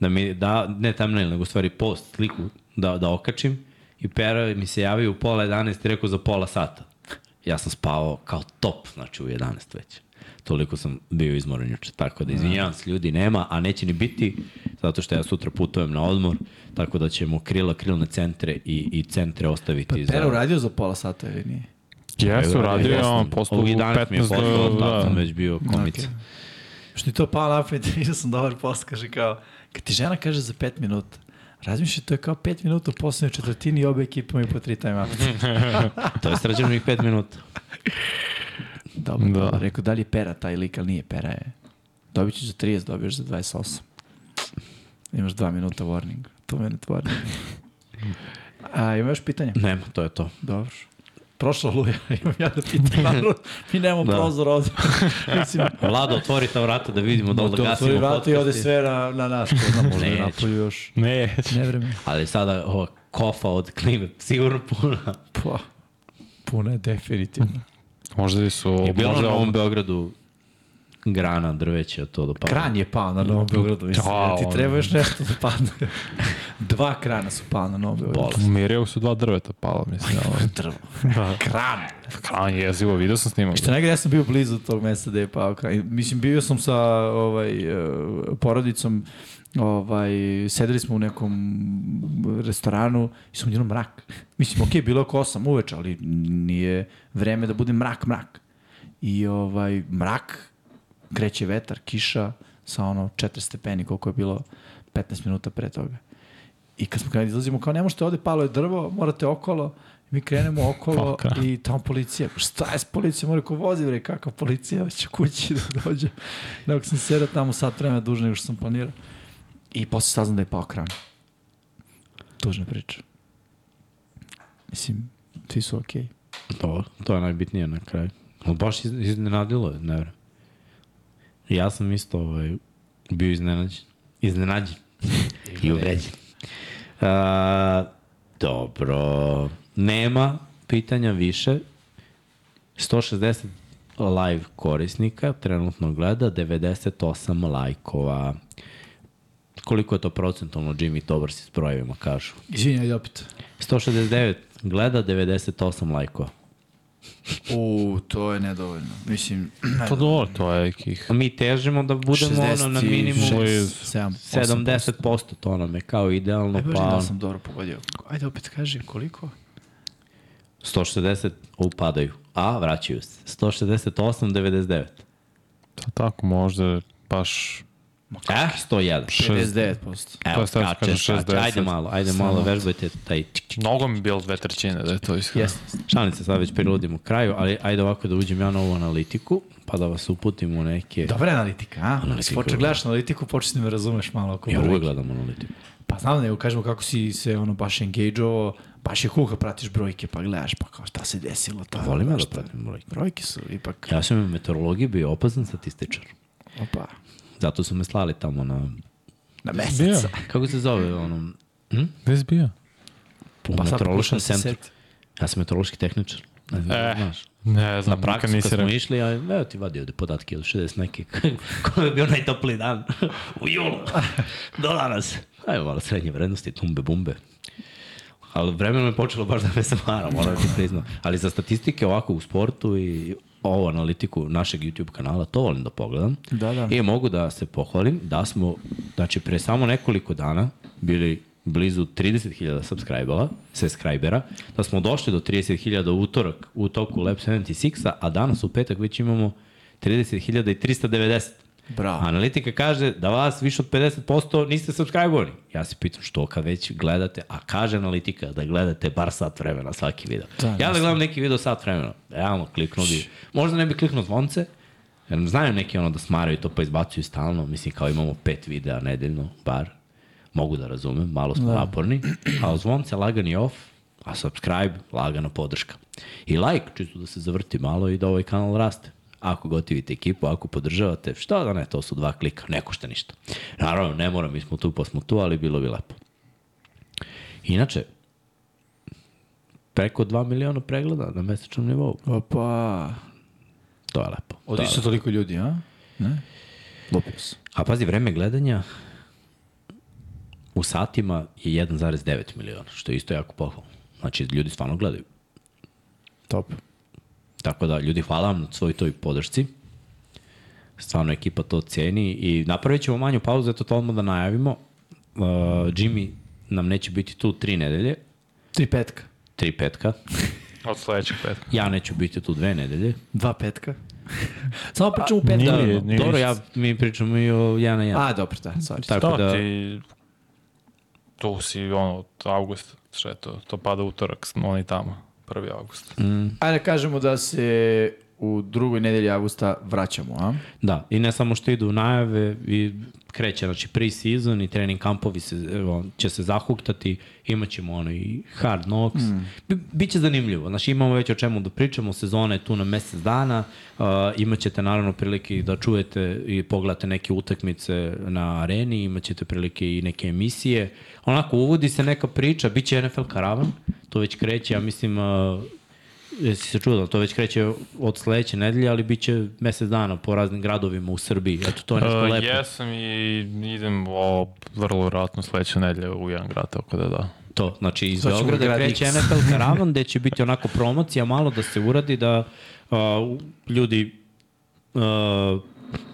C: da mi da, ne thumbnail, nego u stvari post, sliku, da, da okačim. I Pera mi se javio u pola 11 i rekao za pola sata. Ja sam spavao kao top, znači u 11 već. Toliko sam bio izmoran juče. Tako da izvinjavam se, ljudi nema, a neće ni biti, zato što ja sutra putujem na odmor, tako da ćemo krila, krilne centre i, i centre ostaviti
B: Pa, Pera uradio za pola sata ili nije?
C: Е,
A: Jesu, radio je
C: Jesam.
A: on posto u
C: U 11 mi je
A: 15
C: poslao,
A: do...
C: da, sam
A: Da.
C: već bio komica.
B: Okej. Što je to pao na pamet, vidio sam dobar post, kaže kao, kad ti žena kaže za 5 minuta, razmišljaj, to je kao 5 minuta u poslednjoj četvrtini i obe ekipe imaju po 3 time out.
C: To je strađeno ih 5 minuta.
B: Dobro,
A: Da.
B: da. dobro, rekao, da li je pera taj lik, ali nije pera je. Dobit ćeš za 30, dobiješ za 28. Imaš 2 minuta warning, 2 minute warning. A, ima još pitanja?
C: Nema, to je to.
B: Dobro. Prošla luja, imam ja da pitam, naravno, mi nemamo da. prozor ovde. Mislim,
C: Vlada, otvori ta vrata da vidimo da li da
B: to otvori
C: gasimo
B: vrata
C: podcast.
B: i ode sve na, na nas, ko zna, možda je
C: Neće.
B: napolju još
A: Ne,
B: nevreme.
C: Ali sada ova kofa od klime sigurno puna.
B: Pa, puno je definitivno.
A: možda su...
C: Je bilo na
A: možda
C: Novom Beogradu grana drveća to do pala.
B: Kran je pao na Novom Beogradu, mislim,
A: Ćao.
B: da ti treba još nešto da padne. Dva krana su pala na Novom Beogradu.
A: U Mirjevu su dva drveta pala, mislim. Ovaj.
B: Drvo.
A: Da.
B: Kran.
A: Kran je jezivo, vidio sam snimak.
B: Šta negde ja sam bio blizu tog mesta gde je pao kran. I, Mislim, bio sam sa ovaj, e, porodicom, ovaj, sedeli smo u nekom restoranu i sam jednom mrak. Mislim, okej, bilo je oko 8 uveč, ali nije vreme da bude mrak, mrak. I ovaj, mrak, kreće vetar, kiša, sa ono 4 stepeni, koliko je bilo 15 minuta pre toga. I kad smo krenuli, da izlazimo kao ne možete ovde, palo je drvo, morate okolo. I mi krenemo okolo
A: Faka.
B: i tamo policija. Šta je s policijom? Mora ko vozi, bre, kakva policija, već ću kući da dođem. Dok sam sedao tamo sat vremena duže nego što sam planirao. I posle saznam da je pao kran. Tužna priča. Mislim, svi su okej. Okay.
C: To, to je najbitnije na kraju. Ali baš iz- iznenadilo je, ne vrem. Ja sam isto ovaj, bio iznenađen. Iznenađen. I uvređen. A, dobro. Nema pitanja više. 160 live korisnika trenutno gleda 98 lajkova. Koliko je to procentalno, Jimmy, dobar si s brojevima, kažu.
B: Izvinjaj, ajde opet.
C: 169 gleda, 98 lajkova.
B: U, to je nedovoljno. Mislim,
A: Pa dobro, to je nekih...
C: Mi težimo da budemo 60, ono na minimumu
B: 70
C: 70%, to nam je kao idealno,
B: pa.
C: pa
B: Da sam dobro pogodio. Ajde opet kaži koliko?
C: 160 upadaju, a vraćaju se. 168, 99.
A: Pa tako, možda baš...
C: Eh, 101.
B: 59%.
A: To
C: Evo,
A: je sad
C: skače,
A: kažem
C: skače.
A: 60.
C: Ajde malo, ajde malo, vežbajte taj čik, čik.
A: Mnogo mi bilo dve trećine da je to iskreno.
B: Jeste.
C: Šalim se, sad već priludim kraju, ali ajde ovako da uđem ja na ovu analitiku, pa da vas uputim u neke... Da.
B: Dobra analitika, a? Analitika.
C: Analitika,
B: Počne gledaš analitiku, počne da me razumeš malo oko
C: Ja uvek
B: brojki.
C: gledam analitiku.
B: Pa znam da nego kažemo kako si se ono baš engage-ovo, baš je kuha, pratiš brojke, pa gledaš, pa kao šta se desilo. Ta,
C: Volim ja da
B: šta-
C: pratim brojke.
B: Brojke su ipak,
C: Ja sam u meteorologiji bio opazan statističar.
B: opa,
C: Zato su me slali tamo na...
B: na
A: Bio,
B: mesec.
C: Kako se zove ono...
A: gde si bio?
C: U
B: Pa sad
C: meteorološkom
B: pokušam se
C: centru.
B: setiti.
C: Ja sam meteorološki tehničar. Ne znam,
A: E,
C: e, znaš.
A: Ne znam,
C: Na
A: nikad
C: praksu kad
A: nisi
C: smo
A: rekao.
C: išli, a evo ti vadi ovde podatke od 60 neke, koji je bio najtopliji dan u julu, do danas. Ajmo malo srednje vrednosti, tumbe bumbe. Ali vremenom je počelo baš da me smara, moram ti priznam. Ali za statistike ovako u sportu i ovu analitiku našeg YouTube kanala, to volim da pogledam.
B: Da, da.
C: I mogu da se pohvalim da smo, znači pre samo nekoliko dana bili blizu 30.000 subscribera, subscribera, da smo došli do 30.000 u utorak u toku Lab 76-a, a danas u petak već imamo 30.390.
B: Bravo.
C: Analitika kaže da vas više od 50% niste subscriberi. Ja se pitam što kad već gledate, a kaže analitika da gledate bar sat vremena svaki video.
B: Da,
C: Da, ja da gledam neki video sat vremena, realno kliknuo bi. Možda ne bi kliknuo zvonce, jer znaju neki ono da smaraju to pa izbacuju stalno, mislim kao imamo pet videa nedeljno, bar. Mogu da razumem, malo smo da. naporni, a zvonce lagani off, a subscribe lagana podrška. I like, čisto da se zavrti malo i da ovaj kanal raste. Ako gotivite ekipu, ako podržavate, što da ne, to su dva klika, ne košta ništa. Naravno, ne moram, mi smo tu pa smo tu, ali bilo bi lepo. Inače, preko 2 miliona pregleda na mesečnom nivou.
B: Opa.
C: To je lepo. To je
B: Odišli su toliko ljudi, a? Ne? Lupio se.
C: A pazi, vreme gledanja u satima je 1,9 miliona, što je isto jako pohvalno. Znači, ljudi stvarno gledaju.
B: Top.
C: Tako da, ljudi, hvala vam na svoj toj podršci. Stvarno, ekipa to ceni i napravit ćemo manju pauzu, eto to odmah da najavimo. Uh, Jimmy nam neće biti tu tri nedelje,
B: Tri petka.
C: tri petka.
I: Od sledećeg petka.
C: Ja neću biti tu dve nedelje.
B: Dva petka. Samo pričamo u petka.
A: nije,
C: Da,
A: nije
C: nije dobro,
A: isto.
C: ja, mi pričamo i o jedan na jedan.
B: A, dobro, da, sorry.
C: Tako
A: Da,
C: da,
A: da, ti... Tu si, ono, od avgusta, sve to, to pada utorak, oni tamo, 1. avgust.
B: Ajde kažemo da se u drugoj nedelji avgusta vraćamo, a?
C: Da, i ne samo što idu najave i kreće, znači pre-season i trening kampovi se, evo, će se zahuktati, imat ćemo ono i hard knocks, mm. biće zanimljivo, znači imamo već o čemu da pričamo, sezona je tu na mesec dana, uh, imat ćete naravno prilike i da čujete i pogledate neke utakmice na areni, imat ćete prilike i neke emisije, onako uvodi se neka priča, bit će NFL karavan, to već kreće, ja mislim, uh, jesi se čudao, to već kreće od sledeće nedelje, ali bit će mesec dana po raznim gradovima u Srbiji. Eto, to je nešto
A: Uh,
C: lepo.
A: jesam i idem o, vrlo vjerojatno sledeće nedelje u jedan grad, tako da da.
C: To, znači iz
B: Sad ćemo
C: Beograda
B: grad
C: kreće
B: X.
C: NFL karavan, gde će biti onako promocija, malo da se uradi, da uh, ljudi uh,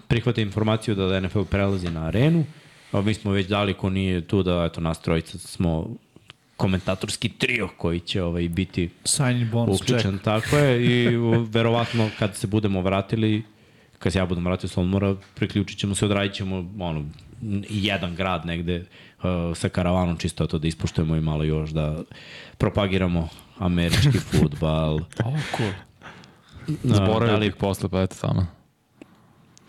C: prihvate informaciju da NFL prelazi na arenu. Uh, mi smo već dali ko nije tu da, eto, nas trojica smo komentatorski trio koji će ovaj, biti
B: Sign in bonus check.
C: uključen, tako je, i u, verovatno kad se budemo vratili, kad se ja budem vratio s odmora, priključit ćemo se, odradit ćemo ono, n- jedan grad negde uh, sa karavanom, čisto eto da ispoštujemo i malo još da propagiramo američki futbal.
A: O, cool.
C: Na, da
A: Zaboravio
C: li-
A: bih posle, pa eto tamo.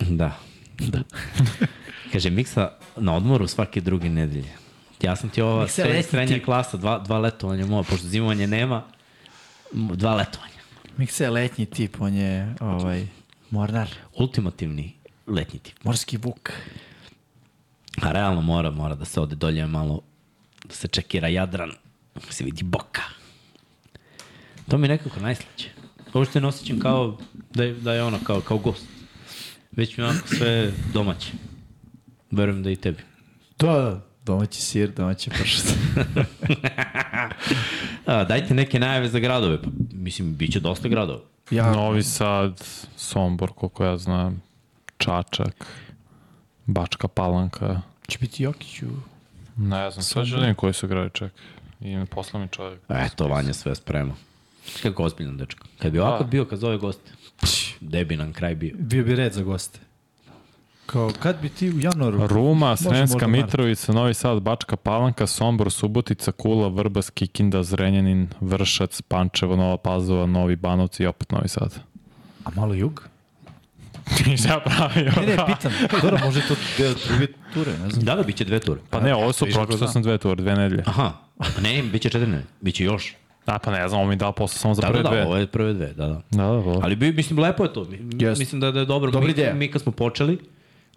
C: Da. da. Kaže, Miksa na odmoru svake druge nedelje. Ja sam ti ova
B: Miksa,
C: srednja,
B: leti
C: srednja
B: ti.
C: klasa, dva, dva letovanja moja, pošto zimovanje nema, m, dva letovanja.
B: Miksa je letnji tip, on je ovaj, mornar,
C: Ultimativni letnji tip.
B: morski vuk.
C: A realno mora, mora da se ode dolje malo, da se čekira Jadran, da se vidi boka. To mi je nekako najslađe. Uopšte ne osjećam kao da je, da je ono, kao, kao gost. Već mi je onako sve domaće. Verujem da i tebi.
B: Da, da, domaći sir, domaći pršut.
C: A, Da, dajte neke najave za gradove. Pa, mislim, bit će dosta gradova.
B: ja, no.
A: Novi Sad, Sombor, koliko ja znam, Čačak, Bačka Palanka,
B: će biti Jokiću.
A: ne znam, sve želim koji su gravi, čak. I posla mi čovjek.
C: Eto, Vanja sve sprema. Kako ozbiljan dečko. Kad bi ovako
A: Da.
C: bio kad zove goste, gde bi nam kraj bio?
B: Bio bi red za goste. Kao, kad bi ti u januaru?
A: Ruma,
B: možda
A: Srenska
B: mart.
A: Mitrovica, Novi Sad, Bačka Palanka, Sombor, Subotica, Kula, Vrbas, Kikinda, Zrenjanin, Vršac, Pančevo, Nova Pazova, Novi Banovci i opet Novi Sad.
B: A malo jug?
A: Nisam ja pravio.
B: Ne, ne, pitam. Dobro, može to deo druge ture, ne znam.
C: Da, da, bit će dve ture.
A: Pa ne, ovo su pročito sam dve ture, dve nedelje.
C: Aha, ne, bit će četiri, nedelje. bit će još.
A: A pa ne znam, ovo mi je dao posao samo za
C: Da,
A: prve
C: da, da,
A: dve.
C: ovo je prve dve, da, da.
A: Da, da, ovo.
C: Ali bi, mislim, lepo je to. Mi-
B: Jeste.
C: Mislim da, da je dobro.
B: Dobra
C: mi,
B: ideja.
C: Mi kad smo počeli,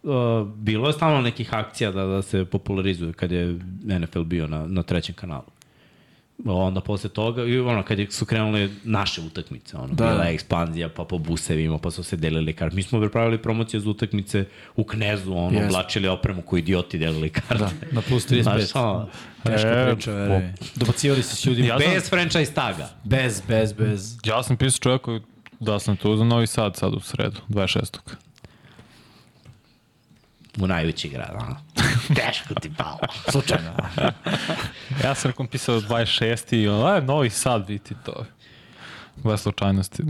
C: uh, bilo je stalno nekih akcija da, da se popularizuje kad je NFL bio na, na trećem kanalu. Onda posle toga, i ono, kad je- su krenule naše utakmice, ono,
B: Da.
C: da. bila je ekspanzija, pa po busevima, pa su se delili karte. Mi smo pravili promocije za utakmice u Knezu, ono,
B: Jeste.
C: yes. oblačili opremu koji idioti delili karte. Da.
B: Na plus
C: Znaš,
B: 35.
C: ono,
B: Teška
A: E,
B: priča, veruj. Dobacivali se s ljudima.
A: Ja sam-
C: bez franchise taga.
B: Bez, bez, bez.
A: Ja sam pisao čovjeku da sam tu za Novi Sad sad u sredu, 26.
C: U najveći grad, ono. Teško ti palo.
B: Slučajno.
A: Ja sam nekom pisao 26. i ono, aj, Novi Sad biti to. Gle slučajnosti.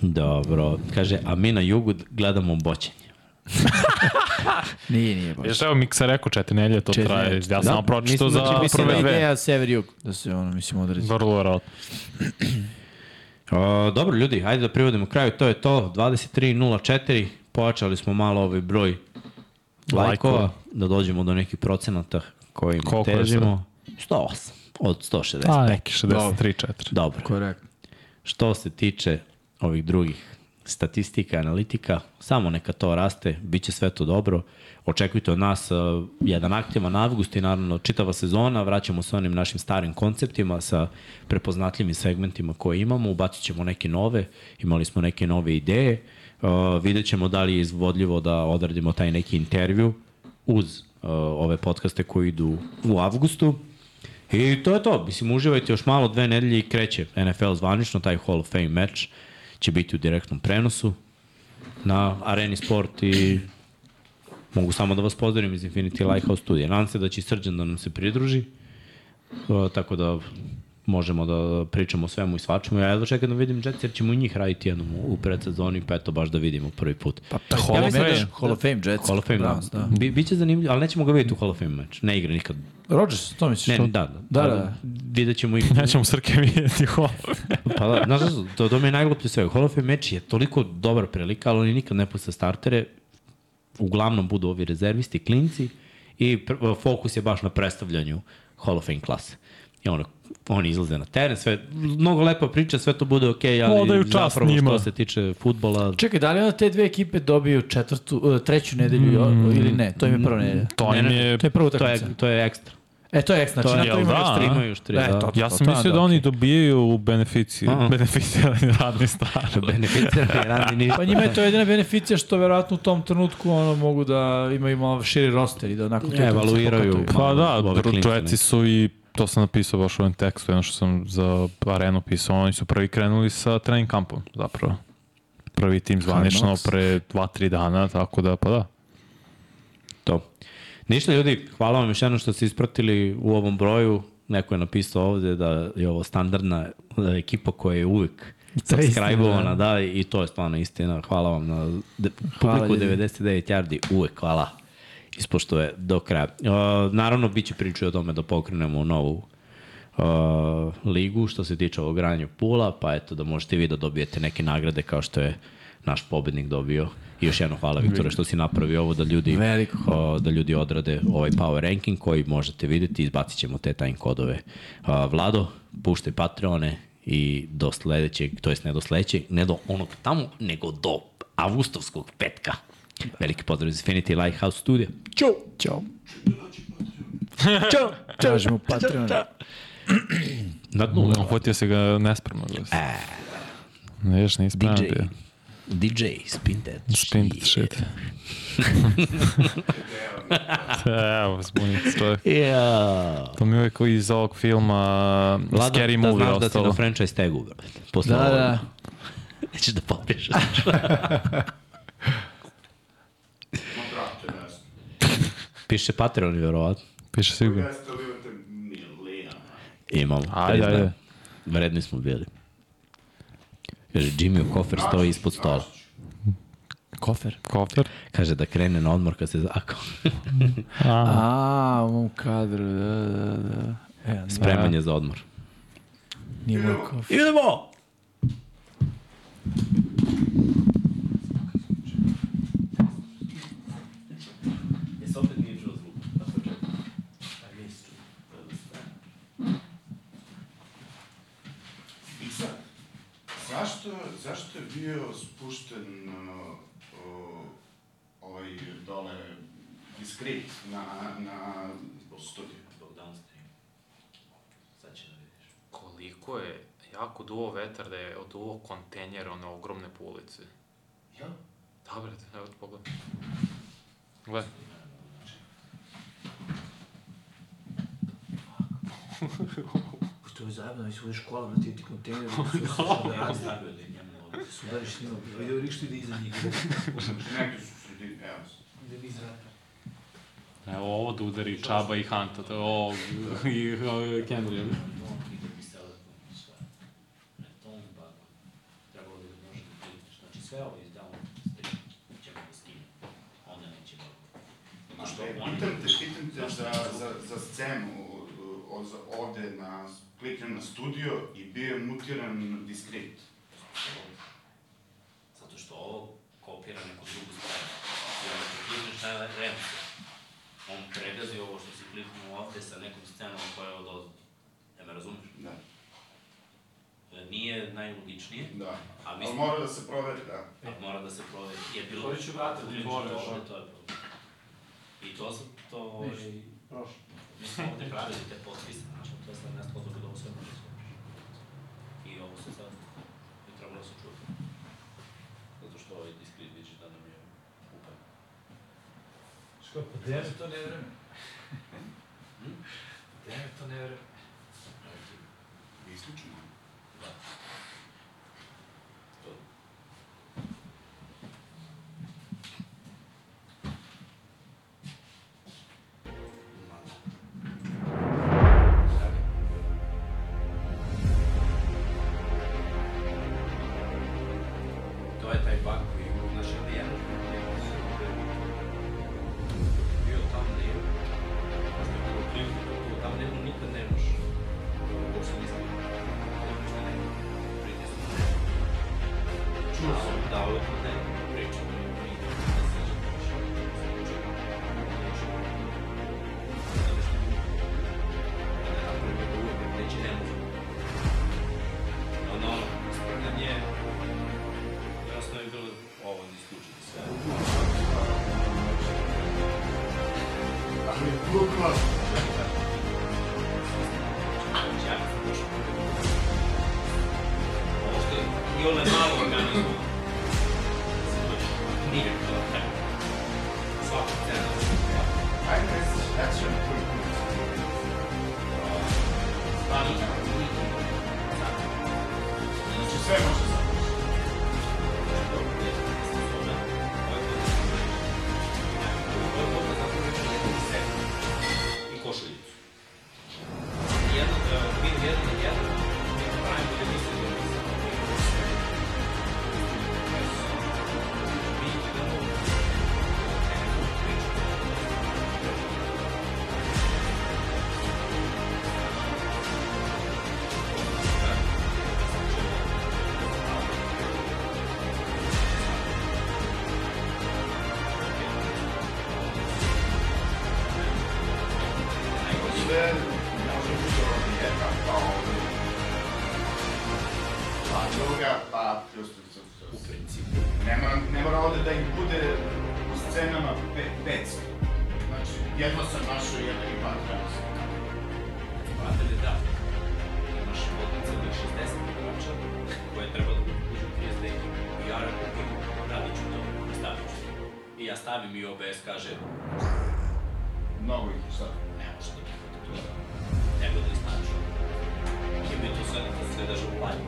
C: Dobro, kaže, a mi na jugu gledamo boćenje.
B: Nije, nije baš.
A: Još evo Miksa rekao, četiri nedelje to
B: Četiri
A: traje.
B: nedelje.
A: Ja sam da, pročito
C: mislim
A: za
C: da će biti
B: Mislim da
A: prve
B: je
A: dve.
B: ideja sever-jug, da se ono, mislim, odrezi.
A: Vrlo verovatno.
C: O, dobro, ljudi, hajde da privodimo kraju, to je to, 23.04, pojačali smo malo ovaj broj lajkova,
A: Lajkova.
C: da dođemo do nekih procenata kojim
A: Koliko je
C: težimo. 108 od 160.
A: Pa neki 63-4.
C: Dobro.
B: Korekt.
C: Što se tiče ovih drugih statistika, analitika, samo neka to raste, bit će sve to dobro. Očekujte od nas uh, jedan aktivan avgust i naravno čitava sezona, vraćamo se onim našim starim konceptima sa prepoznatljivim segmentima koje imamo, ubacit ćemo neke nove, imali smo neke nove ideje, uh, vidjet ćemo da li je izvodljivo da odradimo taj neki intervju uz uh, ove podcaste koji idu u avgustu. I to je to. Mislim, uživajte još malo dve nedelje i kreće NFL zvanično, taj Hall of Fame meč će biti u direktnom prenosu na Areni Sport i mogu samo da vas pozdravim iz Infinity Lighthouse studija. Nadam se da će i Srđan da nam se pridruži, o, tako da možemo da pričamo o svemu i svačemu. Ja jedva čekam da vidim Jets jer ćemo i njih raditi jednom u predsezoni, pa eto baš da vidimo prvi put. Pa,
A: Da, Hall of Fame.
B: Hall of Fame Jets.
C: Hall of Fame, da.
B: Browns,
C: da. Bi, biće zanimljivo, ali nećemo ga vidjeti u Hall of Fame meč. Ne igra nikad.
B: Rodgers, to misliš?
C: Ne,
B: to?
C: da, da.
B: Da,
C: Ali
B: da.
C: Vidjet ćemo i...
A: Nećemo Srke vidjeti Hall of Fame.
C: Pa da, znaš, šta, to, to mi je najgluplje sve. Hall of Fame meč je toliko dobra prilika, ali oni nikad ne puste startere. uglavnom budu ovi rezervisti, klinci, i pr- fokus je baš na predstavljanju Hall of Fame klase. I ono, oni izlaze na teren, sve, mnogo lepa priča, sve to bude okej, okay,
A: Odaju
C: ali
A: čast
C: zapravo
A: njima.
C: što se tiče futbola,
B: Čekaj, da li onda te dve ekipe dobiju četvrtu, uh, treću nedelju mm. ili ne? To im je prva nedelja.
A: To im je...
B: To je prva
C: to je,
B: utakmica.
C: to je ekstra.
B: E, to je ekstra.
C: To
B: Znači,
C: je,
B: na to
A: jel
B: ima
A: da,
B: još
A: a?
B: tri.
C: Ima još tri,
B: E,
C: da.
B: to-
A: Ja sam
B: to-
A: mislio
B: da,
A: da oni dobijaju beneficije,
C: A.
A: beneficirani radni staž.
C: Beneficirani radni ništa.
B: Pa njima je to jedina beneficija što verovatno u tom trenutku ono, mogu da imaju malo širi roster i da onako... tu utakmicu
C: Evaluiraju.
B: pokatuju.
A: Pa
C: Malo
A: da,
C: ove
A: dru-
C: klince,
A: Čoeci
C: ne.
A: su i to sam napisao baš u ovom tekstu, jedno što sam za arenu pisao, oni su prvi krenuli sa trening kampom, zapravo. Prvi tim zvanično
B: Knox.
A: pre 2-3 dana, tako da, pa da.
C: To. Ništa ljudi, hvala vam još jednom što ste ispratili u ovom broju. Neko je napisao ovde da je ovo standardna e, ekipa koja je uvek
B: To je
C: subscribe-ovana, da, i to je stvarno istina. Hvala vam na de,
B: Hvala,
C: publiku
B: ljudi.
C: 99 Jardi, uvek hvala. Ispošto je do kraja. E, naravno, bit će priče o tome da pokrenemo novu e, ligu što se tiče ovog ranju pula, pa eto da možete i vi da dobijete neke nagrade kao što je naš pobednik dobio. I još jedno hvala Viktore što si napravio ovo da ljudi
B: Veliko
C: o, da ljudi odrade ovaj power ranking koji možete videti, izbacit ćemo te time kodove. A, Vlado, puštaj Patreone i do sledećeg, to jest ne do sledećeg, ne do onog tamo, nego do avustovskog petka. Veliki pozdrav iz Infinity Lighthouse Studio.
B: Ćao. Ćao. Ćao. Tražimo Patreon.
C: Da, Na dnu.
A: Uhvatio se ga nespremno. E. Neš, nispremno
C: DJ.
A: bio.
C: DJ, spin that
A: Spin
C: shit.
A: shit. Evo, zbunit se čovjek.
C: Yeah.
A: To mi je uvijek iz ovog filma
C: Vlado,
A: Scary
C: da
A: Movie
C: znaš da si na
A: ostalo.
C: franchise tagu, brate. Posle
B: Da,
C: da,
B: da.
C: da. Nećeš da popiš. Piše Patreon, vjerovatno.
A: Piše sigurno.
J: Jeste li imate milijama?
C: Imamo.
A: Ajde,
C: priznajem.
A: ajde.
C: Vredni smo bili. Kaže, Jimmy kofer stoji ispod stola.
A: Kofer. Kofer.
C: Kaže da krene na odmor kad se zakao.
B: A, u mom kadru, da, da, da. E,
C: Spreman je za odmor.
B: nije moj kof.
C: Idemo!
J: I sad, zašto, zašto je bio spušten uh, o, ovaj dole diskret na, na studiju?
D: Koliko je jako duo vetar da je od duo kontenjera one ogromne po ulici.
J: Ja?
D: Da, brate, evo ti pogledaj. Gledaj.
K: Što je zajebano, iz ove škole, na ti ti kontejneri, su da ja stavio da njemu ovdje. Sudariš njima, vidio riš ti da iza njih.
J: Neki su se di, evo se.
K: Da vi izrata.
D: Evo ovo da udari Čaba i Hanta, to je ovo i Kendrick.
J: Što, pitam te, pitam te za, za, za scenu o- o, za, ovde na, kliknem na studio i bio je mutiran diskret.
C: Zato što ovo kopira neku drugu stranu. I onda kad klikneš na rem, on pregazi ovo što si kliknuo ovde sa nekom scenom koja je od ozda. Ja me razumeš?
J: Da,
C: E, Nije najlogičnije,
J: da.
C: A mi
J: Ali
C: smo-
J: mora da se proveri, da.
C: ali mora da se proveri. Je bilo...
K: Otvorit ću vrata, da
C: Otvorit ću
K: otvoreš,
C: to,
K: ono.
C: to je problem. I to sam, to... ovaj,
K: Prošlo.
C: Mi smo ovde pravili te potpise, znači, to je sad nas odluka da ovo sve može skočiš. I ovo se sad je trebalo da se čuje. Zato što ovaj diskrit vidiš da nam je upan.
K: Što, po devet to ne vreme? Devet to ne vreme.
J: Isključeno.
C: To je taj bug koji je u našem dijelu. Bio tamo ne je. Tamo nema nikad nemaš. Dok se nisam. Nemaš ne nema.
J: Druga, pa plus, plus, plus, plus. U principu. Ne mora, ne mora ovde da ih bude u scenama pe, 500. Znači, jedno sam našao, jedno i par trebao sam.
D: da, da I ja stavim i OBS kaže,
J: Mnogo ih, šta?
D: ne može da prihvati to. Nego da istaču. I mi to sad kad se daš u planju.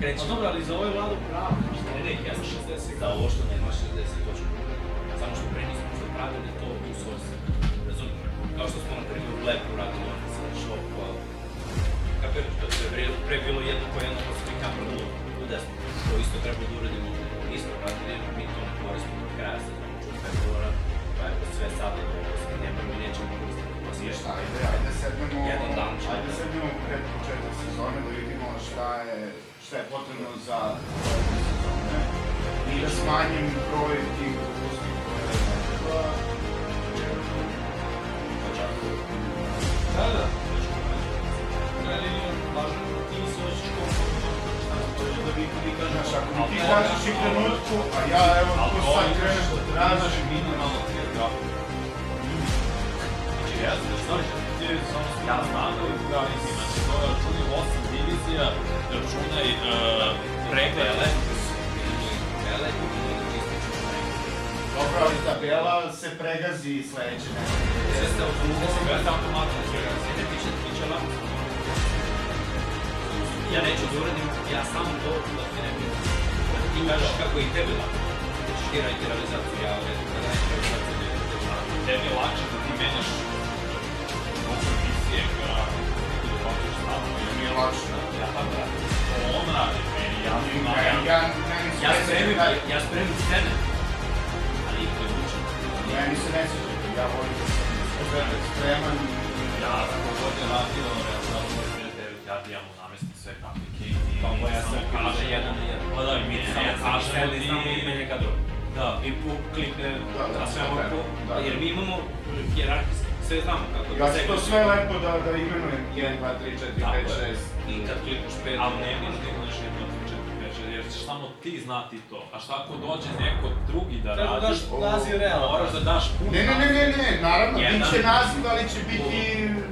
D: Kreću. A dobro, ali za ovaj vladu pravo. Ne, ne, ja sam 60. Da, ovo što nema 60 točno. Samo što pre nismo što pravili to u source. Razumiješ? Kao što smo na primjer u Blacku radili, ono se našao po... Kapiraš, to je pre, pre bilo jedno po jedno, pa smo i kameru u, u desnu. To isto treba da uradimo. Nismo radili, mi to ne koristimo do kraja, sad nam ču februara, pa je sve sada, nema mi nećemo koristiti. Pa sve
J: Šta, ajde, ajde sednemo,
D: Jedan dan ćemo.
J: ajde sednemo pred početak sezone da vidimo šta je, šta je potrebno za početak sezone i da smanjim broj tih propustnih koje ne treba. Pa čak. Znaš, ako mi ti kažeš i trenutku, a ja evo tu sad krenem da tražim minimalno
D: Znači,
J: Dobro, ali tabela se pregazi sledeće nedelje.
D: Ja neću da uradim, ja samo to da se ne bih. Ti kažeš kako i tebe lako. Da ćeš ti raditi realizaciju, ja radim da radim realizaciju. Tebi je lakše da ti menjaš mogu misije koja da papiš samo.
J: Mi je lakše.
D: Ja pa da, on radi meni, Da, ja mi
J: Ja, ja, ja, meni se
D: Ja
J: ne
D: spremim,
J: sviđa-
D: ja spremim scene. Ali ih ne učim.
J: Meni se Da, ne sviđa, ja volim da sam spreman.
D: Ja sam pogodnje radio realizaciju 99, ja ti imamo namestiti sve kaplike i pa moja se kaže jedan na jedan. Pa da, i mi samo kažemo ti... Samo i menje kadro. Da, i pu, klipne,
J: Da, da,
D: a sve ovo
J: da,
D: po...
J: da.
D: Jer mi imamo hjerarhijski, sve znamo kako
J: Ja ću to
D: segmenti.
J: sve lepo da, da imenujem. 1, 2, 3, 4, 5,
D: Tako je.
J: 6.
D: I kad klikneš pet...
L: Ali ne možeš da imaš jedno četiri večer, jer ćeš samo ti znati to. A šta ako dođe neko drugi da Treba radi? daš naziv realno. Moraš da daš pun
J: Ne, ne, ne, ne, ne, naravno, bit će
D: Jedan.
J: naziv, ali će biti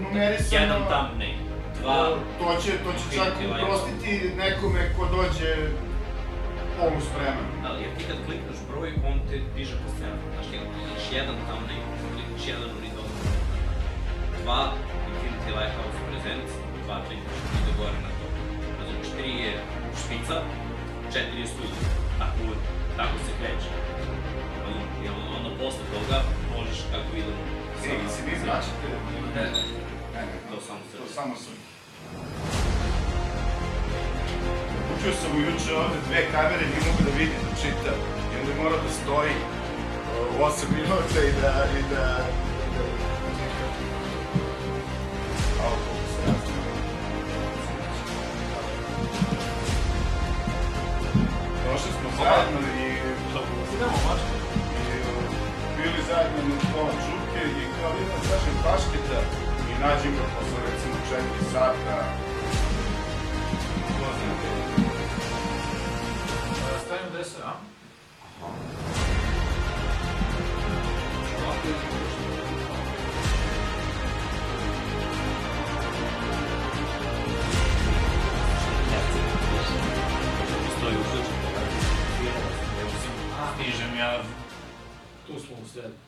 J: numerisano.
D: Jedan thumbnail, dva...
J: To će, to će čak
D: Biti lajk.
J: uprostiti nekome ko dođe poluspreman.
D: Ali jer ti kad klikneš broj, on te diže po scenu. Znaš, ti klikneš jedan thumbnail, klikneš jedan horizon, dva Infinity Lighthouse Presents, dva klikneš ide gore na to. Razumiješ, tri je špica, četiri je studij. Tako, tako se kreće. Razumiješ, I onda, onda posle toga možeš kako idemo.
J: E, i se vi vraćate?
D: Ne, ne,
J: Ne, ne,
D: to samo se...
J: to samo sam. Učio sam ujuče ovde dve kamere, nije mogu da vidim da čitam. I onda je morao da stoji 8 minuta i da... I da, i da, da neka... Au, koliko se razumije. Došli smo zajedno i... Idemo, mačka. I uh, bili zajedno na škola Čuke i kao vidim, kažem, Paškita i nađem ga posle recimo 4 sata
M: Stavimo deser, a?
N: ja
D: Tu smo u sredu.